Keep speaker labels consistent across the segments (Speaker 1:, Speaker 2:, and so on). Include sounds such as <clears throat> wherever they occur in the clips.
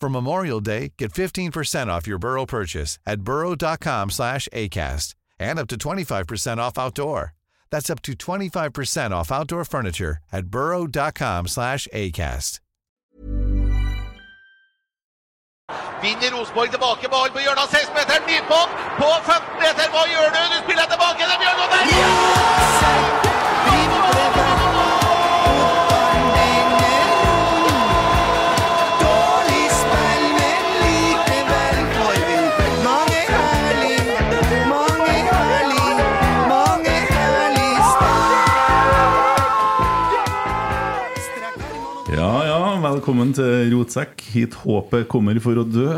Speaker 1: For Memorial Day, get 15% off your Burrow purchase at burrow.com/acast and up to 25% off outdoor. That's up to 25% off outdoor furniture at burrow.com/acast.
Speaker 2: Vinner Rosenborg tilbake med ball på hjørnet av 16-meteren. Midtbånd på 15 meter. Hva gjør du? Du spiller tilbake til Bjørnvold der! Ja!
Speaker 3: Ja, ja, velkommen til Rotsekk. Hit håpet kommer for å
Speaker 4: <laughs>
Speaker 3: dø.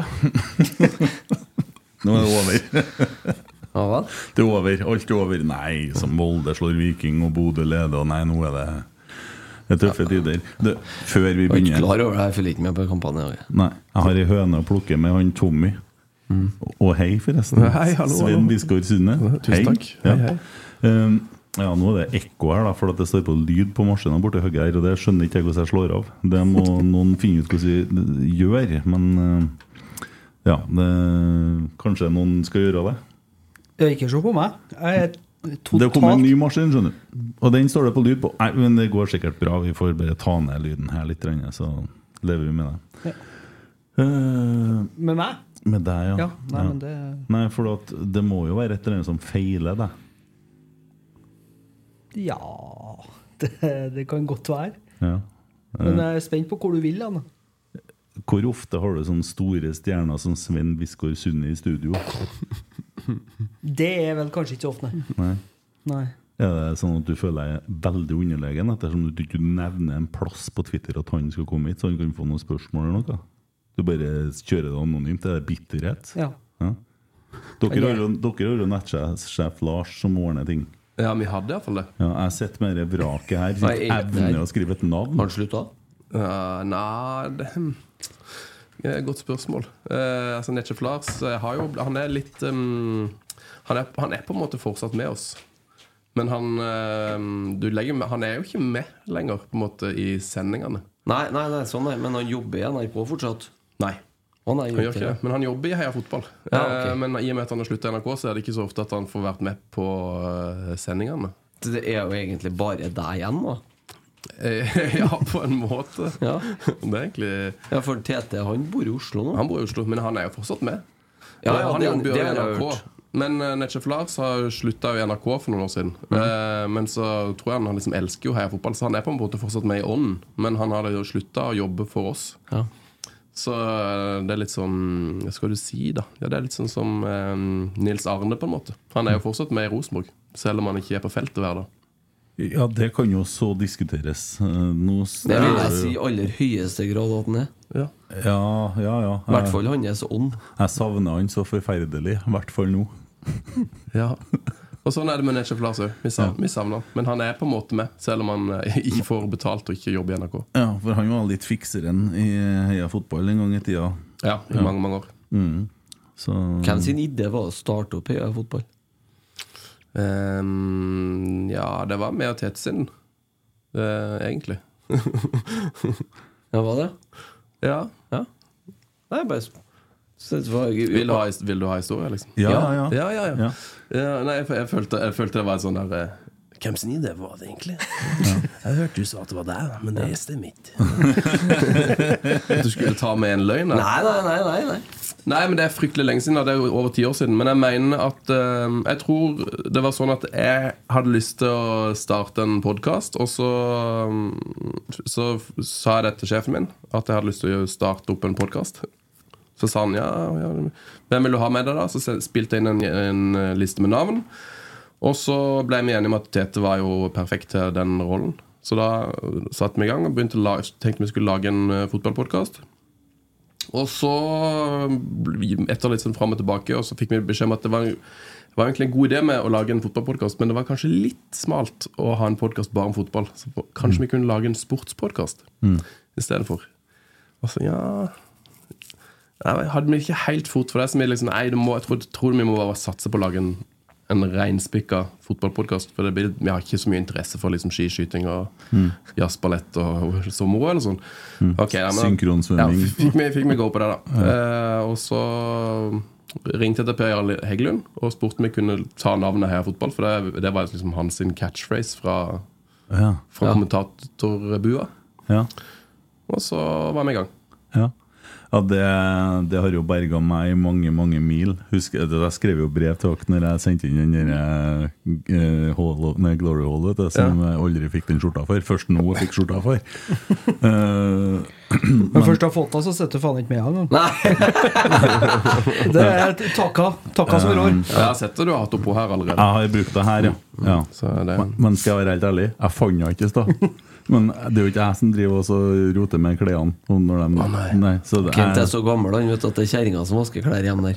Speaker 3: Nå er det over.
Speaker 5: Ja vel?
Speaker 3: Det er over. Alt er over. Nei, som Molde slår Viking og Bodø leder, og nei, nå er det det er tøffe tider. Du, før vi
Speaker 5: Jeg var ikke
Speaker 3: begynner
Speaker 5: klar over det. Jeg følger ikke med på kampene. i dag.
Speaker 3: Nei, jeg har ei høne å plukke med han Tommy. Og hei, forresten.
Speaker 4: Mm. Hei, hallo,
Speaker 3: Svein
Speaker 4: hallo.
Speaker 3: Biskår Sunde.
Speaker 4: Tusen takk.
Speaker 3: Ja.
Speaker 4: Hei, hei.
Speaker 3: Um, ja, nå er det ekko her, da, for at det står på lyd på maskina borti høyre her. Og det skjønner ikke jeg hvordan jeg slår av. Det
Speaker 4: <laughs>
Speaker 3: må noen finne ut hvordan vi gjør. Men uh, ja, det, kanskje noen skal gjøre det.
Speaker 4: Ikke se på meg. Jeg er
Speaker 3: Det kommer en
Speaker 4: totalt
Speaker 3: ny maskin, skjønner du. Og den står det på lyd på. Nei, men det går sikkert bra. Vi får bare ta ned lyden her litt, så lever vi med det. Eh,
Speaker 4: med meg.
Speaker 3: med deg, ja.
Speaker 4: Ja, nei,
Speaker 3: Ja.
Speaker 4: men det
Speaker 3: Nei, for at det må jo være et eller annet som feiler deg.
Speaker 4: Ja Det, det kan godt være.
Speaker 3: Ja.
Speaker 4: Men jeg er spent på hvor du vil. Anne.
Speaker 3: Hvor ofte har du sånne store stjerner som Sven Biskår Sunde i studio?
Speaker 4: Det er vel kanskje ikke så ofte, nei.
Speaker 3: Nei.
Speaker 4: nei.
Speaker 3: Er det sånn at du føler deg veldig underlegen ettersom du ikke nevner en plass på Twitter at han skal komme hit, så han kan få noen spørsmål eller noe? Du bare kjører det anonymt? Er det bitterhet?
Speaker 4: Ja.
Speaker 3: Ja. Dere har jo- dere har jo nettsjef Lars som ordner ting.
Speaker 5: Ja, vi hadde iallfall det.
Speaker 3: Ja, jeg sitter med det vraket her.
Speaker 5: Nei,
Speaker 3: Sitt
Speaker 5: jeg- nei.
Speaker 3: evne å skrive et navn.
Speaker 5: Har han slutta? Eh, nei det, hm. Det er et Godt spørsmål. Eh, altså Netchef Lars eh, har jo, han er litt ehm, han, er, han er på en måte fortsatt med oss. Men han,
Speaker 6: eh,
Speaker 5: ehm, du legger, med- han er jo ikke med lenger på en måte i sendingene.
Speaker 6: Nei, nei, nei, sånn nei, men han jobber i NRK fortsatt.
Speaker 5: Nei.
Speaker 6: Å nei,
Speaker 5: Han gjør ikke det, men han jobber i Heia Fotball.
Speaker 6: Ja, ok.
Speaker 5: Eh, Men i og med at han har sluttet i NRK, så er det ikke så ofte at han får vært med på eh, sendingene.
Speaker 6: det. Det er jo egentlig bare deg igjen, da.
Speaker 5: Eh, <laughs> ja, på en måte.
Speaker 6: <laughs> Ja.
Speaker 5: Det er egentlig
Speaker 6: ja, for TT han bor i Oslo nå.
Speaker 5: Han bor i Oslo, men han er jo fortsatt med.
Speaker 6: Ja,
Speaker 5: Eh,
Speaker 6: ja,
Speaker 5: han
Speaker 6: det-
Speaker 5: jobber jo
Speaker 6: det
Speaker 5: i
Speaker 6: har jeg
Speaker 5: NRK.
Speaker 6: hørt.
Speaker 5: Men uh, Netchef Lars har slutta i NRK for noen år siden.
Speaker 6: Mhm.
Speaker 5: Eh, men så tror jeg han, han liksom elsker jo Heia Fotball, så han er på en måte fortsatt med i ånden. Men han har jo slutta å jobbe for oss.
Speaker 6: Ja.
Speaker 5: Så eh, det er litt sånn Hva skal du si, da? Ja, Det er litt sånn som eh, Nils Arne, på en måte. Han er jo fortsatt med i Rosenborg, selv om han ikke er på feltet hver dag.
Speaker 3: Ja, det kan jo så diskuteres. Eh, Nå
Speaker 6: Det vil
Speaker 3: Ja.
Speaker 6: jeg si i aller høyeste grad at han er.
Speaker 3: Ja, ja, ja.
Speaker 6: I hvert
Speaker 3: Jeg,
Speaker 6: fall hans ånd.
Speaker 3: jeg savner han så forferdelig. I hvert fall nå.
Speaker 5: Ja. Og sånn er det med Netchef Lars òg. Vi, sav- vi savner han. Men han er på en måte med, selv om han eh, ikke får betalt og ikke jobber i NRK.
Speaker 3: Ja, for han var litt fikseren i Heia Fotball en gang i tida.
Speaker 5: Ja, i mange, mange
Speaker 3: Mm.
Speaker 5: år.
Speaker 3: Så
Speaker 6: Hvem sin idé var å starte opp Heia Fotball?
Speaker 5: Ehm, ja, det var med og Tete sin, Eh, egentlig.
Speaker 6: <laughs> Ja, var det?
Speaker 5: Ja.
Speaker 6: Ja. Nei, bare sp- så det var,
Speaker 5: Vil du ha, his- vil du ha historie, liksom?
Speaker 3: Ja, ja, ja.
Speaker 5: Ja, ja, ja. Ja, nei, jeg, jeg, følte, jeg følte det var en sånn der eh, Hvem sin idé var det, egentlig? Jeg hørte du sa at det var deg, men det er
Speaker 6: <laughs>
Speaker 5: mitt. At du skulle ta med en løgn? da?
Speaker 6: Nei, nei, nei. nei, nei.
Speaker 5: Nei, men Det er fryktelig lenge siden. da. Det er jo over ti år siden. Men jeg mener at eh, Jeg tror det var sånn at jeg hadde lyst til å starte en podkast, og så, mm, så f- sa jeg det til sjefen min, at jeg hadde lyst til å gjøre- starte opp en podkast. Så sa han ja, ja, hvem vil du ha med deg, da? Så se- spilte jeg inn en, en liste med navn. Og så ble vi enige om at Tete var jo perfekt til den rollen. Så da eh, satte vi i gang og begynte å la- tenkte vi skulle lage en eh, fotballpodkast. Og så, etter litt sånn fram og tilbake, og så fikk vi beskjed om at det var, det var egentlig en god idé med å lage en fotballpodkast, men det var kanskje litt smalt å ha en podkast bare om fotball. Så på- kanskje vi kunne lage en sportspodkast istedenfor. Og så, ja Nei, Hadde vi ikke helt fot for det, så vi liksom Nei, det må, jeg tror, tror vi må bare satse på å lage en, en reinspikka fotballpodkast. For det blir, vi har ikke så mye interesse for liksom skiskyting og
Speaker 3: Mm.
Speaker 5: jazzballett og <laughs> sommer-OL og sånn. Ok, ja, men-
Speaker 3: Synkronsvømming.
Speaker 5: Ja, fikk vi, fikk vi gå på det,
Speaker 3: <laughs>
Speaker 5: da. Eh, og så ringte jeg til Per Jarl Heggelund og spurte om vi kunne ta navnet Heia Fotball, for det, det var liksom hans sin catchphrase fra,
Speaker 3: Ja,
Speaker 5: fra kommentatorbua.
Speaker 3: ja,
Speaker 5: Og så var vi i gang.
Speaker 3: ja. ja det, det har jo berga meg i mange, mange mil. Husker, det, jeg skrev jo brev til dere når jeg sendte inn den der, eh, hall, of- nei, Glory Hall, vet du, som jeg aldri fikk den skjorta for. Først nå jeg fikk skjorta <laughs> for. Eh,
Speaker 4: Men først du har fått det, så sitter du faen ikke med engang.
Speaker 6: Nei,
Speaker 4: <laughs> Det er takka. Takka som rår.
Speaker 5: Jeg har sett det du har hatt oppå her allerede.
Speaker 3: jeg har brukt det her, ja. ja.
Speaker 5: Mm. Så det,
Speaker 3: Men- Men skal jeg være helt ærlig, jeg fant det ikke i stad.
Speaker 5: <laughs>
Speaker 3: Men det er jo ikke jeg som driver og så roter med klærne. og Når de,
Speaker 5: Å, nei.
Speaker 3: så det,
Speaker 6: Kent er
Speaker 3: jeg,
Speaker 6: så gammel han vet at det er kjerringa som vasker klær hjemme der.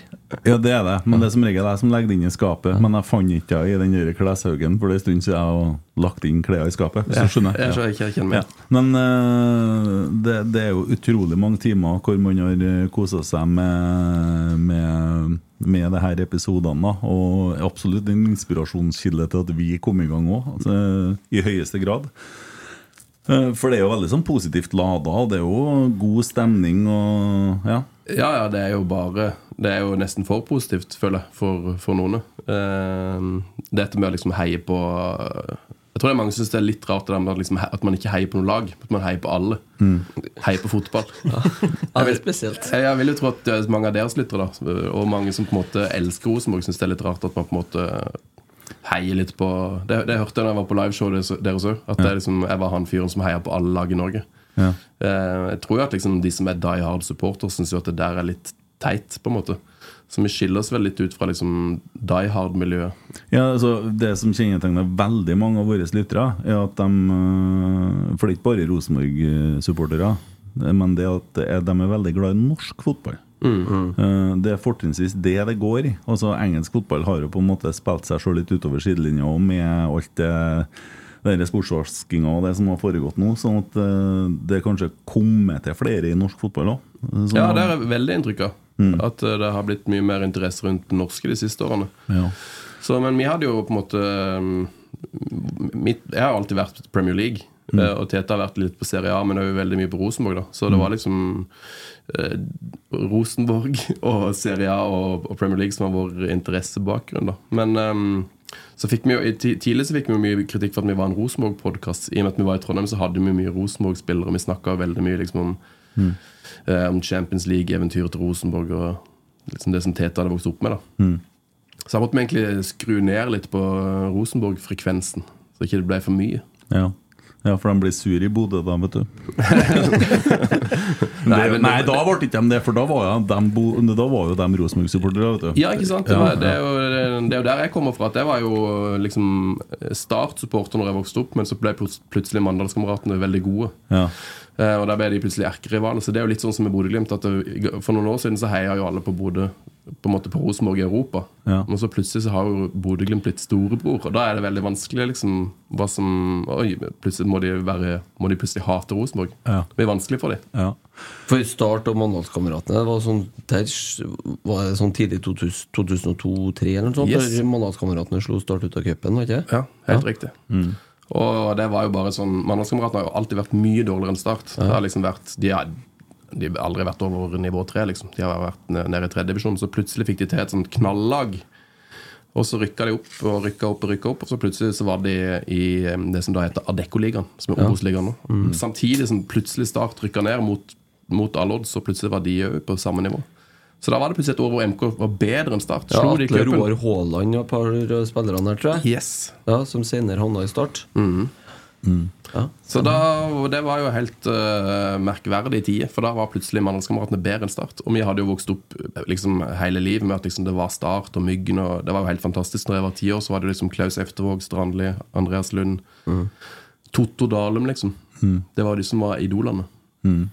Speaker 3: ja, det er det. Men det er som regel jeg som legger det inn i skapet. Men jeg fant ikke det i den der kleshaugen, for det er en stund siden jeg har lagt inn klær i skapet. Så skjønner
Speaker 5: jeg,
Speaker 3: jeg. Ja.
Speaker 5: skjønner- jeg kjenner meg
Speaker 3: Ja. Men eh, det, det er jo utrolig mange timer hvor man har kosa seg med, med, med det her episodene. da. Og er absolutt en inspirasjonskilde til at vi kom i gang òg, altså, i høyeste grad. Eh, For det er jo veldig sånn positivt lada, og det er jo god stemning og ja.
Speaker 5: Ja, ja, det er jo bare Det er jo nesten for positivt, føler jeg, for, for noen. Eh, dette med å liksom heie på Jeg tror det er mange som syns det er litt rart det der med at, liksom, he- at man ikke heier på noe lag, at man heier på alle. Heier på fotball. <laughs>
Speaker 6: Ja, det er spesielt.
Speaker 5: Jeg, jeg vil jo tro at det er mange av deres lyttere, da, eh, og mange som på en måte elsker Rosenborg, syns det er litt rart at man på en måte eh, heier litt på Det, det hørte jeg da jeg var på liveshowet deres- deres òg, at det er liksom, jeg var han fyren som heier på alle lag i Norge.
Speaker 3: ja.
Speaker 5: Eh, Jeg tror jo at liksom de som er die hard supporter, syns jo at det der er litt teit, på en måte. Så vi skiller oss vel litt ut fra liksom die hard-miljøet.
Speaker 3: Ja, altså Det som kjennetegner veldig mange av våre lyttere, er at de øh, For det er ikke bare Rosenborg-supportere, eh, men det at det er- de er veldig glad i norsk fotball. Eh, Det er fortrinnsvis det det går i. Altså Engelsk fotball har jo på en måte spilt seg sjøl litt utover sidelinja og med alt det denne sportsvaskinga og det som har foregått nå. Sånn at eh, det kanskje kommer til flere i norsk fotball eh, òg.
Speaker 5: Ja, det er jeg veldig inntrykk av. At eh, det har blitt mye mer interesse rundt det norske de siste årene.
Speaker 3: ja.
Speaker 5: Så, men vi hadde jo på en måte um, mitt, Jeg har alltid vært på Premier League. eh, Og Tete har vært litt på Serie A, men òg veldig mye på Rosenborg. da Så det var liksom eh, Rosenborg <laughs> og Serie A og, og Premier League som var vår interessebakgrunn. da Men um, så fikk vi jo, i ti- tidlig så fikk vi jo mye kritikk for at vi var en Rosenborg-podkast. I og med at vi var i Trondheim, så hadde vi mye Rosenborg-spillere. og Vi snakka veldig mye liksom om eh, Om Champions League-eventyret til Rosenborg og liksom det som Tete hadde vokst opp med. da Så jeg måtte vi egentlig skru ned litt på Rosenborg-frekvensen, så ikke det ble for mye.
Speaker 3: Ja. ja, for de blir sur i Bodø da, vet
Speaker 5: <laughs>
Speaker 3: du. nei,
Speaker 5: Nei, men-
Speaker 3: nei, da ble ikke de det, for da var jo de, bo- da var jo de Rosenborg-supportere, vet du.
Speaker 5: Ja, ikke sant? Det, var, det, er jo, det er jo der jeg kommer fra. At jeg var jo liksom Start-supporter når jeg vokste opp, men så ble plut- plutselig Mandalskameratene veldig gode.
Speaker 3: Ja.
Speaker 5: Eh, Og der ble de plutselig erkerivaler. Så det er jo litt sånn som med Bodø-Glimt. at det- For noen år siden så heia jo alle på Bodø på en måte på Rosenborg i Europa.
Speaker 3: Ja.
Speaker 5: Men så plutselig så har jo Bodø-Glimt blitt storebror, og da er det veldig vanskelig liksom hva som Oi, plutselig må de, være, må de plutselig hate Rosenborg.
Speaker 3: Ja.
Speaker 5: Det blir vanskelig for dem.
Speaker 3: Ja.
Speaker 6: For Start og Mandalskameratene det var sånn, der s- var det sånn tidlig 2002-2003 eller noe sånt.
Speaker 5: Yes.
Speaker 6: Der Mandalskameratene slo Start ut av cupen, var ikke det? Mm.
Speaker 5: Ja, helt riktig. Og det var jo bare sånn Mandalskameratene har jo alltid vært mye dårligere enn Start. Det har liksom vært De har, de har aldri vært over nivå tre, liksom. De har vært ne- nede i tredje divisjon. Så plutselig fikk de til et sånt knallag. Og så rykka de opp og rykka opp og rykka opp, og så plutselig så var de i eh, det som da heter Adeccoligaen, som er Obos-ligaen nå.
Speaker 6: Mm.
Speaker 5: Samtidig som plutselig Start rykka ned mot, mot all odds, og plutselig var de òg på samme nivå. Så da var det plutselig et år hvor MK var bedre enn Start.
Speaker 6: Ja,
Speaker 5: Slo de
Speaker 6: Atle
Speaker 5: cupen.
Speaker 6: Roar Haaland og et par av spillerne her, tror jeg.
Speaker 5: Yes.
Speaker 6: Ja, som senere havna i Start. Mm.
Speaker 5: Så da, og det var jo helt uh, merkverdig tid, for da var plutselig Mandalskameratene bedre enn Start. Og vi hadde jo vokst opp eh, liksom, hele livet med at liksom, det var Start og Myggen. Og det var jo helt fantastisk. Når jeg var ti år, så var det liksom Klaus Eftervåg, Strandli, Andreas Lund,
Speaker 6: Mm.
Speaker 5: Totto Dalum, liksom. Det var de som var idolene.
Speaker 6: Mm.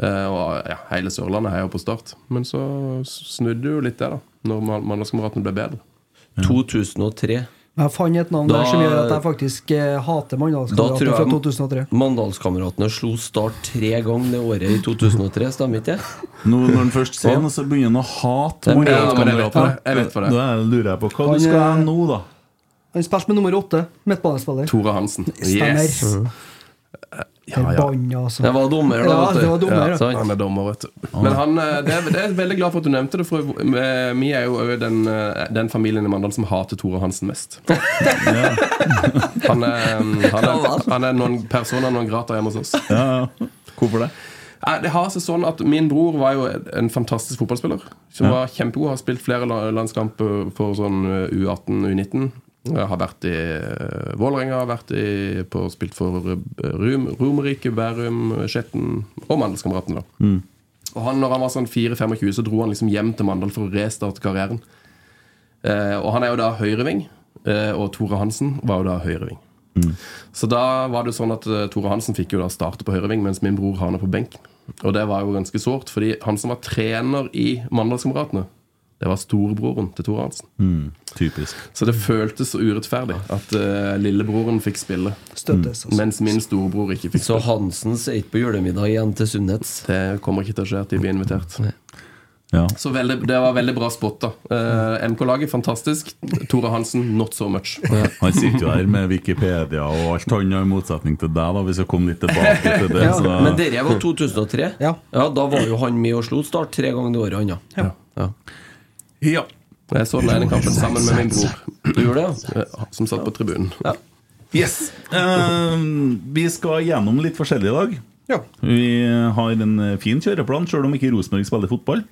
Speaker 5: Eh, og ja, hele Sørlandet heier på Start. Men så snudde jo litt det, da. Når Man- Mandalskameratene ble bedre.
Speaker 6: 2003.
Speaker 4: Jeg fant et navn
Speaker 6: Da-
Speaker 4: der som gjør at jeg faktisk eh, hater
Speaker 6: Da tror
Speaker 4: Mandalskameraten fra
Speaker 6: jeg
Speaker 4: 2003.
Speaker 6: Mandalskameratene slo Start tre ganger det året i 2003, stemmer ikke det?
Speaker 3: Nå når han først sier det, så begynner han å hate
Speaker 6: Det er
Speaker 3: Morten.
Speaker 6: bra, men
Speaker 5: jeg vet for det. Jeg vet for det.
Speaker 3: Da lurer jeg på hva
Speaker 4: Han,
Speaker 3: du skal
Speaker 4: eh,
Speaker 3: ha nå, da.
Speaker 4: Han spilte med nummer åtte, midtbanespiller.
Speaker 5: Tore Hansen.
Speaker 4: Stemmer.
Speaker 5: Yes!
Speaker 6: Mm.
Speaker 5: Ja, ja.
Speaker 4: Forbanna, altså.
Speaker 6: Jeg var dommer, da.
Speaker 4: Ja,
Speaker 6: vet du.
Speaker 4: det var dommer, ja.
Speaker 6: sant?
Speaker 5: Han er dommer, vet du. Men han, eh, det, er, det er veldig glad for at du nevnte det, for eh, vi er jo også den, eh, den familien i Mandal som hater Tore Hansen mest. Han er, mm, han er, han er noen personer noen grata hjemme hos oss.
Speaker 3: Ja, ja. Hvorfor det?
Speaker 5: Nei, Det har seg sånn at Min bror var jo en fantastisk fotballspiller. Som var kjempegod, har spilt flere la- landskamper for sånn eh, U18, U19. Jeg Har vært i eh, Vålerenga, har vært i, på, spilt for eh, Rum, Romerike, Bærum, Skjetten og Mandelskameratene. da. Og han, når han var sånn 4-25, så dro han liksom hjem til Mandal for å restarte karrieren. Eh, og han er jo da høyreving, eh, og Tore Hansen var jo da høyreving. Så da var det jo sånn at eh, Tore Hansen fikk jo da starte på høyreving, mens min bror havna på benk. Og det var jo ganske sårt, fordi han som var trener i Mandalskameratene, det var storebroren til Tore Hansen.
Speaker 3: Hmm, Typisk.
Speaker 5: Så det føltes så urettferdig at eh, lillebroren fikk spille,
Speaker 4: Støttes, altså.
Speaker 5: mens min storebror ikke fikk
Speaker 6: Så
Speaker 5: spille.
Speaker 6: Hansen sier ikke på julemiddag igjen til Sunnets.
Speaker 5: Det kommer ikke til å skje at de blir invitert.
Speaker 3: Ja.
Speaker 5: Så veldig, det var veldig bra spot, da. Eh, MK-laget, fantastisk. Tore Hansen, not so much.
Speaker 3: Han sitter jo her med Wikipedia og alt han har, i motsetning til deg, da, hvis jeg kommer litt tilbake til det. Så,
Speaker 6: Men dere var 2003.
Speaker 4: Ja.
Speaker 6: Da var jo han med og slo Start tre ganger det året, han, ja.
Speaker 4: Ja.
Speaker 6: Ja.
Speaker 3: ja.
Speaker 5: Jeg så den ene kampen sammen med min bror,
Speaker 6: Du gjorde det, ja?
Speaker 5: eh, som satt på tribunen.
Speaker 6: ja.
Speaker 3: Yes. Ehm, vi skal gjennom litt forskjellig i dag.
Speaker 4: Ja.
Speaker 3: Vi eh, har en fin kjøreplan, sjøl om ikke Rosenborg spiller fotball.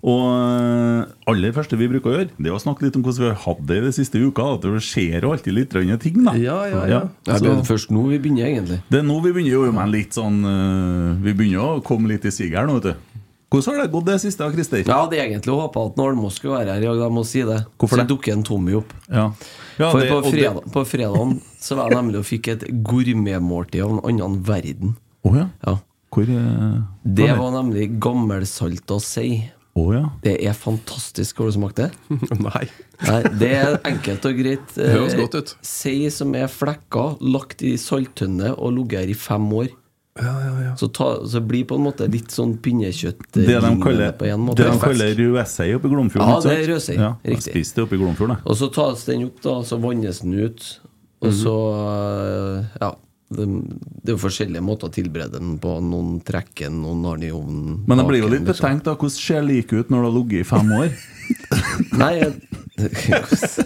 Speaker 3: Og eh, aller første vi bruker å gjøre, Det er å snakke litt om hvordan vi har hatt det de siste uka. At det skjer jo alltid litt rønne ting, da.
Speaker 5: Ja, ja, ja.
Speaker 6: Jeg
Speaker 3: Så
Speaker 6: begynner først nå vi begynner, egentlig.
Speaker 3: det er nå vi begynner jo med litt sånn eh, Vi begynner å komme litt i siget her nå, vet du. Hvordan har det gått det siste, da, Christer?
Speaker 6: Jeg hadde egentlig håpa at Almås skulle være her i dag, jeg må si det.
Speaker 3: Hvorfor
Speaker 6: så
Speaker 3: det?
Speaker 6: dukker en Tommy opp.
Speaker 3: Ja. Ja,
Speaker 6: For
Speaker 3: det-
Speaker 6: på,
Speaker 3: og det-
Speaker 6: fredag, på fredagen så var jeg nemlig og fikk et gourmetmåltid av en annen verden.
Speaker 3: Å ja.
Speaker 6: Ja.
Speaker 3: Hvor eh,
Speaker 6: Det
Speaker 3: hvor-
Speaker 6: var nemlig gammelsalta sei.
Speaker 3: Å ja.
Speaker 6: Det er fantastisk. Har du smakt det?
Speaker 5: <laughs> Nei.
Speaker 6: Nei, det er enkelt og greit. Eh,
Speaker 5: Det høres godt ut.
Speaker 6: Sei som er flekka, lagt i salttønne og ligget her i fem år. Så, ta, så blir på en måte litt sånn pinnekjøtt
Speaker 3: Det de
Speaker 6: lignende
Speaker 3: kaller,
Speaker 6: på en måte.
Speaker 3: det de kaller rødsei oppe i Glomfjorden.
Speaker 6: Ja,
Speaker 3: ikke sant?
Speaker 6: det er rødsei,
Speaker 3: Ja, jeg
Speaker 6: riktig.
Speaker 3: spiste det oppe i Glomfjorden, jeg.
Speaker 6: Og så tas den opp, da, og så vannes den ut. Og
Speaker 3: Mhm.
Speaker 6: så eh, Ja. Det, det er jo forskjellige måter å tilberede den på. Noen trekker den, noen har den i ovnen. liksom.
Speaker 3: Men jeg blir jo
Speaker 6: baker den,
Speaker 3: litt betenkt, da. Hvordan ser like ut når du har ligget i fem
Speaker 6: <laughs>
Speaker 3: år?
Speaker 6: Nei, jeg,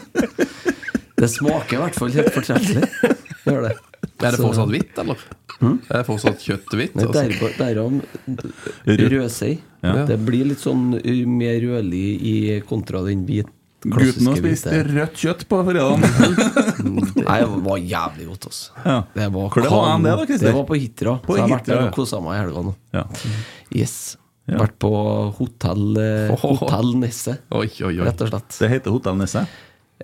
Speaker 6: <laughs> Det smaker i hvert fall helt fortreffelig. Det gjør det.
Speaker 5: Er det
Speaker 6: Så- Hm?
Speaker 5: fortsatt hvitt, eller? Er det fortsatt kjøtthvitt?
Speaker 6: Nei,
Speaker 5: Altså?
Speaker 6: derpå- Derom rødsei.
Speaker 3: Ja.
Speaker 6: Det blir litt sånn uh, mer rødlig i kontra den hvit
Speaker 3: Gutten har
Speaker 6: klassiske
Speaker 3: spist
Speaker 6: hvite.
Speaker 3: rødt kjøtt på fredag.
Speaker 6: <laughs> Nei, det var jævlig godt, altså.
Speaker 3: Ja.
Speaker 6: Det var,
Speaker 3: Hvor det var
Speaker 6: kanon.
Speaker 3: han det da, Christer?
Speaker 6: Det var på Hitra.
Speaker 3: På
Speaker 6: så jeg har vært
Speaker 3: Hitra,
Speaker 6: der
Speaker 3: ja.
Speaker 6: og kosa meg i helga nå.
Speaker 3: Ja.
Speaker 6: Yes.
Speaker 3: Ja.
Speaker 6: Vært på hotell, eh,
Speaker 5: Ohoho.
Speaker 6: hotell Nesse,
Speaker 5: Oi, oi, oi.
Speaker 6: rett og slett.
Speaker 3: Det heter Hotell Nesse.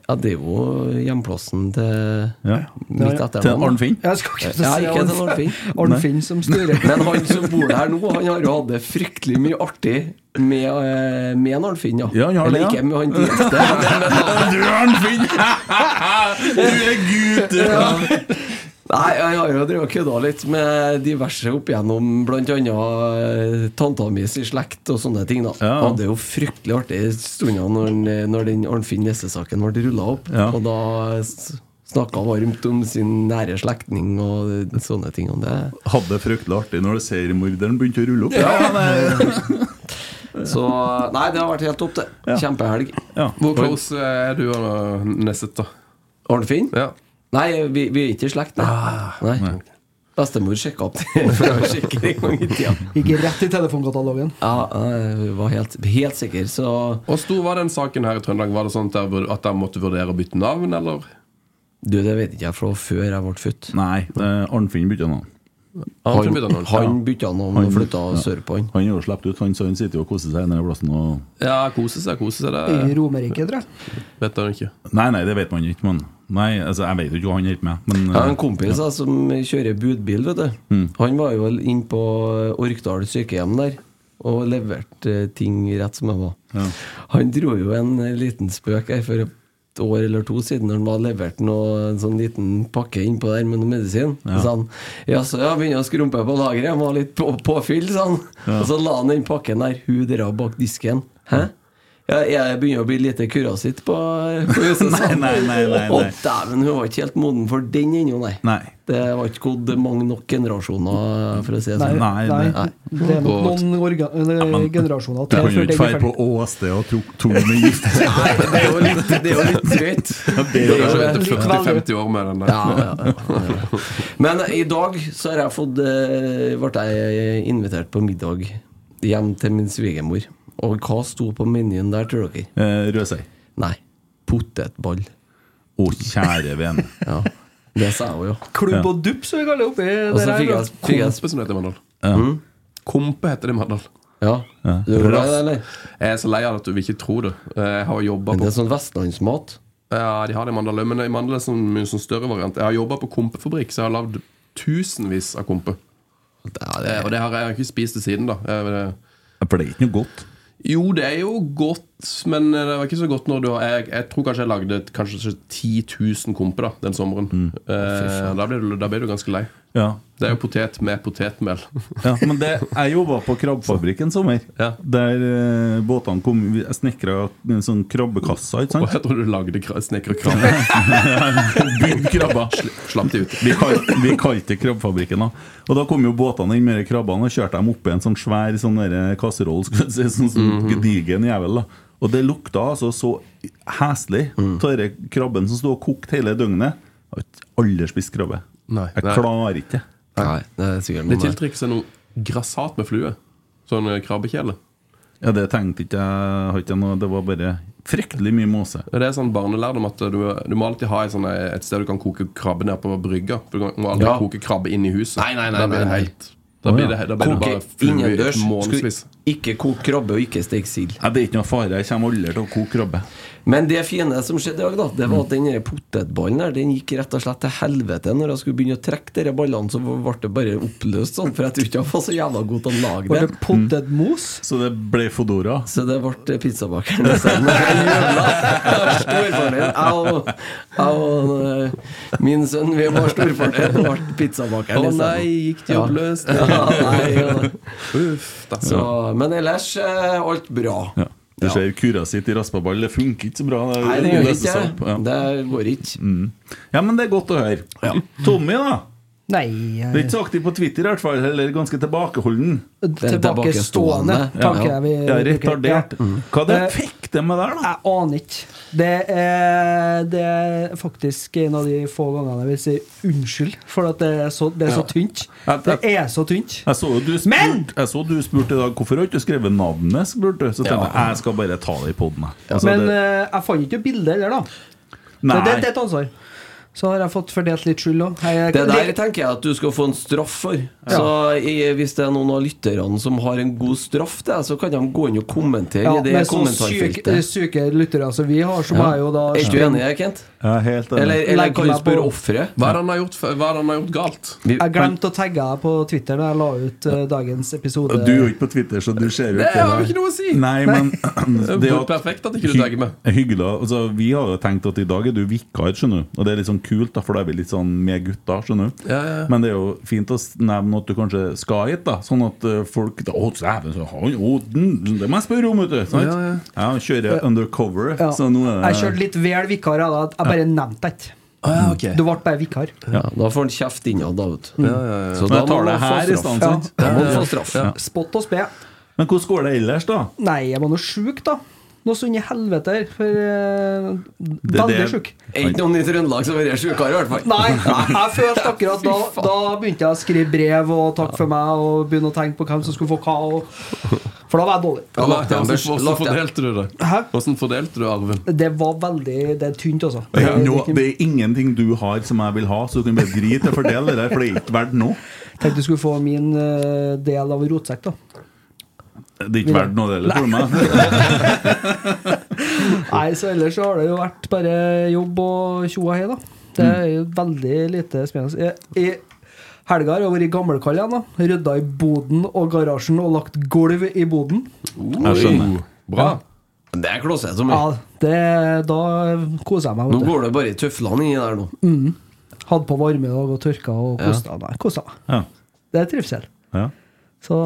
Speaker 6: Ja, det er jo hjemplassen til
Speaker 3: Ja.
Speaker 6: mitt
Speaker 3: Til
Speaker 6: etternavn.
Speaker 3: Arnfinn.
Speaker 4: Jeg skal ikke
Speaker 6: Ja, ikke til Arnfinn.
Speaker 4: Arnfinn som styrer.
Speaker 6: <laughs> Men han som bor der nå, han har jo hatt det fryktelig mye artig med, eh, med en Arnfinn, ja.
Speaker 3: Ja, han har det,
Speaker 6: Eller
Speaker 3: ja.
Speaker 6: ikke med han direkte.
Speaker 5: <laughs>
Speaker 6: men- men han-
Speaker 3: <laughs> Du er Arnfinn! Du er gutt! du.
Speaker 6: Nei, jeg har jo drevet og kødda litt med diverse opp igjennom bl.a. tanta mi sin slekt og sånne ting. da
Speaker 3: Ja.
Speaker 6: Hadde jo fryktelig eh, artig stunder når, den- når den Arnfinn Nesse-saken ble rulla opp.
Speaker 3: Ja.
Speaker 6: Og da s- Snakka varmt om sin nære slektning og sånne ting. Og det.
Speaker 3: Hadde det fryktelig artig når det seriemorderen begynte å rulle opp. Ja, nei.
Speaker 6: Så nei, det har vært helt topp, det.
Speaker 3: Ja.
Speaker 6: Kjempehelg.
Speaker 3: ja.
Speaker 5: Hvor close eh, er du og Nesset, da?
Speaker 6: Arnfinn?
Speaker 5: Ja. Ah,
Speaker 6: Nei, vi, vi er ikke i slekt, nei. nei. Bestemor sjekka opp <laughs> det for å sjekke en gang i tida.
Speaker 4: Gikk rett i telefonkatalogen.
Speaker 6: Ja, jeg var helt, helt sikker, så
Speaker 5: Hvor stor var den saken her i Trøndelag? Var det sånn at der burde- at de måtte vurdere å bytte navn, eller?
Speaker 6: Du, det vet ikke jeg fra før jeg ble født.
Speaker 3: Nei, det er Arnfinn bytta navn.
Speaker 5: Han kunne bytte
Speaker 6: Han,
Speaker 5: navn.
Speaker 6: han bytta navn og
Speaker 3: Han-
Speaker 6: flytta
Speaker 3: ja.
Speaker 6: sørpå, han.
Speaker 3: Han er jo sluppet ut, han, så han sitter jo og koser seg nede i plassen og
Speaker 5: Ja, kose seg, kose seg.
Speaker 4: I
Speaker 5: Det
Speaker 4: Romerike, tror jeg.
Speaker 5: vet han ikke.
Speaker 3: Nei, nei, det vet man ikke, men Nei, altså, jeg vet jo ikke hva han holder på med, men
Speaker 6: Jeg har en kompis da, som kjører budbil, vet du. Han var jo inn på eh, Orkdal sykehjem der og leverte eh, ting rett som det var. Han dro jo en eh, liten spøk her for et år eller to siden når han var levert noe, en sånn liten pakke innpå der med noe medisin. Så sa han ja, så jeg begynner å skrumpe på lageret, jeg må ha litt på, påfyll, sa han. Og så la han den pakken der, hun dra bak disken. Hæ? Ja, jeg begynner å bli lite kurasitt på, eh, på huset. sa han.
Speaker 3: <laughs> Nei, nei, nei, nei,
Speaker 6: Og
Speaker 3: nei.
Speaker 6: Dæven, hun var ikke helt moden for den ennå, nei.
Speaker 3: Nei.
Speaker 6: Det var ikke gått mange nok generasjoner, for å si det sånn.
Speaker 3: Nei,
Speaker 4: Nei, det er nok noen orga, eller, generasjoner til
Speaker 3: Du kan jo
Speaker 4: før
Speaker 3: ikke
Speaker 4: den er
Speaker 3: feire på
Speaker 4: ferdig.
Speaker 3: åsted og tro to med gift.
Speaker 6: Nei, Det er jo litt, det er jo litt drøyt.
Speaker 3: Det
Speaker 5: Du
Speaker 3: er
Speaker 5: har
Speaker 3: jo-
Speaker 5: kanskje ventet
Speaker 4: Likevel,
Speaker 5: 40-50 år med den der.
Speaker 6: Ja, ja, ja, ja. <laughs> Men i dag så har jeg fått eh, ble jeg invitert på middag hjem til min svigermor. Og hva sto på menyen der, tror dere?
Speaker 3: Eh, Rødsei.
Speaker 6: Nei, potetball.
Speaker 3: Å, kjære vene.
Speaker 6: Ja, det sa jeg jo.
Speaker 4: Klubb og dupp, som vi kaller det oppi
Speaker 6: Og
Speaker 4: der
Speaker 6: så
Speaker 4: her.
Speaker 6: fikk jeg, fikk jeg
Speaker 5: Kompe, som det heter i Mandal. Mm.
Speaker 3: Ja.
Speaker 5: Kompe heter det i Mandal.
Speaker 6: Ja.
Speaker 3: Ja.
Speaker 6: Du er glad i det, eller?
Speaker 5: Jeg er så lei av at du vil ikke tro det. Jeg har jobba
Speaker 6: Men
Speaker 5: på
Speaker 6: det er sånn vestlandsmat.
Speaker 5: Ja, de har det i Mandal, men i Mandal er det sånn, mye sånn større variant. Jeg har jobba på kompefabrikk, så jeg har lagd tusenvis av kompe.
Speaker 6: Ja,
Speaker 5: Eh, Og det har jeg- jeg har ikke spist det siden, da. Eh, men det-
Speaker 3: For det er ikke noe godt.
Speaker 5: Jo, det er jo godt, men eh, det var ikke så godt når du har Jeg, jeg tror kanskje jeg lagde et- kanskje 10 000 kompe da, den sommeren. Eh, da, blir du, da blir du ganske lei.
Speaker 3: Ja.
Speaker 5: Det er jo potet med potetmel.
Speaker 3: Ja, men det, jeg jobba på krabbefabrikk en sommer.
Speaker 5: Ja.
Speaker 3: Der eh, båtene kom Jeg snekra en sånn krabbekasse, ikke
Speaker 5: Og
Speaker 3: sant?
Speaker 5: jeg tror du lagde kra- snekkerkrabbe.
Speaker 3: Bygd krabber.
Speaker 5: Sl- Slapp de ut.
Speaker 3: Vi kalte, vi kalte det Krabbefabrikken. da Og da kom jo båtene inn med de krabbene og kjørte dem oppi en sånn svær sånn derre kasseroll. Skulle jeg si, sånn, sånn
Speaker 5: Mhm.
Speaker 3: gedigen jævel. da Og det lukta altså så heslig
Speaker 5: Mhm.
Speaker 3: av den krabben som sto og kokte hele døgnet. Jeg har ikke aldri spist krabbe.
Speaker 5: Nei.
Speaker 3: jeg
Speaker 5: Nei.
Speaker 3: klarer ikke det.
Speaker 6: Nei, det er
Speaker 5: Det
Speaker 6: sikkert noe der.
Speaker 5: tiltrekker seg noe grassat med flue. Sånn eh, krabbekjele.
Speaker 3: Ja, det tenkte ikke jeg har ikke noe, Det var bare fryktelig mye måse.
Speaker 5: Det er sånn barnelærdom at du, du må alltid ha et, sånn, et sted du kan koke krabbe ned på brygga. For Du kan- må aldri
Speaker 6: Ja.
Speaker 5: koke krabbe inn i huset.
Speaker 6: Nei, nei, nei,
Speaker 5: da blir
Speaker 6: nei,
Speaker 5: det
Speaker 6: nei.
Speaker 5: helt Da blir, det, da blir det
Speaker 6: Koke
Speaker 5: bare flue i
Speaker 6: innendørs.
Speaker 5: månedsvis.
Speaker 6: Skulle Ikke koke krabbe og ikke steke sild.
Speaker 3: Nei, det er ikke noe fare. Jeg kommer aldri til å koke krabbe.
Speaker 6: Men det fine som skjedde i dag, da, det var at den
Speaker 4: Mm.
Speaker 6: der potetballen der, den gikk rett og slett til helvete. Når jeg skulle begynne å trekke de ballene, så ble det bare oppløst sånn, for jeg tror ikke jeg var så jævla god til å lage
Speaker 4: Var
Speaker 6: det.
Speaker 4: det potetmos?
Speaker 3: Så det ble Fodora.
Speaker 6: Så det ble pizzabakeren isteden. Storfordel. Jeg og- jeg og eh, min sønn, vi var storfordel. Det ble pizzabakeren
Speaker 5: Å
Speaker 6: isteden.
Speaker 5: nei, gikk de
Speaker 6: Ja.
Speaker 5: oppløst?
Speaker 6: Ja, nei, ja.
Speaker 5: <laughs> Uff, da.
Speaker 6: Så, men ellers eh, alt bra.
Speaker 3: Ja. Du ser kura sitt i raspaball, det funker ikke så bra.
Speaker 6: Nei, det gjør
Speaker 3: løser
Speaker 6: ikke
Speaker 3: seg opp,
Speaker 6: det.
Speaker 3: ja.
Speaker 6: Det går
Speaker 5: Mm.
Speaker 6: ikke.
Speaker 3: ja, men det er godt å høre. Tommy, da.
Speaker 6: Mm.
Speaker 4: Nei eh,
Speaker 3: Du er ikke så aktiv på Twitter, i hvert fall. Eller ganske tilbakeholden.
Speaker 4: Tilbakestående,
Speaker 6: tilbakestående, ja,
Speaker 4: tenker jeg vi
Speaker 3: Ja, retardert.
Speaker 4: Ja.
Speaker 3: Hva det
Speaker 4: Eh,
Speaker 3: fikk det med der, da?
Speaker 4: Jeg aner ikke. Det er, det er faktisk en av de få gangene jeg vil si unnskyld, for at det er så, det er så tynt.
Speaker 3: Jeg- jeg-
Speaker 4: Det er så tynt.
Speaker 3: Jeg så jo du
Speaker 4: Men!
Speaker 3: spurte spurt, spurt i dag hvorfor har ikke du skrevet navnet. spurte du Så tenkte jeg jeg skal bare ta det i poden.
Speaker 4: Men eh, jeg fant ikke bildet heller, da. Så
Speaker 3: nei,
Speaker 4: det, det er et ansvar. Så har jeg fått fordelt litt skyld òg.
Speaker 6: Det der tenker jeg at du skal få en straff for. Så i- Hvis det er noen av lytterne som har en god straff, til deg, så kan de gå inn og kommentere
Speaker 4: ja,
Speaker 6: i det
Speaker 4: med så syke,
Speaker 6: kommentarfeltet.
Speaker 4: syke lyttere som vi har, som er jo da
Speaker 6: Er ikke du enig, Kent?
Speaker 3: jeg er helt enig.
Speaker 6: Eller, eller
Speaker 4: Legg
Speaker 6: kan du
Speaker 4: meg
Speaker 6: spørre
Speaker 4: på.
Speaker 6: offeret?
Speaker 5: Hva er det han har gjort, f- hva er det han har gjort galt?
Speaker 4: Jeg glemte å tagge deg på Twitter da jeg la ut eh, dagens episode.
Speaker 3: Du er jo ikke på Twitter, så du ser jo
Speaker 5: Det
Speaker 3: ikke
Speaker 5: har jo ikke noe å si!
Speaker 3: Nei, men
Speaker 5: <laughs> Det er perfekt at ikke du tagger meg.
Speaker 3: hy- Hyggelig. Altså, vi har jo tenkt at i dag er du vikar, skjønner du. Og det er litt sånn kult, da, for da er vi litt sånn med gutta, skjønner du.
Speaker 5: Ja, ja, ja.
Speaker 3: Men det er jo fint å s- nevne at du kanskje skal hit, da. Sånn at eh, folk da, Å, dæven, så har han jo den, Det må jeg spørre om, vet du. Sant? Ja, kjører undercover,
Speaker 4: Ja.
Speaker 3: så nå er
Speaker 4: Jeg kjørte litt vel vikar, jeg da. Jeg bare nevnte det ikke.
Speaker 5: Ah, ja, ok.
Speaker 4: Du ble bare vikar.
Speaker 6: Ja, da får han kjeft innad, da, vet du. Så
Speaker 3: Men jeg tar
Speaker 6: må
Speaker 3: det
Speaker 6: han få
Speaker 3: her i
Speaker 6: straff.
Speaker 3: stedet, sant?
Speaker 6: Ja, da må han få straff.
Speaker 3: Ja.
Speaker 4: Spott og spe.
Speaker 3: Men hvordan går det ellers, da?
Speaker 4: Nei, jeg var nå sjuk, da. Noe så inn i helvete her. For eh,
Speaker 3: Det er
Speaker 4: Veldig
Speaker 3: det-
Speaker 4: sjuk.
Speaker 6: Er Ikke noen i Trøndelag som har vært sjukere, i hvert fall.
Speaker 4: Nei,
Speaker 6: <laughs>
Speaker 4: jeg følte
Speaker 3: <laughs>
Speaker 4: akkurat da Da begynte jeg å skrive brev og takk for meg og begynne å tenke på hvem som skulle få hva. Og, for da var jeg dårlig.
Speaker 6: Ja,
Speaker 5: Hvordan-
Speaker 6: lagt igjen, børs.
Speaker 5: hvordan- Hvordan
Speaker 6: Lagt igjen.
Speaker 5: fordelte du det?
Speaker 4: Hæ?
Speaker 5: Hvordan fordelte du arven?
Speaker 4: Det var veldig Det er tynt, altså.
Speaker 3: Det er,
Speaker 4: Det-
Speaker 3: no,
Speaker 4: det-
Speaker 3: det er ingenting du har som jeg vil ha, så du kan bare drite i å fordele det der, for det er ikke verdt noe.
Speaker 4: Tenkte du skulle få min eh, del av rotsekk, da.
Speaker 3: Det er ikke verdt noe, det heller, tror du meg.
Speaker 4: Nei, så ellers så har det jo vært bare jobb og tjo og hei, da. Det er jo veldig lite spennende. I, i helga har jeg vært gammelkall igjen, da. Rydda i boden og garasjen og lagt gulv i boden.
Speaker 3: Jeg skjønner.
Speaker 5: Bra.
Speaker 6: Det er klosset som er.
Speaker 4: Ja, det, da koser jeg meg. vet
Speaker 6: Nå
Speaker 4: du.
Speaker 6: går det bare i tøflene inni der nå.
Speaker 4: Hadde på varme i dag og tørka og kosta meg. Koset meg.
Speaker 3: Ja.
Speaker 4: Det er trivsel.
Speaker 3: Ja.
Speaker 4: Så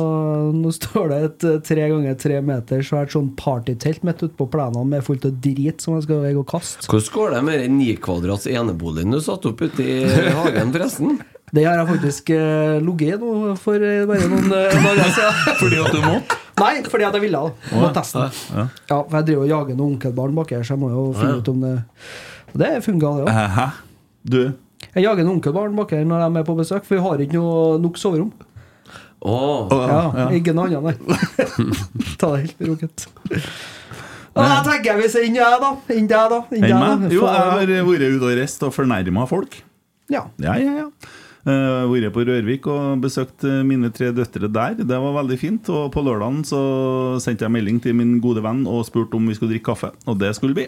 Speaker 4: nå står det et eh, tre ganger tre meter svært sånn partytelt midt ute på plenen med fullt av drit som jeg skal veie og kaste.
Speaker 6: Hvordan går det med den nikvadrats eneboligen du satte opp ute i hagen, forresten?
Speaker 4: Det har jeg faktisk eh, ligget i nå for eh, bare noen eh, dager siden.
Speaker 3: <laughs> Fordi at du må?
Speaker 4: Nei, fordi at jeg ville da. På testen. Ja, for jeg driver og jager noen onkelbarn bak her, så jeg må jo finne ut om det Og det funka, det òg.
Speaker 3: Hæ? Du?
Speaker 4: Jeg jager noen onkelbarn bak her når de er på besøk, for vi har ikke noe nok soverom.
Speaker 6: Åh,
Speaker 4: Ja, ikke noe annet, nei.
Speaker 6: <laughs>
Speaker 4: Ta det helt med roket. Ja, jeg tenker hvis jeg inn jeg, da. Inn deg, da. Inn
Speaker 3: Enn
Speaker 4: deg,
Speaker 3: meg?
Speaker 4: da.
Speaker 3: Jo, jeg
Speaker 4: Faen,
Speaker 3: har vært ute og reist og fornærma folk.
Speaker 4: Ja.
Speaker 3: Ja, ja, ja. Uh, vært på Rørvik og besøkt eh, mine tre døtre der. Det var veldig fint. Og på lørdagen så sendte jeg melding til min gode venn og spurte om vi skulle drikke kaffe. Og det skulle vi.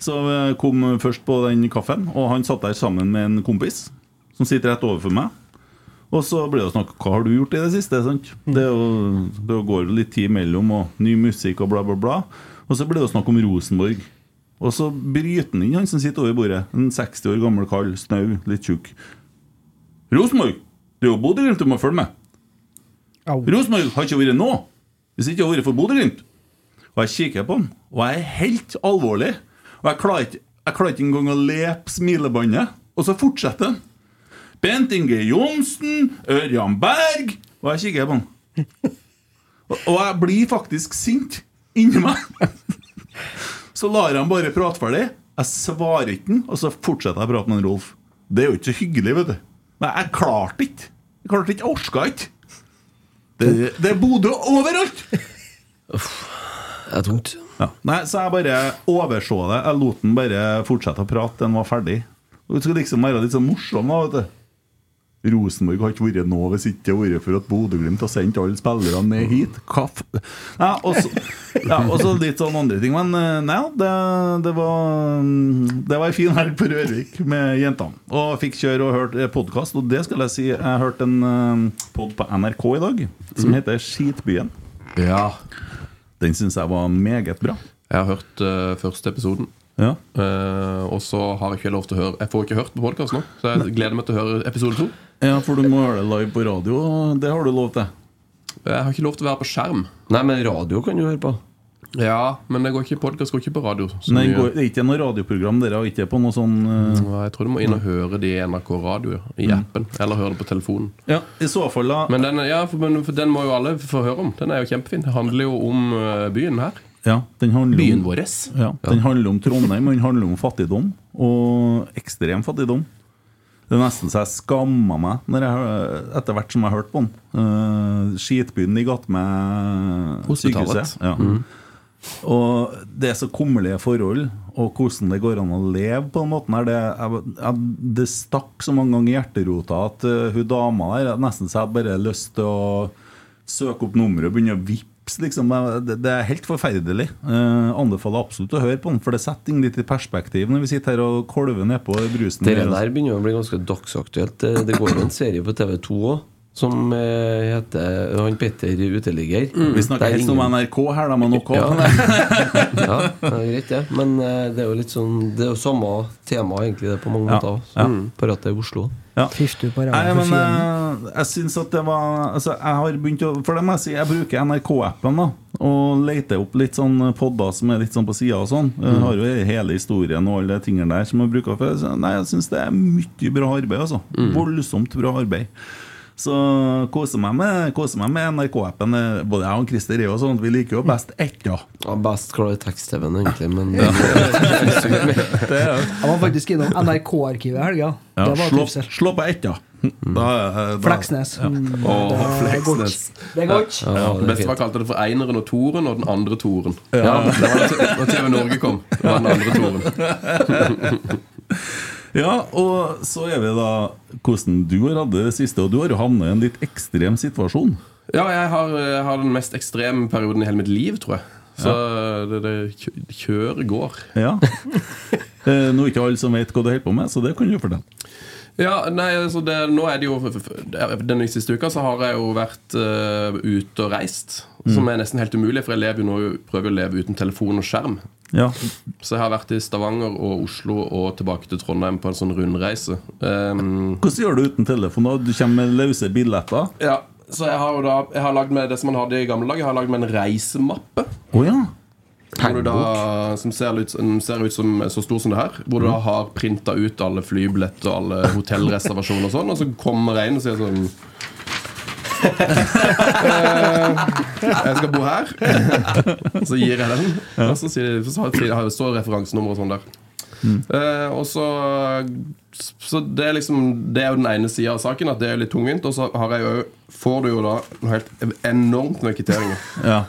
Speaker 3: Så eh, kom først på den kaffen, og han satt der sammen med en kompis som sitter rett overfor meg. Og så ble det snakk Hva har du gjort i det siste? Sant? Det, er jo, det går jo litt tid mellom og ny musikk og bla, bla, bla. Og så ble det snakk om Rosenborg. Og så bryter han inn, han som sitter over bordet. En 60 år gammel kall, snau, litt tjukk. Rosenborg! Det er jo Bodø-Glimt du må følge med.
Speaker 4: Au.
Speaker 3: Rosenborg har ikke vært nå, hvis ikke det har vært for Bodø-Glimt. Og jeg kikker på han, og jeg er helt alvorlig. Og jeg klarer ikke, jeg klarer ikke engang å lepe smilebåndet. Og så fortsetter han. Bent Inge Johnsen, Ørjan Berg Og jeg kikker på han. Og, og jeg blir faktisk sint inni meg. Så lar jeg han bare prate ferdig. Jeg svarer ikke han, og så fortsetter jeg å prate med han Rolf. Det er jo ikke så hyggelig, vet du. Nei, jeg klarte ikke. Jeg klarte ikke, jeg orka ikke. Det, det er Bodø overalt!
Speaker 6: det er tungt.
Speaker 3: Ja. Nei, så jeg bare overså det. Jeg lot den bare fortsette å prate. Den var ferdig. Og Det skulle liksom være litt sånn morsom, da, vet du. Rosenborg har ikke vært nå hvis ikke det har vært for at Bodø-Glimt har sendt alle spillerne ned hit. Hva f... Ja, og så ja, og så litt sånn andre ting. Men eh, nei, det, det var mm, Det var ei en fin helg på Rørvik med jentene. Og fikk kjøre og hørt podkast. Og det skal jeg si, jeg hørte en pod på NRK i dag som heter Skitbyen.
Speaker 5: Ja.
Speaker 3: Den syns jeg var meget bra.
Speaker 5: Jeg har hørt eh, første episoden.
Speaker 3: Ja
Speaker 5: Eh, og så har jeg ikke lov til å høre Jeg får ikke hørt på podkast nå, så jeg gleder meg til å høre episode to.
Speaker 3: Ja, for du må høre det live på radio. og Det har du lov til.
Speaker 5: Jeg har ikke lov til å være på skjerm.
Speaker 6: Nei, men radio kan du høre på.
Speaker 5: Ja, men det går ikke podkast går ikke på radio. så
Speaker 3: Nei,
Speaker 5: mye.
Speaker 3: går, det er ikke noe radioprogram dere har ikke på noe sånn eh,
Speaker 5: Nei, Jeg tror du må inn og høre de i NRK Radio i appen, eller høre det på telefonen.
Speaker 3: Ja, i så fall da
Speaker 5: Men den, ja, for, men for den må jo alle få høre om. Den er jo kjempefin. Det handler jo om eh, byen her.
Speaker 3: ja, den handler om-
Speaker 5: Byen vår.
Speaker 3: Ja, den handler om Trondheim, og den handler om fattigdom. Og ekstrem fattigdom. Det er nesten så jeg skamma meg når jeg, hø- etter hvert som jeg hørte på den. Eh, skitbyen de ga til meg
Speaker 5: Hospitalet. Mm.
Speaker 3: sykehuset. Ja. Og det er så kummerlige forhold, og hvordan det går an å leve på den måten her. Det, jeg, jeg, det stakk så mange ganger i hjerterota at eh, hun dama der jeg nesten så jeg hadde bare lyst til å søke opp nummeret og begynne å vippse. Liksom. Jeg- Det, det er helt forferdelig. Eh, anbefaler absolutt å høre på den, for det setter ting litt i perspektiv når vi sitter her og kolver nedpå brusen.
Speaker 6: Det der begynner jo å bli ganske dagsaktuelt. Eh, Det- Det går jo en serie på TV2 òg. Som eh, heter Han Petter uteligger.
Speaker 3: Mm. Vi snakker helst om NRK her, da,
Speaker 6: <laughs>
Speaker 3: men ok.
Speaker 6: Ja. ja, det er greit, det. Men eh, det er jo litt sånn Det er jo samme tema, egentlig, det på mange
Speaker 3: Ja,
Speaker 6: måter. også.
Speaker 3: ja.
Speaker 6: Mm, Bare at det er i Oslo.
Speaker 3: Ja.
Speaker 4: Fiff du på ræva
Speaker 3: Nei,
Speaker 4: for
Speaker 3: men
Speaker 4: fienden.
Speaker 3: eh, jeg syns at det var Altså, jeg har begynt å For det må jeg si, jeg bruker NRK-appen, da. og leter opp litt sånn podder som er litt sånn på sida og sånn. Jeg har jo hele historien og alle de tingene der som jeg bruker før. Så nei, jeg syns det er mye bra arbeid, altså. Voldsomt bra arbeid. Så koser meg med, koser meg med NRK-appen. eh, Både jeg og Christer er jo sånn at vi liker jo best ett, da.
Speaker 6: Ja, best klar i tekst-TV-en, egentlig, men <laughs>
Speaker 4: Jeg var faktisk innom NRK-arkivet i helga.
Speaker 3: Ja,
Speaker 4: det var
Speaker 3: slå,
Speaker 4: tipset.
Speaker 3: slå på ett, da. Da, eh, da-
Speaker 4: Fleksnes. Mm,
Speaker 5: Åh,
Speaker 4: det er godt.
Speaker 5: Fleksnes.
Speaker 4: Det er godt.
Speaker 6: ja,
Speaker 5: Ja, det
Speaker 6: det er
Speaker 5: beste var
Speaker 6: fint.
Speaker 5: kalte det for eineren og toren og den andre toren. Ja, det var da- Da TV Norge kom, det var den andre toren.
Speaker 3: Ja, og så er vi da hvordan du har hatt det det siste. Og du har jo havnet i en litt ekstrem situasjon.
Speaker 5: Ja, jeg har, jeg har den mest ekstreme perioden i hele mitt liv, tror jeg. Så det, det kjø- kjøret går. <laughs>
Speaker 3: Ja. Eh, Nå er ikke alle som vet hva du holder på med, så det kan du fortelle.
Speaker 5: Ja, nei, altså det, nå er det jo Den siste uka så har jeg jo vært eh, ute og reist.
Speaker 6: Mm.
Speaker 5: Som er nesten helt umulig, for jeg lever jo nå, prøver å leve uten telefon og skjerm.
Speaker 3: Ja.
Speaker 5: Så jeg har vært i Stavanger og Oslo og tilbake til Trondheim på en sånn rundreise. Um,
Speaker 3: Hvordan gjør du uten telefon? da? Du kommer med løse billetter?
Speaker 5: ja, så jeg har jo da Jeg har lagd meg det som man hadde i gamle dager, jeg har lagd meg en reisemappe.
Speaker 3: Å ja.
Speaker 5: Hvor du da, som ser ut, som ser ut som så stor som det her. Hvor du
Speaker 3: Mm.
Speaker 5: da har printa ut alle flybilletter og alle hotellreservasjoner og sånn. Og så kommer jeg inn og sier sånn «Eh, Jeg skal bo her. Så gir jeg den. Og så, sier de, så har- har- står referansenummer og sånn der.
Speaker 3: Mm.
Speaker 5: Eh, og så Så det er liksom Det er jo den ene sida av saken, at det er litt tungvint. Og så har jeg jo, får du jo da helt enormt med kvitteringer.
Speaker 3: Ja.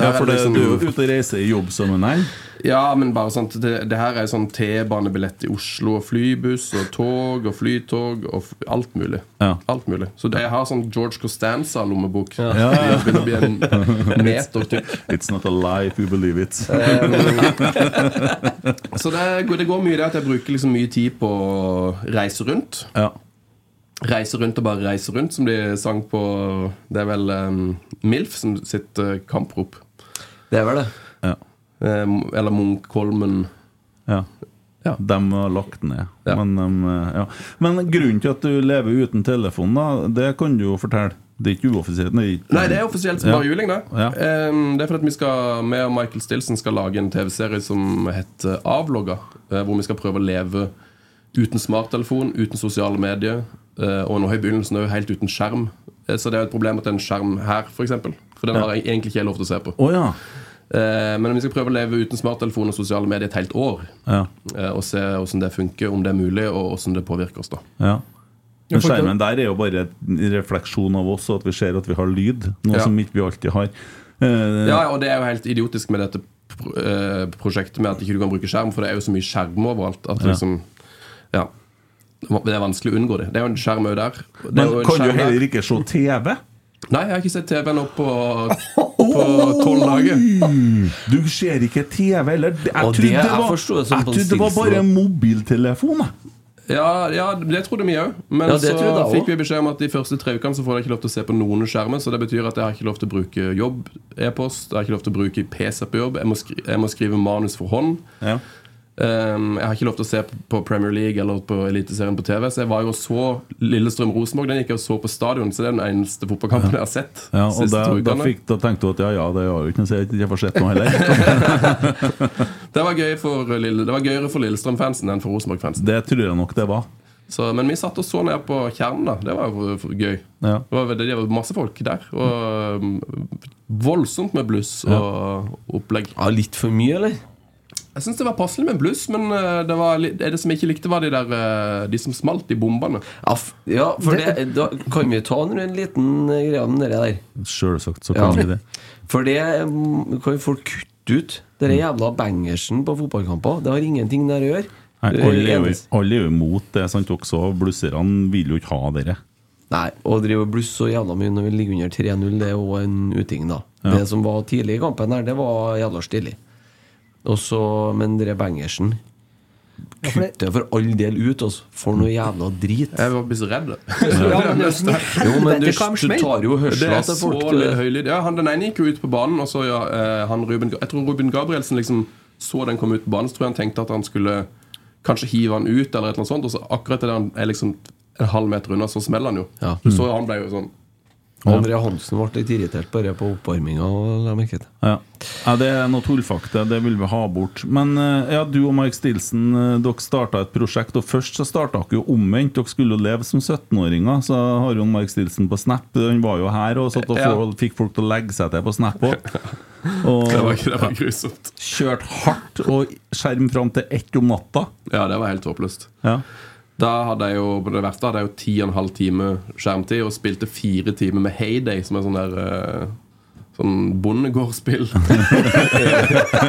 Speaker 3: ja,
Speaker 5: her er
Speaker 3: for det,
Speaker 5: liksom-
Speaker 3: du er jo ute og reiser i jobbsammenheng.
Speaker 5: ja, men bare sånn Det, det her er sånn T-banebillett i Oslo, og flybuss og tog og flytog og f alt mulig.
Speaker 3: Ja.
Speaker 5: Alt mulig. Så det, jeg har sånn George Costanza-lommebok.
Speaker 3: Ja, ja.
Speaker 5: Det begynner å bli en meter tykk.
Speaker 3: It's not a lie if you believe it.
Speaker 5: Så det, går- det går mye i det at jeg bruker liksom mye tid på å reise rundt.
Speaker 3: Ja.
Speaker 5: Reise rundt og bare reise rundt, som de sang på Det er vel em, MILF som sitt eh, kamprop.
Speaker 6: Det er vel det.
Speaker 3: Ja.
Speaker 5: Em, eller Munkholmen.
Speaker 3: ja.
Speaker 5: Ja.
Speaker 3: De har lagt ned.
Speaker 5: Ja.
Speaker 3: Men, dem, eh, ja. Men grunnen til at du lever uten telefon, da, det kan du jo fortelle. Det er ikke uoffisielt. det er ikke-
Speaker 5: Nei, det er offisielt som
Speaker 3: Ja.
Speaker 5: bare juling, det.
Speaker 3: Ja.
Speaker 5: Ehm, det er fordi at vi skal, meg og Michael Stilson skal lage en TV-serie som heter Avlogga. eh, Hvor vi skal prøve å leve uten smarttelefon, uten sosiale medier. eh, Og nå i begynnelsen òg helt uten skjerm. Eh, Så det er jo et problem at det er en skjerm her, f.eks. For, eksempel. for den har jeg egentlig ikke jeg lov til å se på.
Speaker 3: Å ja.
Speaker 5: Eh, Men vi skal prøve å leve uten smarttelefon og sosiale medier et helt år.
Speaker 3: Ja.
Speaker 5: eh, Og se hvordan det funker, om det er mulig, og hvordan det påvirker oss. da
Speaker 3: ja. Men
Speaker 4: for det-
Speaker 3: skjermen der er jo bare en refleksjon av oss, og at vi ser at vi har lyd. Noe
Speaker 5: Ja.
Speaker 3: som ikke vi alltid har. Eh,
Speaker 5: Ja, ja, og det er jo helt idiotisk med dette pro eh, prosjektet med at ikke du kan bruke skjerm, for det er jo så mye skjerm overalt at liksom Ja. Det er vanskelig å unngå det. Det er jo en skjerm òg der. Det er
Speaker 3: Men
Speaker 5: jo en
Speaker 3: kan du
Speaker 5: skjerm der.
Speaker 3: heller ikke se TV?
Speaker 5: Nei, jeg har ikke sett TV nå på
Speaker 3: <laughs>
Speaker 5: På tolv dager.
Speaker 3: Mm, Du ser ikke TV heller? Jeg trodde
Speaker 6: Og
Speaker 3: det,
Speaker 6: det- jeg
Speaker 3: var,
Speaker 6: forstod det som
Speaker 3: jeg
Speaker 6: på
Speaker 3: trodde det var
Speaker 6: Stilson.
Speaker 3: bare mobiltelefon. jeg.
Speaker 5: Ja, ja, det trodde vi òg. Men
Speaker 6: Ja, det
Speaker 5: så
Speaker 6: tror jeg da også.
Speaker 5: fikk vi beskjed om at de første tre ukene så får jeg ikke lov til å se på noen skjermer. Så det betyr at jeg har ikke lov til å bruke jobb, e-post, jeg har ikke lov til å bruke PC på jobb. Jeg må, skri jeg må skrive manus for hånd.
Speaker 3: Ja.
Speaker 5: Um, jeg har ikke lov til å se på Premier League eller på Eliteserien på TV, så jeg var jo og så Lillestrøm-Rosenborg. Den gikk jeg og så på stadion, så det er den eneste fotballkampen jeg har sett.
Speaker 3: Ja, og
Speaker 5: siste
Speaker 3: da, da,
Speaker 5: ukene.
Speaker 3: fikk, da tenkte du at ja, ja, det har jo ikke noe å si, at jeg ikke får sett noe heller.
Speaker 5: <laughs> Det var, gøy for Lille, det var gøyere for Lillestrøm-fansen enn for Rosenborg-fansen.
Speaker 3: Det tror jeg nok det var.
Speaker 5: Så- Men vi satt og så ned på Kjernen, da. Det var jo f- f- gøy.
Speaker 3: Ja.
Speaker 5: Det var, veldig- det var masse folk der. Og um, voldsomt med bluss og opplegg.
Speaker 6: Ja, litt for mye, eller?
Speaker 5: Jeg syns det var passelig med bluss, men uh, det, var, litt- det som jeg ikke likte, var de der uh, De som smalt, de bombene.
Speaker 6: Ja, f ja for det, da kan vi ta en liten eh, greie om det der.
Speaker 3: Selvsagt så
Speaker 6: Ja.
Speaker 3: kan vi det.
Speaker 6: For det mm, kan jo folk kutte ut. Den jævla bangersen på fotballkamper. Det har ingenting der å gjøre.
Speaker 3: Nei,
Speaker 6: Det er
Speaker 3: alle, er jo,
Speaker 6: eneste-
Speaker 3: alle er jo imot det, sant også. Blusserne vil jo ikke ha dere.
Speaker 6: Nei, å drive og blusse så jævla mye når vi ligger under 3-0, det er jo en uting, da. Det som var tidlig i kampen her, det var jævla stilig. Og så, men det bangersen
Speaker 4: for det-
Speaker 6: Kutt det for all del ut, altså. For noe jævla drit.
Speaker 5: Jeg var blitt så redd.
Speaker 6: <laughs>
Speaker 4: Ja, men det er jo sånn i
Speaker 6: Jo, men du,
Speaker 4: helvete hva de
Speaker 6: du
Speaker 4: smelt.
Speaker 6: tar jo
Speaker 5: Det
Speaker 6: hørsla
Speaker 5: er så
Speaker 6: til folk.
Speaker 4: eh.
Speaker 5: litt
Speaker 6: du-
Speaker 5: høylyd. Ja, han den ene gikk jo ut på banen, og så ja, eh, han Ruben Jeg tror Ruben Gabrielsen liksom så den komme ut på banen, så tror jeg han tenkte at han skulle kanskje hive han ut, eller et eller annet sånt, og så akkurat idet han er liksom en halv meter unna, så smeller han jo.
Speaker 6: Ja.
Speaker 5: Du så jo han ble jo sånn
Speaker 6: André Hansen ble litt irritert bare på oppvarminga. la meg merke til.
Speaker 3: Ja. ja, det er noe tullfakta. Det vil vi ha bort. Men eh, ja, du og Mark Stilson, eh, dere starta et prosjekt, og først så starta dere jo omvendt. Dere skulle jo leve som 17-åringer, så har jo Mark Stilson på Snap. Han var jo her og satt og
Speaker 5: Ja.
Speaker 3: få- fikk folk til å legge seg til på Snap
Speaker 5: <laughs>
Speaker 3: òg.
Speaker 5: Det var,
Speaker 3: Og
Speaker 5: det var grusomt.
Speaker 3: kjørte hardt og skjerm fram til ett om natta.
Speaker 5: Ja, det var helt håpløst.
Speaker 3: Ja.
Speaker 5: Da hadde jeg jo på det verste hadde jeg jo ti og en halv time skjermtid og spilte fire timer med Heyday, som er sånn der eh, Sånn bondegårdsspill.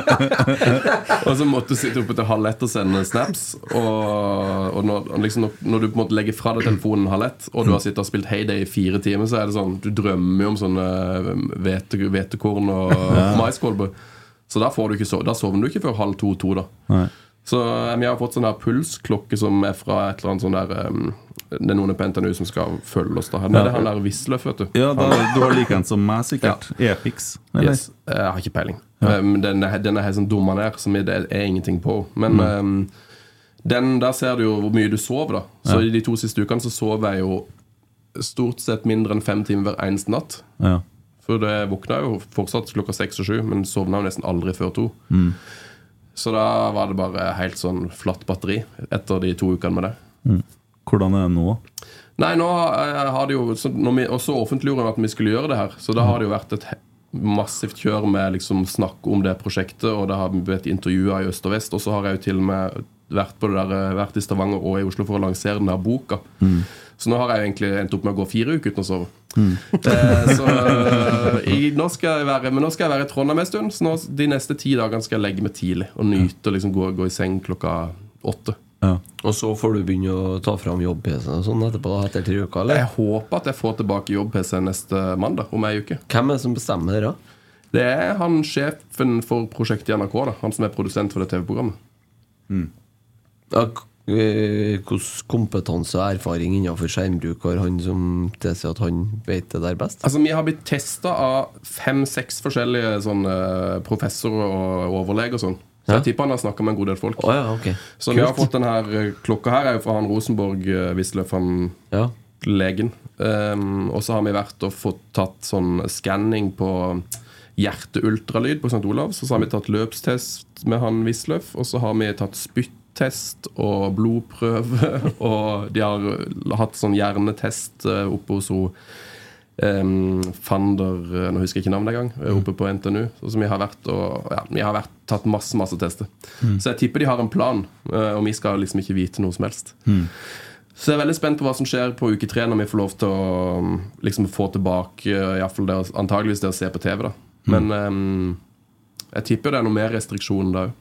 Speaker 5: og så måtte du sitte oppe til halv ett og sende snaps. Og, og når, liksom, når- når du på en måte legger fra deg telefonen halv ett, og du har sittet og spilt Heyday i fire timer, så er det sånn du drømmer jo om sånne um, hvete- hvetekorn og maiskolber. Så da, får du ikke sove. da sover du ikke før halv to-to, da. Så eh, vi har fått sånn her pulsklokke som er fra et eller annet sånn der em, Det er noen i på NTNU som skal følge oss. da Nei, Det er han der Wisløff, vet du.
Speaker 3: Ja, da, du har like en som meg, sikkert. Epix. Eller?
Speaker 5: Yes. Eh, Jeg har ikke peiling. Em, den, er, den er helt sånn dumma ned, som det er ingenting på. Men em, den, der ser du jo hvor mye du sover, da. Så i de to siste ukene så sover jeg jo stort sett mindre enn fem timer hver eneste natt.
Speaker 3: Ja.
Speaker 5: For det våkna jo fortsatt klokka seks og sju, men sovna jo nesten aldri før to. Så da var det bare helt sånn flatt batteri etter de to ukene med det.
Speaker 3: Hvordan er det nå?
Speaker 5: Nei, nå eh, har det jo så når vi, Og så offentliggjorde han at vi skulle gjøre det her. Så da har det jo vært et he- massivt kjør med liksom snakk om det prosjektet, og det har blitt intervjua i øst og vest. Og så har jeg jo til og med vært, på det der, eh, vært i Stavanger og i Oslo for å lansere den her boka. Så nå har jeg jo egentlig endt opp med å gå fire uker uten å sove. <laughs> Eh, så eh, i, nå skal jeg være, men nå skal jeg være i Trondheim en stund, så nå, de neste ti dagene skal jeg legge meg tidlig og nyte og liksom gå, gå i seng klokka åtte.
Speaker 6: Og så får du begynne å ta fram jobb-PC-en og sånn etterpå, da, etter tre uker, eller?
Speaker 5: Jeg håper at jeg får tilbake jobb-PC neste mandag, om ei uke.
Speaker 6: Hvem er det som bestemmer det, da?
Speaker 5: Det er han sjefen for prosjektet i NRK, da. han som er produsent for det TV-programmet.
Speaker 6: Mm. Ja, k- eh, Hvordan kompetanse og erfaring innenfor skjermbruk har han som tilsier at han vet det der best?
Speaker 5: Altså, Vi har blitt testa av fem-seks forskjellige sånne eh, professorer og overleger og sånn. Så jeg
Speaker 6: Ja.
Speaker 5: tipper han har snakka med en god del folk.
Speaker 6: Å ja, ok.
Speaker 5: Så vi har
Speaker 6: Kult.
Speaker 5: fått den her eh, klokka her, er jo fra han Rosenborg eh, Wisløff, han
Speaker 6: Ja.
Speaker 5: legen. Ehm, og så har vi vært og fått tatt sånn skanning på hjerteultralyd på St. Olavs. Og så har vi tatt løpstest med han Wisløff. Og så har vi tatt spyttest og blodprøve. <laughs> Og de har hatt sånn hjernetest eh, oppe hos hun ehm, Fander eh, Nå husker jeg ikke navnet engang. eh, Oppe på NTNU. Så som vi har vært og ja, vi har vært, tatt masse, masse tester. Så jeg tipper de har en plan, eh, og vi skal liksom ikke vite noe som helst. Så jeg er veldig spent på hva som skjer på uke tre når vi får lov til å um, liksom, få tilbake eh, i hvert fall det, å- antageligvis det å se på TV. da Men em, jeg tipper det er noe mer restriksjoner da òg.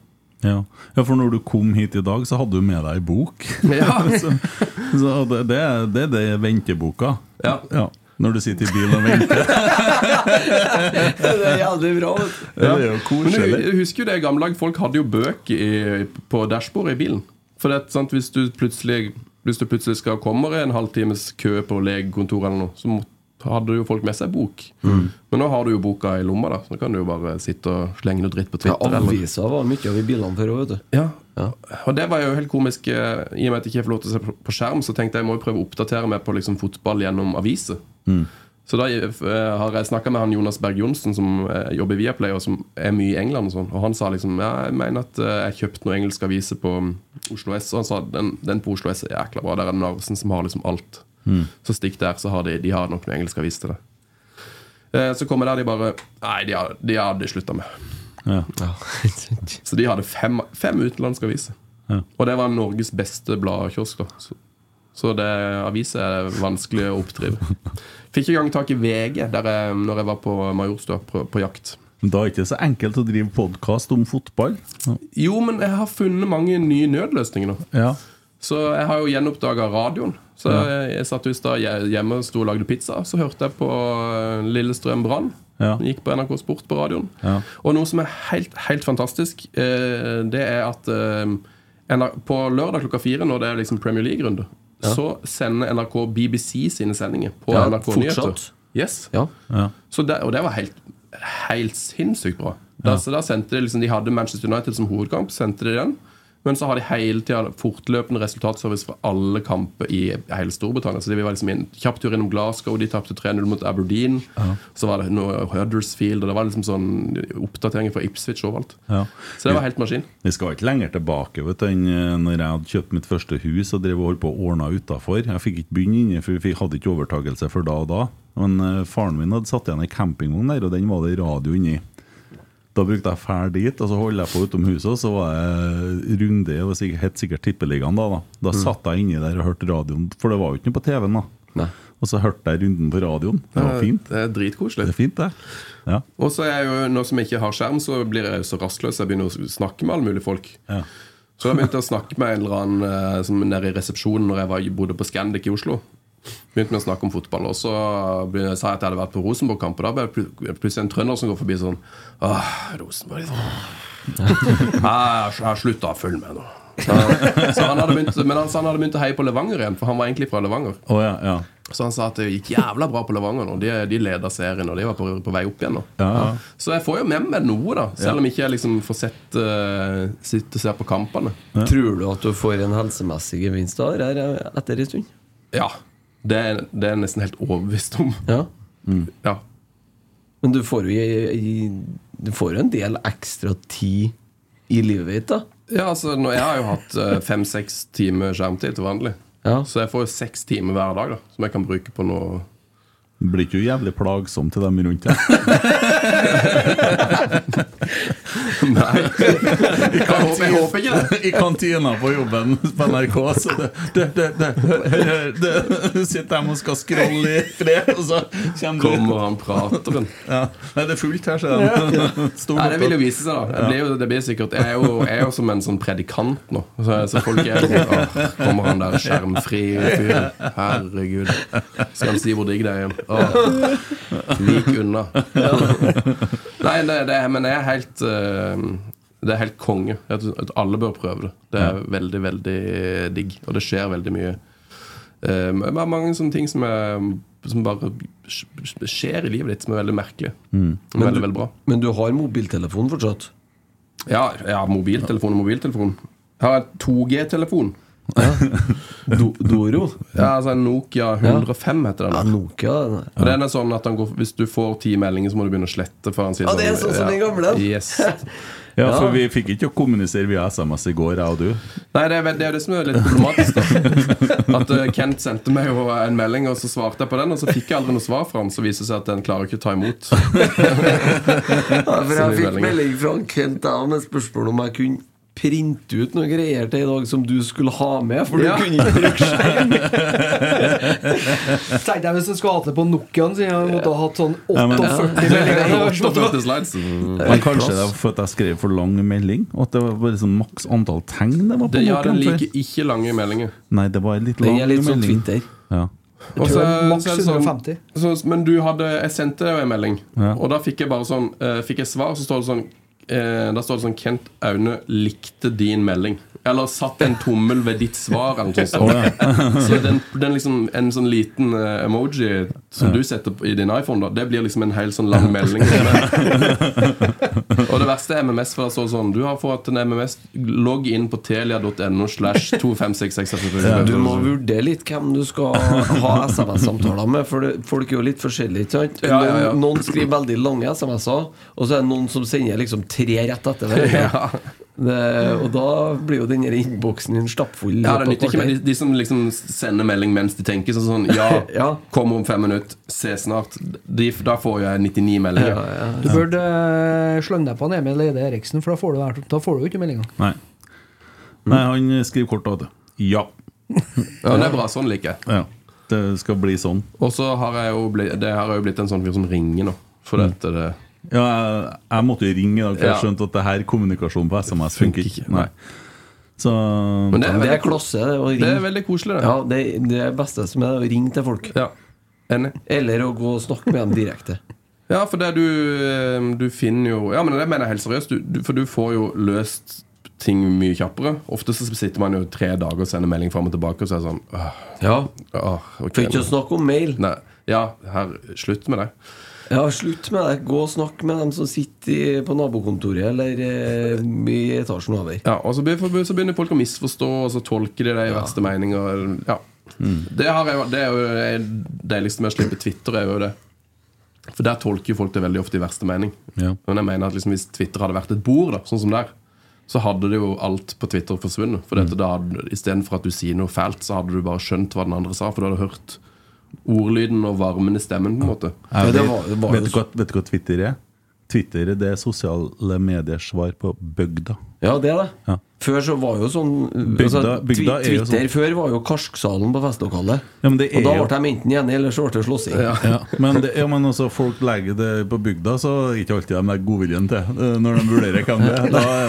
Speaker 3: Ja. ja, for når du kom hit i dag, så hadde du med deg ei bok. så så det, det, er- det er det er venteboka.
Speaker 5: Ja.
Speaker 3: Når du sitter i bilen og venter.
Speaker 6: Det er jævlig bra.
Speaker 3: Det er jo
Speaker 5: Men du,
Speaker 3: koselig.
Speaker 5: jeg husker jo det i gamle dager. Folk hadde jo bøker i, på dashbordet i bilen. For det, er sant, hvis, du plutselig, hvis du plutselig skal komme i en halvtimes kø på legekontoret eller noe, så må, hadde jo folk med seg bok. Men nå har du jo boka i lomma, da så nå kan du jo bare sitte og slenge noe dritt på
Speaker 6: Ja,
Speaker 5: Twitter. eller-
Speaker 6: Aviser var mye av i bilene før òg, vet du.
Speaker 5: Ja.
Speaker 6: Ja.
Speaker 5: Og det var jo helt komisk. eh, I og med at jeg ikke får lov til å se på- på skjerm, så tenkte jeg jeg må jo prøve å oppdatere meg på liksom, fotball gjennom aviser. Så da eh, har jeg snakka med han Jonas Berg Johnsen, som eh, jobber i Viaplay, og som er mye i England. Og sånn Og han sa liksom ja, jeg mener at eh, jeg kjøpte noen engelske aviser på mm, Oslo S, og han sa den, den på Oslo S er jækla bra. Der er det Narvesen som har liksom alt. Så stikk der, så har de, de har nok noen engelske aviser til det. Eh, Så kommer jeg der de bare Nei, de har de har de slutta med.
Speaker 6: Ja,
Speaker 5: Så de hadde fem, fem utenlandske aviser.
Speaker 3: Ja.
Speaker 5: Og det var Norges beste bladkiosk. da. Så, så det aviser er vanskelig å oppdrive. Fikk ikke engang tak i VG der jeg, når jeg var på Majorstua på, på jakt.
Speaker 3: Men da er det ikke så enkelt å drive podkast om fotball.
Speaker 5: Jo, men jeg har funnet mange nye nødløsninger nå.
Speaker 3: Ja.
Speaker 5: Så jeg har jo gjenoppdaga radioen. Så jeg, jeg satt jo i stad hje- hjemme og sto og lagde pizza. Så hørte jeg på eh, Lillestrøm Brann.
Speaker 3: Ja.
Speaker 5: Gikk på NRK Sport på radioen.
Speaker 3: Ja.
Speaker 5: Og noe som er helt, helt fantastisk, eh, det er at eh, NR- på lørdag klokka fire, når det er liksom Premier League-runde, så sender NRK BBC sine sendinger på
Speaker 6: Ja,
Speaker 5: NRK Nyheter.
Speaker 6: fortsatt.
Speaker 5: Yes.
Speaker 6: ja.
Speaker 5: Så det, og det var helt, helt sinnssykt bra. Da, så da sendte De liksom, de hadde Manchester United som hovedkamp, sendte de den. Men så har de hele tida fortløpende resultatservice fra alle kamper i hele Storbritannia. Så de var liksom en kjapp tur innom Glasgow, de tapte 3-0 mot Aberdeen. Så var det noe Huddersfield, og det var liksom sånn oppdateringer fra Ipswich overalt.
Speaker 3: Ja.
Speaker 5: Så det var helt maskin.
Speaker 3: Vi skal ikke lenger tilbake vet du, enn eh, når jeg hadde kjøpt mitt første hus og drev og holdt på å ordne utafor. Jeg fikk ikke begynne inne, for vi hadde ikke overtakelse for da og da. Men eh, faren min hadde satt igjen ei campingvogn der, og den var det radio inni. Da brukte jeg fæl dit, og så holdt jeg på utom huset, og så var jeg runde det var sikkert, helt sikkert Tippeligaen da. Da, da satt jeg inni der og hørte radioen, for det var jo ikke noe på TV-en da.
Speaker 6: Nei.
Speaker 3: Og så hørte jeg runden på radioen. Det var fint.
Speaker 5: Det er dritkoselig.
Speaker 3: Det er fint, det. Ja.
Speaker 5: Og så er jeg jo, nå som jeg ikke har skjerm, så blir jeg så rastløs. Jeg begynner å snakke med alle mulige folk.
Speaker 3: Ja.
Speaker 5: Så da begynte jeg å snakke med en eller annen eh, som er nede i resepsjonen når jeg var, bodde på Scandic i Oslo. Begynte med å snakke om fotball, og så begynte, sa jeg at jeg hadde vært på Rosenborg-kamp. Og da ble det plut- plutselig en trønder som går forbi sånn Åh, Rosenborg liksom. Jeg har slutta å følge med nå. Så, så han hadde begynt, men han sa han hadde begynt å heie på Levanger igjen, for han var egentlig fra Levanger.
Speaker 3: Å, ja, ja.
Speaker 5: Så han sa at det gikk jævla bra på Levanger nå. De, de leda serien, og de var på, på vei opp igjen nå.
Speaker 3: Ja, ja.
Speaker 5: Så jeg får jo med meg noe, da. Selv om ikke jeg liksom får sett eh, sitte og se på kampene.
Speaker 6: Tror du at du får en helsemessig gevinst av det her eh, etter en stund?
Speaker 5: Ja. Det er, det er jeg nesten helt overbevist om.
Speaker 6: Ja.
Speaker 5: Ja.
Speaker 6: Men du får jo i, i, Du får jo en del ekstra tid i livet ditt, da.
Speaker 5: ja altså, nå, jeg har jo hatt eh, fem-seks timer skjermtid til vanlig.
Speaker 6: Ja.
Speaker 5: Så jeg får jo seks timer hver dag da som jeg kan bruke på noe <laughs>
Speaker 3: Det blir ikke jo jævlig plagsomt til dem rundt deg.
Speaker 6: <laughs>
Speaker 5: Nei. Jeg håper, jeg håper ikke det.
Speaker 3: <laughs> I kantina på jobben på NRK, så det, det, det, det, hør, hør, det Du sitter dem og skal scrolle i fred, og så kommer du
Speaker 5: Kommer han prateren?
Speaker 3: ja. Nei, det er fullt her, ser
Speaker 5: <laughs>
Speaker 3: jeg. Stor
Speaker 5: Nei, det vil jo
Speaker 3: opptak.
Speaker 5: vise seg, da. Det blir jo, det blir sikkert, jeg, er jo, jeg er jo som en sånn predikant nå. Så, så folk er jo sånn Åh, kommer han der skjermfri fyren? Herregud. Skal han si hvor digg det er igjen? Åh, Vik unna. Nei, det, det, er- men jeg er helt eh, Det er helt konge. Jeg tror at alle bør prøve det. Det er veldig, veldig digg. Og det skjer veldig mye. Eh, men Det er mange sånne ting som, er, som bare sk- skjer i livet ditt, som er veldig merkelig. Veldig, veldig bra.
Speaker 6: Mm. Men du har mobiltelefon fortsatt?
Speaker 5: Ja, ja mobiltelefon og mobiltelefon. Jeg har en 2G-telefon.
Speaker 6: Do, Doro?
Speaker 5: Ja, altså en Nokia 105 heter
Speaker 6: Ja,
Speaker 5: den.
Speaker 6: Nokia. den der.
Speaker 5: Og den er sånn at den går, Hvis du får ti meldinger, så må du begynne å slette. For han sier
Speaker 6: Ja, det er sånn som den gamle.
Speaker 5: Yes.
Speaker 3: Ja, for vi fikk ikke å kommunisere via SMS i går, jeg og du.
Speaker 5: Nei, det er, vel- det er det som er litt problematisk. da At eh, Kent sendte meg jo en melding, og så svarte jeg på den. Og så fikk jeg aldri noe svar fra han, så viser det seg at den klarer ikke å ta imot.
Speaker 6: Ja,
Speaker 5: Så
Speaker 6: for
Speaker 5: mye
Speaker 6: jeg fikk
Speaker 5: meldinger.
Speaker 6: melding fra han Kent da, med spørsmål om jeg kunne printe ut noen greier til i dag som du skulle ha med. For
Speaker 5: Ja.
Speaker 6: du kunne ikke bruke skjerm.
Speaker 4: Tenkte jeg hvis jeg skulle hatt det på Nokiaen, siden jeg måtte ha hatt sånn
Speaker 3: men-
Speaker 4: 48
Speaker 5: <laughs>
Speaker 4: meldinger.
Speaker 5: 48 slides.
Speaker 3: Men kanskje det var fordi jeg skrev for lang melding? Og at det var bare sånn maks antall tegn det var på
Speaker 5: Det, ja, den
Speaker 3: boken før?
Speaker 5: liker ikke lange meldinger.
Speaker 3: Nei, det var litt lang
Speaker 6: Den er litt sånn
Speaker 3: melding.
Speaker 6: Twitter.
Speaker 3: Ja.
Speaker 5: Og
Speaker 4: tror
Speaker 5: så-
Speaker 4: det er maks
Speaker 5: så er det sånn-
Speaker 4: 150.
Speaker 5: så- men du hadde Jeg sendte deg jo en melding,
Speaker 3: Ja.
Speaker 5: og da fikk jeg bare sånn eh, Fikk jeg svar, så står det sånn eh, Da står det sånn Kent Aune likte din melding. Eller satt en tommel ved ditt svar, eller noe sånt. Så den, den liksom, en sånn liten eh, emoji som du setter på- i din iPhone, da, det blir liksom en hel sånn lang melding. Og det verste er MMS, for det står sånn Du har fått en MMS, logg inn på telia.no slash 2566.
Speaker 6: Du må vurdere litt hvem du skal ha SMS-samtaler med, for det- folk er jo litt forskjellige. ikke sant?
Speaker 5: Ja, ja, ja.
Speaker 6: Noen, noen skriver veldig lange SMS-er, og så er det noen som sender liksom tre rett etter hverandre.
Speaker 5: Ja.
Speaker 6: Det- Og da blir jo den der innboksen din stappfull.
Speaker 5: Ja, det
Speaker 6: på et
Speaker 5: nytter ikke med de,
Speaker 6: kvarter.
Speaker 5: de som liksom sender melding mens de tenker. Sånn sånn Ja,
Speaker 6: <laughs> Ja.
Speaker 5: kom om fem minutter. Se snart. De, da får jeg 99 meldinger.
Speaker 6: Ja, ja.
Speaker 4: Du burde eh, slenge deg på en Emil Eide Eriksen, for da får du, her- da får du jo ikke meldinga.
Speaker 3: Nei. Nei, han skriver kort av det. Ja.
Speaker 5: Ja, det er bra. Sånn liker jeg.
Speaker 3: ja. Det skal bli sånn.
Speaker 5: Og så har jeg jo blitt, det har jeg jo blitt en sånn fyr som ringer nå. For
Speaker 6: Mm.
Speaker 5: dette det
Speaker 3: Ja, jeg, jeg måtte jo ringe i dag, for jeg
Speaker 5: Ja.
Speaker 3: skjønte at det her kommunikasjon på SMS funker ikke. Nei. Så
Speaker 5: Men det
Speaker 6: Men
Speaker 5: er,
Speaker 6: Det er
Speaker 5: veldig,
Speaker 6: klasse, det. Å
Speaker 5: det er
Speaker 6: ringe.
Speaker 5: veldig koselig, det.
Speaker 6: Ja, det, det er beste som er å ringe til folk.
Speaker 5: Ja. Enig.
Speaker 6: Eller å gå og snakke med dem direkte.
Speaker 5: Ja, for det du, eh, du finner jo Ja, men det mener jeg helt seriøst. Du, du, for du får jo løst ting mye kjappere. Ofte så sitter man jo tre dager og sender melding fram og tilbake, og så er det sånn åh,
Speaker 6: Ja,
Speaker 5: åh, ok,
Speaker 6: For ikke
Speaker 5: nå-
Speaker 6: å snakke om mail.
Speaker 5: Nei, ja, her, slutt med det.
Speaker 6: Ja, slutt med det. Gå og snakk med dem som sitter i- på nabokontoret eller eh, i etasjen over.
Speaker 5: Ja, og så blir- for- så begynner folk å misforstå, og så tolker de det i verste meninger. Ja. Det, har jeg, det er jo det deiligste med å slippe Twitter. er jo det For der tolker jo folk det veldig ofte i verste mening.
Speaker 3: Ja.
Speaker 5: Men jeg mener at liksom, hvis Twitter hadde vært et bord, da, sånn som der, så hadde det jo alt på Twitter forsvunnet. For dette, da hadde- Istedenfor at du sier noe fælt, så hadde du bare skjønt hva den andre sa. For du hadde hørt ordlyden og varmen i stemmen. på en måte
Speaker 6: Ja, det var- det var
Speaker 3: vet,
Speaker 6: jo
Speaker 3: du hva, vet du hva Twitter er? Twitter det er sosiale mediers svar på bygda.
Speaker 6: Ja, det er det.
Speaker 3: Ja.
Speaker 6: Før så var jo sånn
Speaker 3: Bygda- bygda
Speaker 6: twi-
Speaker 3: er jo
Speaker 6: Twitter
Speaker 3: sånn.
Speaker 6: før var jo Karsk-salen på festlokalet.
Speaker 3: Ja, men det
Speaker 6: og
Speaker 3: er
Speaker 6: da
Speaker 3: jo-
Speaker 6: ble de enten enige, eller så ble det slåssing.
Speaker 3: Ja, men, det, ja, men altså, folk legger det på bygda, så er det ikke alltid de legger godviljen til eh, når de vurderer hvem det er. Da er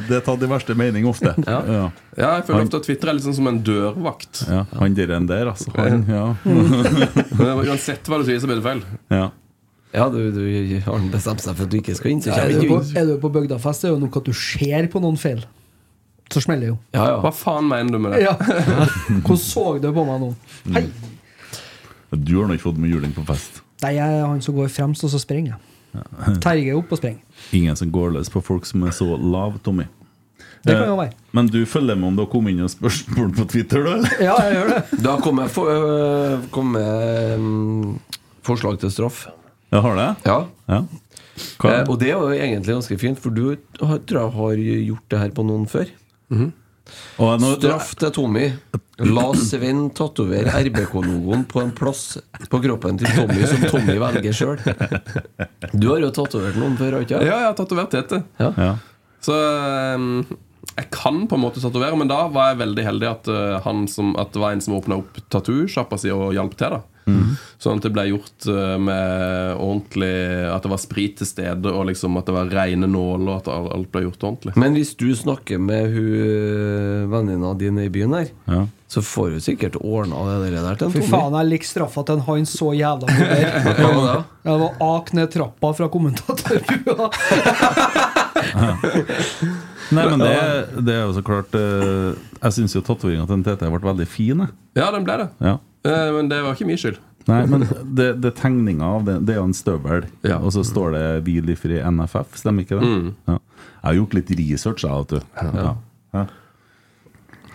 Speaker 3: det, det er tatt i verste mening ofte.
Speaker 5: Ja.
Speaker 3: Ja.
Speaker 5: Ja, jeg føler ofte at Twitter er litt sånn som en dørvakt.
Speaker 3: Ja, han der enn der, altså. Han, ja.
Speaker 5: Men Uansett hva du sier, så blir det feil.
Speaker 3: ja.
Speaker 6: Ja, du, du har den bestemt seg for at du ikke skal inn, så
Speaker 4: Er
Speaker 6: kommer
Speaker 4: du
Speaker 6: du
Speaker 4: på,
Speaker 6: ikke inn.
Speaker 4: er du på bygdafest, er det jo nok at du ser på noen feil. Så smeller det jo.
Speaker 6: Ja, ja.
Speaker 5: Hva faen mener du med det?
Speaker 4: Ja. <laughs> Hvordan så du på meg nå? Hei!
Speaker 3: Du har nå ikke fått med juling på fest.
Speaker 4: Nei, jeg er han som går fremst, og så springer jeg. Terger opp og springer.
Speaker 3: Ingen som går løs på folk som er så lav, Tommy. Eh,
Speaker 4: Det kan jo være.
Speaker 3: Men du følger med om det har kommet inn noen spørsmål på Twitter, du? eller?
Speaker 4: Ja, jeg gjør det.
Speaker 6: Da kommer jeg for, øh, kommer, mm, forslag til straff.
Speaker 3: Jeg har det?
Speaker 6: Ja.
Speaker 3: Ja. Hva?
Speaker 6: Eh, og det er jo egentlig ganske fint, for du har, tror jeg har gjort det her på noen før.
Speaker 3: Og nå,
Speaker 6: Straff til Tommy. La Sven tatovere RBK-logoen på en plass på kroppen til Tommy som Tommy velger sjøl. Du har jo tatovert noen før, har du ikke?
Speaker 5: Ja, jeg har tatovert Tete.
Speaker 3: Ja.
Speaker 5: Så ehm, jeg kan på en måte tatovere, men da var jeg veldig heldig at, eh, han som, at det var en som åpna opp tattoo-sjappa si og hjalp til. da Sånn at det ble gjort eh, med ordentlig At det var sprit til stede, og liksom at det var rene nåler, og at al- alt ble gjort ordentlig.
Speaker 6: Men hvis du snakker med hun venninna dine i byen her,
Speaker 3: Ja.
Speaker 6: så får du sikkert ordna det der til en
Speaker 4: Fy
Speaker 6: Tommy.
Speaker 4: faen, jeg liker straffa til en han så jævla mye der.
Speaker 6: Hva var det?
Speaker 4: Jeg var ak ned trappa fra kommentatorbua.
Speaker 3: Nei, men det, det er jo så klart eh, Jeg syns jo tatoveringa til en TT ble veldig fin. jeg.
Speaker 5: Ja, den ble det.
Speaker 3: Ja.
Speaker 5: Eh, men det var ikke min skyld.
Speaker 3: Nei, men det, det tegninga av det, det er jo en støvel,
Speaker 5: Ja.
Speaker 3: og så står det 'Hvil i fri NFF', stemmer ikke det? Ja. Jeg har gjort litt research, jeg, vet du. Ja. Ja.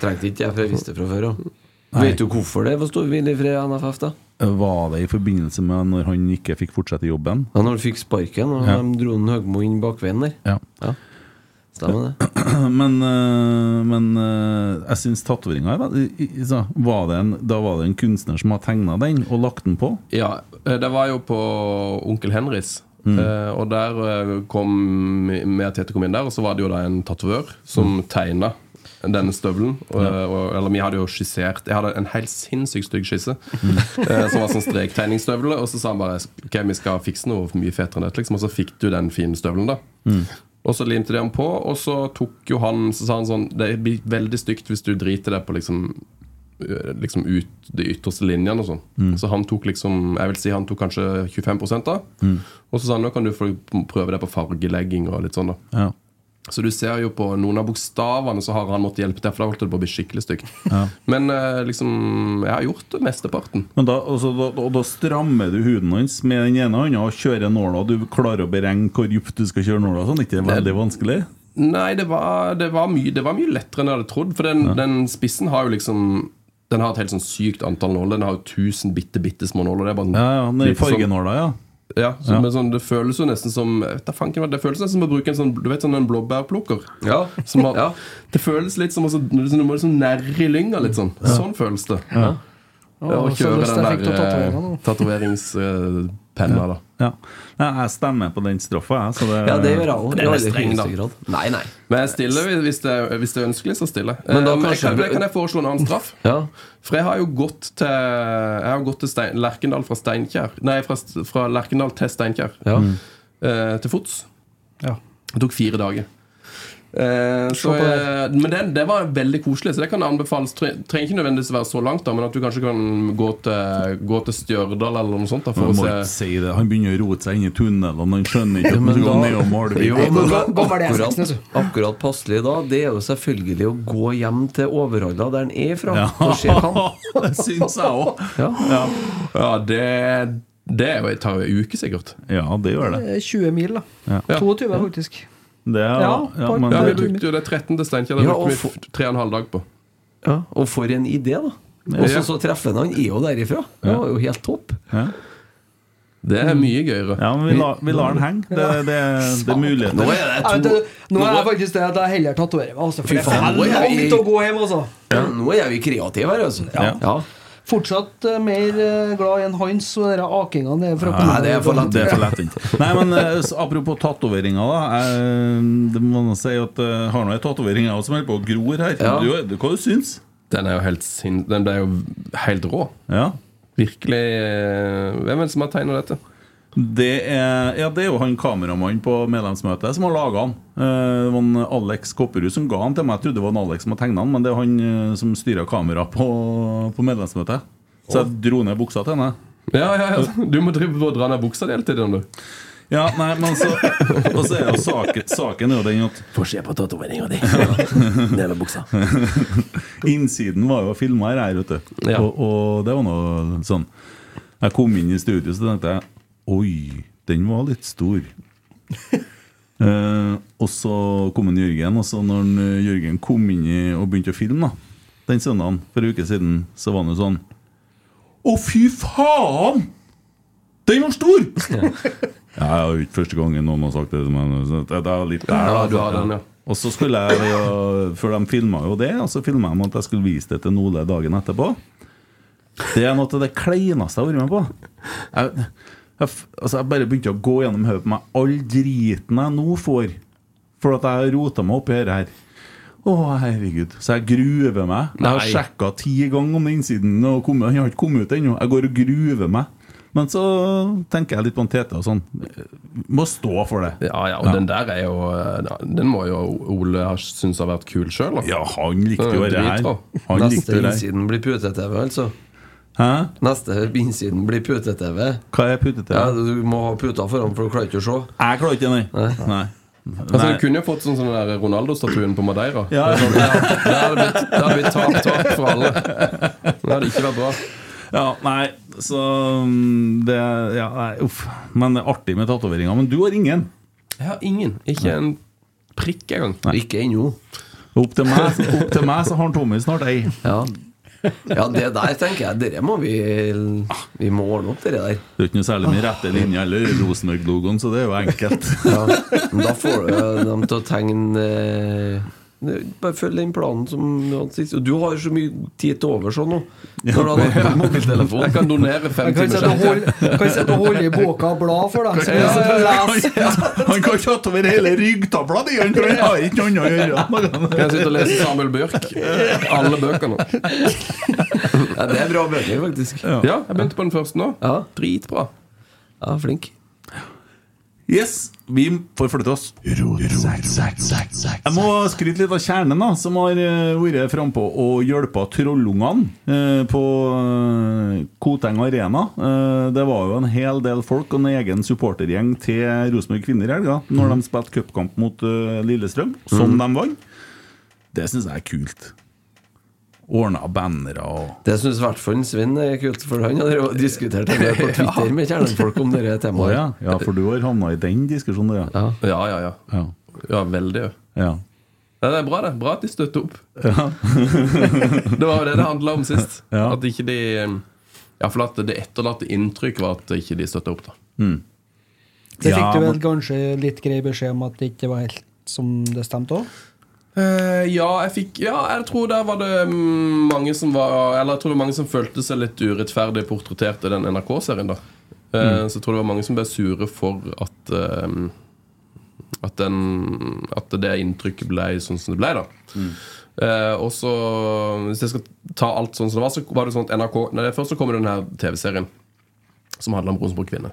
Speaker 6: Trengte ikke jeg, for jeg visste det fra før av. Vet du hvorfor det var stor hvile fra NFF, da?
Speaker 3: Var det i forbindelse med når han ikke fikk fortsette jobben?
Speaker 6: Ja, når du fikk sparken, og
Speaker 3: Ja.
Speaker 6: de dro den Høgmo inn bakveien der.
Speaker 3: Ja.
Speaker 6: Ja. Stemmer det.
Speaker 3: Men, eh, men eh, jeg syns tatoveringa er veldig i- i- så var det en- Da var det en kunstner som har tegna den og lagt den på.
Speaker 5: Ja, eh, det var jo på Onkel Henrys. Eh, og der eh, kom med at Tete kom inn der, og så var det jo da en tatovør som tegna denne støvelen. Og, eh, og, eller vi hadde jo skissert Jeg hadde en helt sinnssykt stygg skisse eh, som var sånn strektegningsstøvel, og så sa han bare Ok, vi skal fikse noe mye fetere enn dette, liksom. Og så fikk du den fine støvelen, da. Og så limte de han på, og så tok jo han Så sa han sånn Det blir veldig stygt hvis du driter deg på liksom eh, liksom ut de ytterste linjene og sånn.
Speaker 3: Mm.
Speaker 5: Så han tok liksom Jeg vil si han tok kanskje 25 da.
Speaker 3: Mm.
Speaker 5: Og så sa han nå kan du få prøve deg på fargelegging og litt sånn, da.
Speaker 3: Ja.
Speaker 5: Så du ser jo på noen av bokstavene så har han måttet hjelpe til, for da holdt det på å bli skikkelig stygt. Men eh, liksom Jeg har gjort det mesteparten.
Speaker 3: Men da, altså, da, og da strammer du huden hans med den ene hånda og kjører nåla. og Du klarer å beregne hvor dypt du skal kjøre nåla. og Sånn. Ikke det er veldig vanskelig?
Speaker 5: Nei, det var, det var, mye, det var mye lettere enn jeg hadde trodd. For den, den spissen har jo liksom Den har et helt sånn sykt antall nåler. Den har jo 1000 bitte, bitte små nåler. Det er bare sånn,
Speaker 3: Ja, ja, den
Speaker 5: litt sånn-
Speaker 3: fargenåla, ja.
Speaker 5: Ja, så, Men sånn, det føles jo nesten som jeg vet da fanken hva, Det føles nesten som å bruke en sånn Du vet sånn en blåbærplukker?
Speaker 6: Ja. <laughs>
Speaker 5: Som har,
Speaker 6: Ja.
Speaker 5: Det føles litt som å så- Du må liksom nærre i lynga litt sånn. Sånn føles det. Å
Speaker 4: så
Speaker 5: kjøre
Speaker 4: lyst jeg fikk til
Speaker 5: den
Speaker 4: å
Speaker 5: der eh,
Speaker 4: tatovere nå.
Speaker 5: tatoveringspenna, da.
Speaker 3: ja. Nei, jeg stemmer på den straffa, jeg. Så det,
Speaker 6: Ja, det gjør jeg òg.
Speaker 5: Den er streng, da.
Speaker 6: Nei, nei.
Speaker 5: Men jeg stiller hvis- hvis det, er- hvis det er ønskelig, så stiller jeg.
Speaker 6: Men da
Speaker 5: Eh, jeg
Speaker 6: kanskje
Speaker 5: kan,
Speaker 6: du-
Speaker 5: kan jeg foreslå en annen straff?
Speaker 6: Ja.
Speaker 5: For jeg har jo gått til, jeg har jo gått til Stein, Lerkendal fra Steinkjer Nei, fra, St- fra Lerkendal til Steinkjer.
Speaker 6: Ja.
Speaker 5: Eh, til fots.
Speaker 4: Ja.
Speaker 5: Det tok fire dager. Eh, så,
Speaker 4: på
Speaker 5: eh, men det, det var veldig koselig, så det kan anbefales. Tre, trenger ikke nødvendigvis være så langt, da men at du kanskje kan gå til, gå til Stjørdal eller noe sånt. Da,
Speaker 3: Jeg
Speaker 5: for
Speaker 3: må
Speaker 5: å
Speaker 3: ikke
Speaker 5: se.
Speaker 3: si det. Han begynner å rote seg inn i tunnelen. Han skjønner ikke at
Speaker 6: men
Speaker 3: han skal
Speaker 6: da-
Speaker 3: ned og male.
Speaker 6: Jo,
Speaker 4: Hvor
Speaker 6: men da-
Speaker 4: ga- gammel er jeg,
Speaker 6: akkurat,
Speaker 4: Seksnes?
Speaker 6: akkurat passelig da, det er jo selvfølgelig å gå hjem til Overhalla, der han er fra,
Speaker 3: Ja. <laughs>
Speaker 6: og se kamp.
Speaker 3: Det syns jeg òg.
Speaker 6: Ja.
Speaker 5: Ja, det Det er jo- tar jo ei uke, sikkert.
Speaker 3: Ja, det gjør det.
Speaker 4: Eh, 20 mil, da.
Speaker 3: Ja.
Speaker 4: 22, faktisk.
Speaker 3: Det er, ja,
Speaker 4: Ja, på-
Speaker 3: men
Speaker 5: Ja, Vi
Speaker 3: det,
Speaker 4: du-
Speaker 5: brukte jo det 13 til Steinkjer. Det
Speaker 6: Ja,
Speaker 5: brukte
Speaker 6: og
Speaker 5: vi
Speaker 6: for-
Speaker 5: f- tre og en halv dag på.
Speaker 6: Ja, og for en idé, da. Og så, så treffer han han er jo derifra. Det var jo helt topp.
Speaker 3: ja.
Speaker 5: Det er mye gøyere.
Speaker 3: ja, men vi, la, vi lar den henge. Det, det, det er
Speaker 6: Nå
Speaker 3: muligheter.
Speaker 6: er det
Speaker 4: Jeg vet
Speaker 6: to
Speaker 4: det, nå er det faktisk det at jeg heller tatoverer meg, altså. For
Speaker 6: Fy
Speaker 4: det
Speaker 6: faen,
Speaker 4: er
Speaker 6: nå er jeg-
Speaker 4: langt å gå hjem, altså.
Speaker 6: ja, Nå er vi kreative her, altså.
Speaker 3: Ja.
Speaker 4: Fortsatt eh, mer eh, glad i en Hans og de akingene nede fra
Speaker 6: Nei, det er for lett.
Speaker 3: Det er for lettvint. Nei, men eh, s- apropos tatoveringer, da. Jeg, det må nå si at eh, jeg har nå ei tatovering jeg også som holder på å gror her.
Speaker 6: Ja.
Speaker 3: Du, eh, du, hva du syns
Speaker 5: Den er jo helt sin... Den ble jo helt rå.
Speaker 3: ja.
Speaker 5: Virkelig eh, Hvem er det som har tegna dette?
Speaker 3: Det er, ja, det er jo han kameramannen på medlemsmøtet som har laga den. Eh, Det var en Alex Kopperud som ga den til meg. Jeg trodde det var en Alex som hadde tegna den, men det er han eh, som styrer kameraet på, på medlemsmøtet. Så jeg dro ned buksa til henne.
Speaker 5: Ja, ja, ja. Du må drive på å dra ned buksa di hele tiden, du.
Speaker 3: Ja, nei, men så, og så er jo saken, saken er jo den at
Speaker 6: Få se på tatoveringa di. Ned med buksa.
Speaker 3: Innsiden var jo filma her, her vet du.
Speaker 5: Ja.
Speaker 3: Og, og det var noe sånn Jeg kom inn i studio så tenkte jeg Oi, den var litt
Speaker 5: <laughs>
Speaker 3: stor. eh, og så kom en Jørgen, og så når en, eh, Jørgen kom inn i, og begynte å filme da, den søndagen for en uke siden, så var han jo sånn Å, fy faen! Den var
Speaker 5: <laughs>
Speaker 3: stor! ja, det er jo ikke første gangen noen har sagt det, men så det det er litt der.
Speaker 5: Ja,
Speaker 3: da,
Speaker 5: du har
Speaker 3: så-
Speaker 5: den, ja.
Speaker 3: og så skulle jeg jo- For de filma jo det, og så filma de at jeg skulle vise det til Nole dagen etterpå. Det er noe av det kleineste jeg har vært med på. Jeg, jeg, f- altså jeg bare begynte å gå gjennom hodet på meg all driten jeg nå får, for at jeg har rota meg oppi dette her. Å, herregud. Så jeg gruver meg. Jeg har
Speaker 5: Nei.
Speaker 3: sjekka ti ganger om den innsiden, og kommet, han har ikke kommet ut ennå. Jeg går og gruver meg. Men så tenker jeg litt på en Tete og sånn. Må stå for det.
Speaker 5: Ja, ja, og den der er jo eh, ja, Den må jo Ole ha syntes har vært kul sjøl, da.
Speaker 3: Ja, han likte jo det her.
Speaker 5: Dritbra.
Speaker 3: Han likte
Speaker 6: Neste
Speaker 3: jo det her.
Speaker 6: innsiden blir pute-TV, altså.
Speaker 3: Hæ?
Speaker 6: Neste innsiden blir pute-TV.
Speaker 3: Hva er putete?
Speaker 6: Ja, du må ha puta foran, for du klarer ikke å se.
Speaker 3: Jeg klarer ikke det, nei. nei.
Speaker 5: Altså,
Speaker 3: Nei.
Speaker 5: Du kunne jo fått sånn, sånn der Ronaldo-statuen på Madeira.
Speaker 3: Ja.
Speaker 5: Det er sånn, ja, Det hadde blitt, det hadde blitt tap, tap for alle. Det hadde ikke vært bra.
Speaker 3: Ja, nei, så mm, det, ja, nei, uff. Men det er artig med tatoveringer. Men du har ingen.
Speaker 5: Jeg har ingen. Ikke en prikk engang.
Speaker 6: Ikke ennå.
Speaker 3: Opp til meg, opp til meg så har han Tommy snart ei.
Speaker 6: Ja. ja, det der tenker jeg Dere må vi Vi må ordne opp, dere der.
Speaker 3: Det er jo ikke noe særlig med rette linje eller Rosenborg-logoen, så det er jo enkelt.
Speaker 6: Ja. Men da får du eh, dem til å tegne eh, Bare følg den planen som du hadde sist. Og Du har jo så mye tid til overs og nå. Når
Speaker 3: <laughs>
Speaker 6: du har hatt mobiltelefon.
Speaker 5: Jeg kan donere fem
Speaker 4: Jeg kan
Speaker 5: timer
Speaker 4: sitte og
Speaker 5: selv.
Speaker 4: holde- kan sitte og holde i boka og bla for deg. Så jeg sitter og leser.
Speaker 3: Han kan ikke over hele ryggtavla di, han tror jeg har ikke noe annet å gjøre.
Speaker 5: Kan jeg sitte og lese Samuel Bjørk? Alle bøkene.
Speaker 6: Ja, det er bra bøker, faktisk. Ja,
Speaker 5: Ja, jeg begynte på den første nå.
Speaker 6: Ja.
Speaker 5: Dritbra.
Speaker 6: flink.
Speaker 3: Yes, vi forflytter oss. Jeg må skryte litt av kjernen, da, som har eh, vært frampå og hjulpet trollungene eh, på eh, Koteng Arena. Eh, det var jo en hel del folk og en egen supportergjeng til Rosenborg Kvinner i helga,
Speaker 4: Mm.
Speaker 3: når de spilte cupkamp mot eh, Lillestrøm, som de vant. Det syns jeg er kult. Ordna bannere og
Speaker 6: Det syns i hvert fall Svein er kult, for han har drevet og diskutert det der på Twitter med kjernefolk om det
Speaker 3: Å
Speaker 6: temaet.
Speaker 3: ja. ja, for du har havna i den diskusjonen, du, ja.
Speaker 6: Ja.
Speaker 5: Ja, ja, ja.
Speaker 3: ja.
Speaker 5: Ja, veldig. ja.
Speaker 3: ja.
Speaker 5: Ja, det er bra, det. Bra at de støtter opp. <laughs> det var jo det det handla om sist.
Speaker 3: Ja.
Speaker 5: At ikke de Iallfall at det etterlatte inntrykk var at ikke de støtta opp. da
Speaker 4: Det fikk
Speaker 3: Ja,
Speaker 4: du
Speaker 3: men-
Speaker 4: vel kanskje litt grei beskjed om at det ikke var helt som det stemte òg?
Speaker 5: Eh, ja, jeg fikk Ja, jeg tror der var det mm, mange som var Eller jeg tror det var mange som følte seg litt urettferdig portrettert i den NRK-serien, da. Eh, Så jeg tror det var mange som ble sure for at eh, At, den, at det inntrykket ble sånn som det ble, da. Eh, og så, hvis jeg skal ta alt sånn som det var, så var det sånn at NRK Nei, først så kom den her TV-serien som handla om Rosenborg kvinne.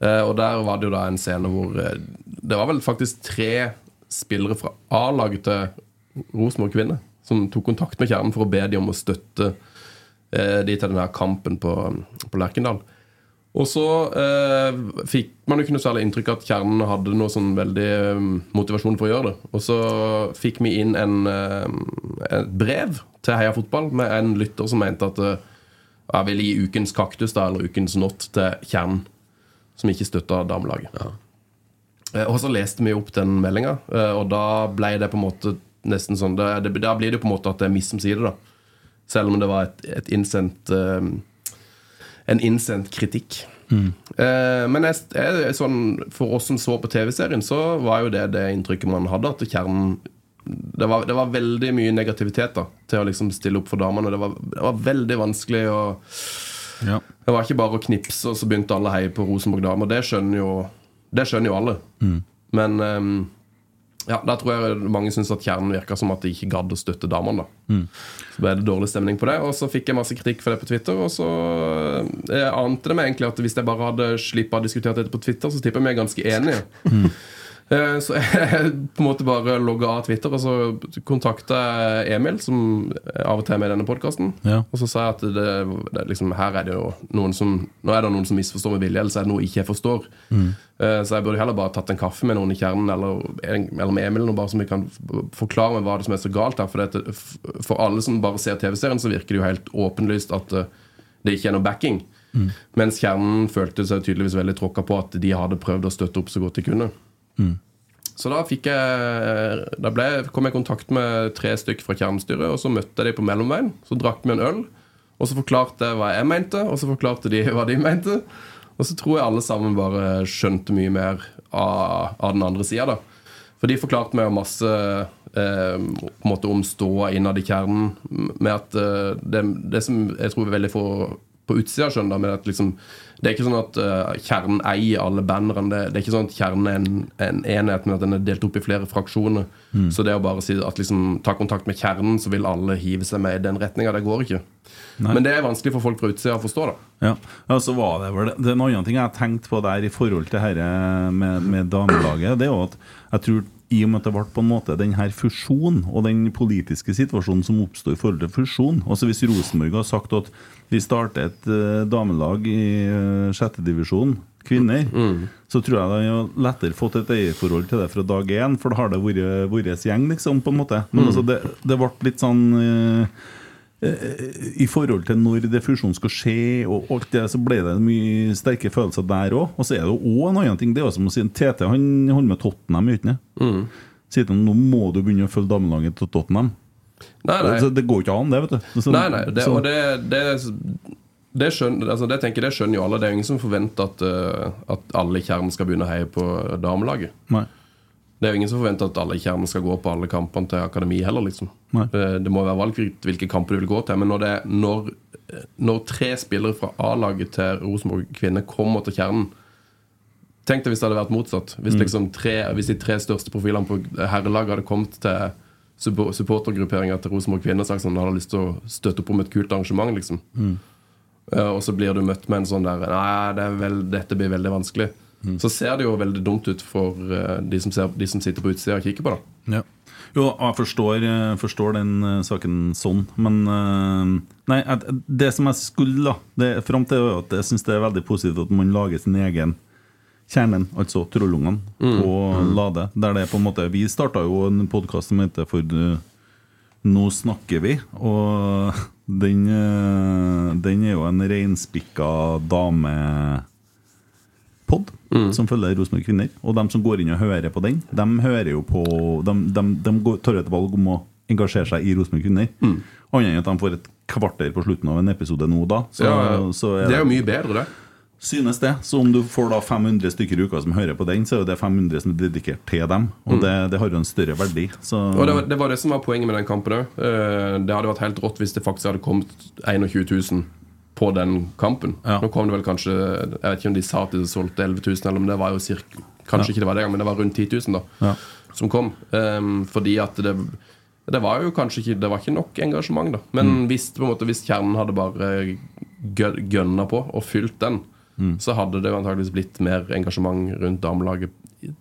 Speaker 5: Eh, og der var det jo da en scene hvor eh, det var vel faktisk tre spillere fra A-laget til Rosenborg kvinne som tok kontakt med kjernen for å be de om å støtte eh, de til den her kampen på, på Lerkendal. Og så eh, fikk man jo ikke noe særlig inntrykk av at kjernen hadde noe sånn veldig eh, motivasjon for å gjøre det. Og så fikk vi inn en, eh, et brev til Heia Fotball med en lytter som mente at eh, Og Jeg vil gi ukens kaktus da, eller ukens not til Kjernen, som ikke støtta damelaget. Eh, Og så leste vi opp den meldinga, eh, og da ble det på en måte nesten sånn det, det, Da blir det jo på en måte at det er miss som sier det, da. Selv om det var et, et innsendt eh, En innsendt kritikk. Eh, men jeg, jeg, sånn, for oss som så på TV-serien, så var jo det det inntrykket man hadde. At kjernen det var, det var veldig mye negativitet da til å liksom stille opp for damene. Det var, det var veldig vanskelig å
Speaker 3: Ja.
Speaker 5: Det var ikke bare å knipse, og så begynte alle å heie på Rosenborg damer. Det skjønner jo, det skjønner jo alle. Men ehm, ja, der tror jeg mange syns at kjernen virka som at de ikke gadd å støtte damene. da Så ble det dårlig stemning på det, og så fikk jeg masse kritikk for det på Twitter. Og så jeg ante det meg egentlig at hvis jeg bare hadde slippa å diskutere dette på Twitter, så tipper jeg vi er ganske enige. Eh, Så <laughs> jeg på en måte bare logga av Twitter, og så kontakta jeg Emil, som av og til er med i denne podkasten.
Speaker 3: Ja.
Speaker 5: Og så sa jeg at det, det, er liksom, her er det jo noen som Nå er det noen som misforstår med vilje, eller så er det noe ikke jeg forstår. Eh, Så jeg burde heller bare tatt en kaffe med noen i kjernen, eller, eller med Emil, og bare så vi kan f- forklare meg hva det er som er så galt her. For, det, at- f- for alle som bare ser TV-serien, så virker det jo helt åpenlyst at eh, det ikke er noe backing. Mens kjernen følte seg tydeligvis veldig tråkka på at de hadde prøvd å støtte opp så godt de kunne. Så da, fikk jeg, da ble, kom jeg i kontakt med tre stykk fra kjernestyret, og så møtte jeg dem på mellomveien. Så drakk vi en øl, og så forklarte jeg hva jeg mente, og så forklarte de <laughs> hva de mente. Og så tror jeg alle sammen bare skjønte mye mer av, av den andre sida, da. For de forklarte meg jo masse eh, på en måte om ståa innad i kjernen. Med at eh, det, det som jeg tror veldig få på utsida skjønner, men at liksom, det er ikke sånn at eh, kjernen eier alle bannerne. Det, det er ikke sånn at kjernen er en, en enhet, men at den er delt opp i flere fraksjoner. Så det å bare si at liksom, ta kontakt med kjernen, så vil alle hive seg med i den retninga, det går ikke. Men det er vanskelig for folk fra utsida å forstå, da.
Speaker 3: Ja, ja så var det vel Det er en annen ting jeg har tenkt på der i forhold til dette med, med damelaget. Det er jo at jeg tror i og med at det ble på en måte den her fusjonen og den politiske situasjonen som oppstår i forhold til fusjon Altså Hvis Rosenborg har sagt at vi starter et eh, damelag i eh, sjette divisjon kvinner, så tror jeg de har lettere fått et eierforhold til det fra dag én, for da har det vært vår gjeng, liksom, på en måte. Men altså, det, det ble litt sånn eh, i forhold til når det fusjonen skal skje, og alt det, så ble det mye sterke følelser der òg. Og så er det jo også en annen ting. Det er jo som å si TT han holder med Tottenham i utene.
Speaker 5: Mm.
Speaker 3: Sier til ham nå må du begynne å følge damelaget til Tottenham.
Speaker 5: Nei, nei.
Speaker 3: Så det går jo ikke an, det, vet du. Så-
Speaker 5: Nei, nei, det,
Speaker 3: så-
Speaker 5: og det, det, det, skjønner, altså det, tenker, jeg, det skjønner jo alle. Det er jo ingen som forventer at, eh, at alle i Kjernen skal begynne å heie på damelaget.
Speaker 3: Nei.
Speaker 5: Det er jo ingen som forventer at alle i Kjernen skal gå på alle kampene til akademi heller. liksom
Speaker 3: Nei.
Speaker 5: Eh, Det må være valgfritt hvilke kamper du vil gå til. Men når, det, når, eh, når tre spillere fra A-laget til Rosenborg kvinner kommer til Kjernen Tenk deg hvis det hadde vært motsatt. Hvis, liksom tre, hvis de tre største profilene på herrelaget hadde kommet til suppo- supportergrupperinga til Rosenborg Kvinner og sagt sånn, hadde lyst til å støtte opp om et kult arrangement, liksom. Eh, Og så blir du møtt med en sånn der Nei, det er vel, dette blir veldig vanskelig. Så ser det jo veldig dumt ut for eh, de som, ser, de som sitter på utsida og kikker på, da.
Speaker 3: Ja. Jo, jeg forstår, eh, forstår den eh, saken sånn, men eh, Nei, at- det som jeg skulle, da det, Fram til er at jeg syns det er veldig positivt at man lager sin egen kjernen, altså trollungene,
Speaker 5: Mm.
Speaker 3: på Lade. Der det er på en måte Vi starta jo en podkast som heter For eh, nå snakker vi, og den, eh, den er jo en reinspikka dame pod
Speaker 5: Mm.
Speaker 3: som følger Rosenborg Kvinner. Og de som går inn og hører på den, de hører jo på De, de, de går, tar et valg om å engasjere seg i Rosenborg Kvinner.
Speaker 5: Mm.
Speaker 3: Annet enn at de får et kvarter på slutten av en episode nå da. Så, så
Speaker 5: det er jo mye bedre, det.
Speaker 3: synes det. Så om du får da 500 stykker i uka som hører på den, så er jo det 500 som er dedikert til dem. Og det, det har jo en større verdi. Så
Speaker 5: Mm. Og det var, det var det som var poenget med den kampen òg. Det hadde vært helt rått hvis det faktisk hadde kommet 21 000 på den kampen.
Speaker 3: Ja.
Speaker 5: Nå kom det vel kanskje Jeg vet ikke om de sa at de solgte 11 000, eller om det var jo cirka Kanskje ikke det var det, men det var rundt 10 000 da,
Speaker 3: Ja.
Speaker 5: som kom. Ehm, fordi at det Det var jo kanskje ikke Det var ikke nok engasjement, da. Men
Speaker 3: Mm.
Speaker 5: hvis, på en måte, hvis kjernen hadde bare eh, gø- gønna på og fylt den,
Speaker 3: Mm.
Speaker 5: så hadde det jo antageligvis blitt mer engasjement rundt damelaget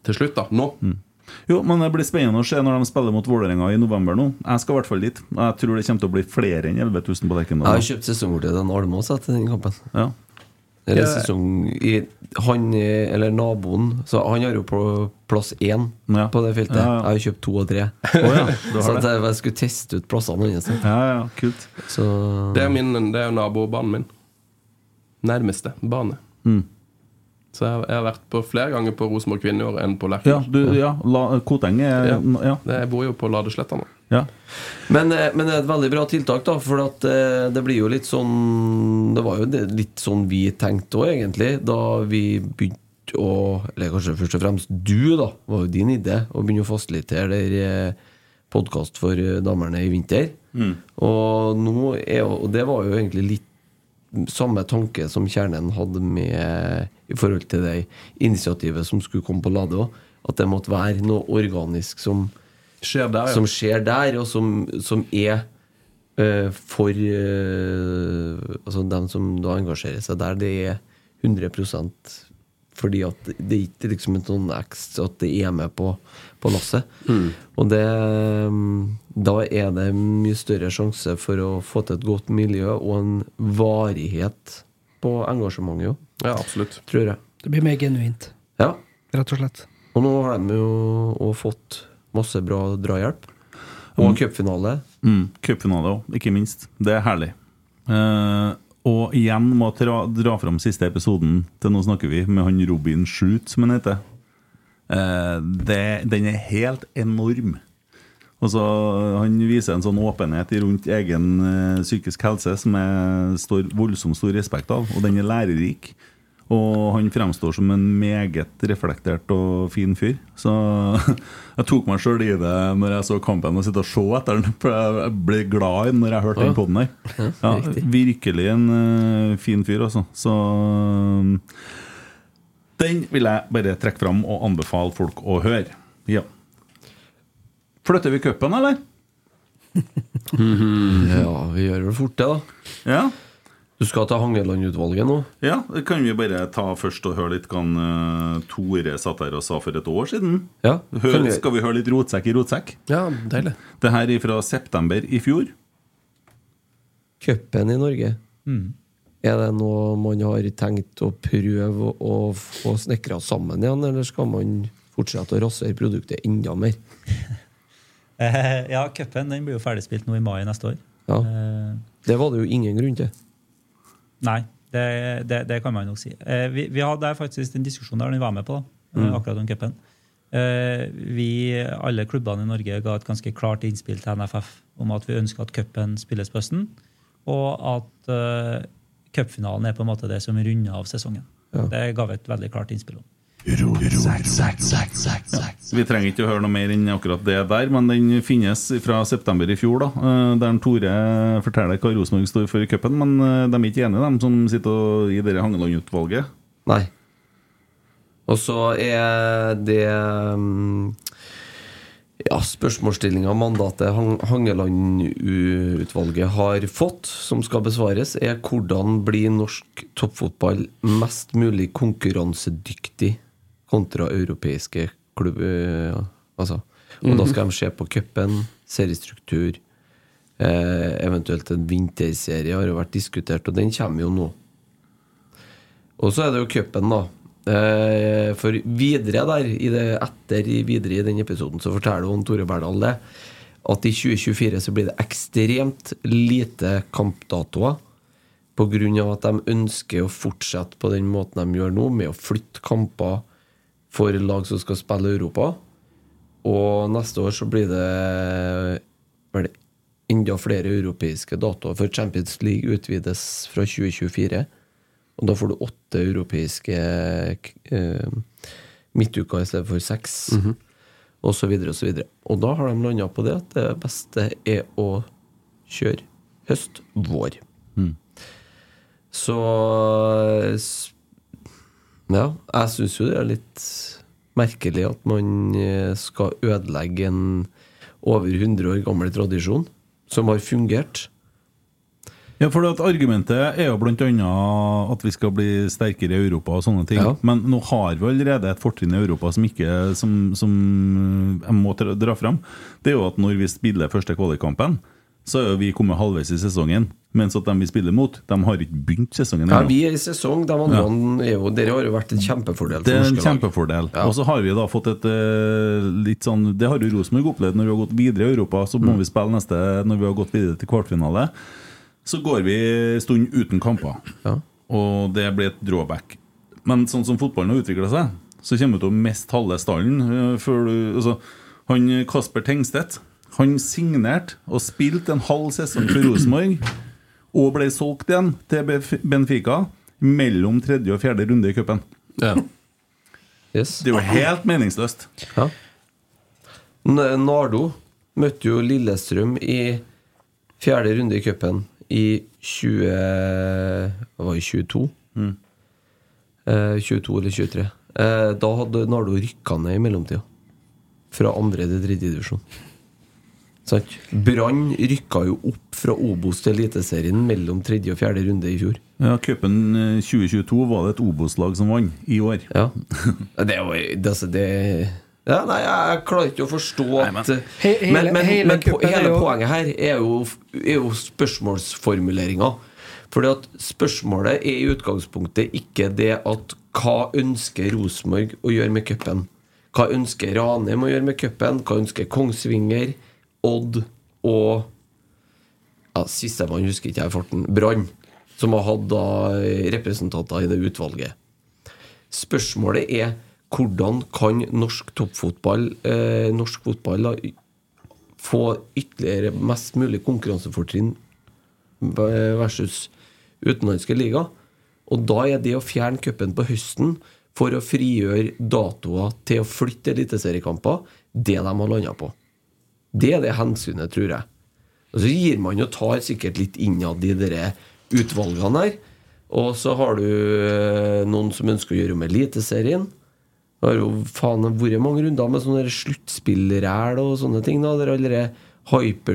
Speaker 5: til slutt, da. Nå.
Speaker 3: Mm. Jo, men det blir spennende å se når de spiller mot Vålerenga i november nå. Jeg skal i hvert fall dit. Jeg tror det kommer til å bli flere enn 11 000 på Lerkendal.
Speaker 6: Jeg har kjøpt sesongkort til den Almås etter den kampen.
Speaker 3: Ja.
Speaker 6: Eller
Speaker 5: Ja.
Speaker 6: sesong i, Han, eh, eller naboen Så han har jo på plass én
Speaker 3: Ja.
Speaker 6: på det feltet.
Speaker 3: Ja, ja.
Speaker 6: Jeg har jo kjøpt to og tre.
Speaker 3: Å ja, du
Speaker 6: så
Speaker 3: har
Speaker 6: at
Speaker 3: det.
Speaker 6: jeg, jeg skulle teste ut plassene hans.
Speaker 3: Ja, ja, kult.
Speaker 6: Så
Speaker 5: Det er, min, det er jo nabobanen min. Nærmeste bane.
Speaker 6: Mm.
Speaker 5: Så jeg, jeg har vært på flere ganger på Rosenborg Kvinneår enn på
Speaker 3: Ja,
Speaker 5: Lerkendal.
Speaker 3: du, ja la, Koteng er
Speaker 5: Ja.
Speaker 3: Ja.
Speaker 5: Det- Jeg bor jo på Ladesletta nå.
Speaker 3: ja.
Speaker 6: Men, eh, men det er et veldig bra tiltak, da. For at eh, det blir jo litt sånn Det var jo det, litt sånn vi tenkte òg, egentlig, da vi begynte å Eller kanskje først og fremst du, da. var jo din idé å begynne å fasilitere der eh, podkast for eh, damene i vinter. Og nå er jo Og det var jo egentlig litt samme tanke som kjernen hadde med i forhold til det initiativet som skulle komme på Lade òg. At det måtte være noe organisk som
Speaker 5: Skjer der, Ah, ja.
Speaker 6: som skjer der, og som, som er eh, for eh, Altså dem som da engasjerer seg der, det er 100 fordi at det er ikke liksom en sånn ekstra at det er med på, på lasset. Og det mm, Da er det mye større sjanse for å få til et godt miljø og en varighet på engasjementet, jo,
Speaker 5: ja, absolutt.
Speaker 6: tror jeg.
Speaker 4: Det blir mer genuint,
Speaker 6: Ja.
Speaker 4: rett og slett.
Speaker 6: Og nå har de jo også fått masse bra drahjelp. Og cupfinale.
Speaker 3: Mm, Cupfinale òg, ikke minst. Det er herlig. Eh, og igjen må jeg dra, dra fram siste episoden til Nå snakker vi, med han Robin Shoot, som han heter. Eh, det, den er helt enorm. Og så Han viser en sånn åpenhet i rundt egen eh, psykisk helse som jeg står voldsomt stor respekt av, og den er lærerik. Og han fremstår som en meget reflektert og fin fyr. Så <laughs> jeg tok meg sjøl i det når jeg så kampen, og sitte og se etter den. For jeg- jeg ble glad i den når jeg hørte den podden her. Ja, virkelig en eh, fin fyr, altså. Så den vil jeg bare trekke fram og anbefale folk å høre. Ja. Flytter vi cupen, eller?
Speaker 6: Ja, vi gjør det fort det, da.
Speaker 3: Ja.
Speaker 6: Du skal til Hangeland-utvalget nå?
Speaker 3: ja. Det kan vi bare ta først og høre litt hva han, eh, Tore satt her og sa for et år siden.
Speaker 6: Ja.
Speaker 3: Hør, skal vi høre litt rotsekk i rotsekk?
Speaker 5: Ja, deilig.
Speaker 3: Det her er fra september i fjor.
Speaker 6: Cupen i Norge, er det noe man har tenkt å prøve å få snekra sammen igjen, eller skal man fortsette å rasere produktet enda mer?
Speaker 7: Eh, ja, cupen den blir jo ferdigspilt nå i mai neste år.
Speaker 6: Ja.
Speaker 7: Eh,
Speaker 6: Det var det jo ingen grunn til.
Speaker 7: nei, det, det, det kan man nok si. Eh, vi, vi hadde faktisk en diskusjon der når vi var med på, da, eh, akkurat om cupen. Eh, vi, alle klubbene i Norge ga et ganske klart innspill til NFF om at vi ønsker at cupen spilles på høsten, og at eh, cupfinalen er på en måte det som runder av sesongen. Det ga vi et veldig klart innspill om.
Speaker 3: Vi trenger ikke å høre noe mer enn akkurat det der, men den finnes fra september i fjor, da, eh, der Tore forteller hva Rosenborg står for i cupen. Men eh, de er ikke enige, de som sitter og- i dette Hangeland-utvalget.
Speaker 6: Nei. Og så er det mm, ja, spørsmålsstillinga og mandatet Hang- Hangeland-utvalget har fått, som skal besvares, er hvordan blir norsk toppfotball mest mulig konkurransedyktig kontra europeiske klubber? ja, Altså. Og da skal de se på cupen, seriestruktur, eh, eventuelt en vinterserie har jo vært diskutert, og den kommer jo nå. Og så er det jo cupen, da. Eh, For videre der, i det, etter i- videre i den episoden, så forteller hun Tore Berdal det. At i 2024 så blir det ekstremt lite kampdatoer. Pga. at de ønsker å fortsette på den måten de gjør nå, med å flytte kamper for lag som skal spille i Europa. Og neste år så blir det vel enda flere europeiske datoer, for Champions League utvides fra 2024. Og da får du åtte europeiske k- eh, midtuker i stedet for seks, og så videre og så videre. Og da har de landa på det at det beste er å kjøre høst-vår. Så s- Ja, jeg syns jo det er litt merkelig at man eh, skal ødelegge en over 100 år gammel tradisjon som har fungert.
Speaker 3: Ja, for at Argumentet er jo bl.a. at vi skal bli sterkere i Europa og sånne ting.
Speaker 6: Ja.
Speaker 3: Men nå har vi allerede et fortrinn i Europa som, ikke, som, som jeg må dra- dra fram. Det er jo at når vi spiller første kvalikkampen, så er jo vi kommet halvveis i sesongen. Mens at de vi spiller mot, de har ikke begynt sesongen
Speaker 6: Ja,
Speaker 3: ennå.
Speaker 6: vi er i sesong. De andre er jo, dere har jo vært en kjempefordel. for
Speaker 3: Det er en
Speaker 6: norske lag.
Speaker 3: kjempefordel. Og så har vi da fått et eh, litt sånn Det har jo Rosenborg opplevd når vi har gått videre i Europa. Så
Speaker 6: Mm.
Speaker 3: må vi spille neste når vi har gått videre til kvartfinale. Så går vi en stund uten kamper.
Speaker 6: Ja.
Speaker 3: Og det blir et drawback. Men sånn som fotballen har utvikla seg, så kommer du til å miste halve stallen. eh, Før du, altså, han eh, Kasper Tengstedt han signerte og spilte en halv sesong for Rosenborg, og ble solgt igjen til Bef- Benfica mellom tredje og fjerde runde i cupen.
Speaker 5: Ja.
Speaker 6: Yes.
Speaker 3: Det er jo helt meningsløst.
Speaker 6: Ja. N- Nardo møtte jo Lillestrøm i fjerde runde i cupen i eh, 20 Hva var det 22? Eh, 22 eller 23. Eh, da hadde Nardo rykka ned i mellomtida. Fra andre til tredje divisjon. Sant? Brann rykka jo opp fra Obos til Eliteserien mellom tredje og fjerde runde i fjor.
Speaker 3: Ja, Cupen eh, 2022 var det et Obos-lag som vant i år.
Speaker 6: Ja. <laughs> Det er jo det, altså, det ja, Nei, jeg klarer ikke å forstå at
Speaker 4: He- hele-
Speaker 6: Men, men,
Speaker 4: hele
Speaker 6: men po
Speaker 4: kuppen er
Speaker 6: hele
Speaker 4: jo-
Speaker 6: poenget her er jo, er jo spørsmålsformuleringer. Fordi at spørsmålet er i utgangspunktet ikke det at hva ønsker Rosenborg å gjøre med cupen? Hva ønsker Ranheim å gjøre med cupen? Hva ønsker Kongsvinger, Odd og ja, Sistemann husker ikke jeg i farten. Brann. Som har hatt da eh, representanter i det utvalget. Spørsmålet er hvordan kan norsk toppfotball, eh, norsk fotball, da, y- få ytterligere mest mulig konkurransefortrinn v- versus utenlandske liga? Og da er det å fjerne cupen på høsten for å frigjøre datoer til å flytte eliteseriekamper, det de har landa på. Det er det hensynet, tror jeg. Og så gir man jo tar sikkert litt innad i de utvalgene her. Og så har du eh, noen som ønsker å gjøre om Eliteserien. Det har jo faen vært mange runder med sånne der sluttspillræl og sånne ting. da Der alle de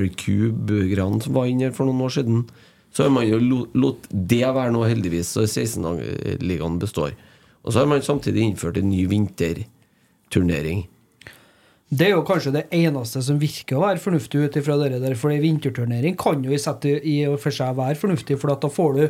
Speaker 6: hypercube-greiene som var inne her for noen år siden. Så har man jo lo- latt det være nå, heldigvis, så 16-ligaen består. Og så har man samtidig innført en ny vinterturnering.
Speaker 4: Det er jo kanskje det eneste som virker å være fornuftig ut ifra dere der, for en vinterturnering kan jo i sett i i og for seg være fornuftig, for at da får du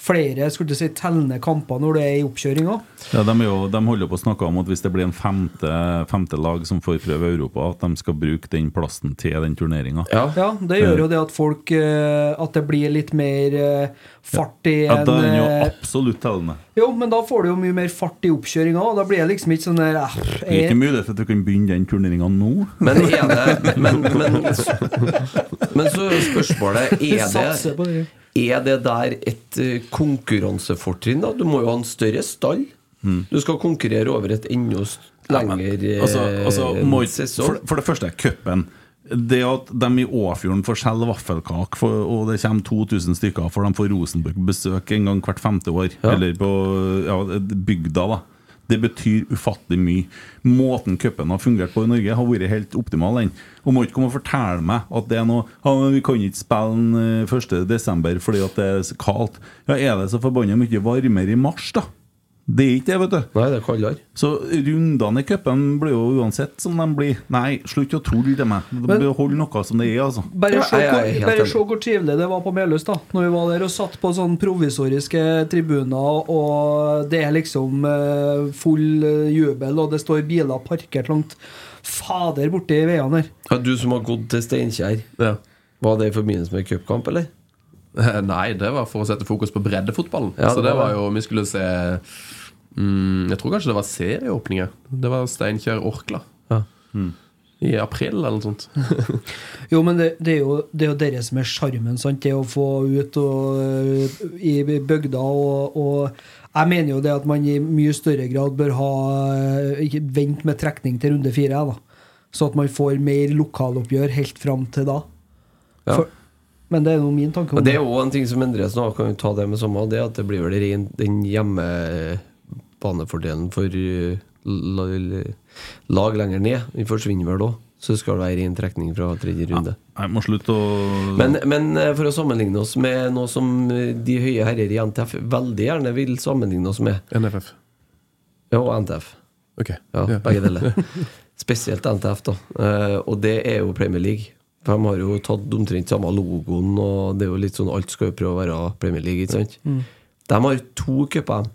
Speaker 4: flere skulle du si, tellende kamper når du er i oppkjøringa.
Speaker 3: Ja, de, er jo, de holder på å snakke om at hvis det blir en femte, femte lag som får prøve Europa, at de skal bruke den plassen til den turneringa.
Speaker 4: Ja, det gjør jo det at folk eh, At det blir litt mer eh, fart i
Speaker 3: Ja, da er den jo
Speaker 4: eh,
Speaker 3: absolutt tellende.
Speaker 4: Jo, men da får du jo mye mer fart i oppkjøringa, og da blir det liksom ikke sånn der eh,
Speaker 3: Det er
Speaker 4: eh,
Speaker 3: ikke mulighet for at du kan begynne den turneringa nå.
Speaker 6: Men er det Men, men, men så er jo spørsmålet
Speaker 4: vi
Speaker 6: er
Speaker 4: satser på
Speaker 6: det,
Speaker 4: det.
Speaker 6: er det der et eh, konkurransefortrinn, da? Du må jo ha en større stall.
Speaker 3: Mm.
Speaker 6: Du skal konkurrere over et enda s- lengre eh,
Speaker 3: Altså, altså, må,
Speaker 6: sesong.
Speaker 3: for, for det første, cupen. Det at de i Åfjorden får selge vaffelkake, for, og det kommer 2000 stykker, for de får Rosenborg-besøk en gang hvert femte år. Eller på ja, bygda, da. Det betyr ufattelig mye. Måten cupen har fungert på i Norge, har vært helt optimal. Den. Og må ikke komme og fortelle meg at det er noe ja, men 'Vi kan ikke spille den eh, 1. desember fordi at det er så kaldt'. Ja, er det så forbanna mye varmere i mars, da? Det er ikke det, vet du.
Speaker 6: Nei, det er kaldere.
Speaker 3: Så rundene i cupen blir jo uansett som de blir. Nei, slutt å tulle til meg. Behold noe som det er, altså.
Speaker 4: Bare
Speaker 6: Ja,
Speaker 4: se
Speaker 6: jeg er
Speaker 4: hvor,
Speaker 6: helt
Speaker 4: bare
Speaker 6: enig.
Speaker 4: se hvor trivelig det var på Melhus da Når vi var der og satt på sånne provisoriske tribuner, og det er liksom eh, full eh, jubel, og det står biler parkert langt Fader borti veiene her.
Speaker 6: Ja, du som har gått til Steinkjer,
Speaker 5: Ja. Eh,
Speaker 6: var det i forbindelse med cupkamp, eller?
Speaker 5: Nei, det var for å sette fokus på breddefotballen.
Speaker 6: Ja, det
Speaker 5: så det
Speaker 6: var
Speaker 5: var
Speaker 6: det.
Speaker 5: jo Vi skulle se mm, Jeg tror kanskje det var serieåpninger. Det var Steinkjer-Orkla. Mm.
Speaker 6: Ja.
Speaker 5: I april eller noe
Speaker 6: <laughs>
Speaker 5: sånt.
Speaker 4: Jo, men det, det, er jo, det er jo dere som er sjarmen, sant? Det å få ut og, øh, i bygda og, og Jeg mener jo det at man i mye større grad bør ha øh, ikke vent med trekning til runde fire, jeg, da. Så at man får mer lokaloppgjør helt fram til da.
Speaker 6: Ja.
Speaker 4: For, men det er jo min tanke.
Speaker 6: Og
Speaker 4: om
Speaker 6: Det er jo en ting som endres nå, kan vi ta det med samme, det er at det blir vel ren den hjemmebanefordelen for eh, la- la- lag lenger ned. Den forsvinner vel òg, så skal det være ren trekning fra tredje runde.
Speaker 3: Jeg må slutte å
Speaker 6: Men, men eh, for å sammenligne oss med noe som eh, de høye herrer i NTF veldig gjerne vil sammenligne oss med,
Speaker 5: NFF.
Speaker 6: ja, og NTF.
Speaker 5: Ok.
Speaker 6: Ja,
Speaker 5: Ja.
Speaker 6: <laughs> begge deler. Spesielt NTF, da. Eh, og det er jo Premier League. For de har jo tatt omtrent samme logoen, og det er jo litt sånn alt skal jo prøve å være Premier League, ikke sant?
Speaker 3: Mm.
Speaker 6: De har to cuper. de.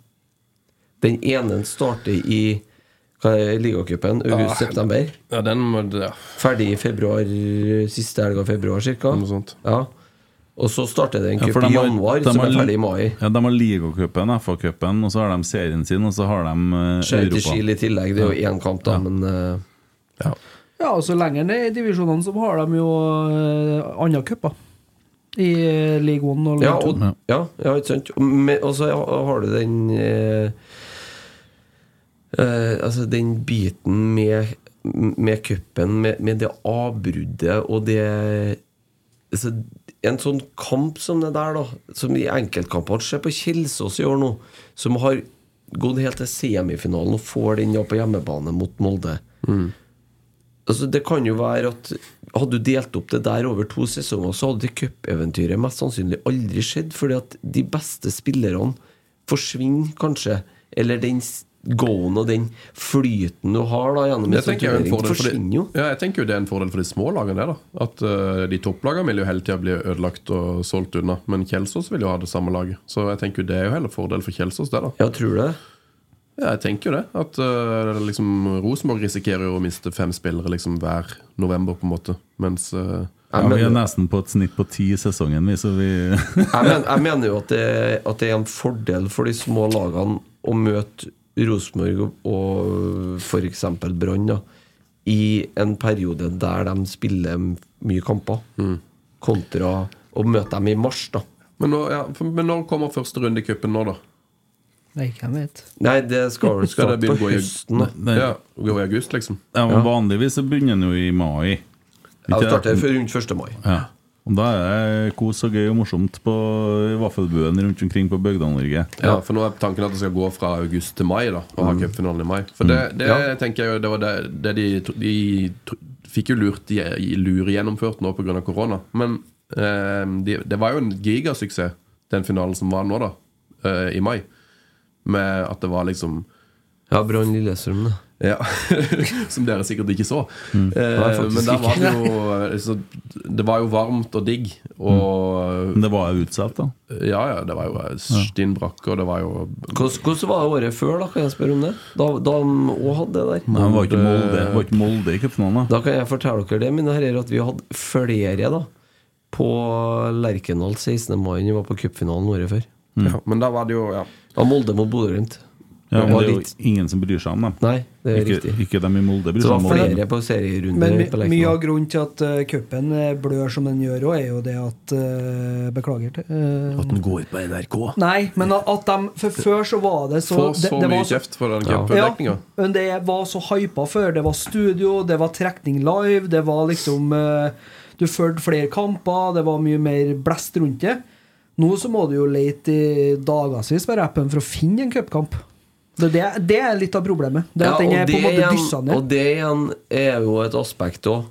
Speaker 6: Den ene starter i hva er det, ligacupen august-september.
Speaker 5: Ja, den må ja.
Speaker 6: Ferdig i februar, siste helga i februar, cirka.
Speaker 5: Noe sånt.
Speaker 6: Ja. Og så starter det en
Speaker 3: Ja,
Speaker 6: cup
Speaker 3: for de
Speaker 6: i
Speaker 3: har-
Speaker 6: januar,
Speaker 3: de
Speaker 6: som
Speaker 3: har
Speaker 6: er
Speaker 3: li-
Speaker 6: ferdig i mai.
Speaker 3: Ja, de har ligacupen, FA-cupen, og så har de serien sin, og så har de eh,
Speaker 6: Skjer til
Speaker 3: Europa.
Speaker 6: Chile i tillegg. Det er jo én kamp, da, men eh,
Speaker 4: Ja, og så lenger ned i divisjonene så har de jo eh, andre cuper. I eh, League One og League
Speaker 6: Ja, og,
Speaker 3: Ja.
Speaker 6: ja, ja, ikke sant. Og med- Og så ha- har du den eh, eh, Altså den biten med Med cupen, med, med det avbruddet og det altså, En sånn kamp som det der, da, som i enkeltkampene Se på Kjelsås i år nå, som har gått helt til semifinalen og får den da på hjemmebane mot Molde.
Speaker 5: Mm.
Speaker 6: Altså, det kan jo være at Hadde du delt opp det der over to sesonger, så hadde det cupeventyret mest sannsynlig aldri skjedd, fordi at de beste spillerne forsvinner kanskje. Eller den s- goen og den flyten du har da gjennom
Speaker 5: Det
Speaker 6: en sånn
Speaker 5: tenker jeg, er en
Speaker 6: turnering,
Speaker 5: fordel for de,
Speaker 6: forsvinner jo.
Speaker 5: ja, jeg tenker jo det er en fordel for de små lagene. det da At eh, De topplagene vil jo hele tida bli ødelagt og solgt unna. Men Kjelsås vil jo ha det samme laget. Så jeg tenker jo det er jo heller fordel for Kjelsås. det da
Speaker 6: Ja, tror du det?
Speaker 5: Ja, jeg tenker jo det. At eh, liksom, Rosenborg risikerer jo å miste fem spillere liksom, hver november, på en måte. Mens eh,
Speaker 3: Ja,
Speaker 6: Jeg
Speaker 3: vi er
Speaker 6: mener,
Speaker 3: nesten på et snitt på ti i sesongen, vi, så vi <laughs>
Speaker 6: jeg men, jeg mener jo at det, at det er en fordel for de små lagene å møte Rosenborg og- og f.eks. Brann da, i en periode der de spiller mye kamper, kontra å møte dem i mars. da
Speaker 5: men, nå, ja, for, men når kommer første runde i cupen nå, da?
Speaker 4: Nei, hvem vet.
Speaker 6: Nei, det skal vel
Speaker 5: Skal det
Speaker 6: starte
Speaker 5: begynne
Speaker 6: på
Speaker 5: å gå i-
Speaker 6: høsten. da.
Speaker 3: Nei.
Speaker 5: Ja, Gå i august, liksom?
Speaker 3: ja, men Vanligvis så begynner den jo i mai.
Speaker 6: Ja, det
Speaker 3: Ikke
Speaker 6: starter
Speaker 3: det?
Speaker 6: før rundt 1. mai.
Speaker 3: Ja. Og da er det kos og gøy og morsomt på vaffelbuen rundt omkring på Bygda-Norge.
Speaker 5: Ja, Mm. for nå er tanken at det skal gå fra august til mai, da og ha cupfinalen i mai. For det, det
Speaker 6: Ja.
Speaker 5: tenker jeg jo, det var det, det de, de tro- fikk jo lurt de, luregjennomført nå pga. korona. Men eh, de, det var jo en gigasuksess, den finalen som var nå, da, eh, i mai. Med at det var liksom
Speaker 6: Ja, Brann Lillestrøm, da.
Speaker 5: ja, <laughs> Som dere sikkert ikke så.
Speaker 6: Nei,
Speaker 5: Eh,
Speaker 6: faktisk
Speaker 5: men der var
Speaker 6: ikke.
Speaker 5: det jo eh, så, Det var jo varmt og digg. Og
Speaker 3: Men det var jo utsatt, da.
Speaker 5: ja, Mm. ja, det var jo stinn brakke, og det var jo
Speaker 6: Hvordan, hvordan var det året før, da? Kan jeg spørre om det? Da, da de òg hadde det der?
Speaker 3: Nei, det var ikke Molde, det var ikke Molde i cupfinalen. da.
Speaker 6: Da kan jeg fortelle dere det, mine herrer, at vi hadde flere da på Lerkendal 16. mai enn vi var på cupfinalen året før.
Speaker 5: ja, Men da var det jo ja.
Speaker 6: Da Molde mot Bodø-Glimt.
Speaker 3: Ja,
Speaker 6: Det
Speaker 3: men
Speaker 6: var
Speaker 3: det er
Speaker 6: litt-
Speaker 3: jo ingen som bryr seg om dem.
Speaker 6: Nei, det er
Speaker 3: Ikke,
Speaker 6: riktig.
Speaker 3: ikke dem i Molde bryr
Speaker 6: Så det
Speaker 3: seg om
Speaker 6: var
Speaker 3: Molde.
Speaker 6: flere på serierunde
Speaker 4: Men my,
Speaker 6: på
Speaker 4: mye av
Speaker 6: Lerkendal.
Speaker 4: grunnen til at eh, cupen eh, blør som den gjør òg, er jo det at eh, Beklager til eh,
Speaker 5: den går ut på NRK.
Speaker 4: Nei, men at- at de For før så var det så
Speaker 5: Få så
Speaker 4: det, det var
Speaker 5: mye
Speaker 4: så-
Speaker 5: kjeft for den
Speaker 6: Ja.
Speaker 5: cupdekninga.
Speaker 4: Ja, men det var så hypa før. Det var studio, det var trekning live, det var liksom eh, Du fulgte flere kamper, det var mye mer blest rundt det. Nå så må du jo lete i dagevis med rappen for å finne en cupkamp. Det, det, det er litt av problemet. Det er at
Speaker 6: Ja,
Speaker 4: den
Speaker 6: og
Speaker 4: er på en
Speaker 6: det
Speaker 4: måte
Speaker 6: igjen-
Speaker 4: dyssa ned.
Speaker 6: Og det igjen er jo et aspekt òg,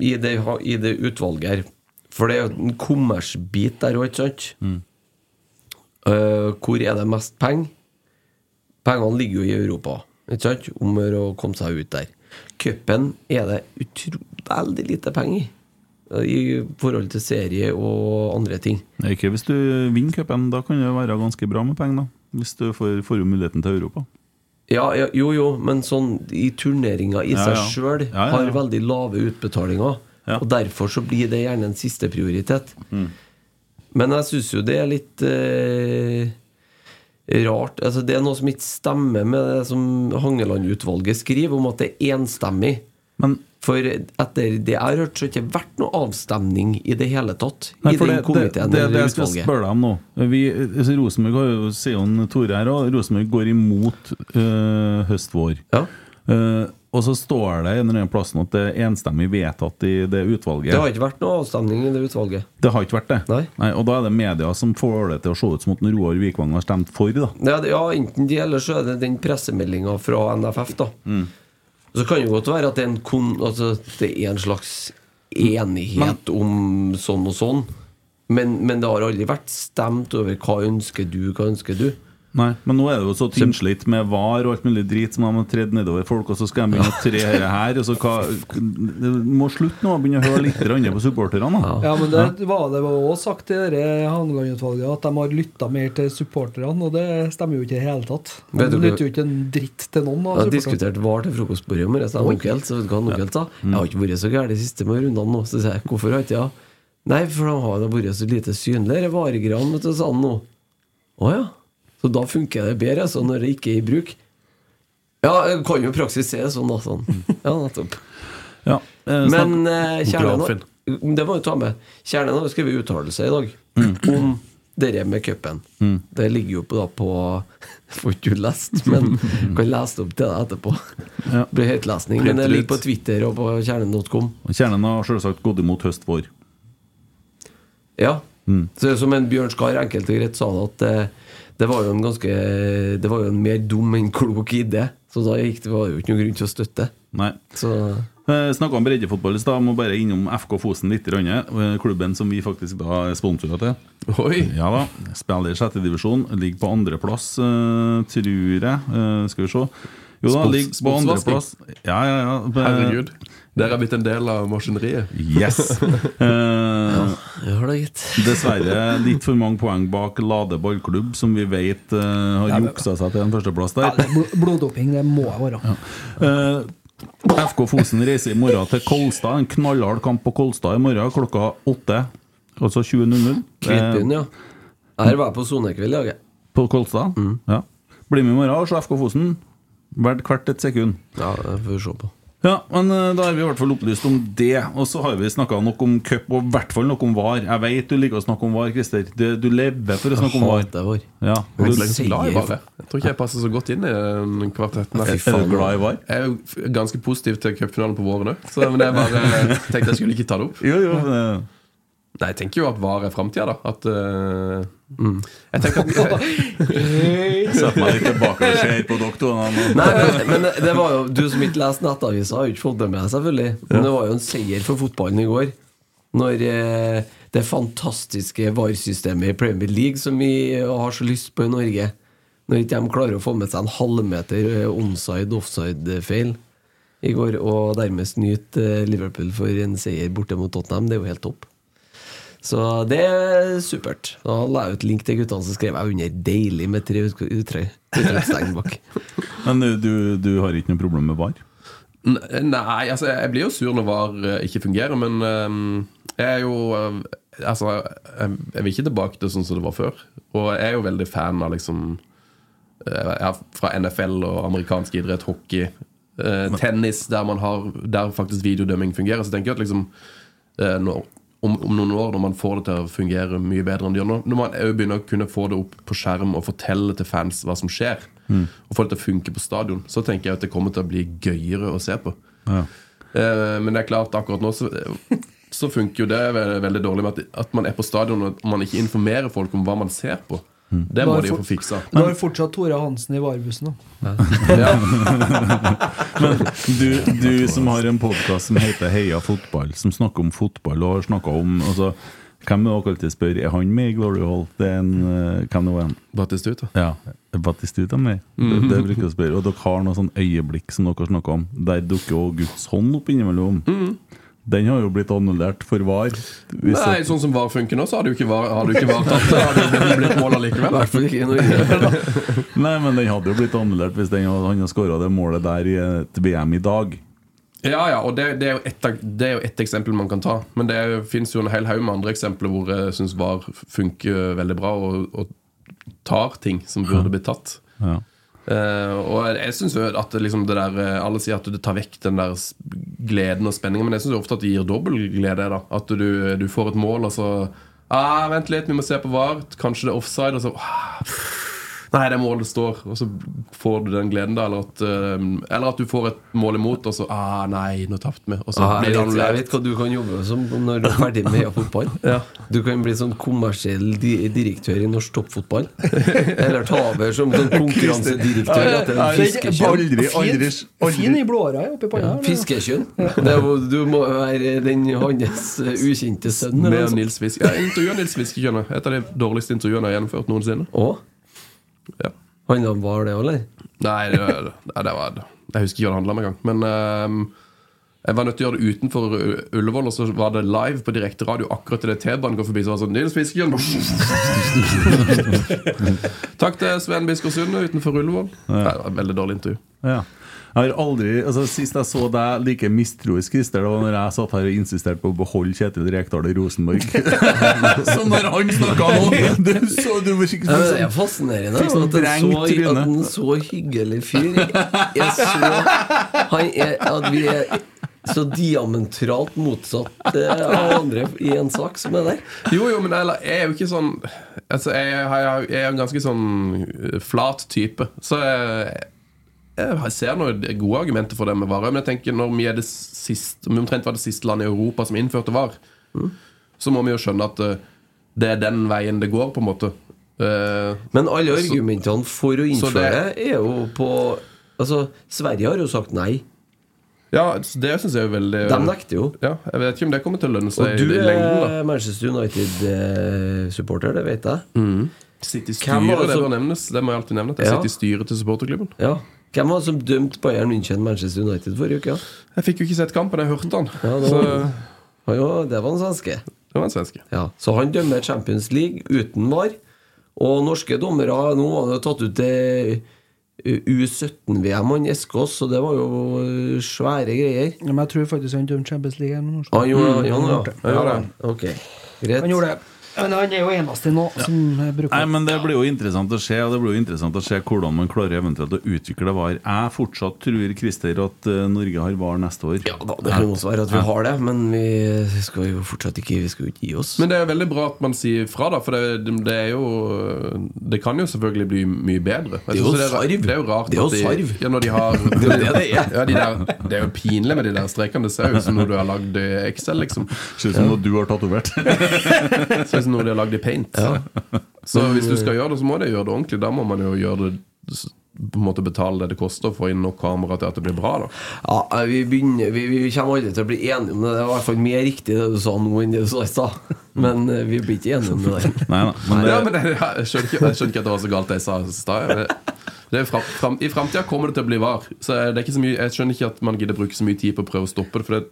Speaker 6: i, det- i det utvalget her. For det er jo en kommersbit der òg, ikke sant? Eh, hvor er det mest penger? Pengene ligger jo i Europa, ikke sant? Om å gjøre å komme seg ut der. Cupen er det utro veldig lite penger i. eh, I forhold til serie og andre ting.
Speaker 3: Nei, Ikke hvis du vinner cupen, da kan det være ganske bra med penger, da. Hvis du får, får jo muligheten til Europa.
Speaker 6: Ja, ja, jo, jo, men sånn i turneringa i
Speaker 3: Ja,
Speaker 6: seg
Speaker 3: ja.
Speaker 6: sjøl
Speaker 3: Ja, ja, ja.
Speaker 6: har veldig lave utbetalinger.
Speaker 3: Ja. Mm.
Speaker 6: Og derfor så blir det gjerne en siste prioritet. Men jeg syns jo det er litt eh, rart altså, Det er noe som ikke stemmer med det som Hangeland-utvalget skriver, om at det er enstemmig.
Speaker 3: Men
Speaker 6: For etter det jeg har hørt, så har det ikke vært noe avstemning i det hele tatt.
Speaker 3: Nei,
Speaker 6: I
Speaker 3: for
Speaker 6: den
Speaker 3: det,
Speaker 6: komiteen
Speaker 3: det, det, det
Speaker 6: eller
Speaker 3: jeg skal
Speaker 6: utvalget.
Speaker 3: spørre deg om nå vi, altså Rosenborg har jo, sier jo en Tore her også, Rosenborg går imot øh, høst-vår.
Speaker 6: Ja.
Speaker 3: Eh, og så står det en eller annen plass nå at det er enstemmig vedtatt i det utvalget.
Speaker 6: Det har ikke vært noe avstemning i det utvalget.
Speaker 3: Det har ikke vært det.
Speaker 6: Nei.
Speaker 3: og da er det media som får det til å se ut som at Roar Vikvang har stemt for, da.
Speaker 6: Ja, det- ja, enten de, eller så er det den pressemeldinga fra NFF, da. Så kan det jo godt være at det er en, kon, altså, det er en slags enighet om sånn og sånn. Men, men det har aldri vært stemt over hva ønsker du, hva ønsker du.
Speaker 3: Nei, men nå er det jo så tynnslitt med var og alt mulig drit som de har tredd nedover folk, og så skal de begynne å tre dette her, og så hva Det må slutte nå, begynne å høre litt grann på supporterne, da.
Speaker 4: Ja, men det var det var også sagt i dette Handelandutvalget at de har lytta mer til supporterne, og det stemmer jo ikke i det hele tatt. De
Speaker 6: Vet du hva-
Speaker 4: lytter jo ikke en dritt til noen av
Speaker 6: Jeg har
Speaker 4: supporterne.
Speaker 6: diskutert VAR til frokostbordet med resten av onkel, så vet du hva han onkel sa? Jeg har ikke vært så gæren de siste med rundene nå. Så sier jeg, hvorfor har ikke jeg? Nei, for de har da vært så lite synlige, varegran, vet du, sa han nå. Å ja. Så da funker det bedre, altså, når det ikke er i bruk. Ja, jeg kan jo i praksis se det sånn, da. Sånn. Ja, nettopp.
Speaker 3: Ja, eh, snakk-
Speaker 6: Men eh, kjernen
Speaker 5: Onkel
Speaker 6: har- Det må vi ta med. Kjernen har jo skrevet uttalelse i dag om det med cupen. Det ligger jo på, da på <laughs> Får ikke du lest, men kan lese det opp til deg etterpå.
Speaker 3: Ja.
Speaker 6: Det Blir høytlesning. Men det ligger på Twitter og på kjernen.com.
Speaker 3: Kjernen har selvsagt gått imot høst-vår.
Speaker 6: Ja. Så det er som en Bjørn Skar enkelt og greit sa det, at eh, det var jo en ganske Det var jo en mer dum enn klok idé. Så da gikk det, var det jo ikke noen grunn til å støtte.
Speaker 3: Nei.
Speaker 6: Så
Speaker 3: Eh, Snakka om breddefotball i stad, må bare innom FK Fosen litt. grann, eh, Klubben som vi faktisk da er sponsorer til.
Speaker 5: Oi!
Speaker 3: Ja da. Spiller i sjette divisjon, ligger på andreplass, eh, tror jeg. Eh, skal vi se. Jo da,
Speaker 5: Sports-
Speaker 3: ligger på
Speaker 5: sportsvasking.
Speaker 3: andreplass. Ja, ja, ja. Eh,
Speaker 5: Herregud. Dere har blitt en del av maskineriet.
Speaker 3: Yes. Eh,
Speaker 6: ja, det er gitt.
Speaker 3: dessverre litt for mange poeng bak Lade ballklubb, som vi vet eh, har juksa seg til en førsteplass der.
Speaker 4: Ja, det er bl- bloddoping, det må jeg være.
Speaker 3: Eh, FK Fosen reiser i morgen til Kolstad. En knallhard kamp på Kolstad i morgen klokka åtte. Altså 20.00.
Speaker 6: Kvitbyen, ja. Her var jeg på sonekveld i dag.
Speaker 3: Eh,
Speaker 6: jeg.
Speaker 3: på Kolstad. Ja. Bli med i morgen og se FK Fosen. Hvert hvert et sekund.
Speaker 6: Ja, det får vi se på.
Speaker 3: Ja, men eh, Da er vi i hvert fall opplyst om det. Og så har vi snakka nok om cup, og i hvert fall nok om VAR. Jeg vet du liker å snakke om VAR, Christer. Du, du lever for å snakke om VAR.
Speaker 6: Hater vår.
Speaker 3: Ja,
Speaker 6: Jeg
Speaker 3: du
Speaker 6: ble så glad i VAR.
Speaker 5: Bare. Jeg tror ikke jeg passer så godt inn i den kvartetten.
Speaker 6: Fy
Speaker 5: her.
Speaker 3: Er
Speaker 6: faen.
Speaker 3: du glad i VAR?
Speaker 5: Jeg er jo f- ganske positiv til cupfinalen på våren òg, men jeg bare tenkte jeg skulle ikke ta det opp.
Speaker 3: Jo, jo. men, eh,
Speaker 5: Nei, Jeg tenker jo at VAR er framtida, da. At, eh, jeg tenker at
Speaker 3: Setter meg litt tilbake og ser på dere to. nå.
Speaker 6: Nei, men, men det var jo Du som ikke leste Nettavisa, har jo ikke fått det med deg, selvfølgelig. Men det var jo en seier for fotballen i går. Når eh, det fantastiske VAR-systemet i Premier League, som vi eh, har så lyst på i Norge Når ikke de klarer å få med seg en halvmeter eh, onside-offside-feil i går, og dermed snyte eh, Liverpool for en seier borte mot Tottenham, det er jo helt topp. Så det er supert. Da la jeg ut link til guttene, så skrev jeg under 'deilig' med tre uttrykk- uttrykkstegn bak.
Speaker 3: Men eh, du, du har ikke noe problem med VAR?
Speaker 5: N- Nei, altså jeg blir jo sur når VAR eh, ikke fungerer, men ehm, jeg er jo eh, Altså, jeg, jeg vil ikke tilbake til sånn som det var før. Og jeg er jo veldig fan av liksom eh, ja, Fra NFL og amerikansk idrett, hockey, eh, tennis, der, man har, der faktisk videodømming fungerer. Så jeg tenker jeg at liksom eh, når, om, om noen år, når man får det til å fungere mye bedre enn det gjør nå Når man òg begynner å kunne få det opp på skjerm og fortelle til fans hva som skjer, og få det til å funke på stadion, så tenker jeg at det kommer til å bli gøyere å se på. Eh, Men det er klart, akkurat nå så, så funker jo det ve- veldig dårlig med at, at man er på stadion og man ikke informerer folk om hva man ser på. Det må
Speaker 4: Bare
Speaker 5: de jo
Speaker 4: for-
Speaker 5: få fiksa.
Speaker 4: Du har fortsatt Tore Hansen i varebussen, da.
Speaker 3: Du, du som har en podkast som heter Heia fotball, som snakker om fotball og har snakka om altså, Hvem er det dere alltid spør? Er han med i Glory Hall? Det er en, eh, hvem det var en?
Speaker 5: Batistuta.
Speaker 3: Ja, Batistuta med? Det, det bruker jeg å spørre. Og dere har noen sånn øyeblikk som dere snakker om. Der dukker jo Guds hånd opp innimellom. Den har jo blitt annullert for var. Hvis
Speaker 5: Nei, sånn som VAR funker nå, så har du ikke VAR, har du ikke VAR tatt det. Har du blitt mål
Speaker 6: I
Speaker 5: allikevel.
Speaker 6: hvert fall ikke i Norge.
Speaker 3: at- nei, men den hadde jo blitt annullert hvis den, hadde- han hadde skåra det målet der i et VM i dag.
Speaker 5: Ja, ja, og det, det, er jo ett det er jo ett eksempel man kan ta. Men det fins jo en hel haug med andre eksempler hvor jeg syns VAR funker veldig bra og, og tar ting som burde blitt tatt.
Speaker 3: Ja.
Speaker 5: Eh, og jeg- jeg synes jo at det liksom det der eh, Alle sier at det tar vekk den der s- gleden og spenningen, men jeg syns ofte at det gir dobbel glede. da At du, du får et mål, og så ah, Vent litt, vi må se på VAR. Kanskje det er offside. Og så ah, Nei, det er målet står. Og så får du den gleden, da. Eller at, eh, eller at du får et mål imot, og så ah, Nei, nå tapte vi. Og så
Speaker 6: Ah,
Speaker 5: blir det
Speaker 6: jeg, vet, jeg
Speaker 5: annerledes.
Speaker 6: vet hva du kan jobbe som når du er ferdig med Heia
Speaker 5: <laughs>
Speaker 6: fotball. Du kan bli sånn kommersiell di direktør i norsk toppfotball. <laughs> Eller ta over som sånn konkurransedirektør etter en fiskekjønn.
Speaker 3: Aldri, aldri,
Speaker 4: Fin, fin i blååra ja, oppi panna. eller?
Speaker 6: Fiskekjønn? Det er jo- Du må være den
Speaker 5: <laughs>
Speaker 6: hans eh, ukjente sønn. eller noe
Speaker 5: Med
Speaker 6: sånt.
Speaker 5: Nils Fiske. Jeg intervjuet Nils Fiske, skjønner du. Et av de dårligste intervjuene jeg har gjennomført noensinne.
Speaker 6: Å?
Speaker 5: Ja.
Speaker 6: Handla om var det òg, eller?
Speaker 5: Nei, det, det, det var Jeg husker ikke hva det handla om engang. Men ehm, jeg var nødt til å gjøre det utenfor U- Ullevål, og så var det live på direkte radio akkurat til det T-banen går forbi. Så var det sånn Nils Fiskejørn <laughs> Takk til Sven Biskår Sunde utenfor Ullevål. Nei, det var et veldig dårlig intervju.
Speaker 3: Ja. Jeg har aldri, altså Sist jeg så deg like mistroisk, Christer, det var når jeg satt her og insisterte på å beholde Kjetil Rekdal i Rosenborg. <laughs> Som når han Eh, snakka nå! <laughs> Du så, du var
Speaker 6: Ja,
Speaker 3: sikkert
Speaker 6: men det er fascinerende
Speaker 3: Fikk sånn
Speaker 6: at, en så,
Speaker 3: drengt tryne.
Speaker 6: at en så hyggelig fyr er så han er, At vi er så diametralt motsatt eh, av andre i en sak som er der.
Speaker 5: Jo, jo, men jeg jeg er jo ikke sånn Altså, jeg, har- jeg er jo en ganske sånn flat type. Så jeg, jeg ser noen gode argumenter for det med Varøy, men jeg tenker når vi er det siste Om vi omtrent var det siste landet i Europa som innførte VAR,
Speaker 6: Mm.
Speaker 5: så må vi jo skjønne at eh, det er den veien det går, på en måte. Eh,
Speaker 6: Men alle argumentene for å
Speaker 5: så
Speaker 6: innføre
Speaker 5: det-
Speaker 6: er jo på Altså, Sverige har jo sagt nei.
Speaker 5: ja, så det syns jeg er veldig
Speaker 6: De nekter jo.
Speaker 5: Ja, jeg vet ikke om det kommer til å lønne seg
Speaker 6: Og du
Speaker 5: i lengden.
Speaker 6: er Manchester United-supporter, det vet jeg.
Speaker 5: da Sitte i
Speaker 6: Hvem
Speaker 5: styret,
Speaker 6: var det
Speaker 5: det
Speaker 6: som-
Speaker 5: bør nevnes. Det må jeg alltid nevne. At jeg
Speaker 6: Ja.
Speaker 5: sitter i styret til supporterklubben.
Speaker 6: Ja. Hvem var det som dømte Bayern München Manchester United forrige uke? Ja?
Speaker 5: Jeg fikk jo ikke sett kampen, jeg hørte den.
Speaker 6: Ja, det
Speaker 5: Så
Speaker 6: var- Han var- det var en svenske.
Speaker 5: det var en svenske.
Speaker 6: Ja, så han dømmer Champions League uten VAR. Og norske dommere Nå var han jo tatt ut til U17-VM, han Eskås, så det var jo eh, svære greier.
Speaker 4: Ja, Men jeg tror faktisk han dømte Champions League. her med norsk. Mm,
Speaker 6: Ah, han gjorde han gjorde det, ja.
Speaker 5: Ja,
Speaker 6: ja.
Speaker 5: da.
Speaker 6: Ok, greit.
Speaker 4: Han gjorde det. Men han er jo eneste nå som eh, bruker
Speaker 3: Nei, men Det blir jo interessant å se og det blir jo interessant å se hvordan man klarer eventuelt å utvikle VAR. Jeg fortsatt tror Christer, at eh, Norge har VAR neste år.
Speaker 6: Ja da, det kan jo også være at vi har det, men vi skal jo fortsatt ikke Vi skal jo ikke gi oss.
Speaker 5: Men det er jo veldig bra at man sier fra, da. For det, det er jo Det kan jo selvfølgelig bli mye bedre. Jeg
Speaker 6: er jo
Speaker 5: synes
Speaker 6: sarv.
Speaker 5: Det er jo rart
Speaker 6: Det er jo
Speaker 5: at de,
Speaker 6: sarv.
Speaker 5: Ja, når de har
Speaker 6: er jo <laughs> det det er.
Speaker 5: Ja, de der, det er jo pinlig med de der strekene. Det ser jo ut som noe du har lagd i Excel, liksom.
Speaker 3: Ser ut som noe du har tatovert.
Speaker 5: Det ser ut som noe de har lagd i Paint. Så hvis du skal gjøre det, så må de gjøre det ordentlig. Da må man jo gjøre det på en måte betale det det koster å få inn nok kamera til at det blir bra. da
Speaker 6: Ja, eh, vi, begynner, vi, vi kommer aldri til å bli enige om det. Det er i hvert fall mer riktig det du sa nå, enn det du sa i <laughs> stad. Men eh, vi blir ikke enige om det der.
Speaker 3: Nei da. Men det,
Speaker 5: Ja, men det, jeg, skjønner ikke, jeg skjønner ikke at det var så galt det jeg sa i stad. Det- det er fra- fram- I framtida kommer det til å bli var. Så det er ikke så mye, jeg skjønner ikke at man gidder bruke så mye tid på å prøve å stoppe det. For det,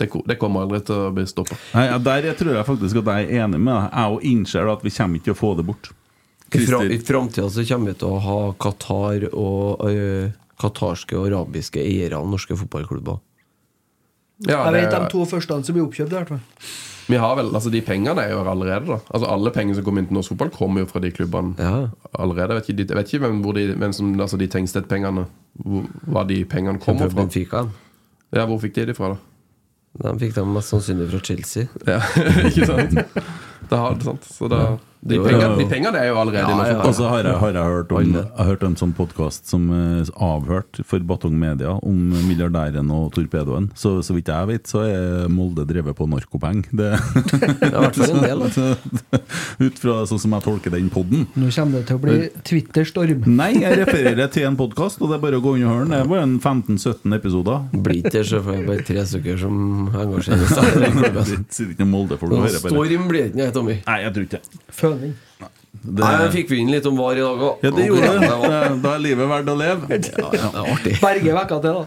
Speaker 5: det, ko- det kommer aldri til å bli stoppa.
Speaker 3: nei, ja, der tror jeg faktisk at jeg er enig med deg. Jeg òg innser at vi kommer ikke til å få det bort.
Speaker 6: I fra-
Speaker 3: Christer.
Speaker 6: I framtida så kommer vi til å ha Qatar og ø, katarske og arabiske eiere av norske fotballklubber.
Speaker 5: Ja,
Speaker 4: Jeg vet de
Speaker 5: det-
Speaker 4: to første som blir oppkjøpt. i hvert fall.
Speaker 5: vi har vel, altså De pengene er jo her allerede. da Altså Alle pengene som kommer inn til norsk fotball, kommer jo fra de klubbene
Speaker 6: Ja.
Speaker 5: allerede. Jeg vet ikke, de- jeg vet ikke hvem, hvor de, hvem som, altså de Tengstedt-pengene hvor- Hva de pengene kommer
Speaker 6: Kommer
Speaker 5: fra.
Speaker 6: Benfica.
Speaker 5: Ja, Hvor fikk de de fra, da?
Speaker 6: De fikk dem mest sannsynlig fra Chelsea.
Speaker 5: Ja, <laughs> ikke sant? Det har, sant? Så da, de,
Speaker 6: Jo, jo,
Speaker 5: pengene,
Speaker 6: jo.
Speaker 5: de pengene er jo allerede i norsk fotball.
Speaker 3: Og så har jeg, har jeg hørt om, jeg har hørt en sånn podkast som eh, avhørt for Batong Media om milliardæren og torpedoen. Så, så vidt jeg vet, så er Molde drevet på narkopenger. Det,
Speaker 6: Det er i hvert fall en del. da.
Speaker 3: <laughs> ut fra sånn som jeg tolker den poden.
Speaker 4: Nå kommer det til å bli Twitter-storm.
Speaker 3: Nei, jeg refererer til en podkast, og det er bare å gå inn og høre den. Det var en 15-17 episoder.
Speaker 6: Blir ikke det, så får jeg bare tre stykker som engasjerer seg. i den
Speaker 3: <laughs> Det
Speaker 6: klubben.
Speaker 3: sitter ikke Molde for å
Speaker 6: Noen
Speaker 3: høre på det.
Speaker 6: Storm blir det ikke, nei, Tommy.
Speaker 3: Nei, jeg tror ikke det.
Speaker 4: Føling.
Speaker 6: Nei, men fikk vi inn litt om VAR i dag òg.
Speaker 3: Ja, det gjorde det. Det- Da er livet verdt å leve.
Speaker 6: Ja, ja, det er artig.
Speaker 4: Berge vekka til, da.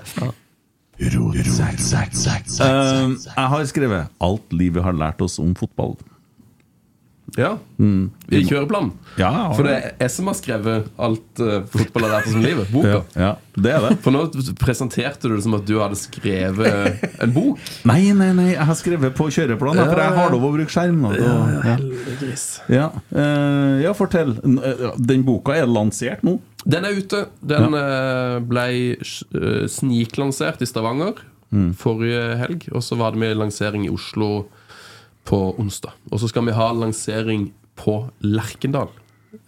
Speaker 3: Eh, jeg har skrevet 'Alt livet har lært oss om fotball'.
Speaker 5: Ja. I kjøreplanen.
Speaker 3: Mm. Ja,
Speaker 5: For det er jeg som har skrevet alt uh, fotball har lært oss om livet. Boka.
Speaker 3: ja, ja, det er det. <laughs>
Speaker 5: For nå presenterte du det som at du hadde skrevet en bok.
Speaker 3: Nei, nei, nei, jeg har skrevet på kjøreplan, da, for jeg har lov å bruke skjerm. nå, da. Ja, ja. Eh, ja, fortell. N- eh, Den boka er lansert nå.
Speaker 5: Den er ute. Den eh, ble eh, sniklansert i Stavanger
Speaker 3: Mm.
Speaker 5: forrige helg. Og så var det med lansering i Oslo på onsdag. Og så skal vi ha lansering på Lerkendal.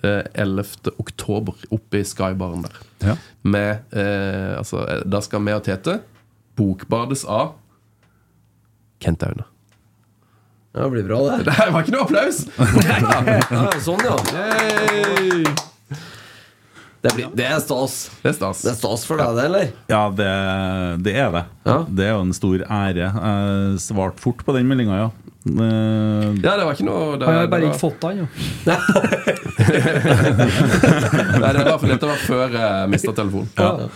Speaker 5: eh, 11. oktober, oppe i Skybaren der.
Speaker 3: Ja.
Speaker 5: Med, eh, altså, eh, da skal vi og Tete bokbades av <laughs> Kent Aune.
Speaker 6: Ja, det blir bra, det.
Speaker 5: Det her var ikke noe applaus!
Speaker 6: Ja, sånn, ja.
Speaker 5: Hey!
Speaker 6: Det, blir, det er stas.
Speaker 5: Det er stas.
Speaker 6: Det er stas for deg, det, eller?
Speaker 3: Ja, det, det er det.
Speaker 6: Ja.
Speaker 3: Det er jo en stor ære. Jeg svarte fort på den meldinga, ja. Eh,
Speaker 5: Ja, det var ikke noe det,
Speaker 4: Han har
Speaker 5: det
Speaker 4: bare
Speaker 5: var-
Speaker 4: ikke fått den, jo.
Speaker 5: Nei, det var, dette var før jeg mista telefonen.
Speaker 3: Ja.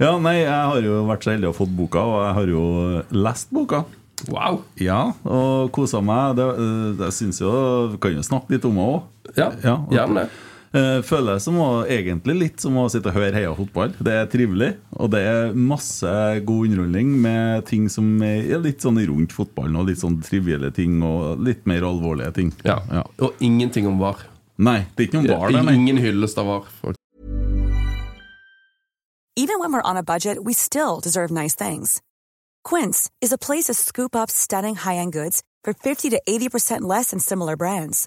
Speaker 3: ja, nei, jeg har jo vært så heldig å ha fått boka, og jeg har jo lest boka.
Speaker 5: Wow!
Speaker 3: Ja, og kosa meg. Det, eh, jeg syns jo Vi kan jo snakke litt om det òg.
Speaker 5: Ja, gjerne det.
Speaker 3: Eh, Føler jeg som å, egentlig litt som å sitte og høre heia fotball. Det er trivelig, og det er masse god underholdning med ting som er litt sånn rundt fotballen, og litt sånn trivielle ting, og litt mer alvorlige ting.
Speaker 5: Ja. Og ingenting om VAR.
Speaker 3: Nei, det er ikke noen bar der, nei.
Speaker 5: Ingen hyllest av VAR. For
Speaker 8: Even when we're on a budget, we still deserve nice things. Quince is a place to scoop up stunning high-end goods for 50 to 80% less than similar brands.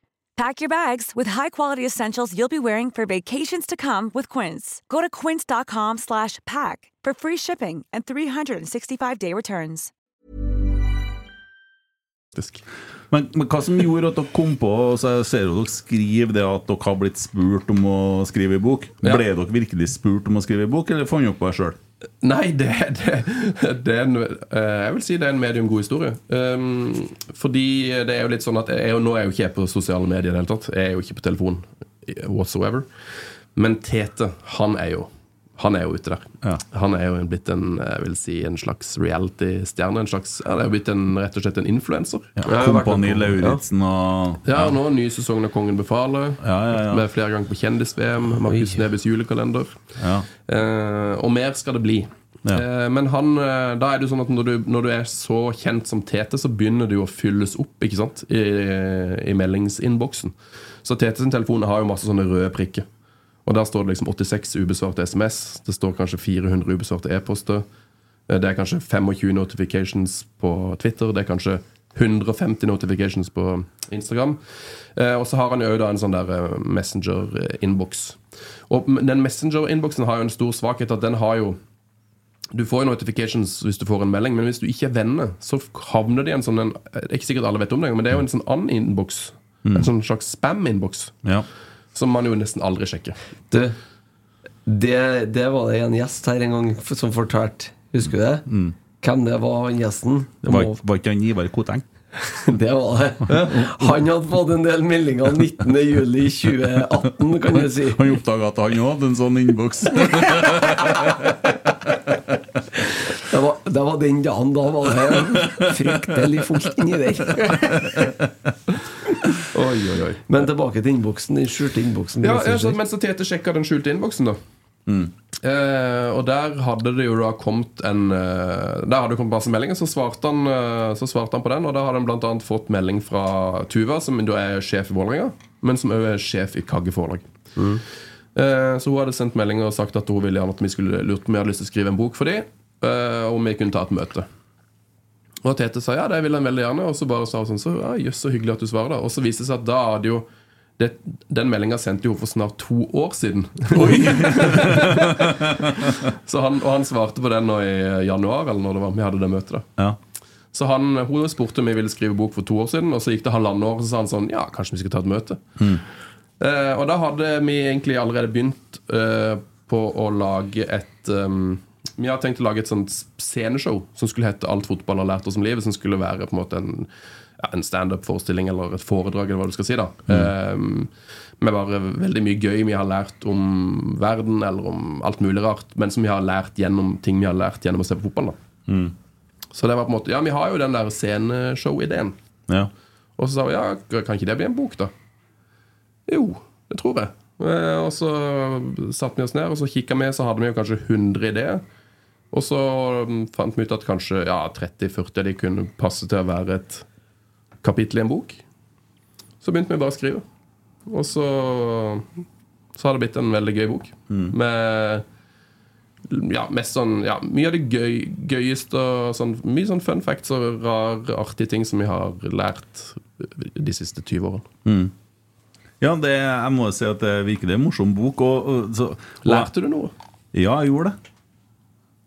Speaker 8: Pack your bags with high-quality essentials you'll be wearing for vacations to come with Quince. Go to quince.com slash pack for free shipping and 365-day returns.
Speaker 5: Faktisk.
Speaker 3: Men, men hva som gjorde at dere kom på så Jeg ser jo dere skriver det at dere har blitt spurt om å skrive en bok.
Speaker 5: Ja.
Speaker 3: Ble dere virkelig spurt om å skrive en bok, eller fant dere på det sjøl?
Speaker 5: Nei, det, det, det er en, eh, Jeg vil si det er en medium god historie. Um, fordi det er jo litt sånn at jeg, er jo- Nå er jeg jo ikke jeg på sosiale medier i det hele tatt. Jeg er jo ikke på telefon whatsoever. Men Tete, han er jo Han er jo ute der.
Speaker 3: Ja.
Speaker 5: Han er jo en- blitt en jeg vil si, en slags reality-stjerne. En slags, ja, det er jo blitt en, rett og slett en influenser.
Speaker 3: Kompani Lauritzen og
Speaker 5: Ja, og nå ny sesong av Kongen befaler.
Speaker 3: Ja, ja, ja.
Speaker 5: Med flere ganger på kjendis-VM. Markus Nebys julekalender.
Speaker 3: Ja.
Speaker 5: Eh, og mer skal det bli.
Speaker 3: Ja.
Speaker 5: Eh, men han, eh, da er det jo sånn at når du, når du er så kjent som Tete, så begynner du å fylles opp ikke sant? i, i meldingsinnboksen. Så Tete sin telefon har jo masse sånne røde prikker. Og der står det liksom 86 ubesvarte SMS, det står kanskje 400 ubesvarte e-poster. Eh, Det er kanskje 25 notifications på Twitter, det er kanskje 150 notifications på Instagram. Eh, og så har han jo da en sånn der eh, Messenger-innboks. Og m- den Messenger-innboksen har jo en stor svakhet, at den har jo du får jo notifications hvis du får en melding, men hvis du ikke er venner, så havner det i en sånn en, Det er ikke sikkert alle vet om det, men det er jo en sånn annen innboks. En sånn slags spam-innboks,
Speaker 3: Ja.
Speaker 5: som man jo nesten aldri sjekker.
Speaker 6: Du, det, det var det en gjest her en gang f- som fortalte. Husker du det? Hvem det var, han gjesten?
Speaker 3: Mm. Det var, var ikke han Ivar Koteng?
Speaker 6: <laughs> Det var det. Han hadde fått en del meldinger 19.07.2018, kan du si.
Speaker 3: Han oppdaga at han òg hadde en sånn innboks.
Speaker 6: Det var, det var den dagen da var det fryktelig fullt inni der.
Speaker 5: Oi, oi, oi
Speaker 6: Men tilbake til innboksen. Den skjulte innboksen.
Speaker 5: Ja, ja så, men så Tete sjekka den skjulte innboksen, da. Mm. Eh, og der hadde det jo da kommet en eh, Der hadde det kommet masse meldinger, så svarte han, eh, så svarte han på den. Og da hadde han bl.a. fått melding fra Tuva, som da er sjef i Vålerenga, men som òg er sjef i Kagge forlag. Eh, så hun hadde sendt meldinger og sagt at hun ville gjerne at vi skulle lurt på om vi hadde lyst til å skrive en bok for dem, eh, og om vi kunne ta et møte. Og Tete sa ja, det vil han veldig gjerne. Og så bare sa hun sånn så, ja, jøss, så hyggelig at du svarer, da. Og så viste det seg at da hadde jo det, Den meldinga sendte jo hun for snart to år siden. <laughs> så han, og han svarte på den nå i januar, eller når det var vi hadde det møtet. da
Speaker 3: Ja.
Speaker 5: så han, Hun spurte om jeg ville skrive bok for to år siden, og så gikk det halvannet år, og så sa han sånn Ja, kanskje vi skal ta et møte. Eh, og da hadde vi egentlig allerede begynt eh, på å lage et um, Vi har tenkt å lage et sånt sceneshow som skulle hete Alt fotball har lært oss om livet, som skulle være på en måte en ja, en standup-forestilling eller et foredrag, eller hva du skal si. da mm. Med bare veldig mye gøy vi har lært om verden, eller om alt mulig rart, men som vi har lært gjennom ting vi har lært gjennom å se på fotball. da Så det var på en måte Ja, vi har jo den der sceneshow-ideen.
Speaker 3: Ja.
Speaker 5: Og så sa vi ja, kan ikke det bli en bok, da? Jo, det tror jeg. Eh, Og så satte vi oss ned, og så kikka vi, så hadde vi jo kanskje 100 ideer. Og så mm, fant vi ut at kanskje ja, 30-40 av de kunne passe til å være et kapittel i en bok. Så begynte vi bare å skrive. Og så, så har det blitt en veldig gøy bok. Med ja, mest sånn, ja, mye av det gøy, gøyeste og sånn, Mye sånn fun facts og rare, artige ting som vi har lært de siste 20 årene.
Speaker 3: Ja, det, jeg må si at det virkelig er en morsom bok. Og, og, så, og,
Speaker 5: Lærte du noe?
Speaker 3: Ja, jeg gjorde det.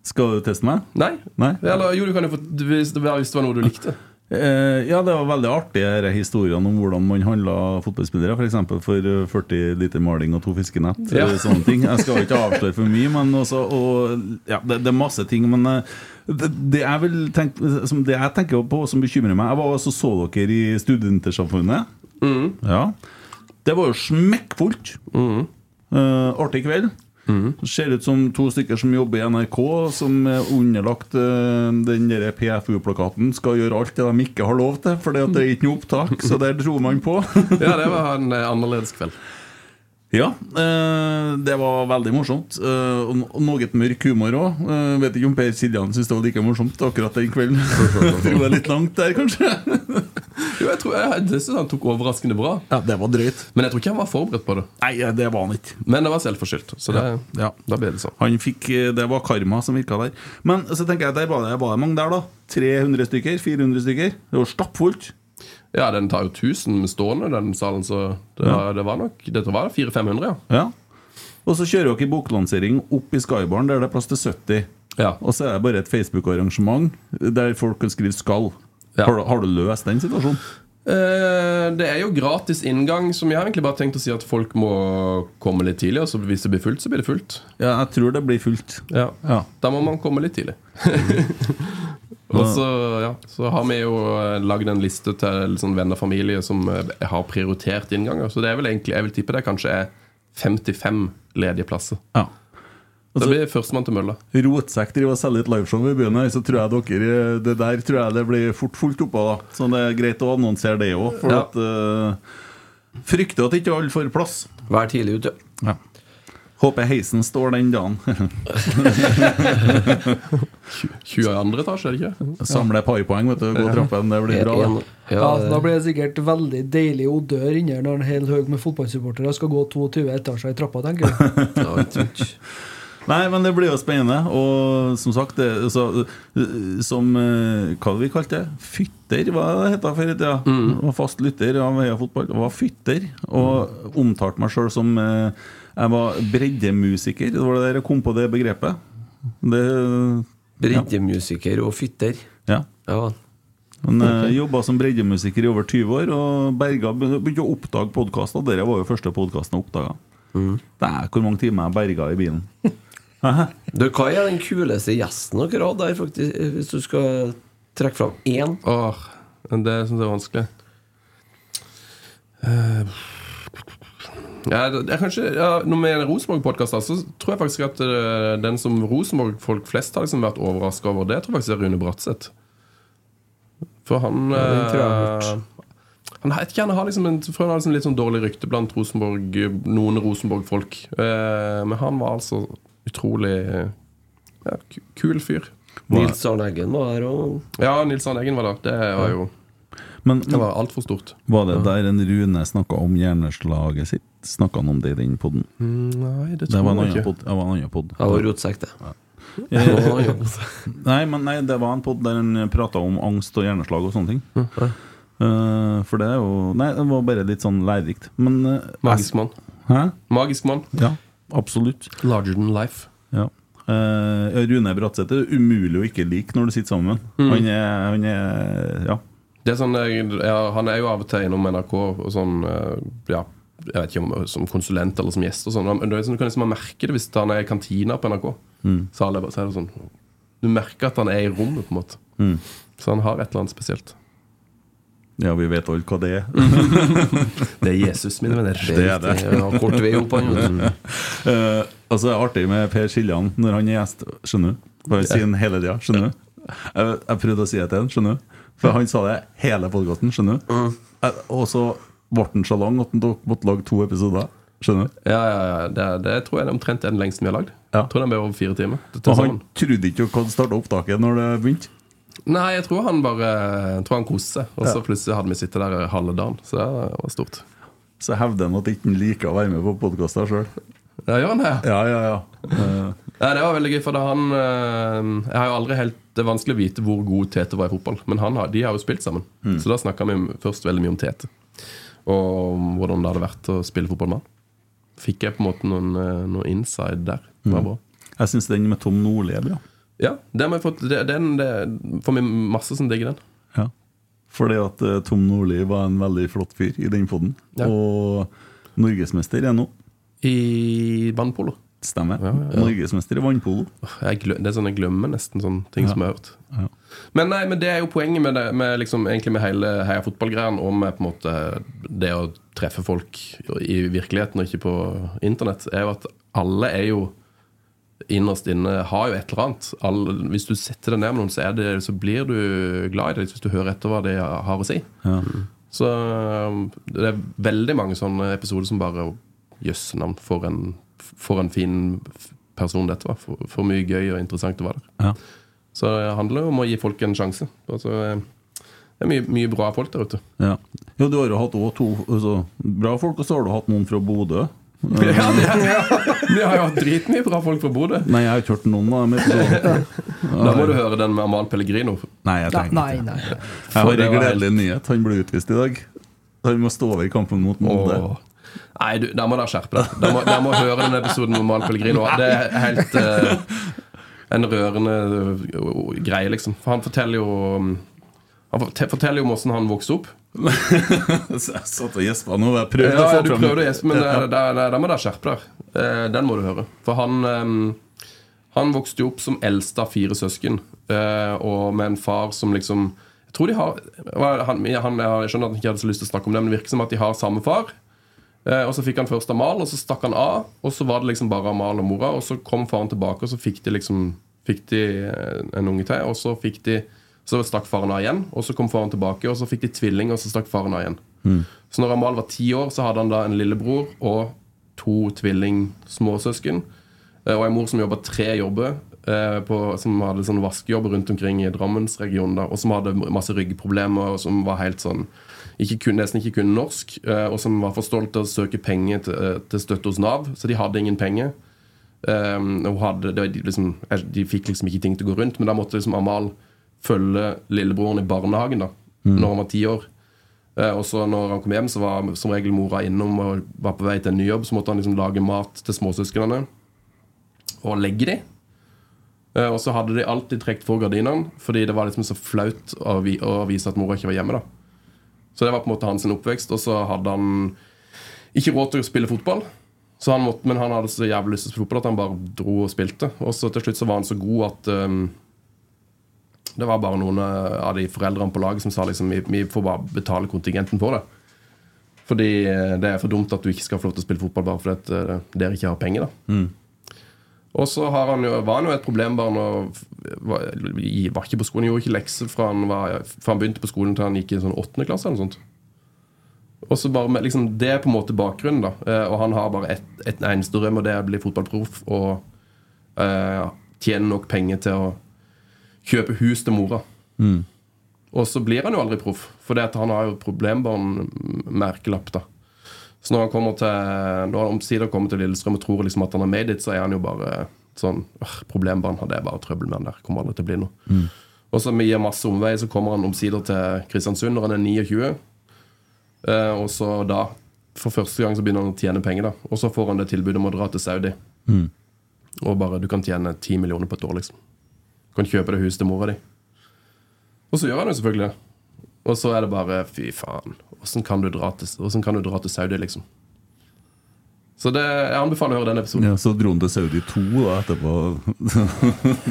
Speaker 3: Skal du teste meg?
Speaker 5: Nei?
Speaker 3: Nei?
Speaker 5: Eller jo, du kan jo få hvis det var, hvis det var noe du likte.
Speaker 3: Eh, ja, det var veldig artig disse historiene om hvordan man handla fotballspillere. For eksempel for eh, 40 liter maling og to fiskenett.
Speaker 5: Ja.
Speaker 3: eh, Sånne ting. Jeg skal ikke avsløre for mye, men også og, ja, det, det er masse ting. Men eh, det, det, jeg vil tenke, som det jeg tenker på som bekymrer meg Jeg var også så dere i Studentersamfunnet. Ja. Det var jo smekkfullt. Eh, artig kveld. Ser ut som to stykker som jobber i NRK, som er underlagt eh, den der PFU-plakaten, skal gjøre alt det de ikke har lov til, for det er ikke noe opptak, så der tror man <laughs> på.
Speaker 5: Ja, det var en eh, annerledes kveld.
Speaker 3: Ja, eh, det var veldig morsomt. eh, og no- og noe mørk humor òg. Eh, vet ikke om Per Siljan syntes det var like morsomt akkurat den <laughs> kvelden. Tror det er litt langt der, kanskje.
Speaker 5: Jo, jeg tror jeg, Det synes han tok overraskende bra.
Speaker 3: Ja, det var drøyt.
Speaker 5: Men jeg tror ikke han var forberedt på det.
Speaker 3: Nei, eh, det var han ikke.
Speaker 5: Men det var selvforskyldt. Så det,
Speaker 3: Ja.
Speaker 5: da ble det sånn.
Speaker 3: Han fikk, eh, Det var karma som virka der. Men så tenker jeg der var det, var det mange der, da. 300 stykker? 400 stykker? Det var stappfullt.
Speaker 5: Ja, den tar jo 1000 med stående, den salen, så det var, det var nok Dette var 400-500, ja.
Speaker 3: Ja. Og så kjører dere boklansering opp i Skybaren, der det er plass til 70.
Speaker 5: Ja.
Speaker 3: Og så er det bare et Facebook-arrangement der folk kan skrive 'skal'.
Speaker 5: Ja.
Speaker 3: Har, du- har du løst den situasjonen?
Speaker 5: Eh, det er jo gratis inngang, som jeg har egentlig bare tenkt å si at folk må komme litt tidlig. Og så hvis det blir fullt, så blir det fullt.
Speaker 3: Ja, jeg tror det blir fullt. Ja.
Speaker 5: Da må man komme litt tidlig. <laughs> og så, Mhm. ja, så har vi jo eh, lagd en liste til litt sånn venner og familie som eh, har prioritert innganger. Så det er vel egentlig, jeg vil tippe det kanskje er 55 ledige plasser.
Speaker 3: ja.
Speaker 5: Så blir førstemann til mølla.
Speaker 3: Rotsekk driver og selger et liveshow i byen her, så tror jeg dere eh, Det der tror jeg det blir fort fullt opp av, da. Så det er greit å annonsere det òg, for
Speaker 5: Ja.
Speaker 3: at eh, Frykter at ikke alle får plass.
Speaker 6: Vær tidlig ute.
Speaker 3: Håper heisen står den dagen. <laughs>
Speaker 5: 22. etasje, er det ikke?
Speaker 3: Samle parpoeng, vet du. Gå trappen, det blir bra.
Speaker 6: En,
Speaker 3: det.
Speaker 6: ja,
Speaker 4: Ja, så Da blir det sikkert veldig deilig odør inne når en hel haug med fotballsupportere skal gå 22 etasjer i trappa, tenker du.
Speaker 6: ja, ikke sant.
Speaker 3: Nei, men det blir jo spennende. Og som sagt, det, altså, eh, som eh, Hva vi kalte det? Fytter, hva det heta før i tida? Var fast lytter av Heia Fotball. Var fytter. Og omtalte meg sjøl som eh, Jeg var breddemusiker. Det var det der jeg kom på det begrepet. Det
Speaker 6: Breddemusiker og fytter.
Speaker 3: Ja.
Speaker 6: Ja.
Speaker 3: Men okay. jobba som breddemusiker i over 20 år, og berga begynte å oppdage podkaster. Dette var jo første podkasten jeg oppdaga. Det er hvor mange timer jeg berga i bilen.
Speaker 6: Du, hva er den kuleste gjesten dere har hatt der, faktisk, hvis du skal trekke fram én?
Speaker 5: Åh, det syns jeg er vanskelig. Eh, ja, det er kanskje, ja, når vi er en Rosenborg-podkast, så tror jeg faktisk at eh, den som Rosenborg-folk flest har liksom vært overraska over, det tror jeg faktisk er Rune Bratseth. For han
Speaker 6: den tror jeg jeg har
Speaker 5: eh, han, har- jeg vet ikke, han har liksom en, for han har liksom litt sånn dårlig rykte blant Rosenborg, noen Rosenborg-folk. Eh, men han var altså utrolig eh, ja, ku- kul fyr.
Speaker 6: Nils Arne Eggen var her og
Speaker 5: Ja, Nils Arne Eggen var der. Det var jo
Speaker 3: Men
Speaker 5: det var altfor stort.
Speaker 3: var det der en Rune snakka om hjerneslaget sitt? Snakka han om det i den poden?
Speaker 5: Nei, det
Speaker 3: Det
Speaker 5: tror
Speaker 3: var en
Speaker 5: jeg
Speaker 3: annen
Speaker 5: ikke.
Speaker 3: pod. Det var en annen pod.
Speaker 6: Jeg var rotsekk, det.
Speaker 3: Eh,
Speaker 6: Og han jobbet.
Speaker 3: Nei, men nei, det var en pod der han prata om angst og hjerneslag og sånne ting. Eh, for det er jo Nei, det var bare litt sånn lærerikt. Men eh,
Speaker 5: Magisk mann.
Speaker 3: Hæ?
Speaker 5: Magisk mann.
Speaker 3: Ja, absolutt.
Speaker 5: Larger than life.
Speaker 3: Ja. Eh, Rune Bratseth er umulig å ikke like når du sitter sammen med ham.
Speaker 5: Mm.
Speaker 3: Han er, han er ja.
Speaker 5: Det er sånn, eh, ja, han er jo av og til innom NRK og sånn eh, Ja, jeg vet ikke om som konsulent eller som gjest og sånn. Men det er sånn, du kan liksom merke det hvis han er i kantina på NRK.
Speaker 3: Mm.
Speaker 5: Så, alle, bare- så er det sånn
Speaker 3: Mm.
Speaker 5: Du merker at han er i rommet, på en måte. Så han har et eller annet spesielt.
Speaker 3: Ja, vi vet alle hva det er.
Speaker 5: <laughs> Det er Jesus, mine venner.
Speaker 3: Det er det.
Speaker 6: Ja, kort vei opp, han. vet du.
Speaker 3: Eh, altså, det er artig med Per Siljan når han er gjest. Skjønner du? For han sier den hele tida. Skjønner du? Jeg, jeg prøvde å si det til han, skjønner du? For han sa det hele podkasten, skjønner du? Eh, Og så ble han så lang at han tok- måtte lage to episoder. Skjønner du?
Speaker 5: Ja, ja, ja. Det, det tror jeg er omtrent den lengste vi har lagd.
Speaker 3: Ja.
Speaker 5: Jeg Tror den ble over fire timer. til- til
Speaker 3: Og han
Speaker 5: sammen.
Speaker 3: trodde ikke han starta opptaket når det begynte.
Speaker 5: Nei, jeg tror han bare jeg tror han koste seg. Og så plutselig hadde vi sittet der halve dagen. Så det var stort.
Speaker 3: Så hevder han at ikke han liker å være med på podkaster sjøl.
Speaker 5: Ja, gjør han det?
Speaker 3: Ja, ja, ja. Eh,
Speaker 5: Ja, det var veldig gøy, for da han eh, Jeg har jo aldri helt Det er vanskelig å vite hvor god Tete var i fotball, men han har, de har jo spilt sammen. Så da snakka vi om- først veldig mye om Tete, og om hvordan det hadde vært å spille fotball med han. Fikk jeg på en måte noen, eh, noe inside der. Det var bra.
Speaker 3: jeg syns den med Tom Nordli er bra.
Speaker 5: Ja, det har vi fått det, den, det, Får vi masse som digger den.
Speaker 3: Ja. Fordi at eh, Tom Nordli var en veldig flott fyr i den poden.
Speaker 5: Ja.
Speaker 3: Og norgesmester er nå.
Speaker 5: I bandpolo.
Speaker 3: Stemmer.
Speaker 5: Ja, ja, ja.
Speaker 3: Norgesmester i vannpolo.
Speaker 5: Jeg glø, det er sånn jeg glemmer nesten sånne ting som jeg har hørt.
Speaker 3: Ja.
Speaker 5: Men nei, men det er jo poenget med, det, med, liksom, egentlig med hele heia fotballgreien og med på en måte det å treffe folk i virkeligheten og ikke på internett, er jo at alle er jo innerst inne har jo et eller annet. Alle, hvis du setter deg ned med noen, så, er det, så blir du glad i det hvis du hører etter hva de har å si.
Speaker 3: Ja.
Speaker 5: Så um, det er veldig mange sånne episoder som bare Jøss, navn, for, en- for en fin f- person dette var. For, for mye gøy og interessant det var der.
Speaker 3: Ja.
Speaker 5: Så det handler jo om å gi folk en sjanse. Altså, eh, det er mye, mye bra folk der ute.
Speaker 3: Ja. Jo, du har jo hatt også to altså, bra folk, og så har du hatt noen fra Bodø. Eh,
Speaker 5: <laughs> Ja, det er, Vi har jo hatt dritmye bra folk fra Bodø.
Speaker 3: Nei, jeg har ikke hørt noen av dem.
Speaker 5: <laughs>
Speaker 3: episoden.
Speaker 5: Da må du høre den med Amal Pellegrino.
Speaker 3: Nei, jeg trenger
Speaker 4: <laughs> Nei,
Speaker 3: ikke.
Speaker 4: nei.
Speaker 3: Jeg har
Speaker 5: det
Speaker 3: en
Speaker 5: var
Speaker 3: gledelig nyhet. Han ble utvist i dag. Han må stå over i kampen mot Molde.
Speaker 5: Åh. Nei, du, der må dere skjerpe deg. Dere må, dere må høre den episoden med Mal <laughs> Pellegrino. Det er helt eh, en rørende eh, greie, liksom. For han forteller jo um, Han forte- forteller jo om åssen han vokste opp.
Speaker 3: <laughs> Så Jeg satt og gjespa nå. Jeg prøvde å
Speaker 5: Ja, ja,
Speaker 3: få
Speaker 5: du
Speaker 3: fram
Speaker 5: prøvde å gjespe, men eh, der, der, der, der må dere skjerpe dere. Eh, Den må du høre. For han eh, Han vokste jo opp som eldste av fire søsken, eh, og med en far som liksom Jeg tror de har hva- han, han, Jeg skjønner at han ikke hadde så lyst til å snakke om det, men det virker som at de har samme far. Eh, Og så fikk han først Amal, og så stakk han av. Og så var det liksom bare Amal og mora, og så kom faren tilbake, og så fikk de liksom Fikk de eh, en unge til, og så fikk de Så stakk faren av igjen, og så kom faren tilbake, og så fikk de tvilling, og så stakk faren av igjen. Så når Amal var ti år, så hadde han da en lillebror og to tvilling-småsøsken. eh, Og ei mor som jobba tre jobber, eh, på, som hadde sånn vaskejobb rundt omkring i Drammensregionen, da, og som hadde masse ryggproblemer, og som var helt sånn ikke kunne, nesten ikke kunne norsk, eh, og som var for stolt til å søke penger til, eh, til støtte hos Nav, så de hadde ingen penger. Um, hun hadde, det var de, liksom, de fikk liksom ikke ting til å gå rundt, men da måtte liksom Amal følge lillebroren i barnehagen da Når han var ti år. Eh, og så når han kom hjem, så var som regel mora innom og var på vei til en ny jobb. Så måtte han liksom lage mat til småsøsknene og legge dem. og så hadde de alltid trukket for gardinene, fordi det var liksom så flaut å, vi, å vise at mora ikke var hjemme. da så det var på en måte hans oppvekst. Og så hadde han ikke råd til å spille fotball. Så han måtte, men han hadde så jævlig lyst til å spille fotball at han bare dro og spilte. Og så til slutt så var han så god at um, det var bare noen eh, av de foreldrene på laget som sa liksom vi, vi får bare betale kontingenten på det. Fordi eh, det er for dumt at du ikke skal få lov til å spille fotball bare fordi at eh, dere ikke har penger. da Og så har han jo, var han jo et problembarn og f- var, var ikke på skolen. Gjorde ikke lekser fra han, var, fra han begynte på skolen til han gikk i sånn åttende klasse. eller noe sånt og så bare med, liksom, Det er på en måte bakgrunnen. da Eh, Og han har bare et, et eneste drøm, og det er å bli fotballproff og eh, tjene nok penger til å kjøpe hus til mora. Og så blir han jo aldri proff, for han har jo problembarn-merkelapp. da Så når han kommer til Når han omsider kommer til Lillestrøm og tror liksom at han har made it, så er han jo bare sånn «Åh, Problembarn hadde jeg bare trøbbel med han der. Kommer aldri til å bli noe. Og så via masse omveier så kommer han omsider til Kristiansund når han er 29. Eh, og så da, for første gang, så begynner han å tjene penger. da Og så får han det tilbudet om å dra til Saudi.
Speaker 6: Mm.
Speaker 5: Og bare du kan tjene ti millioner på et år, liksom. Du kan kjøpe deg hus til mora di. Og så gjør han jo selvfølgelig det. Og så er det bare fy faen, åssen kan, du dra til- hvordan kan du dra til Saudi, liksom? Så det, jeg anbefaler å høre den episoden.
Speaker 3: Ja, så dro han til Saudi 2 da, etterpå.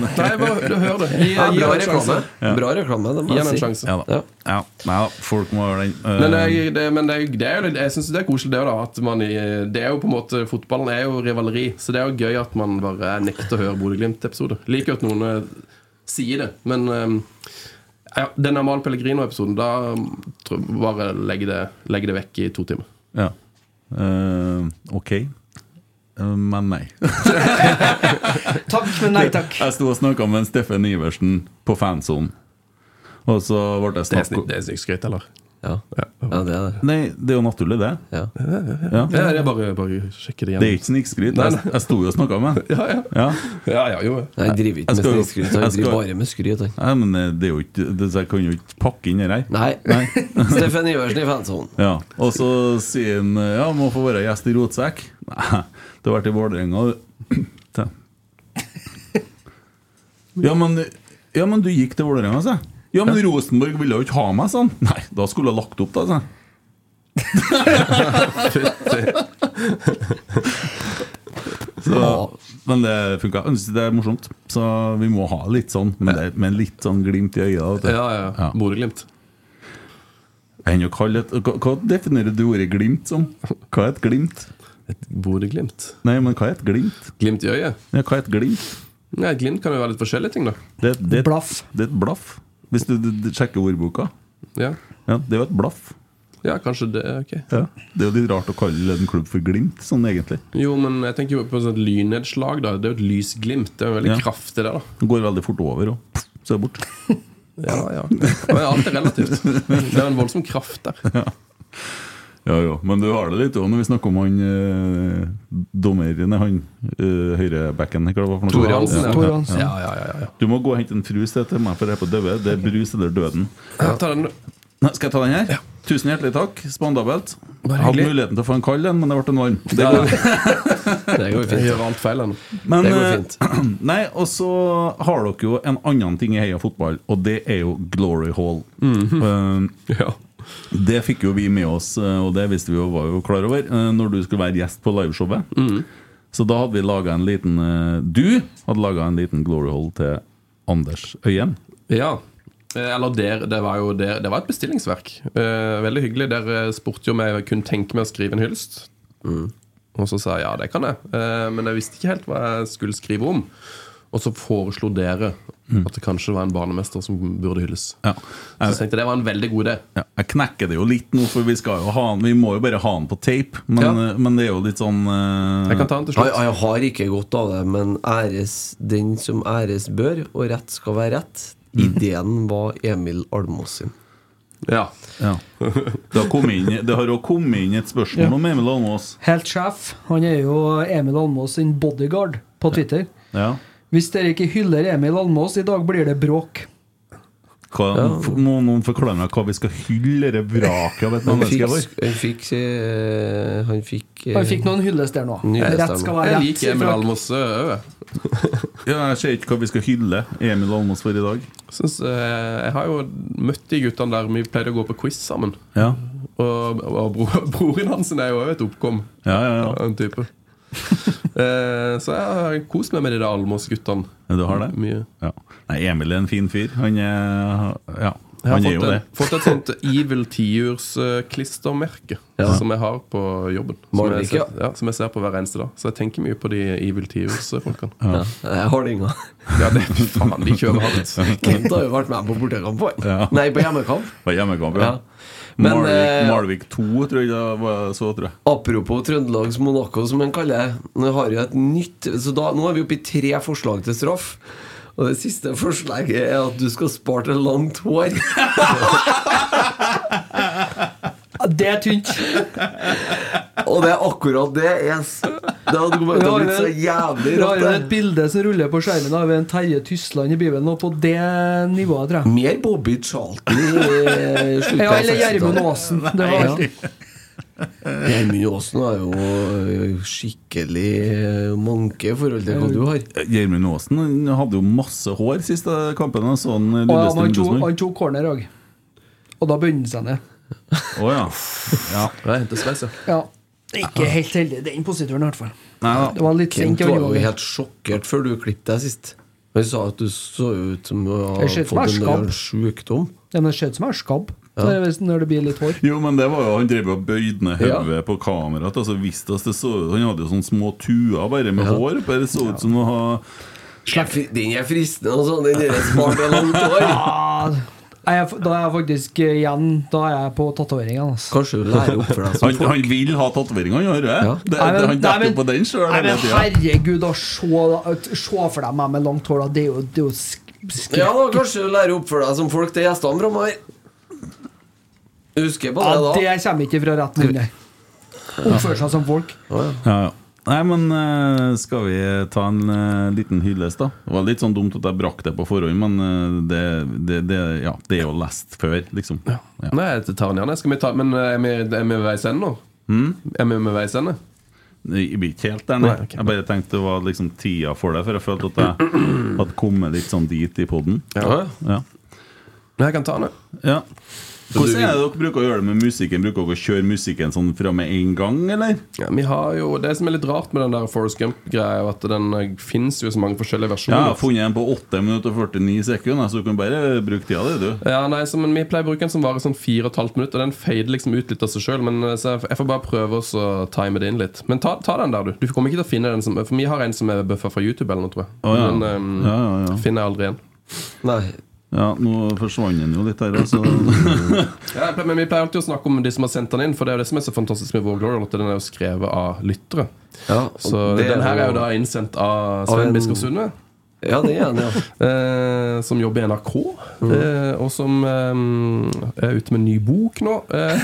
Speaker 5: Nei, bare du- hør det. Gi,
Speaker 6: <laughs> Ja,
Speaker 5: gi
Speaker 6: bra
Speaker 5: den en sjanse.
Speaker 6: reklame. Bra reklame, det må
Speaker 5: Gi
Speaker 6: jeg
Speaker 5: den en
Speaker 6: si.
Speaker 5: sjanse.
Speaker 3: <laughs> ja, da. ja. Nei da, folk må høre den. Eh,
Speaker 5: Men, det, det, men det, er jo- det er jo litt, jeg syns det er koselig, det òg, da. At man, i- det er jo på en måte, fotballen er jo rivaleri, så det er jo gøy at man bare nekter å høre Bodø-Glimt-episoder. Liker jo at noen eh, sier det, men um, ja, den Amahl Pellegrino-episoden, da tror jeg bare legger det, legger det vekk i to timer.
Speaker 3: ja. Eh, ok. Eh, men nei.
Speaker 4: Takk, men nei takk.
Speaker 3: Jeg sto og snakka med en Steffen Iversen på fansonen, og så ble det
Speaker 5: Det er,
Speaker 3: snakk
Speaker 5: snik,
Speaker 3: om
Speaker 5: det er snikskryt, eller?
Speaker 6: Ja. ja, det er det.
Speaker 3: Nei, det er jo naturlig, det.
Speaker 6: Ja.
Speaker 3: Ja.
Speaker 5: Ja, det er bare, bare sjekke det
Speaker 3: Det er
Speaker 5: igjen.
Speaker 3: ikke snikskryt. Jeg, jeg sto jo og snakka med han.
Speaker 5: <laughs> Ja, ja.
Speaker 3: Ja.
Speaker 5: ja, ja, jo. ja.
Speaker 6: Jeg driver
Speaker 3: Jeg
Speaker 6: ikke med
Speaker 3: skal jo-
Speaker 6: snikskryt. Han
Speaker 3: jeg
Speaker 6: driver
Speaker 3: skal-
Speaker 6: bare med skryt. han.
Speaker 3: Nei, men eh, det er jo ikke det, Jeg kan jo ikke pakke inn det her.
Speaker 6: Nei.
Speaker 3: Nei.
Speaker 6: <laughs> Steffen Iversen i fansonen.
Speaker 3: Ja, Og så sier han eh, ja, må få være gjest i Rotsekk. Nei, du har vært i Vålerenga, du. <clears throat> Ta. Ja, men Ja, men du gikk til Vålerenga, sa jeg. Ja, men Rosenborg ville jo ikke ha meg, sa han. Nei, da skulle jeg lagt opp, da, sa jeg. <laughs> Så, men det funka. Det er morsomt. Så vi må ha litt sånn, men, det, men litt sånn glimt i øya. vet du.
Speaker 5: Ja, ja. ja. Bodø-Glimt.
Speaker 3: Enn å kalle et, hva, hva definerer du ordet glimt som? Hva er et glimt?
Speaker 5: Et Bodø-Glimt.
Speaker 3: Nei, men hva er et glimt?
Speaker 5: Glimt i øyet?
Speaker 3: Ja, hva er et glimt?
Speaker 5: Nei, et glimt kan jo være litt forskjellige ting, da.
Speaker 3: Det, det,
Speaker 4: Blaff.
Speaker 3: Det er et blaff. Hvis du, du, du sjekker ordboka.
Speaker 5: Ja,
Speaker 3: Ja, det er jo et blaff.
Speaker 5: ja kanskje det. ok
Speaker 3: Ja. Det er jo litt rart å kalle en klubb for glimt, sånn egentlig.
Speaker 5: Jo, men jeg tenker jo på sånn et sånt lynnedslag. da Det er jo et lysglimt. Det er jo veldig
Speaker 3: Ja.
Speaker 5: kraftig der, da.
Speaker 3: Det går veldig fort over, og pff, så er det borte.
Speaker 5: Ja, ja. Men alt er relativt. Det er en voldsom kraft der.
Speaker 3: Ja, ja. Men du har det litt òg når vi snakker om han eh, dommeren, han eh, høyrebacken hva det var for noe?
Speaker 5: Tore
Speaker 3: Ja,
Speaker 5: Hansen, ja.
Speaker 4: Tore
Speaker 3: ja.
Speaker 4: Hansen.
Speaker 5: Ja, ja, ja, ja, ja.
Speaker 3: Du må gå og hente en frus til meg, for jeg er på døde. Det er brus eller døden.
Speaker 5: Ja, Ta den.
Speaker 3: Nei, Skal jeg ta den her? Tusen hjertelig takk. Spandabelt.
Speaker 5: Bare
Speaker 3: Jeg hadde
Speaker 5: hyggelig.
Speaker 3: muligheten til å få en kald en, men det ble en varm. Det
Speaker 5: Ja,
Speaker 3: går.
Speaker 6: Det går jo
Speaker 5: Jeg
Speaker 6: fint.
Speaker 5: gjør alt feil ennå.
Speaker 3: Men,
Speaker 6: Det går
Speaker 3: eh, <clears throat>
Speaker 6: fint.
Speaker 3: Nei, og så har dere jo en annen ting i Heia fotball, og det er jo Glory Hall. Eh,
Speaker 5: Ja.
Speaker 3: det fikk jo vi med oss, eh, og det visste vi jo var jo klar over, eh, når du skulle være gjest på liveshowet.
Speaker 5: Mhm.
Speaker 3: Så da hadde vi laga en liten eh, Du hadde laga en liten Glory Hall til Anders Øyen.
Speaker 5: ja. Eh, Eller der, det var jo der, det var et bestillingsverk. Eh, veldig hyggelig. Dere spurte jo om jeg kunne tenke meg å skrive en hyllest. Og så sa jeg ja, det kan jeg. Eh, men jeg visste ikke helt hva jeg skulle skrive om. Og så foreslo dere at det kanskje var en barnemester som burde hylles.
Speaker 3: Ja.
Speaker 5: Så jeg tenkte jeg det var en veldig god idé.
Speaker 3: Ja, jeg knekker det jo litt nå, for vi, skal jo ha, han- vi må jo bare ha han på tape. Men,
Speaker 5: Ja.
Speaker 3: eh, men det er jo litt sånn eh,
Speaker 5: Jeg kan ta den til
Speaker 6: Jeg,
Speaker 5: slutt.
Speaker 6: jeg har ikke godt av det, men æres den som æres bør, og rett skal være rett. Ideen var Emil Almås sin.
Speaker 5: Ja.
Speaker 3: Ja. Det har kommet inn, det har jo kommet inn et spørsmål om Emil Almås.
Speaker 4: Helt sjef. Han er jo Emil Almås sin bodyguard på Twitter.
Speaker 3: Ja.
Speaker 4: Hvis dere ikke hyller Emil Almås, i dag blir det bråk.
Speaker 3: Hva, f- Må noen forklare meg hva vi skal hylle det vraket av et
Speaker 6: Han
Speaker 3: menneske
Speaker 6: fikk,
Speaker 3: for?
Speaker 6: han fikk, eh, han fikk eh,
Speaker 4: Han fikk noen hyllest der nå.
Speaker 6: Nydeles
Speaker 4: Rett skal være
Speaker 5: Jeg
Speaker 4: rett.
Speaker 5: liker Emil
Speaker 4: fra-
Speaker 5: Almås eh, òg.
Speaker 3: Ja, jeg ser ikke hva vi skal hylle Emil Almås for i dag.
Speaker 5: Jeg har jo møtt de guttene der. Vi pleide å gå på quiz sammen.
Speaker 3: Ja,
Speaker 5: Og, og bro, <laughs> broren hans er jo også et oppkom.
Speaker 3: ja, ja.
Speaker 5: av
Speaker 3: <laughs>
Speaker 5: En type. Eh, Så jeg har kost meg med de der Almås-guttene.
Speaker 3: ja. Du har det?
Speaker 5: Mye.
Speaker 3: Ja. Nei, Emil er en fin fyr. Han er Ja,
Speaker 5: Jeg har
Speaker 3: han er
Speaker 5: fått,
Speaker 3: jo det.
Speaker 5: en, fått et sånt Evil
Speaker 3: <laughs>
Speaker 5: Tiurs-klistremerke
Speaker 6: Ja.
Speaker 5: som jeg har på jobben. Som
Speaker 6: Maler
Speaker 5: jeg,
Speaker 6: ikke,
Speaker 5: ser, ja, som jeg ser på hver eneste dag. Så jeg tenker mye på de Evil Tiurs-folkene.
Speaker 6: ja, jeg har det inga.
Speaker 5: Ja, det faen, de kjører hardt.
Speaker 6: <laughs> Kent har jo vært med på bortekamp. han.
Speaker 3: Ja.
Speaker 6: Nei, på hjemmekamp.
Speaker 3: Var hjemmekamp, ja.
Speaker 6: Ja. Men
Speaker 3: Malvik,
Speaker 6: eh,
Speaker 3: Malvik 2, tror jeg det var så, tror jeg.
Speaker 6: apropos Trøndelags Monaco, som han kaller det. Nå har jeg et nytt Så da, nå er vi oppe i tre forslag til straff. Og det siste forslaget er at du skal spare til langt hår.
Speaker 4: Ja, Det er tynt.
Speaker 6: Og det er akkurat det. Yes. Det hadde kommet til å bli så jævlig
Speaker 4: Vi har jo et
Speaker 6: rått. det.
Speaker 4: bilde som ruller på skjermen av en Terje Tysland i Bibelen, og på det nivået, tror jeg.
Speaker 6: Mer Bobby Charlton i eh, slutten
Speaker 4: Ja,
Speaker 6: av
Speaker 4: eller Gjermund
Speaker 6: 60-tallet.
Speaker 4: Aasen. Det var
Speaker 6: Gjermund Aasen er jo eh, skikkelig eh, manke i forhold til hva du har.
Speaker 3: Eh, Gjermund Aasen han hadde jo masse hår siste kampen. Han så han
Speaker 4: Og ja, men han
Speaker 3: Lillestrøm
Speaker 4: tok-
Speaker 3: Rosenborg.
Speaker 4: han tok corner òg. Og da bøyde han seg ned.
Speaker 3: Å ja.
Speaker 5: Jeg henter sveis, ja.
Speaker 4: Ja. Ikke helt heldig. Den posituren, i hvert fall.
Speaker 3: Nei da.
Speaker 4: Det var litt sent.
Speaker 6: Kent
Speaker 4: i
Speaker 6: var jo
Speaker 4: overgangen.
Speaker 6: helt sjokkert før du klippet deg sist. Han sa at du så ut som du
Speaker 4: Jeg
Speaker 6: hadde
Speaker 4: ser ut som jeg
Speaker 6: fått en eh,
Speaker 4: har
Speaker 6: eller annen sjukdom.
Speaker 4: Ja, men det ser ut som jeg har skabb Så det er hvis- når det blir litt hår.
Speaker 3: Jo, men det var jo Han drev og bøyde ned
Speaker 6: Ja.
Speaker 3: hodet på kameraet. Altså, visst oss det så ut Han hadde jo sånne små tuer bare med hår. Bare det så ut som å ha
Speaker 6: Fri- Den er fristende, altså. Den er smart og langt hår.
Speaker 4: Ah, er jeg, da er jeg faktisk eh, igjen Da er jeg på tatoveringene. Altså.
Speaker 6: Kanskje du lærer opp for deg som
Speaker 4: <laughs>
Speaker 3: Han, han vil ha tatoveringer, han gjør det.
Speaker 6: Ja.
Speaker 3: det,
Speaker 4: Nei, men-
Speaker 3: det han
Speaker 4: nei,
Speaker 3: detter
Speaker 4: men-
Speaker 3: jo på den sjøl
Speaker 4: Nei,
Speaker 3: hele
Speaker 4: men
Speaker 3: tida.
Speaker 4: herregud, da se, da, se for deg meg med langt hår, da. Det er jo, det er jo sk skrekk.
Speaker 6: Ja da, kanskje du lærer opp for deg som folk til gjestene framover. Husker på
Speaker 4: Ja,
Speaker 6: det, da.
Speaker 4: det kommer ikke fra rett munn. nei. Oppføre seg som folk.
Speaker 3: Ja, ja. Nei, men eh, skal vi ta en eh, liten hyllest, da? Det var litt sånn dumt at jeg brakk det på forhånd, men eh, det, det, det, ja, det er jo lest før, liksom. Ja.
Speaker 5: Nei, jeg tar den gjerne. Skal vi ta, men eh, er vi, er vi ved veis ende nå?
Speaker 3: Hmm?
Speaker 5: Er vi ved veis ende?
Speaker 3: Jeg blir ikke helt der, nei.
Speaker 5: Nei, ok.
Speaker 3: Jeg bare tenkte det var liksom tida for det, for jeg følte at jeg hadde kommet litt sånn dit i poden.
Speaker 6: Ja.
Speaker 3: Ja.
Speaker 5: Nei, jeg kan ta den. jeg.
Speaker 3: ja. Hvordan er det dere bruker å gjøre det med musikken? Bruker dere å kjøre musikken sånn fra med en gang, eller?
Speaker 5: Ja, vi har jo, det som er litt rart med den der Forest Gump-greia, er jo at den eh, finnes jo i så mange forskjellige
Speaker 3: Ja, jeg
Speaker 5: versjoner.
Speaker 3: har funnet en på 8 minutter og 49 sekunder, så du kan bare bruke tida di, du.
Speaker 5: Ja, nei, så, men Vi pleier å bruke den som varer sånn fire og et halvt minutt, og den fader liksom ut litt av seg sjøl. Men eh, så jeg, jeg får bare prøve oss å time det inn litt. Men ta, ta den der, du. Du kommer ikke til å finne den som For vi har en som er buffa fra YouTube eller noe, tror jeg.
Speaker 3: Å, ja.
Speaker 5: Men ehm,
Speaker 3: Ja, ja, ja.
Speaker 5: finner jeg aldri igjen.
Speaker 6: Nei.
Speaker 3: Ja, nå forsvant den jo litt her, altså.
Speaker 5: Ja, jeg pleier- men vi pleier alltid å snakke om de som har sendt den inn, for det er jo det som er så fantastisk med Vår Glory, at den er jo skrevet av lyttere.
Speaker 6: Ja,
Speaker 5: Så
Speaker 6: det
Speaker 5: den her er jo
Speaker 6: jo-
Speaker 5: da innsendt av Svein
Speaker 6: Av en-
Speaker 5: Biskop Sunde.
Speaker 6: Ja, det er den, ja. Mm.
Speaker 5: Eh, som jobber i NRK, eh, og som eh, er ute med en ny bok nå. Eh,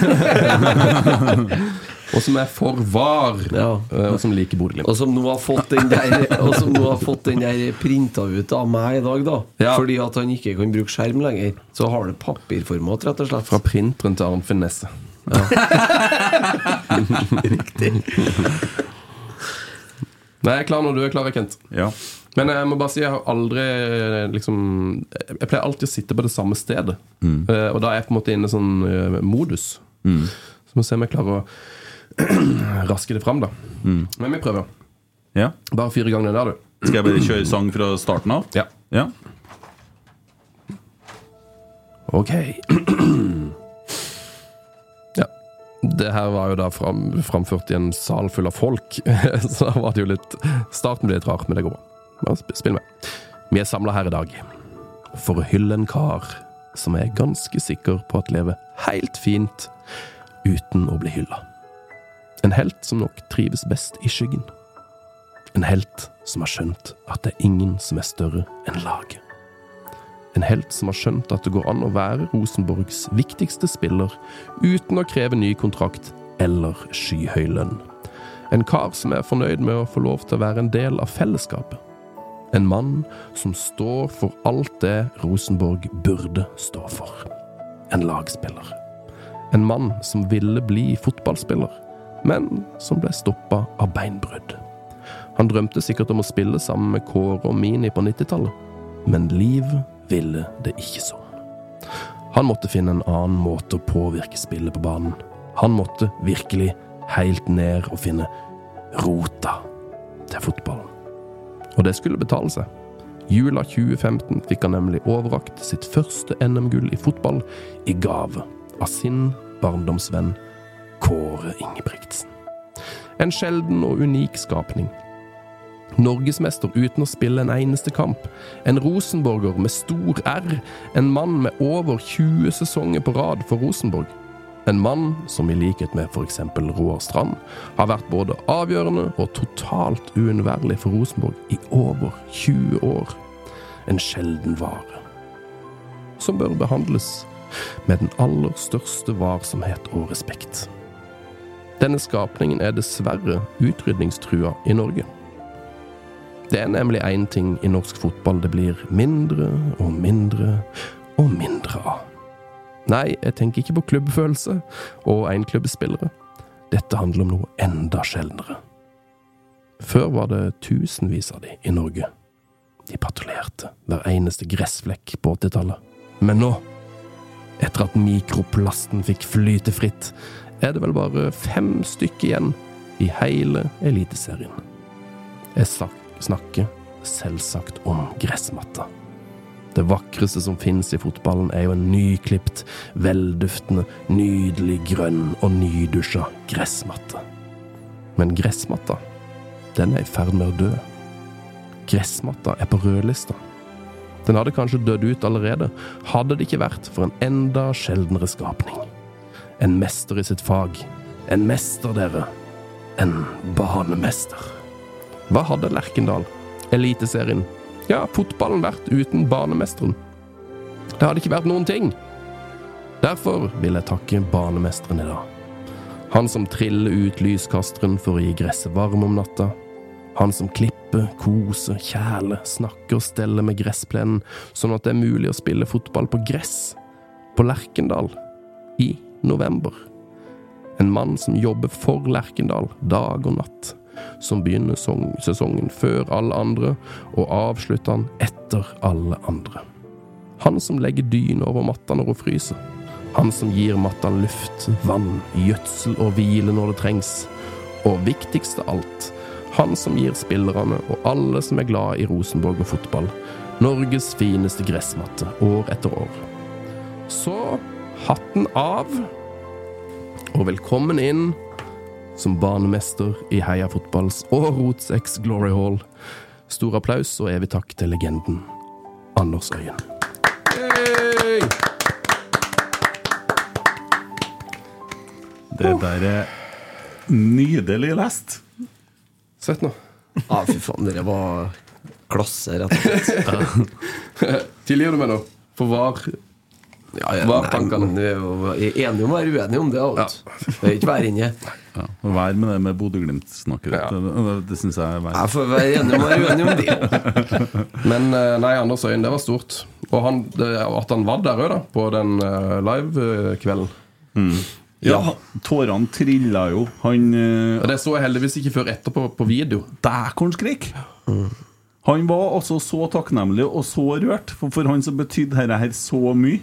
Speaker 5: <laughs> og som er for var,
Speaker 6: ja.
Speaker 5: eh, og som liker Bodø-Glimt.
Speaker 6: Og som nå har fått den der Og som nå har fått den der printa ut av meg i dag, da.
Speaker 5: Ja.
Speaker 6: Fordi at han ikke kan bruke skjerm lenger. Så har det papirformat, rett og slett.
Speaker 5: Fra printeren til Arnfinn Nesse. <laughs> Nei, jeg er klar når du er klar, Kent.
Speaker 3: Ja.
Speaker 5: Men jeg må bare si jeg har aldri eh, liksom Jeg pleier alltid å sitte på det samme stedet. Eh, og da er jeg på en måte inne i sånn eh, modus. Så må vi se om jeg klarer å <clears throat> raske det fram, da. Men vi prøver.
Speaker 3: ja.
Speaker 5: Bare fire ganger der, du.
Speaker 3: Skal jeg bare kjøre sang fra starten av?
Speaker 5: Ja.
Speaker 3: Ja.
Speaker 5: Ok. <clears throat> ja. Det her var jo da fram, framført i en sal full av folk, <laughs> så da var det jo litt Starten ble litt rar, men det går bra. Bare sp- Spill med. Vi er samla her i dag for å hylle en kar som jeg er ganske sikker på at lever helt fint uten å bli hylla. En helt som nok trives best i skyggen. En helt som har skjønt at det er ingen som er større enn laget. En helt som har skjønt at det går an å være Rosenborgs viktigste spiller uten å kreve ny kontrakt eller skyhøy lønn. En kar som er fornøyd med å få lov til å være en del av fellesskapet. En mann som står for alt det Rosenborg burde stå for. En lagspiller. En mann som ville bli fotballspiller, men som ble stoppa av beinbrudd. Han drømte sikkert om å spille sammen med Kåre og Mini på 90-tallet men Liv ville det ikke sånn. Han måtte finne en annen måte å påvirke spillet på banen. Han måtte virkelig helt ned og finne rota til fotballen. Og det skulle betale seg. Jula 2015 fikk han nemlig overrakt sitt første NM-gull i fotball i gave av sin barndomsvenn Kåre Ingebrigtsen. En sjelden og unik skapning. Norgesmester uten å spille en eneste kamp. En rosenborger med stor R. En mann med over 20 sesonger på rad for Rosenborg. En mann som i likhet med f.eks. Roar Strand har vært både avgjørende og totalt uunnværlig for Rosenborg i over 20 år. En sjelden vare. Som bør behandles med den aller største varsomhet og respekt. Denne skapningen er dessverre utrydningstrua i Norge. Det er nemlig én ting i norsk fotball det blir mindre og mindre og mindre av. Nei, jeg tenker ikke på klubbfølelse og enklubbspillere. Dette handler om noe enda sjeldnere. Før var det tusenvis av de i Norge. De patruljerte hver eneste gressflekk på 80-tallet. Men nå, etter at mikroplasten fikk flyte fritt, er det vel bare fem stykker igjen i hele Eliteserien. Jeg sak- snakker selvsagt om gressmatta. Det vakreste som finnes i fotballen, er jo en nyklipt, velduftende, nydelig grønn og nydusja gressmatte. Men gressmatta, den er i ferd med å dø. Gressmatta er på rødlista. Den hadde kanskje dødd ut allerede, hadde det ikke vært for en enda sjeldnere skapning. En mester i sitt fag. En mester, dere. En banemester. Hva hadde Lerkendal, Eliteserien, ja, fotballen vært uten banemesteren? Det hadde ikke vært noen ting. Derfor vil jeg takke banemesteren i dag. Han som triller ut lyskasteren for å gi gresset varm om natta. Han som klipper, koser, kjæler, snakker og steller med gressplenen, sånn at det er mulig å spille fotball på gress, på Lerkendal, i november. En mann som jobber for Lerkendal, dag og natt. Som begynner song- sesongen før alle andre, og avslutter han etter alle andre. Han som legger dyne over matta når hun fryser. Han som gir matta luft, vann, gjødsel og hvile når det trengs. Og viktigst av alt, han som gir spillerne og alle som er glad i Rosenborg og fotball, Norges fineste gressmatte år etter år. Så hatten av, og velkommen inn som banemester i Heia Fotballs og Rotsekks Glory Hall. Stor applaus og evig takk til legenden Anders Øyen.
Speaker 3: Det der er nydelig lest.
Speaker 5: Søtt nå.
Speaker 6: Ja, fy faen, dere var klasse, rett og slett.
Speaker 5: Tilgir du meg nå? For var
Speaker 6: Ja, ja,
Speaker 5: Hva er
Speaker 6: nei,
Speaker 5: tankene?
Speaker 6: men eh, Vi er jo enige om å være uenige om det. Alt. Det er ikke være inne.
Speaker 3: Ja, og Vær med det med Bodø-Glimt-snakket.
Speaker 5: Ja.
Speaker 3: Det, det, det syns jeg er verdt.
Speaker 6: Jeg får være enig om å være uenig om det.
Speaker 5: Men eh, nei, Anders Øyen, det var stort. Og han, det, at han var der òg, da, på den eh, live-kvelden.
Speaker 3: Ja, tårene trilla jo. Han eh,
Speaker 5: Det så jeg heldigvis ikke før etterpå på video.
Speaker 3: Dækorn skrik! Han var altså så takknemlig og så rørt, for for han så betydde dette her så mye.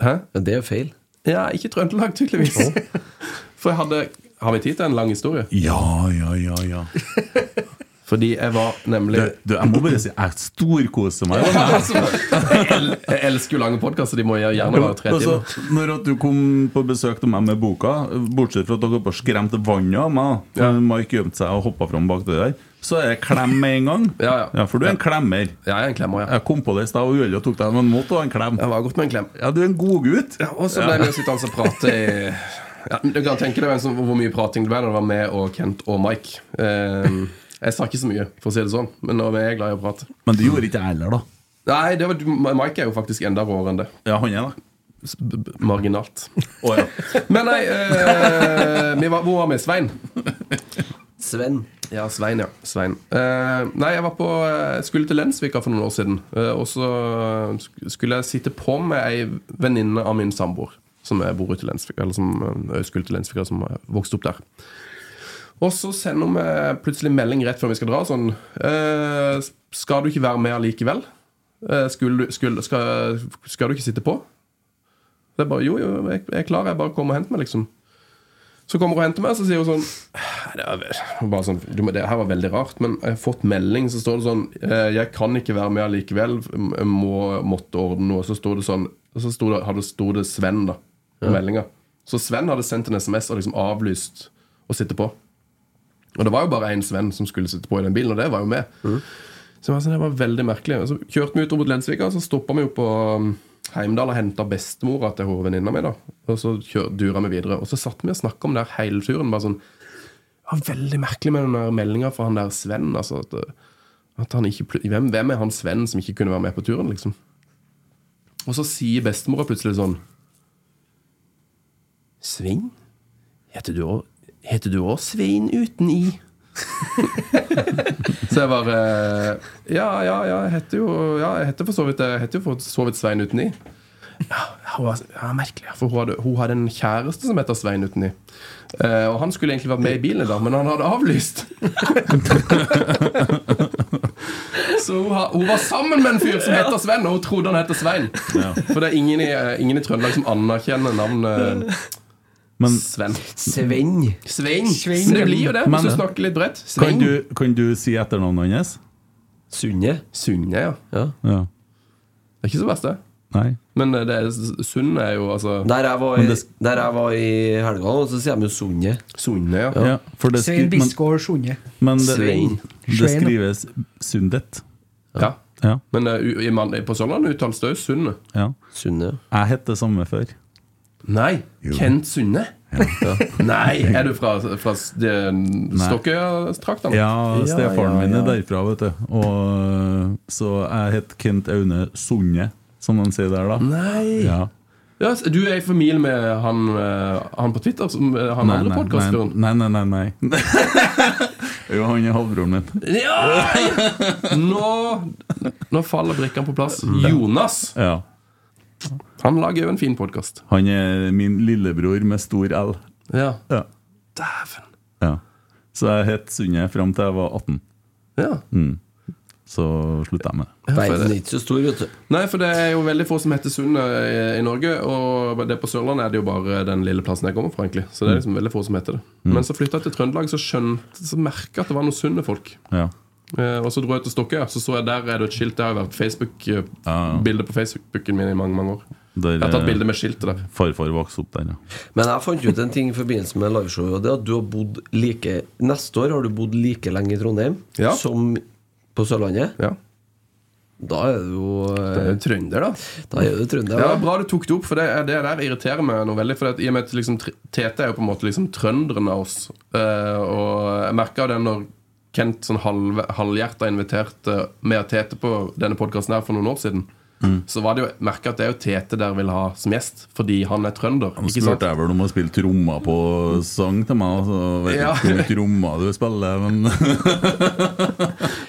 Speaker 5: Hæ?
Speaker 9: Ja, det er feil.
Speaker 5: Ja, ikke i Trøndelag, tydeligvis. <laughs> For jeg hadde Har vi tid til en lang
Speaker 9: <laughs>
Speaker 5: historie?
Speaker 3: Ja, ja, ja, ja.
Speaker 5: Fordi jeg var
Speaker 3: Du,
Speaker 5: nemlig
Speaker 3: du, jeg må bare si jeg storkoser
Speaker 5: <laughs>
Speaker 3: meg.
Speaker 5: Altså, Jeg el- jeg elsker jo lange podkaster, de må gjerne være tre
Speaker 3: Altså,
Speaker 5: timer.
Speaker 3: når at du kom på besøk til meg med boka, bortsett fra at dere bare skremte vannet av meg, da.
Speaker 5: Ja.
Speaker 3: Mike gjemte seg og hoppa fram bak det der, så er jeg klem med en gang.
Speaker 5: Ja, ja.
Speaker 3: For du er en klemmer.
Speaker 5: Ja, jeg er en klemmer, ja.
Speaker 3: Jeg kom på det i stad og uheldig og tok deg, men måtte ha en klem.
Speaker 5: Jeg var godt med en klem.
Speaker 3: Ja, du er en god gutt.
Speaker 5: Ja, og så ble vi sittende og prate i ja, Du kan tenke deg hvem som- hvor mye prating det ble når det var meg og Kent og Mike. Eh, jeg sa ikke så mye, for å si det sånn, men nå er jeg glad i å prate.
Speaker 3: Men det gjorde ikke jeg heller, da.
Speaker 5: Nei, det var, Mike er jo faktisk enda råere enn det.
Speaker 3: Ja, han er det.
Speaker 5: S- b- b- Marginalt.
Speaker 3: Å ja. <laughs>
Speaker 5: Men nei, eh, vi var, hvor var vi? Svein?
Speaker 9: Sven.
Speaker 5: Ja, Svein, ja. Svein. Eh, nei, jeg var på, eh, skulle til Lensvika for noen år siden. eh, og så sk- skulle jeg sitte på med ei venninne av min samboer, som jeg bor ute i Lensvika, eller som eh, skulle til Lensvika, som eh, vokste opp der. Og så sender vi plutselig melding rett før vi skal dra, sånn eh, Skal du ikke være med allikevel? Eh, skulle, du- skulle, skal, skal du ikke sitte på? Det er bare, jo, jo, jeg, jeg er klar. Jeg bare kommer og henter meg, liksom. Så kommer hun og henter meg, så sier hun sånn det var vel- bare sånn, du, må- det her var veldig rart, men jeg har fått melding, så står det sånn eh, Jeg kan ikke være med allikevel, m- jeg må, måtte ordne noe. Så sto det sånn og Så sto det, hadde, sto det Sven, da, i meldinga. Så Sven hadde sendt en SMS og liksom avlyst å sitte på. Og det var jo bare én Sven som skulle sitte på i den bilen, og det var jo meg. Så det var, sånn, det var veldig merkelig. Så kjørte vi ut mot Lensvika, og så stoppa vi jo på um, Heimdal og henta bestemora til hun venninna mi. da. Og så kjør- dura vi videre. Og så satt vi og snakka om det her hele turen. bare sånn, det var veldig merkelig med den meldinga fra han der Sven. altså at, at han ikke, pl- hvem, hvem er han Sven som ikke kunne være med på turen? liksom? Og så sier bestemora plutselig sånn Sving? Heter du òg Heter du òg Svein uten i? <laughs> så jeg bare eh, Ja, ja, ja, jeg heter jo ja, jeg heter for så vidt, jeg heter jo for så vidt Svein uten i. Ja, hun var, ja, merkelig. ja, For hun hadde, hun hadde en kjæreste som heter Svein uten i. Eh, og han skulle egentlig vært med i bilen, da, men han hadde
Speaker 3: <laughs>
Speaker 5: avlyst. Så hun, har, hun var sammen med en fyr som heter Sven, og hun trodde han het Svein. For det er ingen i, eh, ingen i Trøndelag som anerkjenner navnet
Speaker 3: Men
Speaker 5: Sven.
Speaker 6: Sven.
Speaker 5: Svein. Men det blir jo det,
Speaker 3: Men- eh,
Speaker 5: hvis du snakker litt bredt.
Speaker 3: kan
Speaker 5: Svein.
Speaker 3: du, kan du si etternavnet hans?
Speaker 6: Sunde.
Speaker 5: Sunne, ja.
Speaker 6: Ja.
Speaker 3: Ja.
Speaker 5: Det er ikke så verst, det.
Speaker 3: Nei.
Speaker 5: Men eh, det er, Sunn er jo altså
Speaker 6: Der jeg var,
Speaker 3: Men
Speaker 6: i-
Speaker 3: det-
Speaker 6: der jeg var i helga, og så sier de jo Sunde.
Speaker 5: Sunne, ja.
Speaker 3: Ja, for det skri
Speaker 4: Svein
Speaker 3: men,
Speaker 4: Bisgaard Sunde.
Speaker 3: men det,
Speaker 6: Svein.
Speaker 4: Svein,
Speaker 3: det
Speaker 4: ja.
Speaker 3: skrives Sundet.
Speaker 5: ja.
Speaker 3: Ja,
Speaker 5: Men eh, u- i mann- på Sørlandet uttales det òg Sunne.
Speaker 3: ja.
Speaker 6: Sunde.
Speaker 3: Jeg het det samme før.
Speaker 5: Nei. Kent Sunne? Ja. Nei! Er du fra, fra s- det- Stokkøya-traktene?
Speaker 3: Ja, stefaren min er derfra, vet du. Og, eh, så jeg het Kent Aune Sunde, som de sier der, da.
Speaker 5: Nei!
Speaker 3: Ja.
Speaker 5: Ja, så du er i familie med han, eh, han på Twitter, som, eh, han
Speaker 3: Nei,
Speaker 5: andre
Speaker 3: nei, nei,
Speaker 5: podkastfyren?
Speaker 3: nei, nei, nei, <laughs> nei. Jo, han er halvbroren min.
Speaker 5: Ja! Nå, nå faller brikkene på plass.
Speaker 3: Mm.
Speaker 5: Jonas!
Speaker 3: Ja.
Speaker 5: Han lager jo en fin podkast.
Speaker 3: Han er min lillebror med stor L.
Speaker 5: Ja.
Speaker 3: Ja.
Speaker 5: Dæven.
Speaker 3: ja. Så jeg het Sunde fram til jeg var 18.
Speaker 5: Ja.
Speaker 3: Så slutta jeg med det.
Speaker 6: Verden er ikke så stor, vet du.
Speaker 5: Nei, for det er jo veldig få som heter Sunne i, i Norge. Og det på Sørlandet er det jo bare den lille plassen jeg kommer fra. egentlig Så det er liksom veldig få som heter det. Men så flytta jeg til Trøndelag, så skjønte Så merket jeg at det var noen sunne folk.
Speaker 3: Ja.
Speaker 5: Eh, og så dro jeg til Stokkøya, så så jeg der er det et skilt. Det har jo vært Facebook-bilde på Facebooken min i mange mange år.
Speaker 3: Der,
Speaker 5: Jeg har tatt
Speaker 3: eh,
Speaker 5: bilde med skiltet der.
Speaker 3: Farfar vokste opp der, ja.
Speaker 6: Men jeg fant ut en ting i forbindelse med liveshowet. Og det er at du har bodd like Neste år har du bodd like lenge i Trondheim
Speaker 5: Ja.
Speaker 6: som på Sørlandet.
Speaker 5: Ja.
Speaker 6: Da er du jo
Speaker 5: Det er
Speaker 6: eh,
Speaker 5: jo Trønder, da.
Speaker 6: Da er du trønder.
Speaker 5: Ja,
Speaker 6: da.
Speaker 5: Bra du tok det opp, for det, er- det der irriterer meg noe veldig. For at, I og med at liksom, tr- Tete er jo på en måte liksom trønderen av oss. Eh, og jeg merka det når Kent sånn halv, halvhjerta inviterte meg og Tete på denne podkasten her for noen år siden.
Speaker 3: Mm.
Speaker 5: Så var det jo merka at det er jo Tete der vil ha som gjest, fordi han er trønder.
Speaker 3: Han
Speaker 5: ikke sant?
Speaker 3: spurte jeg vel om å spille trommer på sang til meg. Så vet jeg
Speaker 5: Ja.
Speaker 3: ikke hvor mye trommer du spiller, men <laughs>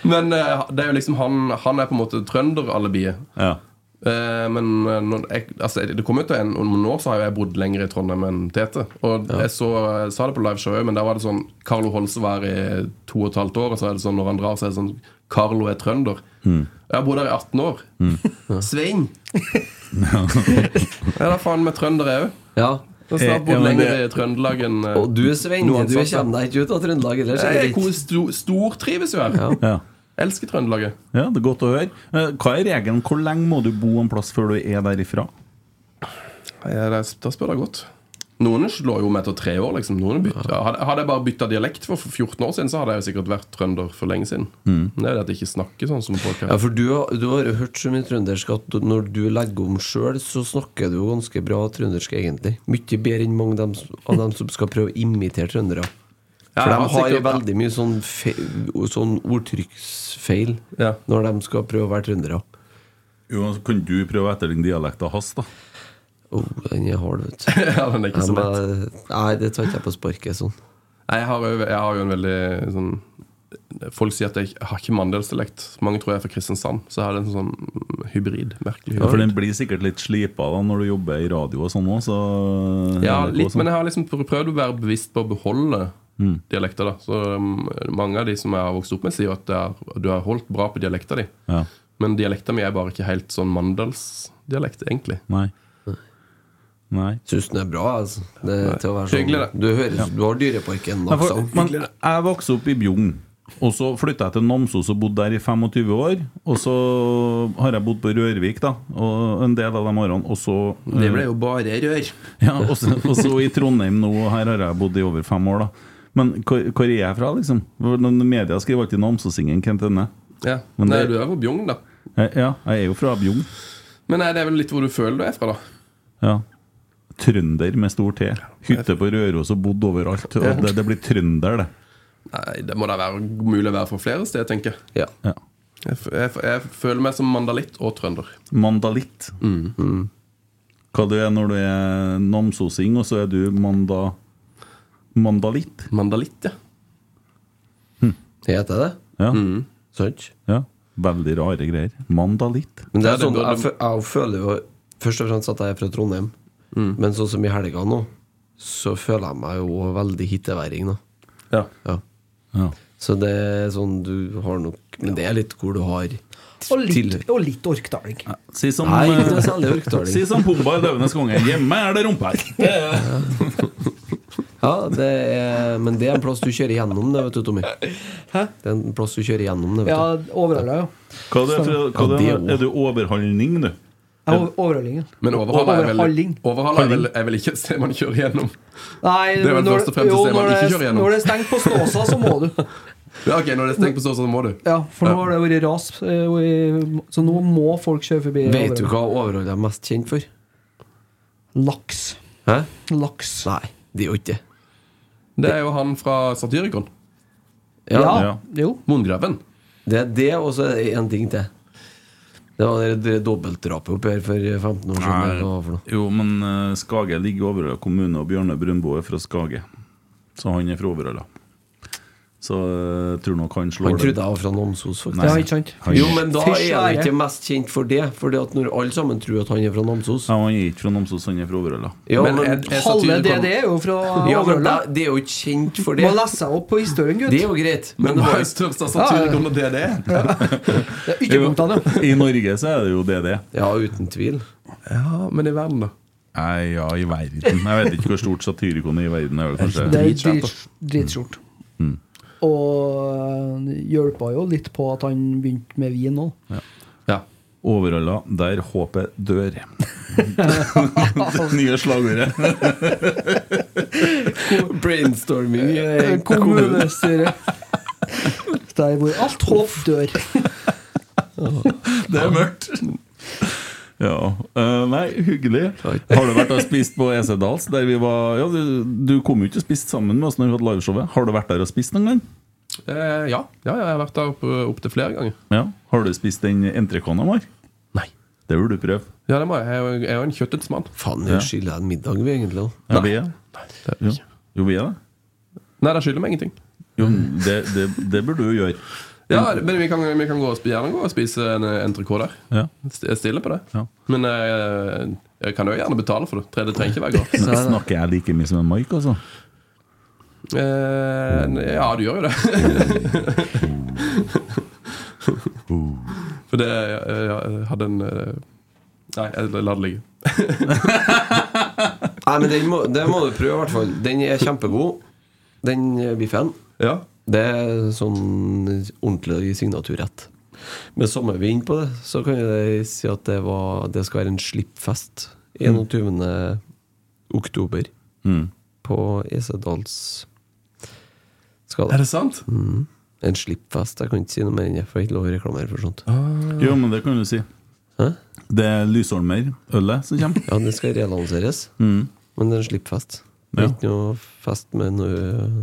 Speaker 5: Men eh, det er jo liksom han, han er på en måte trønderalibiet.
Speaker 3: ja.
Speaker 5: Eh, men eh, når jeg, altså, det kom ut til en, om noen år så har jo jeg bodd lenger i Trondheim enn Tete. Og jeg så, jeg sa det på liveshow òg, men der var det sånn Carlo Holse var her i to og et halvt år, og så er det sånn når han drar, så er det sånn Carlo er trønder.
Speaker 3: Mm.
Speaker 5: Jeg har bodd her i 18 år. <laughs> Svein! <laughs> ja, da faen meg trønder jeg òg.
Speaker 6: Ja.
Speaker 5: Jeg har snart
Speaker 3: Eh, ja,
Speaker 5: bodd
Speaker 3: men
Speaker 5: lenger
Speaker 3: det-
Speaker 5: i Trøndelag enn eh,
Speaker 6: Og du Svein,
Speaker 5: noen
Speaker 6: du
Speaker 5: ansatte.
Speaker 6: kommer deg ikke ut av Trøndelag heller,
Speaker 5: Jeg
Speaker 6: sikkert.
Speaker 5: er kos- sto- stortrives jo her.
Speaker 3: Ja.
Speaker 5: Elsker Trøndelaget.
Speaker 3: ja, det er godt å høre. Eh, Hva er regelen? Hvor lenge må du bo en plass før du er derifra?
Speaker 5: Ja, det, da spør jeg godt. Noen slår jo meg til tre år. liksom Noen bytter. Hadde, hadde jeg bare bytta dialekt for 14 år siden, så hadde jeg jo sikkert vært trønder for lenge siden. Det er det at jeg ikke snakker sånn som folk
Speaker 6: Ja,
Speaker 5: her.
Speaker 6: for du har, du har jo hørt så mye trøndersk at du- når du legger om sjøl, så snakker du jo ganske bra trøndersk, egentlig. Mye bedre enn mange dem, som- av dem som skal prøve å imitere trøndere. For
Speaker 5: Ja,
Speaker 6: de har jo
Speaker 5: sikkert-
Speaker 6: veldig mye sånn, fe, sånn ordtrykksfeil
Speaker 5: Ja. <laughs>
Speaker 6: når de skal prøve å være trøndere.
Speaker 3: Jo, så Kan du prøve å etterligne dialekten hans, da?
Speaker 6: Oh, den er hard, vet du.
Speaker 5: Ja, den er ikke så
Speaker 6: Jeg
Speaker 5: lett.
Speaker 6: må- Nei, det tar ikke jeg på sparket sånn.
Speaker 5: Nei, Jeg har, jo, jeg har jo en veldig sånn Folk sier at jeg har ikke mandelsdialekt. Mange tror jeg er fra Kristiansand. Så jeg har en sånn mm, hybrid. Merkelig
Speaker 3: Ja, for
Speaker 5: hybrid.
Speaker 3: den blir sikkert litt slipa da når du jobber i radio og sånn òg, så
Speaker 5: Ja,
Speaker 3: NRK og
Speaker 5: litt,
Speaker 3: Mm. sånn.
Speaker 5: men jeg har liksom pr- prøvd å være bevisst på å beholde dialekter. da Så um, Mange av de som jeg har vokst opp med, sier at det er, du har holdt bra på dialekta di.
Speaker 3: Ja.
Speaker 5: Men dialekta mi er bare ikke helt sånn mandalsdialekt, egentlig.
Speaker 3: Nei. Nei.
Speaker 6: Syns den er bra, altså. Det, til å være sånn.
Speaker 5: Hyggelig, det.
Speaker 6: Du, høres, du har Dyreparken,
Speaker 3: Nei, for,
Speaker 6: altså.
Speaker 3: men jeg vokste opp i Bjugn. Og så flytta jeg til Namsos og bodde der i 25 år. Og så har jeg bodd på Rørvik, da, og en del av de årene. Og så, eh, <laughs>
Speaker 5: jo bare rør.
Speaker 3: ja, og så, og så i Trondheim nå, og her har jeg bodd i over fem år, da. Men hvor, hvor er jeg fra, liksom? Når Media skriver alltid Namsosingen, hvem til denne?
Speaker 5: Ja.
Speaker 3: Men
Speaker 5: Nei,
Speaker 3: det-
Speaker 5: du er fra Bjugn, da.
Speaker 3: Jeg- Ja, jeg er jo fra Bjugn.
Speaker 5: Men nei, det er vel litt hvor du føler du er fra, da.
Speaker 3: Ja. Trønder med stor T. Hytte på Røros og bodd overalt. Og det, det blir trønder, det.
Speaker 5: Nei, Det må da være mulig å være fra flere steder, tenker jeg.
Speaker 6: Ja.
Speaker 3: Ja.
Speaker 5: Jeg, f- jeg, f- jeg føler meg som mandalitt og trønder.
Speaker 3: Mandalitt. Hva du er når du er namsosing, og så er du manda... Mandalitt?
Speaker 5: Mandalitt, ja.
Speaker 6: Heter det
Speaker 3: Ja.
Speaker 6: sant?
Speaker 3: ja. Veldig rare greier. Mandalitt.
Speaker 6: Men det
Speaker 5: Ja,
Speaker 6: er
Speaker 5: det
Speaker 6: sånn,
Speaker 5: bør-
Speaker 6: jeg, fø- jeg føler jo først og fremst at jeg er fra Trondheim.
Speaker 5: Mm.
Speaker 6: Men sånn som i helga nå, så føler jeg meg jo veldig hitteværing, da.
Speaker 3: Ja.
Speaker 6: Ja.
Speaker 3: Ja.
Speaker 6: Så det er sånn du har nok Men det er litt hvor du har
Speaker 4: Og litt,
Speaker 6: til-
Speaker 4: og litt orkdaling.
Speaker 3: Si som
Speaker 6: Nei,
Speaker 3: eh,
Speaker 6: det er særlig orkdaling.
Speaker 3: Si som Pumba i Løvenes konge. Hjemme er det rumpe her.
Speaker 6: Ja, det er, men det er en plass du kjører gjennom det, vet du, Tommy. Det er en plass du kjører gjennom det, vet
Speaker 4: Ja,
Speaker 6: du.
Speaker 4: overhalla, ja.
Speaker 3: Hva er, det, for- hva er,
Speaker 6: Ja,
Speaker 3: det,
Speaker 6: det
Speaker 3: er du overhandling, du?
Speaker 4: Jeg har Overhalling, ja.
Speaker 5: Men overhalla er vel,
Speaker 4: Overhalling.
Speaker 5: overhalla er vel, er vel ikke et sted man kjører gjennom?
Speaker 4: Nei,
Speaker 5: Det er vel
Speaker 4: når-
Speaker 5: først og fremst et
Speaker 4: jo,
Speaker 5: sted man
Speaker 4: når
Speaker 5: ikke
Speaker 4: det-
Speaker 5: kjører gjennom.
Speaker 4: Når det er stengt på Snåsa, så må
Speaker 5: <laughs>
Speaker 4: du.
Speaker 5: Ja, ok, Når det er stengt på Såsa, så må du.
Speaker 4: Ja, For nå har det vært ras, eh, og i- så nå må folk kjøre forbi.
Speaker 6: Vet du
Speaker 4: overhalling.
Speaker 6: hva Overhall er mest kjent for?
Speaker 4: Laks.
Speaker 6: Hæ?
Speaker 4: Laks.
Speaker 6: Nei, det er jo ikke det.
Speaker 5: Det er jo han fra Satyricon.
Speaker 6: Ja,
Speaker 3: Ja.
Speaker 4: Jo.
Speaker 5: Munngraven.
Speaker 6: det er det, og så er det en ting til. Det var det der dobbeltdrapet oppi her for 15 år siden. eller hva det var for noe.
Speaker 3: Jo, men eh, Skage ligger i Overhalla kommune, og Bjørne Brunbo er fra Skage. Så han er fra Overhalla. Så eh, tror nok han slår
Speaker 6: Han trodde jeg var fra Namsos, faktisk.
Speaker 3: Nei.
Speaker 4: Ja, ikke sant?
Speaker 3: Han-
Speaker 6: Jo, men da
Speaker 4: Fysj,
Speaker 6: er han
Speaker 4: ære.
Speaker 6: ikke mest kjent for det. Fordi at når alle sammen tror at han er fra Namsos
Speaker 3: Ja, han er ikke fra Namsos, han er fra Overhalla.
Speaker 6: Ja,
Speaker 5: Men
Speaker 6: men,
Speaker 5: er-
Speaker 4: Halve
Speaker 5: er Satyricon-
Speaker 4: DD er jo fra
Speaker 6: ja, men
Speaker 4: overhalla.
Speaker 6: det, det er jo ikke kjent for det.
Speaker 4: Må lese seg opp på historien, gutt.
Speaker 6: Det er jo greit.
Speaker 5: Men hva
Speaker 6: Men det var
Speaker 5: er størst av Satyricon og E. DDE?
Speaker 4: Det er Ytterpunktene, ja.
Speaker 3: <laughs> I Norge så er det jo DD.
Speaker 6: Ja, uten tvil.
Speaker 5: Ja, men i verden, da.
Speaker 3: Nei, ja, i verden. Jeg vet ikke hvor stort Satyricon er i verden. Det er vel
Speaker 4: Det
Speaker 3: kanskje
Speaker 4: er drit- dritstort.
Speaker 6: Mm.
Speaker 4: Og eh, hjelpa jo litt på at han begynte med vin òg.
Speaker 5: Ja.
Speaker 3: Overhalla, der håpet dør. <laughs> det nye slagordet.
Speaker 6: Brainstorming i kommunen.
Speaker 4: Eh, Kommunestyret. Der hvor alt håp dør.
Speaker 3: Det er mørkt. Ja. eh, nei, hyggelig. Har du vært og spist på EC Dals? Der vi var, ja, du, du kom jo ikke og spiste sammen med oss når vi hadde liveshowet. Har du vært der og spist noen gang?
Speaker 5: Eh, ja. ja, jeg har vært der oppe opptil flere ganger.
Speaker 3: Ja. Har du spist den entrecôten vår?
Speaker 5: Nei.
Speaker 3: Det burde du prøve.
Speaker 5: Ja, det må jeg. Jeg er jo- jeg er jo en kjøttets mann.
Speaker 6: Faen, vi skylder en middag, vi, egentlig. da.
Speaker 3: Ja, vi er.
Speaker 5: Det er
Speaker 3: Jo.
Speaker 5: jeg ikke.
Speaker 3: jo, vi er det.
Speaker 5: Nei, det skylder meg ingenting.
Speaker 3: Jo, det, det, det burde du gjøre.
Speaker 5: Ja, Men vi kan, vi kan gå og, sp- gjerne gå og spise en eh, entrecôte der.
Speaker 3: Ja.
Speaker 5: St- Jeg stiller på det.
Speaker 3: Ja.
Speaker 5: Men eh, jeg kan jo gjerne betale for det. Tre- Det trenger ikke være gratis.
Speaker 3: Nå snakker jeg like mye som en Mike, altså.
Speaker 5: Eh, ne- ja, du gjør jo det. For det eh, jeg hadde en eh, Nei, jeg lar det ligge.
Speaker 6: Nei, men den må, det må du prøve, i hvert fall. Den er kjempegod, den eh, biffen.
Speaker 5: Ja.
Speaker 6: Det er sånn ordentlig signaturrett. Med sommervind på det, så kan jeg si at det, var, det skal være en slippfest 21. oktober på Esedals skal
Speaker 5: Er
Speaker 6: det.
Speaker 5: det sant?
Speaker 6: En slippfest. Jeg kan ikke si noe mer enn det, for jeg har ikke lov å reklamere for sånt.
Speaker 3: Jo, men det kan du si.
Speaker 6: Hæ?
Speaker 3: Det er Lysholmer-ølet som kommer.
Speaker 6: Ja, det skal relanseres. Men det er en slippfest. Det er
Speaker 3: Ja.
Speaker 6: ikke noe fest med noe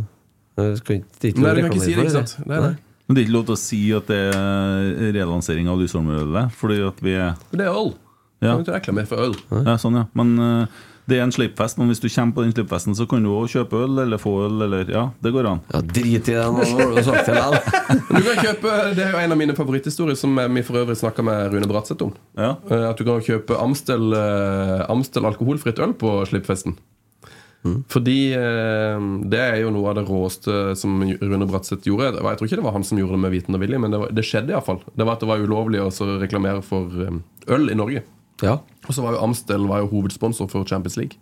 Speaker 6: Nei, det skal ikke- det er
Speaker 5: Nei,
Speaker 6: ikke
Speaker 5: du
Speaker 6: noe
Speaker 5: kan ikke
Speaker 6: reklamere
Speaker 5: si det,
Speaker 6: for
Speaker 5: ikke sant? Nei, nei.
Speaker 3: Men det er ikke lov til å si at det er relansering av Lysholmer-ølet, fordi at vi er
Speaker 5: For det er øl.
Speaker 3: Ja.
Speaker 5: Kan du ikke reklamere for øl?
Speaker 3: Ja, sånn, ja. Men eh, det er en slippfest, men hvis du kommer på den slippfesten, så kan du òg kjøpe øl eller få øl, eller Ja, det går an.
Speaker 6: Ja, drit i det, nå har du sagt det likevel.
Speaker 5: Men du kan kjøpe, Det er jo en av mine favoritthistorier, som vi for øvrig snakka med Rune Bratseth om.
Speaker 3: Ja.
Speaker 5: Eh, At du kan kjøpe Amstel, eh, Amstel alkoholfritt øl på slippfesten. Fordi eh, det er jo noe av det råeste som Rune Bratseth gjorde. Det var- Jeg tror ikke det var han som gjorde det med viten og vilje, men det, var, det skjedde iallfall. Det var at det var ulovlig å så reklamere for eh, øl i Norge.
Speaker 6: Ja.
Speaker 5: Og så var jo Amstel var jo hovedsponsor for Champions League.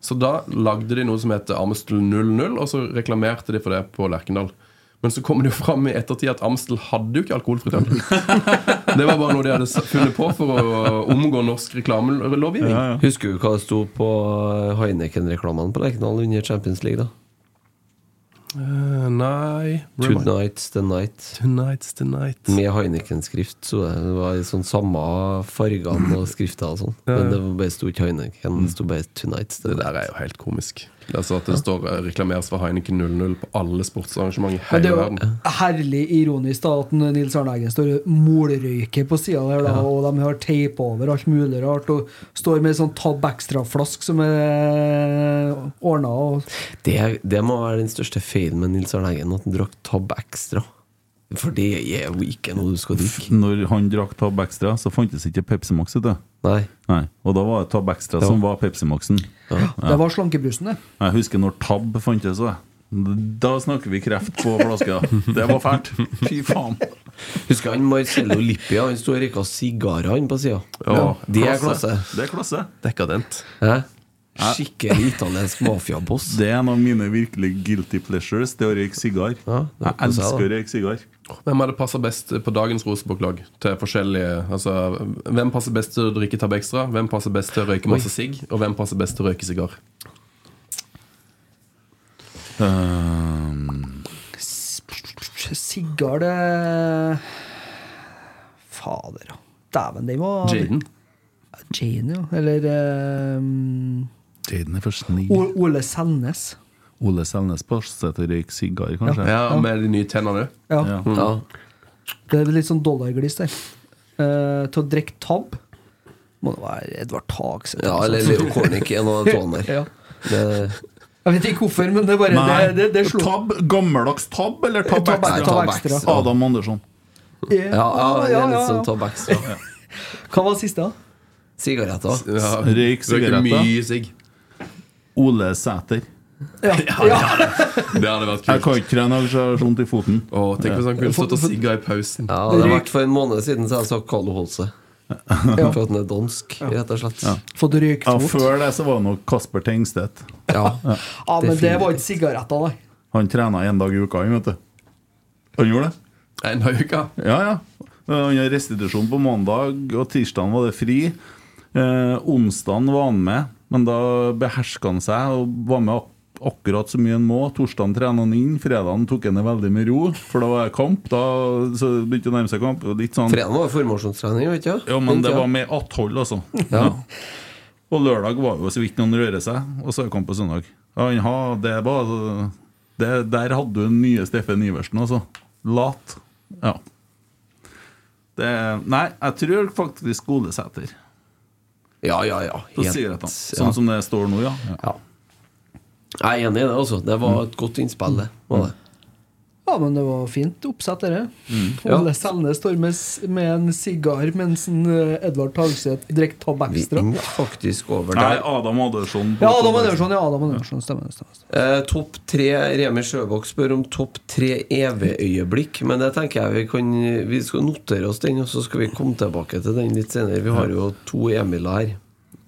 Speaker 5: Så da lagde de noe som heter Amstel 00, og så reklamerte de for det på Lerkendal. Men så kommer det jo fram i ettertid at Amstel hadde jo ikke alkoholfritt øl. Det var bare noe de hadde s- funnet på for å omgå norsk reklamelovgivning.
Speaker 6: Husker du eh, hva det sto på Heineken-reklamene på Lerkendal under Champions League? da?
Speaker 5: Eh, nei
Speaker 6: Two
Speaker 5: Remind-
Speaker 6: Nights The Night.
Speaker 5: Tonight's the night.
Speaker 6: Med Heineken-skrift. Så det det var i sånn samme fargene og skrifter og sånn. Men det var bare sto ikke Heineken, det sto bare Two Nights The
Speaker 5: Det der er
Speaker 6: Night.
Speaker 5: jo helt komisk. Altså At det står eh, reklameres for Heineken 00 på alle sportsarrangement i
Speaker 4: Men det
Speaker 5: hele
Speaker 4: er
Speaker 5: verden.
Speaker 4: jo herlig ironisk da at Nils Arne Eggen står og målrøyker på sida der, da, og de har teip over alt mulig rart, og står med ei sånn Tab Extra-flask som er ordna, og
Speaker 6: Det, det må være den største feilen med Nils Arne Eggen, at han drakk Tab Extra. For det er jo ikke noe du skal drikke.
Speaker 3: Når han drakk Tab Extra, så fantes ikke Pepsi Max. vet du.
Speaker 6: Nei.
Speaker 3: Nei. Og da var det Tab Extra
Speaker 6: Ja.
Speaker 3: som var Pepsi Maxen.
Speaker 4: Det var slankebrusen, det.
Speaker 3: Jeg husker når Tab fantes. da. Da snakker vi kreft på flaska. Det var fælt. Fy faen.
Speaker 6: Husker han Marcello Lippi? Han sto og røyka sigarer han på sida.
Speaker 5: Ja,
Speaker 6: det er klasse.
Speaker 3: Det er klasse.
Speaker 5: Dekadent.
Speaker 6: Hæ? Skikkelig italiensk mafiaboss.
Speaker 3: Det er en av mine virkelig guilty pleasures, det å røyke sigar.
Speaker 6: Ja,
Speaker 3: jeg
Speaker 6: det er klasse,
Speaker 3: elsker
Speaker 6: da.
Speaker 3: å røyke sigar.
Speaker 5: Hvem hadde passa best på dagens Rosenborg-lag? Til forskjellige Altså, hvem passer best til å drikke Tab Extra? Hvem passer best til å røyke masse sigg? Og hvem passer best til å røyke sigar?
Speaker 3: Ehm,
Speaker 4: Sigar, det Fader, ja. Dæven, den var
Speaker 5: Jaden.
Speaker 4: Jane, ja. Eller ehm,
Speaker 3: Jaden er for snill.
Speaker 4: O- Ole Sennes.
Speaker 3: Ole Selnes passer til å røyke sigar, kanskje.
Speaker 5: Ja, og med de nye tennene òg.
Speaker 4: Ja.
Speaker 3: Ja.
Speaker 6: Ja.
Speaker 4: Det er litt sånn dollarglis der. Eh, til å drikke tab må det være Edvard Tagseth.
Speaker 6: ja,
Speaker 4: eller
Speaker 6: eller
Speaker 4: noe
Speaker 6: Leo Cornic, en av de to
Speaker 4: sånt.
Speaker 6: <laughs> der.
Speaker 4: sånn. ja.
Speaker 6: Det-
Speaker 4: Jeg vet ikke hvorfor, men det bare det, det, det slo
Speaker 3: tab, gammeldags tab eller tab
Speaker 4: Tab-
Speaker 3: extra?
Speaker 4: Tab Extra.
Speaker 3: Adam Andersson.
Speaker 6: Ja, ja, det
Speaker 4: ja,
Speaker 6: er
Speaker 4: ja,
Speaker 6: litt
Speaker 4: ja.
Speaker 6: sånn Tab Extra.
Speaker 4: Hva var siste, da?
Speaker 6: Sigaretter.
Speaker 5: Ja.
Speaker 3: Røyk
Speaker 5: Røyker
Speaker 3: sigaretter.
Speaker 5: mye sigg.
Speaker 3: Ole Sæter.
Speaker 4: Ja. ja.
Speaker 5: Det hadde vært
Speaker 3: Jeg
Speaker 5: kult.
Speaker 3: kan ikke trene, jeg har så vondt i foten.
Speaker 5: Å, tenk hvis han kunne stått og sigga i pausen.
Speaker 6: Ja, det har vært for en måned siden så har jeg sagt Carlo Holse. For at han er dansk, rett og slett.
Speaker 4: Fått
Speaker 3: Ja,
Speaker 4: røykfot.
Speaker 3: før det så var det nok Kasper Tengstedt.
Speaker 6: Ja.
Speaker 4: Ja, men det
Speaker 6: definitivt.
Speaker 4: var ikke sigaretter, nei.
Speaker 3: Han trena én dag i uka, han, vet du. Han gjorde det?
Speaker 5: En uke.
Speaker 3: Ja, ja. Han har restitusjon på mandag, og tirsdag var det fri. Eh, onsdagen var han med, men da beherska han seg og var med ak- akkurat så mye han må. Torsdagen trena han inn, fredagen tok han det veldig med ro, for da var det kamp. Da så det begynte å nærme seg kamp. og Litt sånn
Speaker 6: Fredagen var jo formasjonstrening, vet du.
Speaker 3: Ja, men det var med atthold, altså. Ja. Og lørdag var jo så vidt noen røre seg, og så er det kamp på søndag. Ja, han har- det var, altså, det, der hadde du den nye Steffen Iversen, altså. Lat. Ja. Det, nei, jeg tror faktisk Skolesæter.
Speaker 6: Ja, ja, ja.
Speaker 3: På
Speaker 6: Helt-
Speaker 3: sigarettene.
Speaker 6: ja.
Speaker 3: Sånn som det står nå, ja. ja.
Speaker 6: ja. Jeg er enig i det, altså. Det var et godt innspill, det. Var det.
Speaker 4: Ja, men det var fint oppsett, dette.
Speaker 6: Ja.
Speaker 4: Ole Selnes står med, s- med en sigar mens en, eh, Edvard Tagseth drikker Tab
Speaker 6: Vi
Speaker 4: Extra.
Speaker 6: gikk faktisk over
Speaker 3: Nei,
Speaker 6: der.
Speaker 3: Adam Andersson.
Speaker 4: Ja, Adam Andersson. Ja, Adam Andersson. Stemmer. det, stemmer. det.
Speaker 6: Eh, topp tre Remi Sjøvåg spør om topp tre EV-øyeblikk. Men det tenker jeg vi kan Vi skal notere oss den, og så skal vi komme tilbake til den litt senere. Vi har jo to Emiler her.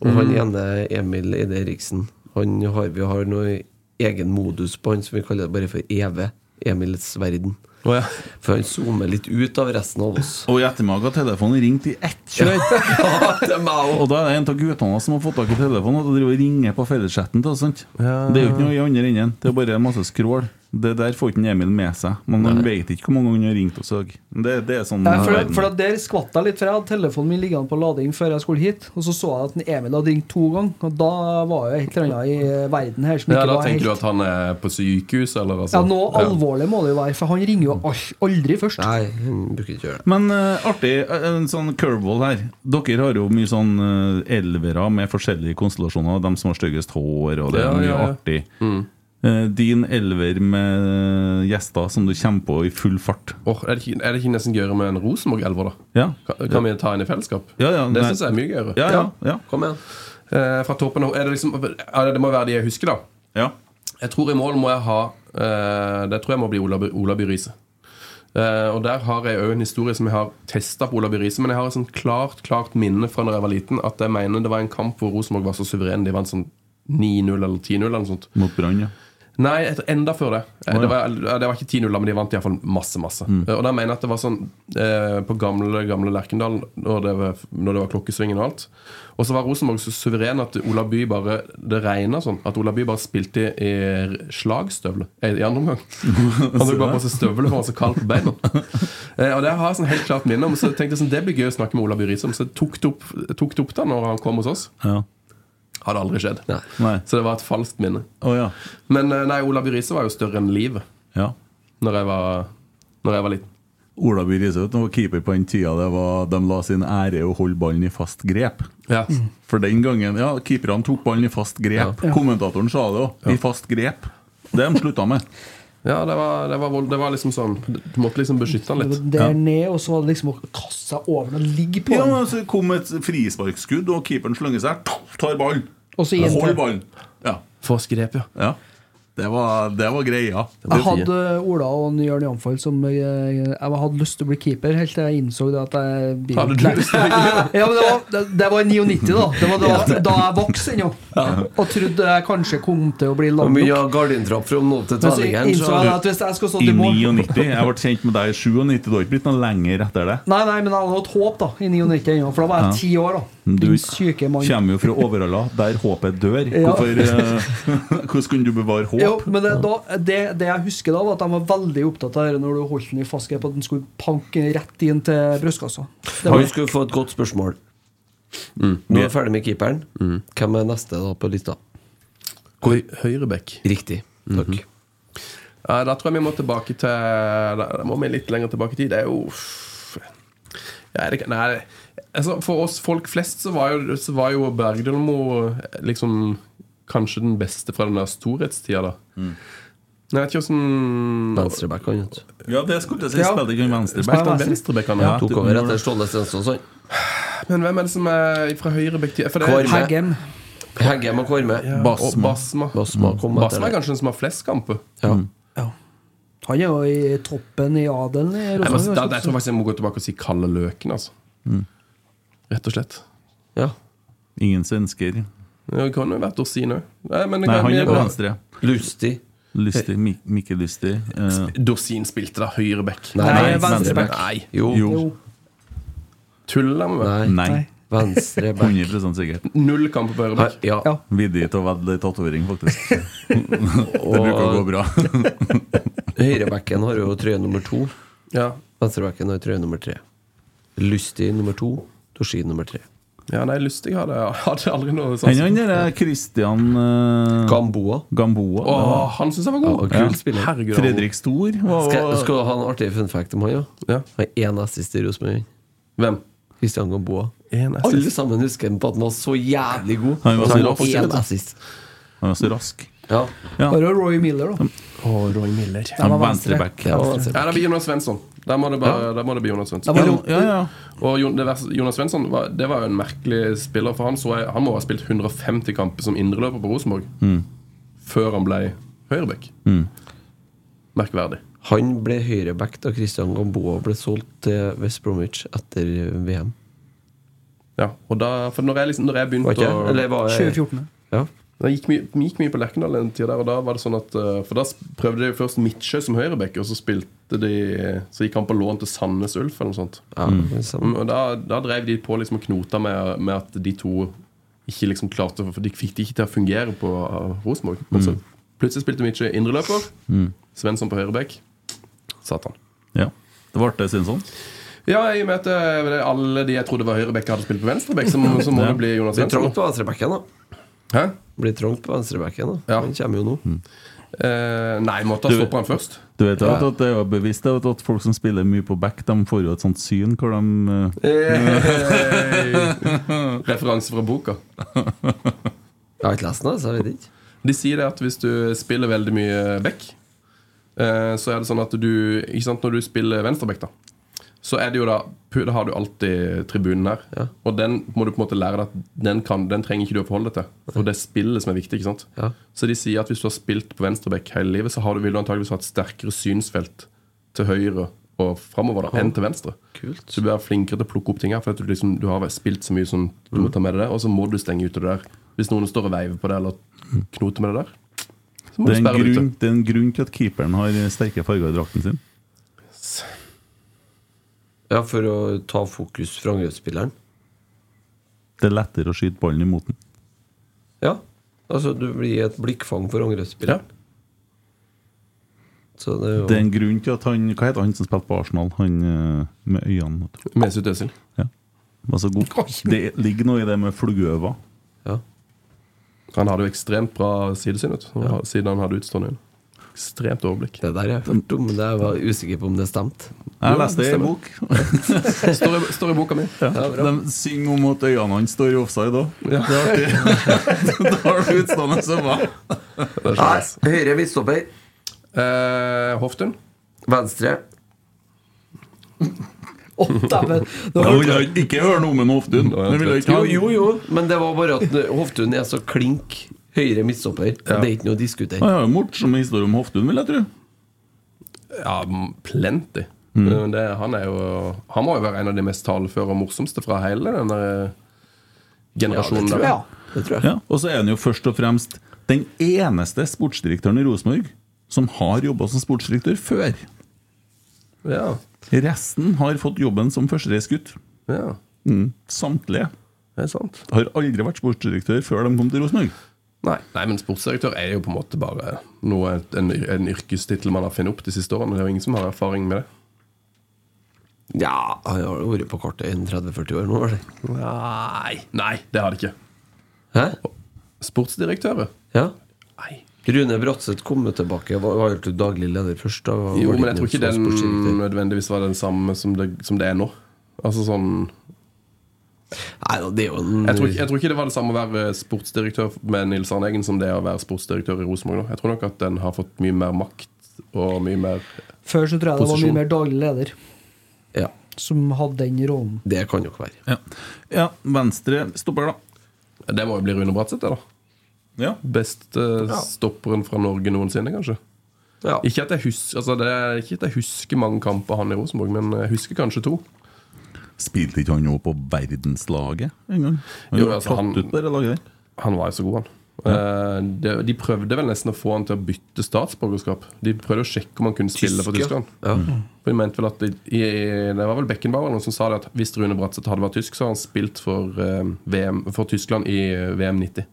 Speaker 6: Og han ene Emil Eide Eriksen. Han har, vi har noe egen modus på han som vi kaller det bare for EV. Emils verden.
Speaker 5: Å, ja.
Speaker 6: For han zoomer litt ut av resten av oss.
Speaker 3: Og i ettermiddag har telefonen ringt i ett kjør.
Speaker 6: Ja,
Speaker 5: <laughs>
Speaker 6: det er meg også.
Speaker 3: Og da er det en av guttene som har fått tak i telefonen og driver og ringer på felleschatten. til oss, sant? Det er jo ikke noe i andre enden. Det er bare masse skrål. Det der får ikke en Emil med seg. Men han vet ikke hvor mange ganger han har ringt oss òg. Det, det er sånn
Speaker 4: Nei, for,
Speaker 3: verden.
Speaker 4: for at Der skvatt jeg litt, for jeg hadde telefonen min liggende på lading før jeg skulle hit. Og så så jeg at en Emil hadde ringt to ganger, og da var jo et eller annet i eh, verden her som
Speaker 5: ja,
Speaker 4: ikke
Speaker 5: da
Speaker 4: var helt
Speaker 5: tenker du at han er på sykehus, eller altså?
Speaker 4: Ja, Noe alvorlig må det jo være, for han ringer jo al- aldri først.
Speaker 6: Nei, han bruker ikke å gjøre det.
Speaker 3: Men eh, artig, eh, en sånn curveball her. Dere har jo mye sånn eh, elvere med forskjellige konstellasjoner. De som har styggest hår, og det er
Speaker 5: Ja,
Speaker 3: mye
Speaker 5: ja, ja.
Speaker 3: artig.
Speaker 4: Mm.
Speaker 3: Eh, din elver med eh, gjester som du kommer på i full fart.
Speaker 5: Åh, er, det ikke, er det ikke nesten gøyere med en Rosenborg-elver, da?
Speaker 3: Ja,
Speaker 5: Kan, kan vi ta en i fellesskap?
Speaker 3: Ja, ja,
Speaker 5: det
Speaker 3: nei.
Speaker 5: syns jeg er mye gøyere.
Speaker 3: ja, ja. ja.
Speaker 6: Kom igjen.
Speaker 5: Eh, fra toppen av, er det, liksom, er det, det må være de jeg husker, da.
Speaker 3: ja.
Speaker 5: Jeg tror i mål må jeg ha eh, Det tror jeg må bli Ola, By- Ola By Riise. Eh, og der har jeg òg en historie som jeg har testa på Ola By Riise. Men jeg har et sånt klart klart minne fra når jeg var liten at jeg mener det var en kamp hvor Rosenborg var så suveren. De vant sånn 9-0 eller 10-0 eller noe sånt.
Speaker 3: Mot Brann, ja.
Speaker 5: Nei, et, enda før det.
Speaker 3: Å,
Speaker 5: Eh,
Speaker 3: ja. Mm.
Speaker 5: Det var, det var ikke 10-0, men de vant iallfall masse, masse. Eh, Og da mener jeg at det var sånn eh, på gamle, gamle Lerkendal, når det, var, når det var klokkesvingen og alt. Og så var Rosenborg så suveren at Ola By bare Det regna sånn. At Ola By bare spilte i slagstøvler eh, i
Speaker 3: <laughs>
Speaker 5: andre omgang. Han tok bare på seg støvler, for han var så kald på beina. Eh, og det har jeg sånn helt klart minne om. Så jeg tenkte sånn, det blir gøy å snakke med Ola By Risom. Så jeg tok det opp, tok det opp da når han kom hos oss.
Speaker 3: Ja.
Speaker 5: Hadde aldri skjedd.
Speaker 3: Nei.
Speaker 5: Så det var et falskt minne.
Speaker 3: Å ja.
Speaker 5: Men eh, nei, Olav Riise var jo større enn liv
Speaker 3: ja.
Speaker 5: Når jeg var, når jeg var liten
Speaker 3: Ola By Risøt var keeper på den tida det var, de la sin ære i å holde ballen i fast grep.
Speaker 5: ja.
Speaker 3: For den gangen Ja, keeperne tok ballen i fast grep. Kommentatoren sa det òg. I fast grep. Det har de slutta med.
Speaker 5: ja, det var, det, var vold, det var liksom sånn Du måtte liksom beskytte han
Speaker 4: Det
Speaker 5: litt
Speaker 4: var Der ned, og så var det liksom å kaste seg over den og ligge <laughs> på
Speaker 3: Ja,
Speaker 4: den.
Speaker 3: men så kom et frisparkskudd, og keeperen slenger seg, tar ballen.
Speaker 4: Og så igjen
Speaker 3: Hold
Speaker 4: til.
Speaker 3: ballen. Ja.
Speaker 5: Forsgrep, ja
Speaker 3: ja. Det, var, det var greia.
Speaker 4: Jeg hadde Ola og Jørn Jamfall som eh, Jeg hadde lyst til å bli keeper, helt til jeg innså det at jeg blir-
Speaker 5: Hadde du lyst til å bli
Speaker 4: ja, men det, var, det, det var i 99, da. Det var da, da jeg vokste ennå. Og trodde jeg kanskje kom til å bli
Speaker 6: Og
Speaker 4: langt
Speaker 6: mye
Speaker 4: nok.
Speaker 6: av gardintrapp fra nå til
Speaker 4: Men så
Speaker 6: tvellingeren,
Speaker 4: innså jeg
Speaker 6: så
Speaker 4: at hvis jeg skulle stått
Speaker 3: I
Speaker 4: i mål
Speaker 3: 99. Jeg ble kjent med deg i 97. Det har ikke blitt noe lenger etter det.
Speaker 4: Nei, nei, men jeg hadde hatt håp da i 99 ennå, for da var jeg ti år. da
Speaker 3: Du
Speaker 4: Din syke mann.
Speaker 3: kommer jo fra Overhalla, der håpet dør.
Speaker 4: Ja.
Speaker 3: Hvorfor, eh, <laughs> hvordan kunne du bevare håp?
Speaker 4: Jo, men det, da, det, det jeg husker da, var at de var veldig opptatt av det når du holdt den i fast grep, at den skulle panke rett inn til brystkassa. Det var-
Speaker 6: Han skulle få et godt spørsmål.
Speaker 5: Mm.
Speaker 6: Nå er vi ferdig med keeperen. Hvem er neste da på lista?
Speaker 5: Hvor Høyrebekk
Speaker 6: Riktig. Takk.
Speaker 5: Mm-hmm. ja, Da tror jeg vi må tilbake til Da da må vi litt lenger tilbake i tid Det er jo uff. ja, det, kan- Nei, altså for oss folk flest Så var jo, så var jo Bergdølmo Liksom kanskje den beste Fra den der storhetstida da Nei, Jeg vet ikke hvordan
Speaker 6: Venstreback, han. vet du.
Speaker 3: Ja, det skulle jeg si.
Speaker 4: Ja.
Speaker 3: Spilte ikke han venstreback?
Speaker 5: Spilte han
Speaker 3: da?
Speaker 5: venstrebekk han
Speaker 3: Ja.
Speaker 5: ja.
Speaker 6: Tok over etter Ståle sånn. Stensson.
Speaker 5: Men hvem er det som er fra høyrebekk til for det-
Speaker 6: Kvarme.
Speaker 4: Heggem.
Speaker 6: Heggem og Kvarme.
Speaker 5: Basma. Og Basma.
Speaker 6: Basma kom etter
Speaker 5: Basma er
Speaker 6: det.
Speaker 5: kanskje den som har flest kamper.
Speaker 6: Ja.
Speaker 4: Han er jo i toppen i adelen i
Speaker 5: Jeg, må, da, jeg tror
Speaker 4: Rosenborg. altså.
Speaker 5: faktisk jeg må gå tilbake og si Kalle Løken. Altså.
Speaker 3: Mm.
Speaker 5: Rett og slett.
Speaker 6: ja.
Speaker 3: Ingen svensker.
Speaker 5: Det kan jo vært Dorsin òg.
Speaker 3: Nei, han er på venstre.
Speaker 6: Lustig.
Speaker 3: Lystig. Mik Mikke Lystig. eh,
Speaker 5: Dorsin spilte da høyreback.
Speaker 6: Nei,
Speaker 4: Nei,
Speaker 3: venstreback.
Speaker 5: Nei,
Speaker 6: Jo.
Speaker 3: jo.
Speaker 5: tuller med meg?
Speaker 6: Nei.
Speaker 3: Nei.
Speaker 6: Venstreback.
Speaker 3: 100 sikkert.
Speaker 5: Null kamper på høyreback.
Speaker 6: Ja.
Speaker 4: Ja.
Speaker 3: Villig til å vedde tatovering, faktisk. <laughs> Det bruker å gå bra.
Speaker 6: Høyrebacken har jo trøye nummer to.
Speaker 5: Ja.
Speaker 6: Venstrebacken har trøye nummer tre. Lystig nummer to. Toshi nummer tre.
Speaker 5: ja, nei, Lustig hadde, hadde aldri noe
Speaker 3: Enn
Speaker 5: sånt.
Speaker 3: han derre Christian eh,
Speaker 6: Gamboa.
Speaker 3: Gamboa.
Speaker 5: Å,
Speaker 3: da.
Speaker 5: han syns jeg var god!
Speaker 6: Ja, og kul spiller.
Speaker 5: Herregud, han var god.
Speaker 3: Fredrik Stor. Var,
Speaker 6: Skal, skal du ha en artig fun fact om han, ja?
Speaker 5: Ja.
Speaker 6: Han er én assist i Rosenborg.
Speaker 5: Hvem?
Speaker 6: Christian Gamboa.
Speaker 5: En
Speaker 6: Alle
Speaker 5: assist.
Speaker 6: sammen husker han på at han var så jævlig god.
Speaker 3: Han var så
Speaker 6: Han
Speaker 3: rask,
Speaker 6: én
Speaker 3: vet du.
Speaker 6: assist.
Speaker 3: Han er så rask.
Speaker 6: Ja.
Speaker 4: Bare Roy Miller, da.
Speaker 5: Å, Roy Miller.
Speaker 3: Han var
Speaker 4: venstre.
Speaker 3: venstreback.
Speaker 6: Ja, venstre.
Speaker 5: Ja, det blir Jonas Svensson. Der må det, bare, der må det bli Jonas Svensson.
Speaker 4: Det var
Speaker 3: Ja,
Speaker 4: jo-
Speaker 3: ja, ja.
Speaker 5: Og Jon- det verste- Jonas Svensson var, det var jo en merkelig spiller, for han, så jeg, han må ha spilt 150 kamper som indreløper på Rosenborg
Speaker 6: Mm.
Speaker 5: før han ble høyrebekk. Merkverdig.
Speaker 6: Han ble høyreback da Christian Gamboa ble solgt til West Bromwich etter VM.
Speaker 5: Ja, og da, for når jeg, liksom, når jeg
Speaker 6: Var
Speaker 5: begynte
Speaker 6: ikke
Speaker 5: å
Speaker 6: det? Eller var jeg
Speaker 4: 2014.
Speaker 6: ja.
Speaker 5: Jeg gikk mye, gikk mye på Lerkendal den tida der, og da var det sånn at eh, For da s- prøvde de først Midtsjø som høyrebekk, og så spilte de Så gikk han på lån til Sandnes Ulf eller noe sånt.
Speaker 6: Ja, det samme.
Speaker 5: Mm, Og da, da drev de på liksom og knota med, med at de to ikke liksom klarte For de fikk det ikke til å fungere på uh, Rosenborg. Men så plutselig spilte Mitche indreløper. Svensson på høyrebekk. Satan.
Speaker 3: ja. Det ble det, Sinsson.
Speaker 5: Ja, i og med at eh, alle de jeg trodde var høyrebekk, hadde spilt på venstrebekk, så, må- så må det bli Jonas
Speaker 6: Blir trangt
Speaker 5: Svensson.
Speaker 6: på venstrebacken, da.
Speaker 5: Hæ?
Speaker 6: Blir trangt på venstrebacken, da.
Speaker 5: Ja.
Speaker 6: Han kommer jo nå.
Speaker 3: Mm.
Speaker 5: Eh, nei, måtte ha
Speaker 3: Du-
Speaker 5: stoppet han først.
Speaker 3: Du vet jo at, at det er jo bevisst det, vet du, at folk som spiller mye på back, de får jo et sånt syn hvor de eh,
Speaker 5: Referanse fra boka.
Speaker 6: Jeg har ikke lest den, så jeg vet ikke.
Speaker 5: De sier det at hvis du spiller veldig mye back, eh, så er det sånn at du ikke sant, Når du spiller venstreback, da, så er det jo da pu- Da har du alltid tribunen her.
Speaker 6: Ja.
Speaker 5: Og den må du på en måte lære deg at den, kan, den trenger ikke du å forholde deg til. For det er spillet som er viktig. ikke sant?
Speaker 6: Ja.
Speaker 5: Så de sier at hvis du har spilt på venstreback hele livet, så har du, vil du antageligvis ha et sterkere synsfelt til høyre og framover da, enn til venstre.
Speaker 6: Kult.
Speaker 5: Så du blir flinkere til å plukke opp ting her, for at du, liksom, du har spilt så mye som du må ta med deg det, og så må du stenge ute det der. Hvis noen står og veiver på det eller knoter med det der. Så må
Speaker 3: Mm. Det er
Speaker 5: du
Speaker 3: en
Speaker 5: sperre den
Speaker 3: grunn,
Speaker 5: ute.
Speaker 3: det er en grunn til at keeperen har sterke farger i drakten sin.
Speaker 6: Ja, for å ta fokus fra angrepsspilleren.
Speaker 3: Det er lettere å skyte ballen imot den.
Speaker 6: Ja. Altså, du blir et blikkfang for angrepsspilleren. Så det er jo
Speaker 3: Det er en grunn til at han Hva heter han som spilte på Arsenal? Han eh, med øynene vet du.
Speaker 5: Mesut Özil.
Speaker 3: ja. var så god. Det ligger noe i det med flueøyne.
Speaker 6: Ja.
Speaker 5: Han hadde jo ekstremt bra sidesyn, vet du. Siden han hadde utstående øyne. Ekstremt overblikk.
Speaker 6: Det der jeg hørte om, det jeg var usikker på om det stemte.
Speaker 3: Jeg leste det i en
Speaker 5: stemmer.
Speaker 3: bok.
Speaker 5: Står i, står i boka mi.
Speaker 3: <laughs> De synger om at øynene hans står i offside òg. Det er artig. <laughs> da har du utstående øyne.
Speaker 5: Det er sånn, ass.
Speaker 6: høyre midtstopper.
Speaker 5: Eh, Hoftun.
Speaker 6: Venstre.
Speaker 4: Å, dæven! Det
Speaker 3: Jeg
Speaker 4: var-
Speaker 3: vil jeg ikke høre noe med Hoftun. Det vil jeg ikke
Speaker 6: Jo,
Speaker 3: ha.
Speaker 6: jo, jo, men det var bare at Hoftun er så klink høyre midtstopper. Det er ikke noe å diskutere.
Speaker 3: Han har jo morsomme historier om Hoftun, vil jeg tro.
Speaker 5: Ja, m- plenty.
Speaker 6: Mm.
Speaker 5: Eh, Men Det, han, er jo, han må jo være en av de mest taleføre og morsomste fra hele den der eh, generasjonen.
Speaker 6: Ja, det tror
Speaker 5: der.
Speaker 4: Ja.
Speaker 6: Det tror jeg.
Speaker 3: Ja, og så er han jo først og fremst den eneste sportsdirektøren i Rosenborg som har jobba som sportsdirektør før.
Speaker 5: Ja,
Speaker 3: Resten har fått jobben som førstereisgutt.
Speaker 5: ja,
Speaker 3: Mm. Samtlige
Speaker 5: det er sant.
Speaker 3: har aldri vært sportsdirektør før de kom til Rosenborg.
Speaker 5: Nei, nei, men sportsdirektør er jo på en måte bare noe, en, en yrkestittel man har funnet opp de siste årene. Det er jo ingen som har erfaring med det.
Speaker 6: Ja, han har jo vært på kartet i en 30-40 år nå, eller?
Speaker 5: Nei, nei, det har de ikke.
Speaker 6: Hæ?
Speaker 5: Sportsdirektører?
Speaker 6: Ja?
Speaker 5: Nei.
Speaker 6: Rune Bratseth kom jo tilbake. Var, var jo til daglig leder først. Da.
Speaker 5: Jo,
Speaker 6: Var det
Speaker 5: men jeg tror ikke den
Speaker 6: sportsdirektør?
Speaker 5: nødvendigvis var den samme som det, som det er nå. Altså sånn
Speaker 6: Nei da, det er jo en
Speaker 5: jeg tror, ikke, jeg tror ikke det var det samme å være sportsdirektør med Nils Arne Eggen som det å være sportsdirektør i Rosenborg nå. Jeg tror nok at den har fått mye mer makt og mye mer
Speaker 4: Før så tror jeg det var
Speaker 5: Posisjon.
Speaker 4: mye mer daglig leder
Speaker 6: Ja,
Speaker 4: som hadde den rollen.
Speaker 6: det kan nok være.
Speaker 3: Ja. ja, venstre stopper, da.
Speaker 5: Det må jo bli Rune Bratseth, det, da.
Speaker 3: Ja.
Speaker 5: Best eh, stopperen fra Norge noensinne, kanskje.
Speaker 6: Ja.
Speaker 5: Ikke at, jeg husker, altså det er ikke at jeg husker mange kamper han i Rosenborg, men jeg husker kanskje to.
Speaker 3: Spilte ikke han òg på verdenslaget en gang? Han
Speaker 5: Jo,
Speaker 3: var
Speaker 5: altså, han-
Speaker 3: tatt ut på det laget der.
Speaker 5: Han var jo så god, han. Eh, det, de prøvde vel nesten å få han til å bytte statsborgerskap. De prøvde å sjekke om han kunne spille for
Speaker 6: Tysk, ja.
Speaker 5: Tyskland. For de mente vel at de, i, Det var vel Beckenbauer eller noen som sa det at hvis Rune Bratseth hadde vært tysk, så hadde han spilt for, eh, VM, for Tyskland i eh, VM 90.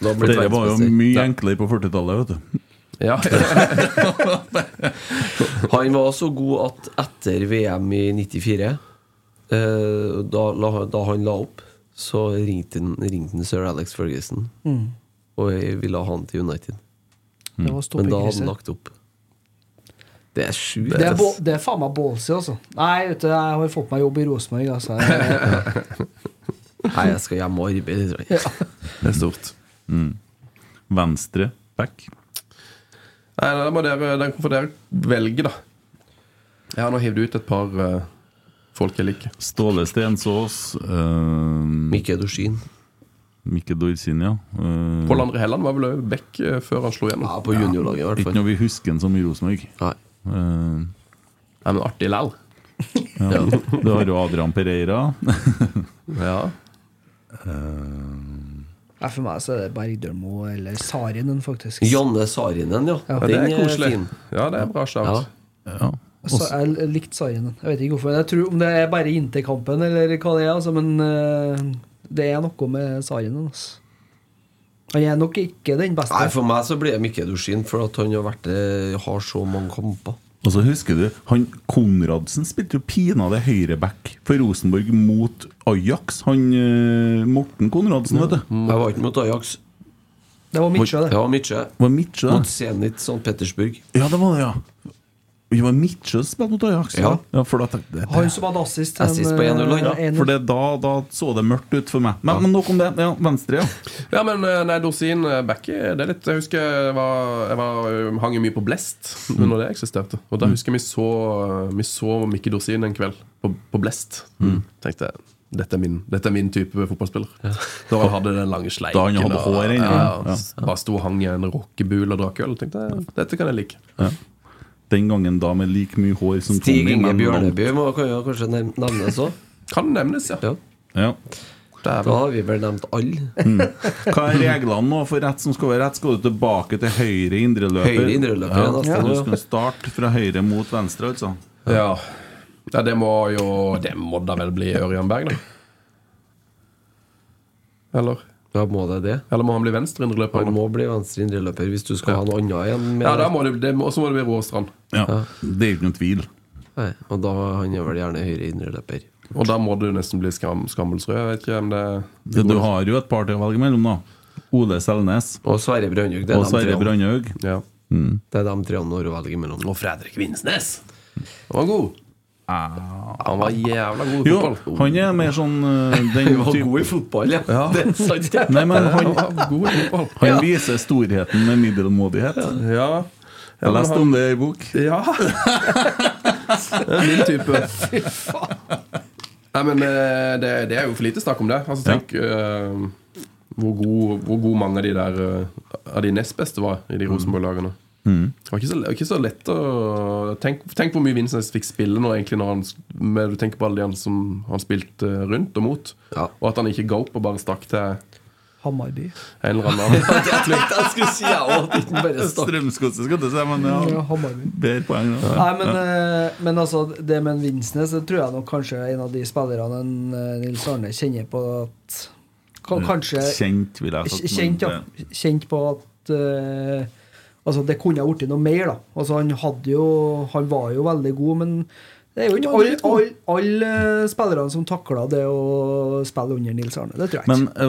Speaker 6: Da blir det
Speaker 3: Dette var jo
Speaker 6: verdensmester.
Speaker 3: mye
Speaker 6: Ja.
Speaker 3: enklere på 40-tallet, vet du.
Speaker 5: Ja,
Speaker 6: Han var så god at etter VM i 94, eh, da, la- da han la opp, så ringte han, ringte han sir Alex Ferguson
Speaker 4: Mm.
Speaker 6: og jeg ville ha han til United.
Speaker 4: Det var
Speaker 6: Mm. Men da hadde
Speaker 4: stoppekrise.
Speaker 6: han lagt opp. Det er sjukt.
Speaker 4: Det er,
Speaker 6: ass.
Speaker 4: bo- det er faen meg ballsy, altså. Nei, vet du, jeg har fått meg jobb i Rosenborg, altså.
Speaker 6: <laughs>
Speaker 4: Jeg,
Speaker 6: Nei, jeg skal hjem og arbeide. tror jeg.
Speaker 5: det er stort.
Speaker 3: Mm. Venstre back.
Speaker 5: <laughs> Nei, da må dere, Den får dere velge, da. Jeg har nå hivd ut et par eh, folk jeg liker.
Speaker 3: Ståle Stensås. Uh,
Speaker 6: Mikke Dorsin.
Speaker 3: Mikke Dorsin, ja. Eh,
Speaker 5: Pål André Helland var vel også back eh, før han slo
Speaker 6: Ja,
Speaker 5: gjennom.
Speaker 6: på juniorlaget, i hvert
Speaker 3: ikke
Speaker 6: fall.
Speaker 3: når vi husker han som i Rosenborg.
Speaker 6: Nei.
Speaker 3: Eh,
Speaker 5: Ja, men artig læll.
Speaker 3: <laughs> ja. Du har jo Adrian Pereira.
Speaker 6: Eh,
Speaker 5: Ja.
Speaker 4: Nei, for meg så er det Bergdølmo eller Sarinen, faktisk.
Speaker 6: Janne Sarinen, ja.
Speaker 4: Ja,
Speaker 5: Det
Speaker 6: Den eh,
Speaker 5: er koselig.
Speaker 6: fin.
Speaker 5: Ja, det er bra shout.
Speaker 6: Ja.
Speaker 3: Ja.
Speaker 4: Så Altså, jeg l- likte Sarinen. Jeg vet ikke hvorfor. Jeg tror om det er bare interkampen eller hva det er, altså, men eh, det er noe med Sarinen, altså. Han er nok ikke den beste.
Speaker 6: Nei, For meg så blir det Mikke Dorsin, for at han har, vært, eh, har så mange kamper.
Speaker 3: Og så husker du, han Konradsen spilte jo pinadø høyreback for Rosenborg mot Ajax. Han eh, Morten Konradsen, vet du.
Speaker 6: Jeg var ikke mot Ajax.
Speaker 4: det var Midtsjø,
Speaker 6: Jeg
Speaker 4: det.
Speaker 6: var Midtsjø.
Speaker 3: Var Midtsjø
Speaker 6: Mot
Speaker 3: der?
Speaker 6: Zenit St. Petersburg.
Speaker 3: Ja, det var det, ja. Det var Midtsjø som spilte mot Ajax.
Speaker 6: Ja.
Speaker 3: for, da tenkte jeg,
Speaker 4: Han som hadde assist. til
Speaker 6: Assist
Speaker 4: en,
Speaker 6: på 1-0, han, ja.
Speaker 4: eh, 1-0.
Speaker 3: for det, da, da så det mørkt ut for meg. Men, men nok om det. Ja, venstre, ja.
Speaker 5: Ja, men eh, nei, Dorsin eh, Becky det er litt, Jeg husker jeg, var, jeg var, eh, hang jo mye på Blest når det eksisterte. Og da husker jeg vi så, eh, vi så Mikke Dorsin en kveld på, på Blest. Tenkte jeg dette er, min, dette er min type fotballspiller. <laughs> Da han hadde den lange sleiken.
Speaker 3: Da han hadde
Speaker 5: og-
Speaker 3: hår ennå, ja.
Speaker 5: ja, ja, Bare sto og hang i en rockebul og drakk øl. Tenkte jeg, Dette kan jeg like.
Speaker 3: Den gangen da med like mye hår som
Speaker 6: Stig Inge
Speaker 3: men-
Speaker 6: Bjørneby må kan jo kanskje nev- nevnes òg.
Speaker 5: Kan nevnes, ja.
Speaker 6: Ja.
Speaker 3: Ja.
Speaker 6: Da har vi vel nevnt alle.
Speaker 3: Hva er reglene nå for rett som skal være rett? Skal du tilbake til høyre indreløper?
Speaker 6: Høyre indreløper,
Speaker 3: ja,
Speaker 6: ja, da
Speaker 3: så
Speaker 6: skal
Speaker 3: Du
Speaker 6: du-
Speaker 3: skal starte fra høyre mot venstre, altså?
Speaker 5: Ja. ja, det må jo Det må da vel bli Ørjan Berg, da? Eller?
Speaker 6: Da må det det.
Speaker 5: Eller må han bli venstre indreløper?
Speaker 6: Han må bli venstre indreløper hvis du skal ha noe annet igjen. med-
Speaker 5: Ja, da må det, det må, og så må det bli Roar Strand.
Speaker 3: Ja. Det er jo ikke noen tvil.
Speaker 6: Nei, Og da han er vel gjerne høyre indreløper.
Speaker 5: Og da må du nesten bli skam, Skammelsrud. Jeg vet ikke hvem det
Speaker 3: Det, du har jo et par til å velge mellom, da. Ole Selnes
Speaker 6: Og Sverre Brandhaug. Det er
Speaker 3: og
Speaker 6: de
Speaker 3: Sverre
Speaker 6: treene.
Speaker 3: Brandhaug.
Speaker 5: ja.
Speaker 6: Det er de tre han har å velge mellom.
Speaker 5: Og Fredrik Vinsnes! Han var god.
Speaker 3: Ah.
Speaker 5: Han var jævla god i
Speaker 3: Jo,
Speaker 5: fotball.
Speaker 3: han er mer sånn øh,
Speaker 6: <laughs>
Speaker 3: den
Speaker 6: Han var
Speaker 3: type
Speaker 6: god i fotball, ja. Det er sant. ja.
Speaker 3: Nei, men han,
Speaker 6: <laughs>
Speaker 5: Han var god i fotball.
Speaker 3: han viser storheten med middelmådighet.
Speaker 5: Ja.
Speaker 3: Jeg leste om det i bok.
Speaker 5: <laughs> Ja! Det er min type. Nei, men eh, det, det er jo for lite snakk om det. Altså, tenk eh, hvor, god, hvor god mange av de der eh, Av de nest beste var i de Rosenborg-lagene. Det var ikke så, det var ikke så lett å Tenk, tenk hvor mye Vincent fikk spille nå, egentlig, når han, med, du tenker på alle de han som han spilte eh, rundt og mot,
Speaker 6: Ja.
Speaker 5: og at han ikke ga opp og bare stakk til en
Speaker 4: Hamarby.
Speaker 5: eller annen.
Speaker 6: Jeg <laughs> tenkte jeg skulle si jeg òg, at ikke han bare stakk.
Speaker 3: Strømsgodset, skal du si, men
Speaker 4: Ja,
Speaker 3: ja,
Speaker 4: Hamarby.
Speaker 3: bedre poeng. Da.
Speaker 4: Nei, men, eh, men altså, det med en Vinsnes det tror jeg nok kanskje er en av de spillerne en, eh, Nils Arne kjenner på at
Speaker 3: Eh,
Speaker 4: kan, Kanskje
Speaker 3: Mm. Kjent, vil jeg ha sagt. men
Speaker 4: kjent, ja.
Speaker 3: det-
Speaker 4: kjent på at eh, Altså, det kunne ha blitt noe mer, da. Altså, han hadde jo Han var jo veldig god, men det er jo ikke alle all, all, eh, spillerne som takla det å spille under Nils Arne. Det tror jeg
Speaker 3: Men
Speaker 4: ikke.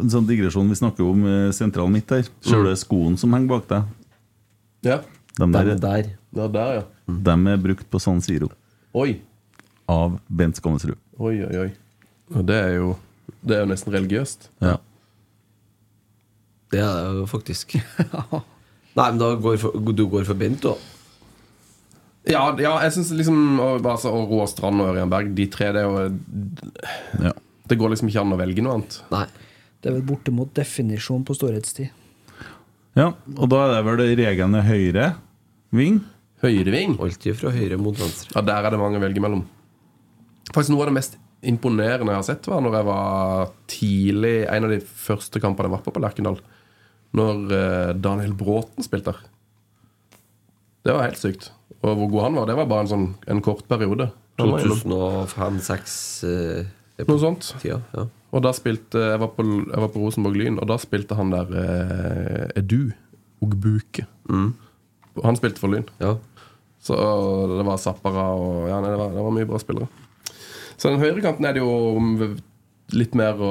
Speaker 3: øh, sånn digresjon, vi snakker jo om øh, sentral midt der. Ser du det er skoen som henger bak deg?
Speaker 5: ja.
Speaker 3: De der,
Speaker 6: Den der.
Speaker 5: Det er der, ja.
Speaker 3: dem er brukt på San Siro
Speaker 5: Oi.
Speaker 3: av Bent Skammelsrud.
Speaker 5: Oi, oi, oi. Og det er jo, det er jo nesten religiøst.
Speaker 3: Ja.
Speaker 6: <laughs> Det er det jo faktisk. Nei, men da går for, du går for Bent, da.
Speaker 5: Ja, ja jeg syns liksom og, altså, og Roar Strand og Ørjan Berg, de tre, det er jo
Speaker 3: Ja.
Speaker 5: Det går liksom ikke an å velge noe annet.
Speaker 6: Nei.
Speaker 4: Det er vel bortimot definisjon på storhetstid.
Speaker 3: ja, og da er det vel det regelen er høyre ving.
Speaker 5: Høyreving?
Speaker 6: Alltid fra høyre mot venstre.
Speaker 5: Ja, der er det mange å velge mellom. Faktisk noe av det mest imponerende jeg har sett, var når jeg var tidlig En av de første kampene jeg var på på Lerkendal. Når eh, Daniel Bråten spilte der. Det var helt sykt. Og hvor god han var, det var bare en sånn en kort periode. Han var innom-
Speaker 6: 2005-2006 eh,
Speaker 5: Noe sånt.
Speaker 6: Tida, ja.
Speaker 5: Og da spilte Jeg var på, jeg var på Rosenborg Lyn, og da spilte han der eh, Edu Ogbuke. Han spilte for Lyn.
Speaker 6: ja.
Speaker 5: Så det var Zappara og Ja, nei, det var, det var mye bra spillere. Så den høyrekanten er det jo litt mer å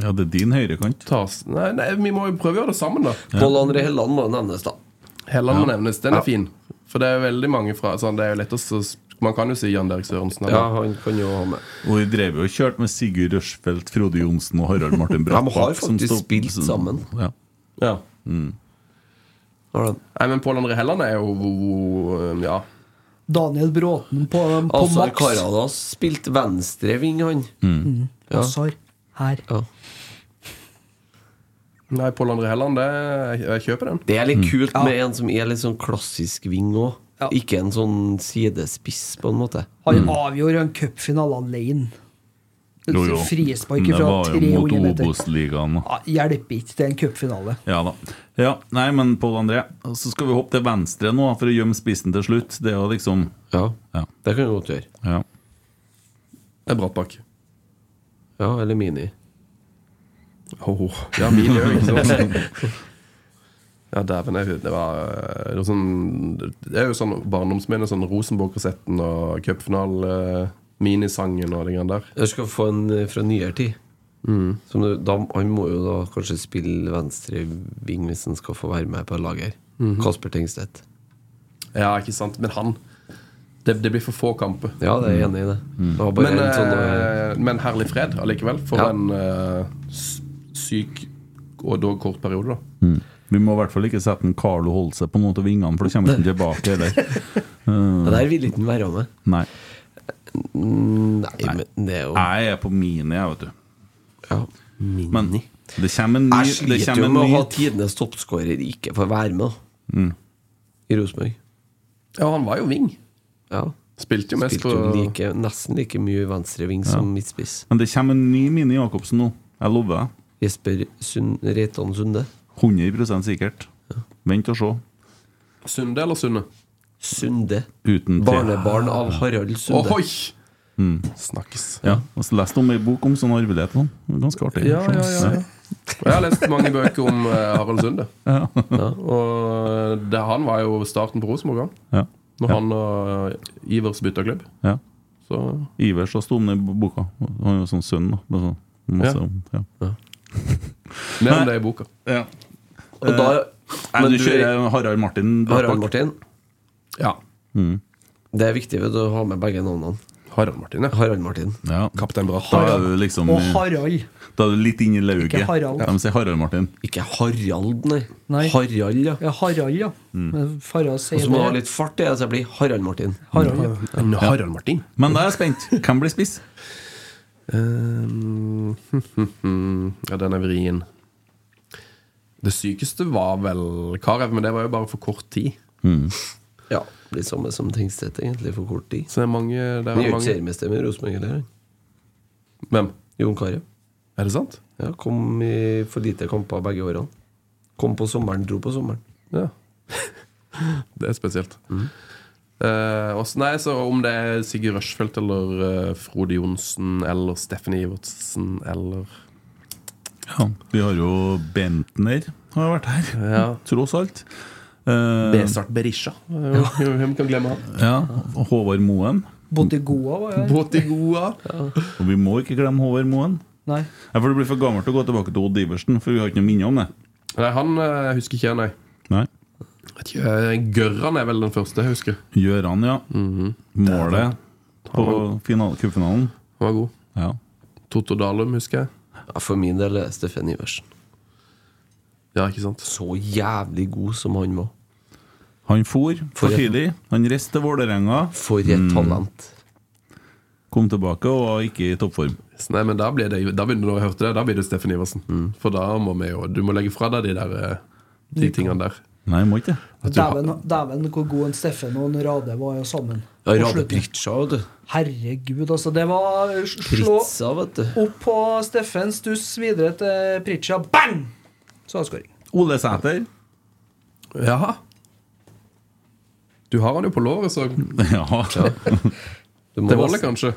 Speaker 3: Ja, det er din høyrekant.
Speaker 5: ta s- Nei, nei vi må jo prøve å gjøre det sammen, da.
Speaker 6: Pål André Helland må nevnes, da.
Speaker 5: Helland må nevnes. Den er fin. For det er jo veldig mange fra sånn, Det er jo lett å s- Man kan jo si Jan Derek Sørensen.
Speaker 6: Ja,
Speaker 5: eller-
Speaker 6: han kan jo ha med.
Speaker 3: Og vi drev jo og kjørte med Sigurd Rushfeldt, Frode Johnsen og Harald
Speaker 6: <laughs>
Speaker 3: Martin
Speaker 6: har
Speaker 3: Brattbakk. som
Speaker 6: faktisk
Speaker 3: stod-
Speaker 6: spilt sammen.
Speaker 3: Ja.
Speaker 5: Ja.
Speaker 6: Har den.
Speaker 5: Nei, men Pål André Helland er jo Ja.
Speaker 4: Daniel Bråten på, på
Speaker 6: Azar
Speaker 4: maks.
Speaker 6: Karadas spilte venstreving, han. Ja.
Speaker 4: Azar her.
Speaker 6: Ja.
Speaker 5: Nei, Pål André Helland, det jeg, jeg kjøper den.
Speaker 6: Det er litt kult med en som er litt sånn klassisk ving òg. Ikke en sånn sidespiss, på en måte.
Speaker 4: Han avgjorde en cupfinale alene.
Speaker 3: Mm. Jo, jo.
Speaker 4: Frispark
Speaker 3: Men
Speaker 4: fra
Speaker 3: Det var
Speaker 4: 300
Speaker 3: jo mot
Speaker 4: meter.
Speaker 3: Obos-ligaen. da.
Speaker 4: Ja, Hjelper ikke til en cupfinale.
Speaker 3: Ja da. Ja, nei, men Pål André, så skal vi hoppe til venstre nå for å gjemme spissen til slutt. Det er jo liksom
Speaker 6: Ja,
Speaker 3: Ja.
Speaker 6: Det kan du godt gjøre.
Speaker 3: ja.
Speaker 5: Det er Brattbakk.
Speaker 6: Ja, Eller Mini.
Speaker 5: Åh, Ja, min gjør jo ikke sånn. <laughs> Ja, dæven. jeg- Det var, det, var sånn, det er jo sånn barndomsminne. Sånn Rosenborg-kassetten og cupfinal-minisangen og de greiene der.
Speaker 6: Jeg skal få en eh, fra nyere tid. Som du, da, han må jo da kanskje spille venstre ving hvis han skal få være med på laget her. Kasper Tengstedt.
Speaker 5: Ja, ikke sant? Men han Det, det blir for få kamper.
Speaker 6: Ja, det er jeg enig i det. Det var bare
Speaker 5: Men,
Speaker 6: en sånn eh,
Speaker 5: eh, men herlig fred allikevel. For
Speaker 6: Ja.
Speaker 5: en eh, s- syk og dog kort periode, da.
Speaker 3: Vi må i hvert fall ikke sette en Carlo Holse på noen av vingene, for da kommer han ikke tilbake
Speaker 5: <laughs>
Speaker 3: heller.
Speaker 6: Det der ville ikke han være med.
Speaker 3: Nei.
Speaker 6: Nei, men det er jo
Speaker 3: Jeg er på mine, jeg, vet du.
Speaker 6: ja.
Speaker 3: Men det kommer en ny
Speaker 6: Jeg
Speaker 3: det
Speaker 6: sliter
Speaker 3: kommer
Speaker 6: jo
Speaker 3: en
Speaker 6: med å
Speaker 3: ny- Mm.
Speaker 6: ha tidenes toppskårer ikke får være med, da. I Rosenborg.
Speaker 5: Ja, han var jo wing.
Speaker 6: Ja.
Speaker 5: Spilte jo mest
Speaker 6: Spilte
Speaker 5: på
Speaker 6: jo like, nesten like mye venstreving som midtspiss.
Speaker 3: Men det kommer en ny Mini Jacobsen nå. Jeg lover deg.
Speaker 6: Jesper Sund, Reitan Sunde.
Speaker 3: 100 sikkert. Vent og se.
Speaker 5: Sunde eller Sunde?
Speaker 6: Sunde.
Speaker 3: Uten tre.
Speaker 6: Barnebarn av Harald Sunde.
Speaker 5: Ohoi! Mm. Snakkes.
Speaker 3: Ja. Jeg leste om ei bok om sånn arvelighet. nå. Det er Ganske artig.
Speaker 5: Ja, ja, ja, ja. Og Jeg har lest mange bøker om eh, Harald Sunde. Og det, han var jo starten på Rosenborg, han.
Speaker 3: Ja.
Speaker 5: Når han og Ivers bytta klubb.
Speaker 3: Ja.
Speaker 5: Så
Speaker 3: Ivers har stått med i boka. Han er jo sånn sønn, da. Det er sånn masse
Speaker 5: Ja.
Speaker 3: om ja.
Speaker 5: mer om det i boka.
Speaker 6: Og da
Speaker 3: Eh, Nei,
Speaker 6: Men
Speaker 3: du
Speaker 6: du-
Speaker 3: kjører Harald Martin.
Speaker 6: Harald Martin.
Speaker 5: Ja.
Speaker 6: Det er viktig vet du, å ha med begge navnene.
Speaker 5: Harald Martin, ja.
Speaker 6: Harald Martin.
Speaker 3: Ja.
Speaker 5: Kaptein Bratt.
Speaker 3: Da er du liksom
Speaker 4: Og Harald.
Speaker 3: Da er du litt inne i
Speaker 4: Ikke
Speaker 3: lauget.
Speaker 4: Harald.
Speaker 3: De sier Harald Martin.
Speaker 6: Ikke Harald, nei.
Speaker 4: Nei.
Speaker 6: Harald, ja.
Speaker 4: Ja, Harald, ja.
Speaker 3: Mm.
Speaker 4: Men Farah
Speaker 6: Og
Speaker 4: sier
Speaker 6: så må du ha
Speaker 4: det.
Speaker 6: litt fart i det, så jeg blir Harald Martin.
Speaker 4: Harald, ja.
Speaker 3: Mm.
Speaker 5: Men Harald Martin?
Speaker 3: Men da er jeg spent. Hvem blir spiss?
Speaker 5: Ehm, <laughs> ja, den er vrien. Det sykeste var vel Karev, men det var jo bare for kort tid.
Speaker 6: Ja, Litt samme som Tengstedt, egentlig, for kort tid.
Speaker 5: Så det er mange, det er
Speaker 6: Han er jo ikke
Speaker 5: mange.
Speaker 6: seriemester med Rosenborg heller, han.
Speaker 5: Hvem?
Speaker 6: Jon Carew.
Speaker 5: Er det sant?
Speaker 6: Ja, kom i for lite kamper begge årene. Kom på sommeren, dro på sommeren.
Speaker 5: Ja. <laughs> det er spesielt. Eh, også, nei, så Om det er Sigurd Rushfeldt eller eh, Frode Johnsen eller Steffen Ivertsen eller
Speaker 3: Ja, vi har jo Bentner har vært her,
Speaker 5: Ja.
Speaker 3: tross alt. Eh,
Speaker 5: Besart Berisha. Ja. Hvem kan glemme <laughs> han?
Speaker 3: ja, og Håvard Moen.
Speaker 4: Botigoa var jeg.
Speaker 5: Båtigoa.
Speaker 3: Og vi må ikke glemme Håvard Moen.
Speaker 4: Nei.
Speaker 3: Ja, for Det blir for gammelt å gå tilbake til Odd Iversen, for vi har ikke noe minne om det.
Speaker 5: Nei, han eh, jeg husker ikke, jeg, nei.
Speaker 3: Nei.
Speaker 5: Vet ikke, eh, Gørran er vel den første jeg husker.
Speaker 3: Gjøran, ja. Målet på final- cupfinalen.
Speaker 5: Han var god.
Speaker 3: Ja.
Speaker 5: Totto Dalum, husker jeg.
Speaker 6: Ja, for min del er det Steffen Iversen.
Speaker 5: Ja, ikke sant?
Speaker 6: Så jævlig god som han var.
Speaker 3: Han for for
Speaker 6: For-
Speaker 3: tidlig. Han reiste til Vålerenga,
Speaker 6: For et
Speaker 5: Mm.
Speaker 6: talent.
Speaker 3: kom tilbake og var ikke i toppform.
Speaker 5: Så Nei, men da blir det, da begynner når jeg hørte det, da blir det Steffen Iversen. For da må vi jo Du må legge fra deg de der eh, Mm. De tingene der.
Speaker 3: Nei, må ikke <laughs> det.
Speaker 4: Dæven, dæven hvor god en Steffen og en Rade var jo sammen.
Speaker 6: Ja,
Speaker 4: På
Speaker 6: Rade
Speaker 4: slutten.
Speaker 6: Pritcha, vet du.
Speaker 4: Herregud, altså. Det var slå
Speaker 6: Pritza, vet du.
Speaker 4: opp på Steffen, stuss videre til Pritcha. Bang! Så var det skåring.
Speaker 3: Ole Sæter.
Speaker 5: Jaha. Du har han jo på låret, så det
Speaker 3: Ja.
Speaker 6: du må
Speaker 5: holder <laughs> kanskje.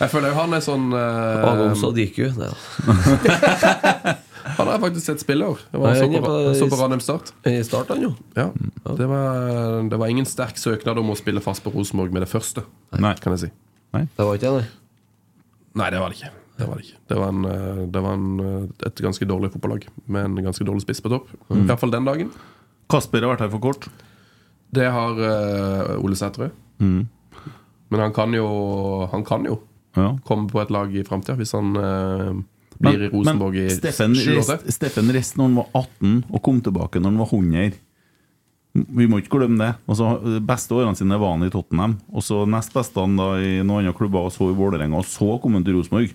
Speaker 5: jeg føler jo han er sånn eh,
Speaker 6: Agon Sadiku. Nei da.
Speaker 5: Han har jeg faktisk sett spille i år. Jeg
Speaker 6: Nei,
Speaker 5: var- så
Speaker 6: han er
Speaker 5: på,
Speaker 6: på-
Speaker 5: jeg så på Ranheim Start.
Speaker 6: I starten, han jo.
Speaker 5: Ja. Det, var, det var ingen sterk søknad om å spille fast på Rosenborg med det første,
Speaker 3: Nei.
Speaker 5: kan jeg si.
Speaker 6: Det var ikke jeg, nei.
Speaker 5: Nei, det var det ikke. Det var, det ikke. Det var, en, eh, det var en, eh, et ganske dårlig fotballag med en ganske dårlig spiss på topp. I hvert fall den dagen.
Speaker 3: Kasper har vært her for kort.
Speaker 5: Det har eh, Ole Sæterød. Mm. Men han kan, jo, han kan jo
Speaker 3: Ja.
Speaker 5: komme på et lag i framtida hvis han eh, blir i Rosenborg i
Speaker 3: Steffen
Speaker 5: 7-8.
Speaker 3: Rest- Steffen Rest når han var 18 og kom tilbake når han var 100. Vi må ikke glemme det. Altså, de beste årene sine var han i Tottenham. Og så nest beste han da i noen andre klubber, og så i Vålerenga, og så kom han til Rosenborg.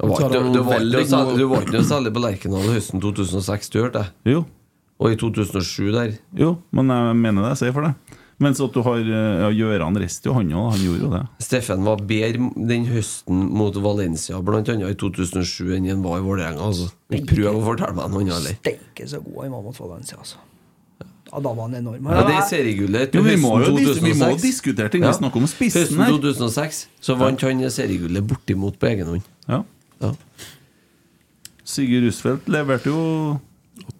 Speaker 6: Du var
Speaker 5: Så
Speaker 6: ikke
Speaker 5: har han
Speaker 6: du var
Speaker 5: veldig
Speaker 6: ikke noe
Speaker 5: god-
Speaker 6: særlig- du var ikke noe særlig på Lerkendal høsten 2006, du hørte det?
Speaker 3: Jo,
Speaker 6: Og i 2007 der.
Speaker 3: jo, men jeg mener det. Jeg sier for det. Mens at du har eh, ja, Gjøran Rest, jo, han òg. Han gjorde jo det.
Speaker 6: Steffen var bedre den høsten mot Valencia, blant annet i 2007, enn han var i Vålerenga. Altså. Ikke prøv å fortelle meg noe annet, eller?
Speaker 4: Steike så god han var mot Valencia, altså. Ja, da var han enorm.
Speaker 6: Ja, det seriegullet
Speaker 3: Jo, vi må jo dis-
Speaker 6: høsten
Speaker 3: vi må
Speaker 6: 2006.
Speaker 3: diskutere ting. Vi snakker om spissen
Speaker 6: høsten
Speaker 3: her.
Speaker 6: 2006 så vant han seriegullet bortimot på egen hånd.
Speaker 3: Ja.
Speaker 6: Ja.
Speaker 3: Sigurd Rusfeldt leverte jo
Speaker 5: Å,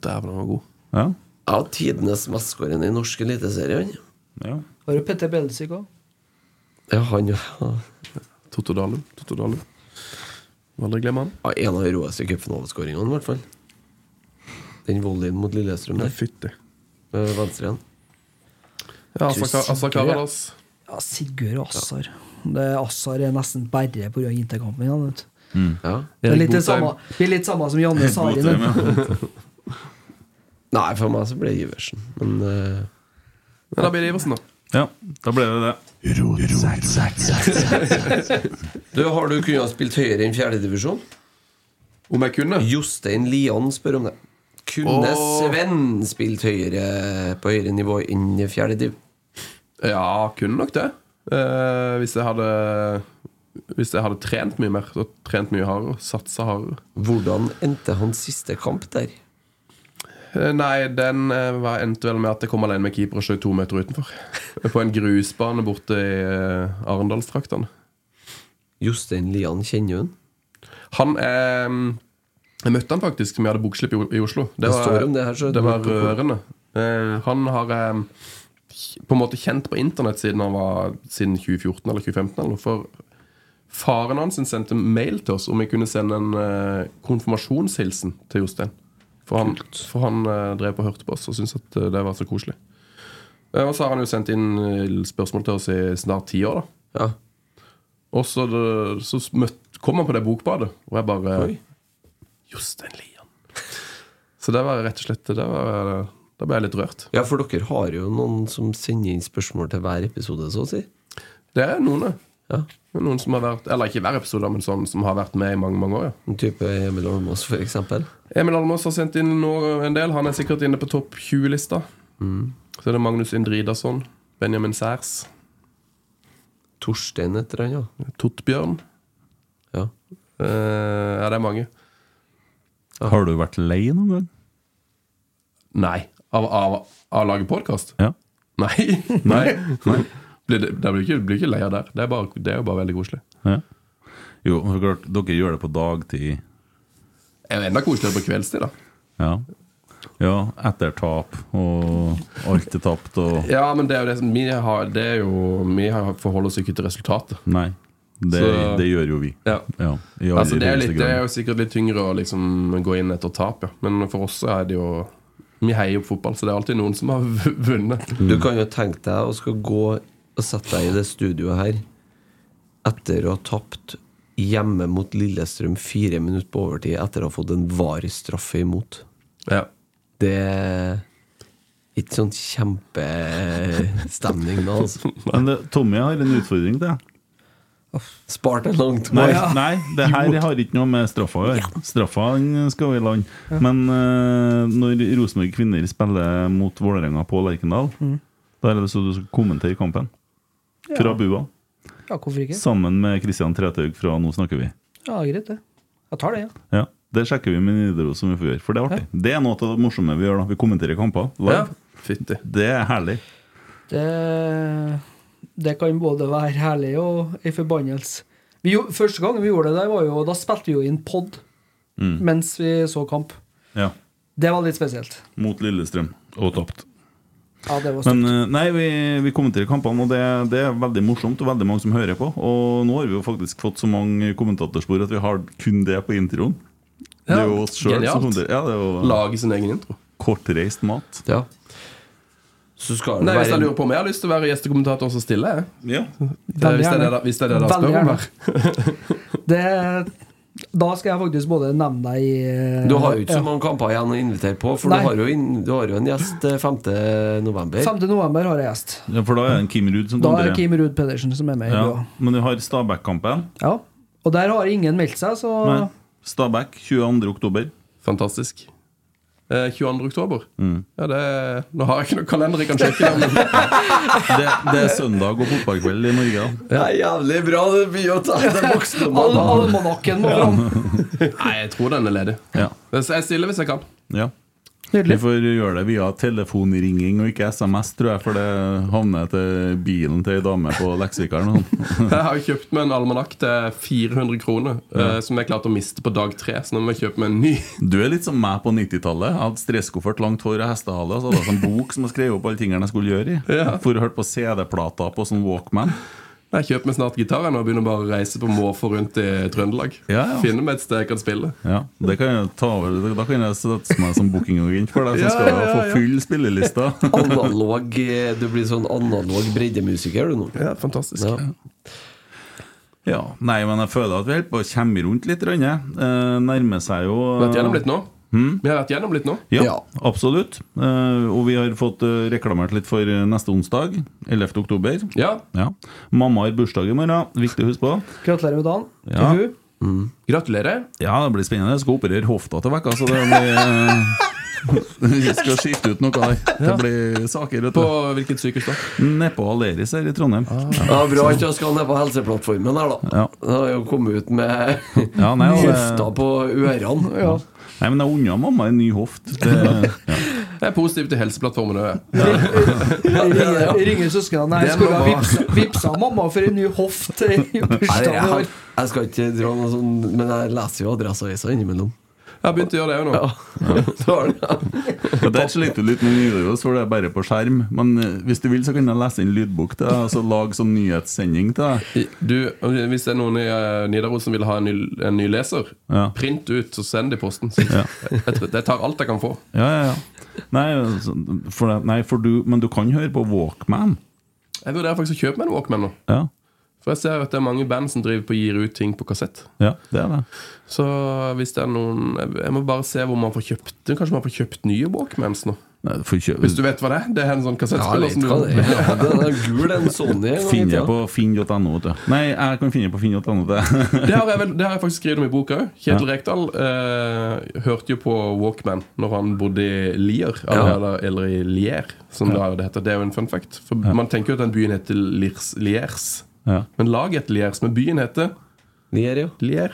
Speaker 5: Dæven, han var god.
Speaker 3: Ja.
Speaker 6: Ja, tidenes mestskårende i norsk eliteserie, han.
Speaker 3: ja.
Speaker 4: Var det Petter Belsik òg?
Speaker 6: Ja, han ja.
Speaker 5: Totto Dalum. Totto Dalum. Må Aldri glemme han.
Speaker 6: Ja, En av de råeste cupfinaleskåringene, i hvert fall. Den volleyen mot Lillestrøm
Speaker 5: Nei,
Speaker 6: der.
Speaker 5: fytti.
Speaker 6: Med venstre igjen.
Speaker 5: Ja, Asa- Asa Karadas.
Speaker 4: Ja, Sigurd og Assar. Det Assar er nesten bare pga. interkampen. Ja, vet du.
Speaker 6: Ja.
Speaker 4: det er litt det
Speaker 5: Botheim.
Speaker 4: samme, det er litt samme som Janne Sari.
Speaker 3: Botheim,
Speaker 4: nå.
Speaker 6: Nei, for meg så ble det Iversen. Men eh,
Speaker 5: Men da blir det Iversen, da.
Speaker 3: ja. Da ble det det.
Speaker 6: Du, Har du kunnet ha spilt høyere enn fjerdedivisjon?
Speaker 5: Om jeg kunne?
Speaker 6: Jostein Lian spør om det. Kunne
Speaker 5: Åh.
Speaker 6: Sven spilt høyere på høyere nivå enn fjerdediv?
Speaker 5: Ja, kunne nok det. Eh, hvis jeg hadde Hvis jeg hadde trent mye mer og trent mye hardere, satsa hardere.
Speaker 6: Hvordan endte hans siste kamp der?
Speaker 5: Eh, Nei, den eh, var- endte vel med at jeg kom alene med keeper og skjøt to meter utenfor. <laughs> På en grusbane borte i eh, Arendalstraktene.
Speaker 6: Jostein Lian, kjenner du han?
Speaker 5: Han eh, Jeg møtte han faktisk som jeg hadde bokslipp i, O- i Oslo.
Speaker 6: Det står om det her, så
Speaker 5: det
Speaker 6: du
Speaker 5: var
Speaker 6: vet hvorfor.
Speaker 5: rørende. Eh, han har eh, på en måte kjent på internett siden han var Siden 2014 eller 2015. Eller noe, for faren hans sendte mail til oss om vi kunne sende en eh, konfirmasjonshilsen til Jostein. For han, for han eh, drev på og hørte på oss og syntes at eh, det var så koselig. Eh, og så har han jo sendt inn eh, spørsmål til oss i snart ti år. da
Speaker 6: Ja.
Speaker 5: og så, så møtt, kom han på det bokbadet, og jeg bare
Speaker 6: Oi.
Speaker 5: Jostein Lian. Så det var rett og slett det var, Da ble jeg litt rørt.
Speaker 6: ja, for dere har jo noen som sender inn spørsmål til hver episode, så å si.
Speaker 5: Det er noen, det.
Speaker 6: Ja.
Speaker 5: Det er Noen som har vært, Eller ikke hver episode, men sånn som har vært med i mange mange år. ja
Speaker 6: En type Emil Almås, for eksempel.
Speaker 5: Emil Almås har sendt inn nå en del. Han er sikkert inne på topp 20-lista.
Speaker 6: Mm.
Speaker 5: Så er det Magnus Indridason, Benjamin Særs,
Speaker 6: Torstein heter han, ja.
Speaker 5: Tottbjørn
Speaker 6: ja.
Speaker 5: eh, Ja, det er mange.
Speaker 3: Har du vært lei noen gang?
Speaker 5: Nei. Av, av, av å lage podkast?
Speaker 3: Ja.
Speaker 5: Nei. <laughs> Nei. Blir det, det blir, ikke, blir ikke leia der. Det er, bare, det er jo bare veldig koselig.
Speaker 3: ja. Jo, for klart, dere gjør det på dagtid.
Speaker 5: Det er jo enda koseligere på kveldstid, da.
Speaker 3: Ja. ja, etter tap, og alt er tapt, og
Speaker 5: Ja, men det er jo det som vi har, det er jo, vi har forholder oss ikke til resultatet.
Speaker 3: Nei. Det,
Speaker 5: Så-
Speaker 3: det gjør jo vi.
Speaker 5: Ja.
Speaker 3: Ja, i
Speaker 5: Altså, det, er
Speaker 3: aller
Speaker 5: litt, det er jo sikkert litt tyngre å liksom gå inn etter tap, ja. Men for oss så er det jo Vi heier jo på fotball, så det er alltid noen som har <laughs> v- vunnet.
Speaker 6: Du kan jo tenke deg å skal gå og sette deg i det studioet her etter å ha tapt hjemme mot Lillestrøm fire minutter på overtid etter å ha fått en varig straffe imot.
Speaker 5: Ja.
Speaker 6: Det er ikke sånn kjempestemning da, altså.
Speaker 3: grunn. Men det, Tommy jeg har en utfordring til deg.
Speaker 6: Spart en lang tur.
Speaker 3: Nei, nei, det her har ikke noe med straffa å gjøre. Straffa den skal i land. Men eh, når Rosenborg kvinner spiller mot Vålerenga på Lerkendal, da er det så du skal kommentere kampen. Fra bua.
Speaker 4: Ja, hvorfor ikke?
Speaker 3: Sammen med Kristian Trethaug fra Nå snakker vi.
Speaker 4: Ja, greit, det. Jeg tar det, ja.
Speaker 3: Ja, Det sjekker vi med Nidaros, som vi får gjøre. For det er artig. Det er noe av det morsomme vi gjør. da Vi kommenterer kamper live.
Speaker 5: ja. Fytti.
Speaker 3: Det er herlig.
Speaker 4: Det, det kan både være herlig og en forbannelse. Vi, gjo- første gang vi gjorde det, der var jo, da spilte vi jo inn pod mens vi så kamp.
Speaker 3: Ja.
Speaker 4: Det var litt spesielt.
Speaker 3: Mot Lillestrøm. Og tapt.
Speaker 4: Ja, det var
Speaker 3: Men
Speaker 4: stort.
Speaker 3: eh, nei, vi, vi kommenterer kampene, og det, det er veldig morsomt, og veldig mange som hører på. Og nå har vi jo faktisk fått så mange kommentatorspor at vi har kun det på introen. det er jo oss sjøl som
Speaker 5: genialt.
Speaker 3: kommenterer. Ja, det er jo
Speaker 5: Lage sin egen intro.
Speaker 3: kortreist mat.
Speaker 6: Ja. Så skal det
Speaker 5: Nei, Hvis jeg
Speaker 6: være
Speaker 5: lurer på om jeg har lyst til å være gjestekommentator, så stiller jeg.
Speaker 3: Ja.
Speaker 5: Det, er- Eh, hvis, det er det,
Speaker 4: gjerne.
Speaker 5: da- hvis det er det dere
Speaker 4: Veldig
Speaker 5: spør om
Speaker 4: gjerne.
Speaker 5: her. <laughs>
Speaker 4: det, da skal jeg faktisk både nevne deg i eh,
Speaker 6: Du har jo ikke så
Speaker 4: ja.
Speaker 6: mange kamper igjen å invitere på, for
Speaker 4: Nei.
Speaker 6: du har, jo inn, du har jo en gjest eh, 5. november.
Speaker 4: 5. november har jeg gjest.
Speaker 3: ja, for da er det en Kim Ruud som
Speaker 4: Da er
Speaker 3: kommenterer.
Speaker 4: Kim Ruud Pedersen som er med. i
Speaker 3: ja.
Speaker 4: bua.
Speaker 3: Men du har Stabæk-kampen.
Speaker 4: Ja. Og der har ingen meldt seg, så
Speaker 3: Nei. Stabæk 22. oktober.
Speaker 5: Fantastisk. Eh, 22. oktober. Ja, det, nå har jeg ikke noen kalender jeg kan sjekke. Der, men
Speaker 3: Det, det er søndag og fotballkveld i Norge. da.
Speaker 6: Ja, jævlig bra! Det blir å ta den voksne
Speaker 4: Al
Speaker 6: mannen.
Speaker 4: Almanakken må fram.
Speaker 5: <laughs> nei, jeg tror den er ledig.
Speaker 3: Ja.
Speaker 5: Men så Jeg stiller hvis jeg kan.
Speaker 3: ja. <laughs> Vi
Speaker 4: Nydelig.
Speaker 3: får gjøre det via telefonringing og ikke SMS, tror jeg, for det havner til bilen til ei dame på Leksvikeren.
Speaker 5: Jeg har jo kjøpt meg en almanakk til 400 kroner, eh, som jeg klarte å miste på dag tre. Så nå må jeg kjøpe meg en ny. <laughs>
Speaker 3: Du er litt som meg på 90-tallet. Jeg hadde stresskoffert, langt hår og hestehale. Og så hadde jeg sånn bok som jeg skrev opp alle tingene jeg skulle gjøre i.
Speaker 5: Ja.
Speaker 3: For å høre på CD-plater på sånn Walkman.
Speaker 5: Jeg kjøper meg snart gitar jeg nå og begynner bare å reise på måfå rundt i Trøndelag.
Speaker 3: Ja, ja.
Speaker 5: Finne meg et sted jeg kan spille.
Speaker 3: Ja, det kan jeg ta over Da kan jeg sette meg som bookingagent for deg, som
Speaker 5: Ja,
Speaker 3: skal
Speaker 5: ja, ja.
Speaker 3: få full spillelista. <laughs>
Speaker 6: Analog eh, Du blir sånn analog breddemusiker, du nå.
Speaker 5: Ja, fantastisk.
Speaker 6: Ja.
Speaker 3: Ja, Nei, men jeg føler at vi holder på å komme rundt litt. Rønne. Eh, nærmer seg jo
Speaker 5: Vi har vært gjennom litt nå.
Speaker 3: Mm.
Speaker 5: Vi har vært gjennom litt nå.
Speaker 3: Ja,
Speaker 6: Ja.
Speaker 3: absolutt. Eh, og vi har fått eh, reklamert litt for eh, neste onsdag, 11. oktober.
Speaker 5: Ja,
Speaker 3: Ja. Mamma har bursdag i morgen, viktig å huske på.
Speaker 4: Gratulerer med dagen til
Speaker 3: Ja.
Speaker 4: hun.
Speaker 5: Gratulerer.
Speaker 3: Ja, det blir spennende. Jeg skal operere hofta til vekka, så det blir altså, eh, <laughs> Vi skal skifte ut noe der. Det blir saker ute.
Speaker 5: På hvilket sykehus da?
Speaker 3: Nedpå Aleris her i Trondheim.
Speaker 5: Ah.
Speaker 6: Ja, bra at jeg skal ned på Helseplattformen her, da.
Speaker 3: Ja.
Speaker 6: Da har jeg jo kommet ut med
Speaker 3: Ja, nei, og det-
Speaker 6: hofta på ørene. Ja.
Speaker 3: Nei, men jeg unna mamma en ny hoft.
Speaker 5: <laughs>
Speaker 3: Det,
Speaker 5: Jeg er positiv til Helseplattformen òg.
Speaker 4: Ringer, ringer søsknene Nei,
Speaker 5: Det
Speaker 4: skulle
Speaker 5: må
Speaker 4: ha
Speaker 5: være-
Speaker 4: vipsa, vipsa mamma for en ny hoft
Speaker 5: <laughs>
Speaker 4: i bursdagen i
Speaker 6: Jeg,
Speaker 4: år.
Speaker 6: jeg skal ikke dra noe sånn Men jeg leser jo Adresseavisa innimellom.
Speaker 5: Jeg har begynt å gjøre det òg nå.
Speaker 6: <laughs> Så har den-
Speaker 3: og der sliter du litt med Nidaros, for det er bare på skjerm. Men eh, hvis du vil, så kan jeg lese inn lydbok til deg, og så lage sånn nyhetssending til deg.
Speaker 5: Du, Hvis det er noen i eh, Nidaros som vil ha en ny, en ny leser,
Speaker 3: Ja.
Speaker 5: print ut og send det i posten. Så jeg, jeg, jeg tar alt jeg kan få.
Speaker 3: Ja, ja, ja. Nei, altså, for, det- nei for du, men du kan høre på Walkman.
Speaker 5: Jeg vurderer faktisk å kjøpe meg en Walkman nå.
Speaker 3: Ja,
Speaker 5: For jeg ser at det er mange band som driver på gir ut ting på kassett.
Speaker 3: ja det er det.
Speaker 5: Så hvis det er noen Jeg må bare se hvor man får kjøpt det. Kanskje man får kjøpt nye Walkmans nå?
Speaker 3: Nei, du får kjø-
Speaker 5: Hvis du vet hva det er? Det er en sånn
Speaker 6: Ja, jeg
Speaker 5: kassettspiller
Speaker 6: vet
Speaker 5: som
Speaker 6: hva det
Speaker 5: du
Speaker 6: er. Ja, Den er gul, en Sony. en gang i
Speaker 3: Finner
Speaker 6: tida.
Speaker 3: jeg på finn.no, vet du. Nei, jeg kan finne på finn.no. det. <laughs>
Speaker 5: Det har jeg, vel, det har jeg faktisk skrevet om i boka òg. Kjetil Rekdal eh, hørte jo på Walkman når han bodde i Lier, eller,
Speaker 6: Ja.
Speaker 5: eller, eller i Lier, som da det heter. Det er jo en fun fact. For Man tenker jo at den byen heter Liers, Liers.
Speaker 3: Ja.
Speaker 5: men laget heter Liers. Men byen heter
Speaker 6: Nier, jo.
Speaker 5: Lier.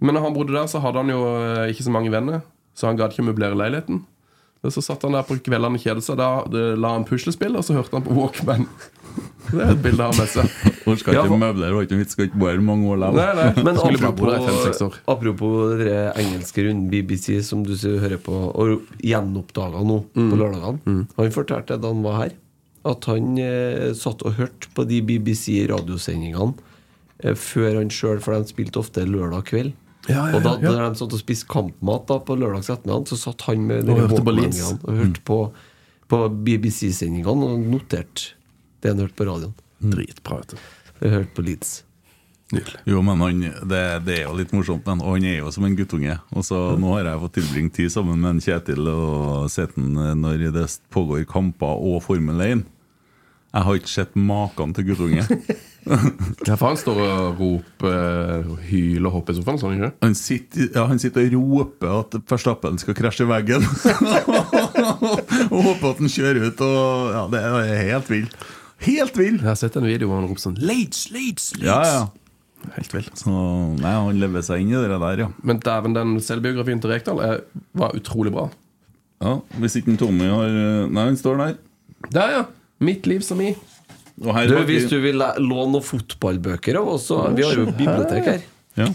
Speaker 5: Men når han bodde der, så hadde han jo eh, ikke så mange venner, så han gadd ikke å møblere leiligheten. Og Så satt han der på kveldene og kjedet seg. Da eh, la han puslespill, og så hørte han på Walkman. <laughs> Det er et bilde av med seg.
Speaker 3: Hun skal
Speaker 6: Ja,
Speaker 3: ikke
Speaker 6: for-
Speaker 3: møbler, hun skal ikke bo her mange år
Speaker 5: Nei,
Speaker 3: likevel.
Speaker 5: nei.
Speaker 6: Men
Speaker 5: Skulle bare bo der i fem-seks
Speaker 6: apropos,
Speaker 5: år.
Speaker 6: apropos det der engelske runden BBC som du sier hører på, og gjenoppdaga nå
Speaker 5: Mm.
Speaker 6: på lørdagene Han fortalte da han var her, at han eh, satt og hørte på de BBC-radiosendingene eh, før han sjøl, for de spilte ofte lørdag kveld.
Speaker 5: Ja, ja,
Speaker 6: og da
Speaker 5: ja, ja.
Speaker 6: når de satt og spiste kampmat da, på lørdags ettermiddag, så satt han med
Speaker 5: Og
Speaker 6: de
Speaker 5: hørte på
Speaker 6: Walkman-ene
Speaker 5: Leeds. Mm.
Speaker 6: og hørte på, på BBC-sendingene og noterte det han hørte på radioen.
Speaker 5: Dritbra, vet du.
Speaker 6: Jeg hørte på Leeds.
Speaker 5: Nydelig.
Speaker 3: Jo, men han, det, det er jo litt morsomt, men han er jo som en guttunge. Og så Nå har jeg fått tilbringt tid sammen med en Kjetil og sett han eh, når det pågår kamper og Formel 1. Jeg har ikke sett maken til guttunge.
Speaker 5: Ja, for han står og roper, hyler og hopper i sofaen, sånn, ikke?
Speaker 3: Han sitter, ja, han sitter og roper at Verstappen skal krasje i veggen. <laughs> og håper at han kjører ut. Og, ja, det er helt vill. Helt vill!
Speaker 5: Jeg har sett en video hvor han roper sånn Leeds, Leeds, Leeds!
Speaker 3: Ja, ja.
Speaker 5: Helt vilt.
Speaker 3: Så, nei, han lever seg inn i det der, ja.
Speaker 5: Men dæven, den selvbiografien til Rekdal er- var utrolig bra.
Speaker 3: ja hvis ikke en Tommy har eh, Nei, han står der.
Speaker 5: Der, ja! Mitt liv som i.
Speaker 3: Og her
Speaker 6: Du,
Speaker 3: bak i-
Speaker 6: hvis du vil læ- låne noen fotballbøker av oss, så Vi har jo bibliotek her.
Speaker 3: ja.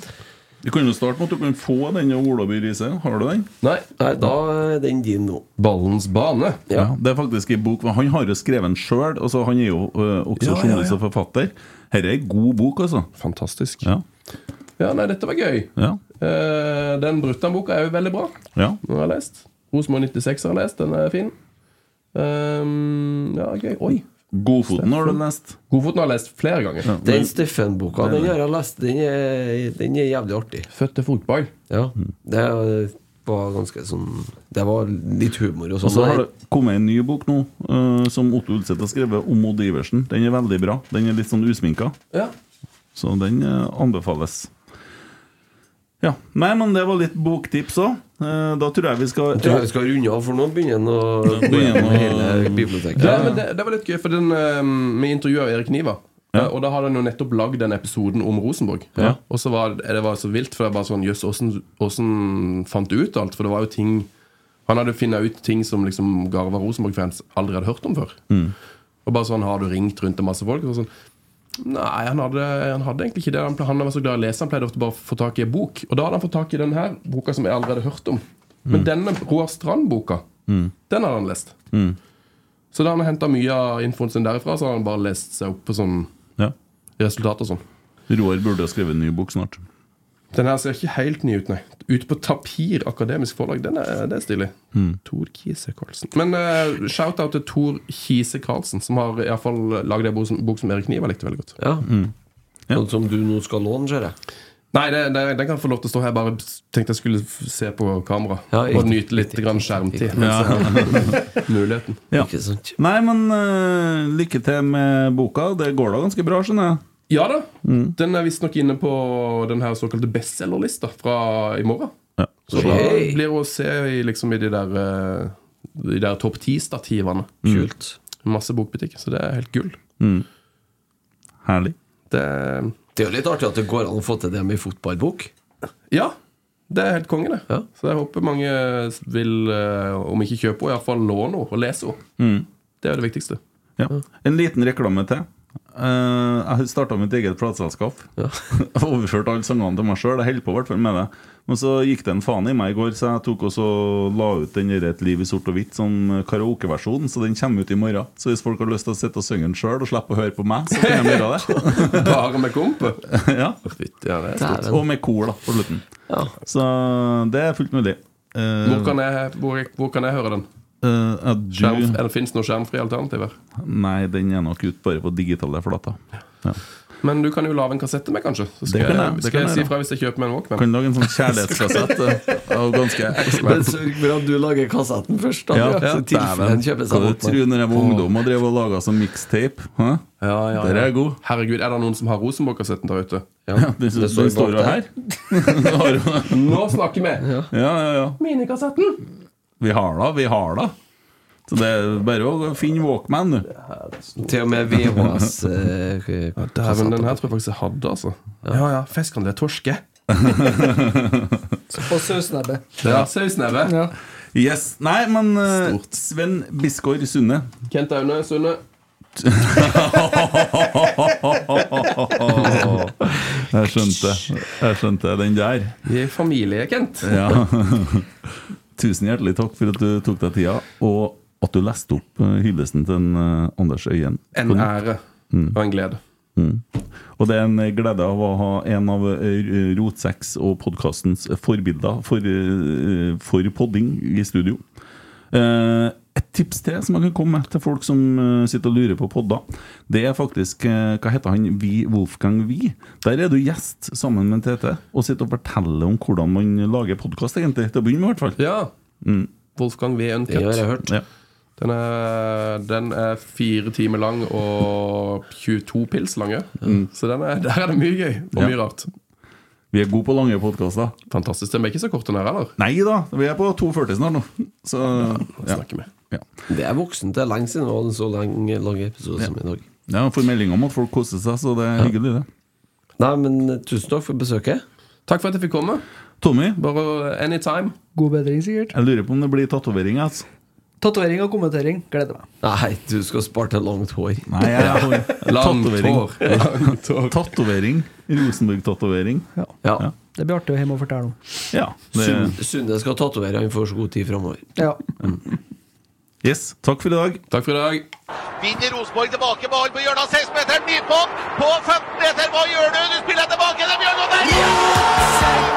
Speaker 3: Du kan jo starte med at du kan få den av Ola By Riise. Har du den?
Speaker 5: Nei.
Speaker 6: Nei, da er den din nå.
Speaker 5: Ballens bane.
Speaker 6: Ja.
Speaker 3: Det er faktisk en bok men Han har jo skrevet den sjøl. Altså, han er jo øh, også
Speaker 5: Ja, ja,
Speaker 3: journalist
Speaker 5: ja.
Speaker 3: og forfatter. Dette er en god bok, altså.
Speaker 5: Fantastisk. Ja,
Speaker 3: Ja.
Speaker 5: nei, dette var gøy.
Speaker 3: Ja.
Speaker 5: Eh, den Bruttan-boka er jo veldig bra.
Speaker 3: ja.
Speaker 5: Den har jeg lest. Rosenborg 96 har jeg lest. Den er fin. Ehm, ja, gøy. Oi.
Speaker 3: Godfoten har du lest.
Speaker 5: Godfoten har jeg lest flere ganger.
Speaker 6: Den Steffen-boka, den har jeg lest. Den er, den er jævlig artig.
Speaker 5: Født til fotball.
Speaker 6: Ja.
Speaker 3: Mm.
Speaker 6: Det var ganske sånn Det var litt humor og
Speaker 3: Og så har
Speaker 6: sånn.
Speaker 3: det kommet en ny bok nå, eh, som Otto Ulseth har skrevet, om Odd Iversen. Den er veldig bra. Den er litt sånn usminka,
Speaker 5: Ja.
Speaker 3: så den eh, anbefales. Ja. Nei, men det var litt boktips òg. Da tror jeg vi skal
Speaker 6: Jeg tror jeg vi skal runde av, for nå begynner den å gå
Speaker 3: Begynner
Speaker 6: gjennom
Speaker 3: å-
Speaker 6: hele biblioteket.
Speaker 5: Det, men det, det var litt gøy, for den, eh, vi intervjuet Erik Niva. Eh, Og da hadde han jo nettopp lagd den episoden om Rosenborg.
Speaker 3: Ja.
Speaker 5: Og så var det det var så vilt, for det var bare sånn Jøss, åssen- åssen fant du ut alt? For det var jo ting Han hadde funnet ut ting som liksom Garva Rosenborg-fans aldri hadde hørt om før.
Speaker 3: Mm.
Speaker 5: Og bare sånn Har du ringt rundt til masse folk? Og sånn Nei, han hadde, han hadde egentlig ikke det. Han, ple- han var så glad i å lese, han pleide ofte bare å få tak i en bok. Og da hadde han fått tak i den her boka som jeg allerede hørte om. Men
Speaker 3: Mm.
Speaker 5: denne Roar Strand-boka, den hadde han lest. Så da har han henta mye av infoen sin derifra, så har han bare lest seg opp på sånn
Speaker 3: Ja.
Speaker 5: resultat og sånn.
Speaker 3: Roar burde ha skrevet en ny bok snart.
Speaker 5: Den her ser ikke helt ny ut, nei. Ut på tapir akademisk forlag. Den er, det er stilig. Tor Kise Karlsen. Men eh, shout-out til Tor Kise Karlsen, som har iallfall lagd ei bok, som- bok som Erik Niva likte veldig godt.
Speaker 6: Ja.
Speaker 3: Mm.
Speaker 6: Sånn som du nå skal låne, ser jeg.
Speaker 5: Nei, det, det, den kan få lov til å stå her. Jeg bare tenkte jeg skulle f- se på kamera.
Speaker 6: Ja, riktig,
Speaker 5: og nyte litt
Speaker 6: riktig,
Speaker 5: grann
Speaker 6: riktig,
Speaker 5: skjermtid.
Speaker 6: riktig.
Speaker 5: mens jeg har <laughs> Muligheten.
Speaker 3: Ja.
Speaker 6: Ikke sant?
Speaker 3: Nei, men eh, lykke til med boka. Det går da ganske bra, skjønner jeg.
Speaker 5: Ja da. Den er visstnok inne på den her såkalte bestselgerlista fra i morgen.
Speaker 3: Ja.
Speaker 5: Så
Speaker 6: Hey.
Speaker 5: da blir hun å se i, liksom, i de der, eh, de der topp ti-stativene.
Speaker 3: Mm.
Speaker 6: Kult.
Speaker 5: Masse bokbutikk, så det er helt gull.
Speaker 3: Herlig.
Speaker 5: Det,
Speaker 6: Det er jo litt artig at det går an å få til det med fotballbok.
Speaker 5: ja, det er helt konge, det.
Speaker 6: Ja.
Speaker 5: Så jeg håper mange vil, eh, om ikke kjøpe henne, iallfall låne henne og lese henne.
Speaker 3: Mm.
Speaker 5: Det er jo det viktigste. <laughs>
Speaker 3: Ja. En liten reklame til. Eh, jeg har starta mitt eget plateselskap. <laughs> Overført alle sangene til meg sjøl. Jeg holder på i hvert fall med det. Men så gikk det en faen i meg i går, så jeg tok også la ut den der 'Et liv i sort og hvitt' som karaokeversjon. Så den kommer ut i morgen. Så hvis folk har lyst til å sitte og synge den sjøl og slippe å høre på meg, så kan de gjøre
Speaker 5: <laughs>
Speaker 3: det.
Speaker 5: Bare med komp.
Speaker 3: ja.
Speaker 5: Fytti, ja, det er stort.
Speaker 3: Og med kor, da, på slutten. Så det er fullt mulig. Eh,
Speaker 5: Hvor kan jeg, hvor, hvor kan jeg høre den?
Speaker 3: eh, at du-
Speaker 5: Skjerm, er det Fins noen skjermfrie alternativer?
Speaker 3: Nei, den er nok ute bare på digitale flater. Ja.
Speaker 5: Men du kan jo lage en kassette med, kanskje. Så skal
Speaker 3: Det kan jeg,
Speaker 5: jeg,
Speaker 3: det
Speaker 5: skal
Speaker 3: kan
Speaker 5: jeg
Speaker 3: jeg
Speaker 5: si
Speaker 3: da.
Speaker 5: fra hvis jeg kjøper meg en Walkman.
Speaker 3: Kan lage en sånn kjærlighetskassett eh, av ganske
Speaker 6: Men sørg for at du lager kassetten først, da.
Speaker 3: sånn, Ja,
Speaker 6: så tilfelle
Speaker 3: dæven.
Speaker 6: en kjøper seg
Speaker 3: Hva du
Speaker 6: Walkman.
Speaker 3: tror når jeg var ungdom og drev og laga sånn mixtape? Hæ?
Speaker 5: Ja,
Speaker 3: Der er jeg god.
Speaker 5: Herregud, er det noen som har Rosenborg-kassetten der ute?
Speaker 3: Ja, den den
Speaker 6: står jo
Speaker 3: står jo
Speaker 6: bak
Speaker 3: her. Den har jo-
Speaker 5: Nå snakker vi!
Speaker 3: ja, ja, ja.
Speaker 5: Minikassetten!
Speaker 3: Vi har da, vi har da. Så det er bare å finne Walkman, du.
Speaker 6: Til og med VHS eh,
Speaker 5: Dæven, den her tror jeg faktisk jeg hadde, altså. Ja ja, fiskene, det er torske.
Speaker 4: Og sausnebbe.
Speaker 5: Det er sausneve.
Speaker 4: Ja.
Speaker 3: Yes. Nei, men eh,
Speaker 5: Stort.
Speaker 3: Sven Biskår Sunde
Speaker 5: Kent Aune Sunde.
Speaker 3: Jeg skjønte. Jeg skjønte den der.
Speaker 5: I familie, Kent.
Speaker 3: Ja. <laughs> Tusen hjertelig takk for at du tok deg tida, og at du leste opp eh, hyllesten til en, eh, Anders Øyen.
Speaker 5: En ære
Speaker 3: Mm.
Speaker 5: og en glede.
Speaker 3: Og det er en glede av å ha en av eh, Rotsex og podkastens forbilder for, eh, for podding i studio. Eh, Et tips til som jeg kan komme med til folk som eh, sitter og lurer på podder, det er faktisk eh, Hva heter han? Vi, Wolfgang Vi. Der er du gjest sammen med Tete og sitter og forteller om hvordan man lager podkast, egentlig. Til å begynne med, i hvert fall.
Speaker 5: Ja.
Speaker 3: Mm.
Speaker 5: Wolfgang V.
Speaker 6: Det har
Speaker 5: Uncut.
Speaker 6: jeg hørt.
Speaker 3: Ja.
Speaker 5: Den er, den er fire timer lang og 22 pils lange. Så den er, der er det mye gøy og mye
Speaker 3: Mm. Ja.
Speaker 5: rart.
Speaker 3: Vi er gode på lange podkaster.
Speaker 5: Fantastisk. Den er ikke så kort, den her, eller?
Speaker 3: Nei da, vi er på 2,40 snart nå. Så
Speaker 5: Jeg
Speaker 3: ja.
Speaker 5: snakker med.
Speaker 3: ja.
Speaker 6: Det er voksent. Det er lenge siden det var en så lang, lang episode som i dag.
Speaker 3: Ja, Jeg får melding om at folk koser seg, så det er hyggelig, det.
Speaker 6: Nei, men eh, tusen takk for besøket.
Speaker 5: Takk for at jeg fikk komme.
Speaker 3: Tommy,
Speaker 5: Bare anytime.
Speaker 4: God bedring, sikkert.
Speaker 3: jeg lurer på om det blir tatovering. Altså.
Speaker 4: Tatovering og kommentering. Gleder meg.
Speaker 6: Nei, du skal spare til langt hår.
Speaker 3: Nei, jeg <laughs>
Speaker 5: Langt hår. Langt hår.
Speaker 3: Tatovering. Rosenborg-tatovering.
Speaker 6: Ja.
Speaker 3: Ja.
Speaker 4: Det blir artig å hjem og fortelle om.
Speaker 3: Ja.
Speaker 6: Sun-
Speaker 3: Det,
Speaker 6: Sunde skal tatovere, han får så god tid framover.
Speaker 4: Ja.
Speaker 3: yes, takk for i dag.
Speaker 5: Takk for i dag.
Speaker 2: Vinner Rosenborg tilbake ball på hjørnet av 16-meteren. Nypott på 15-meter. Hva gjør du? Du spiller tilbake til Bjørnov der! Ja!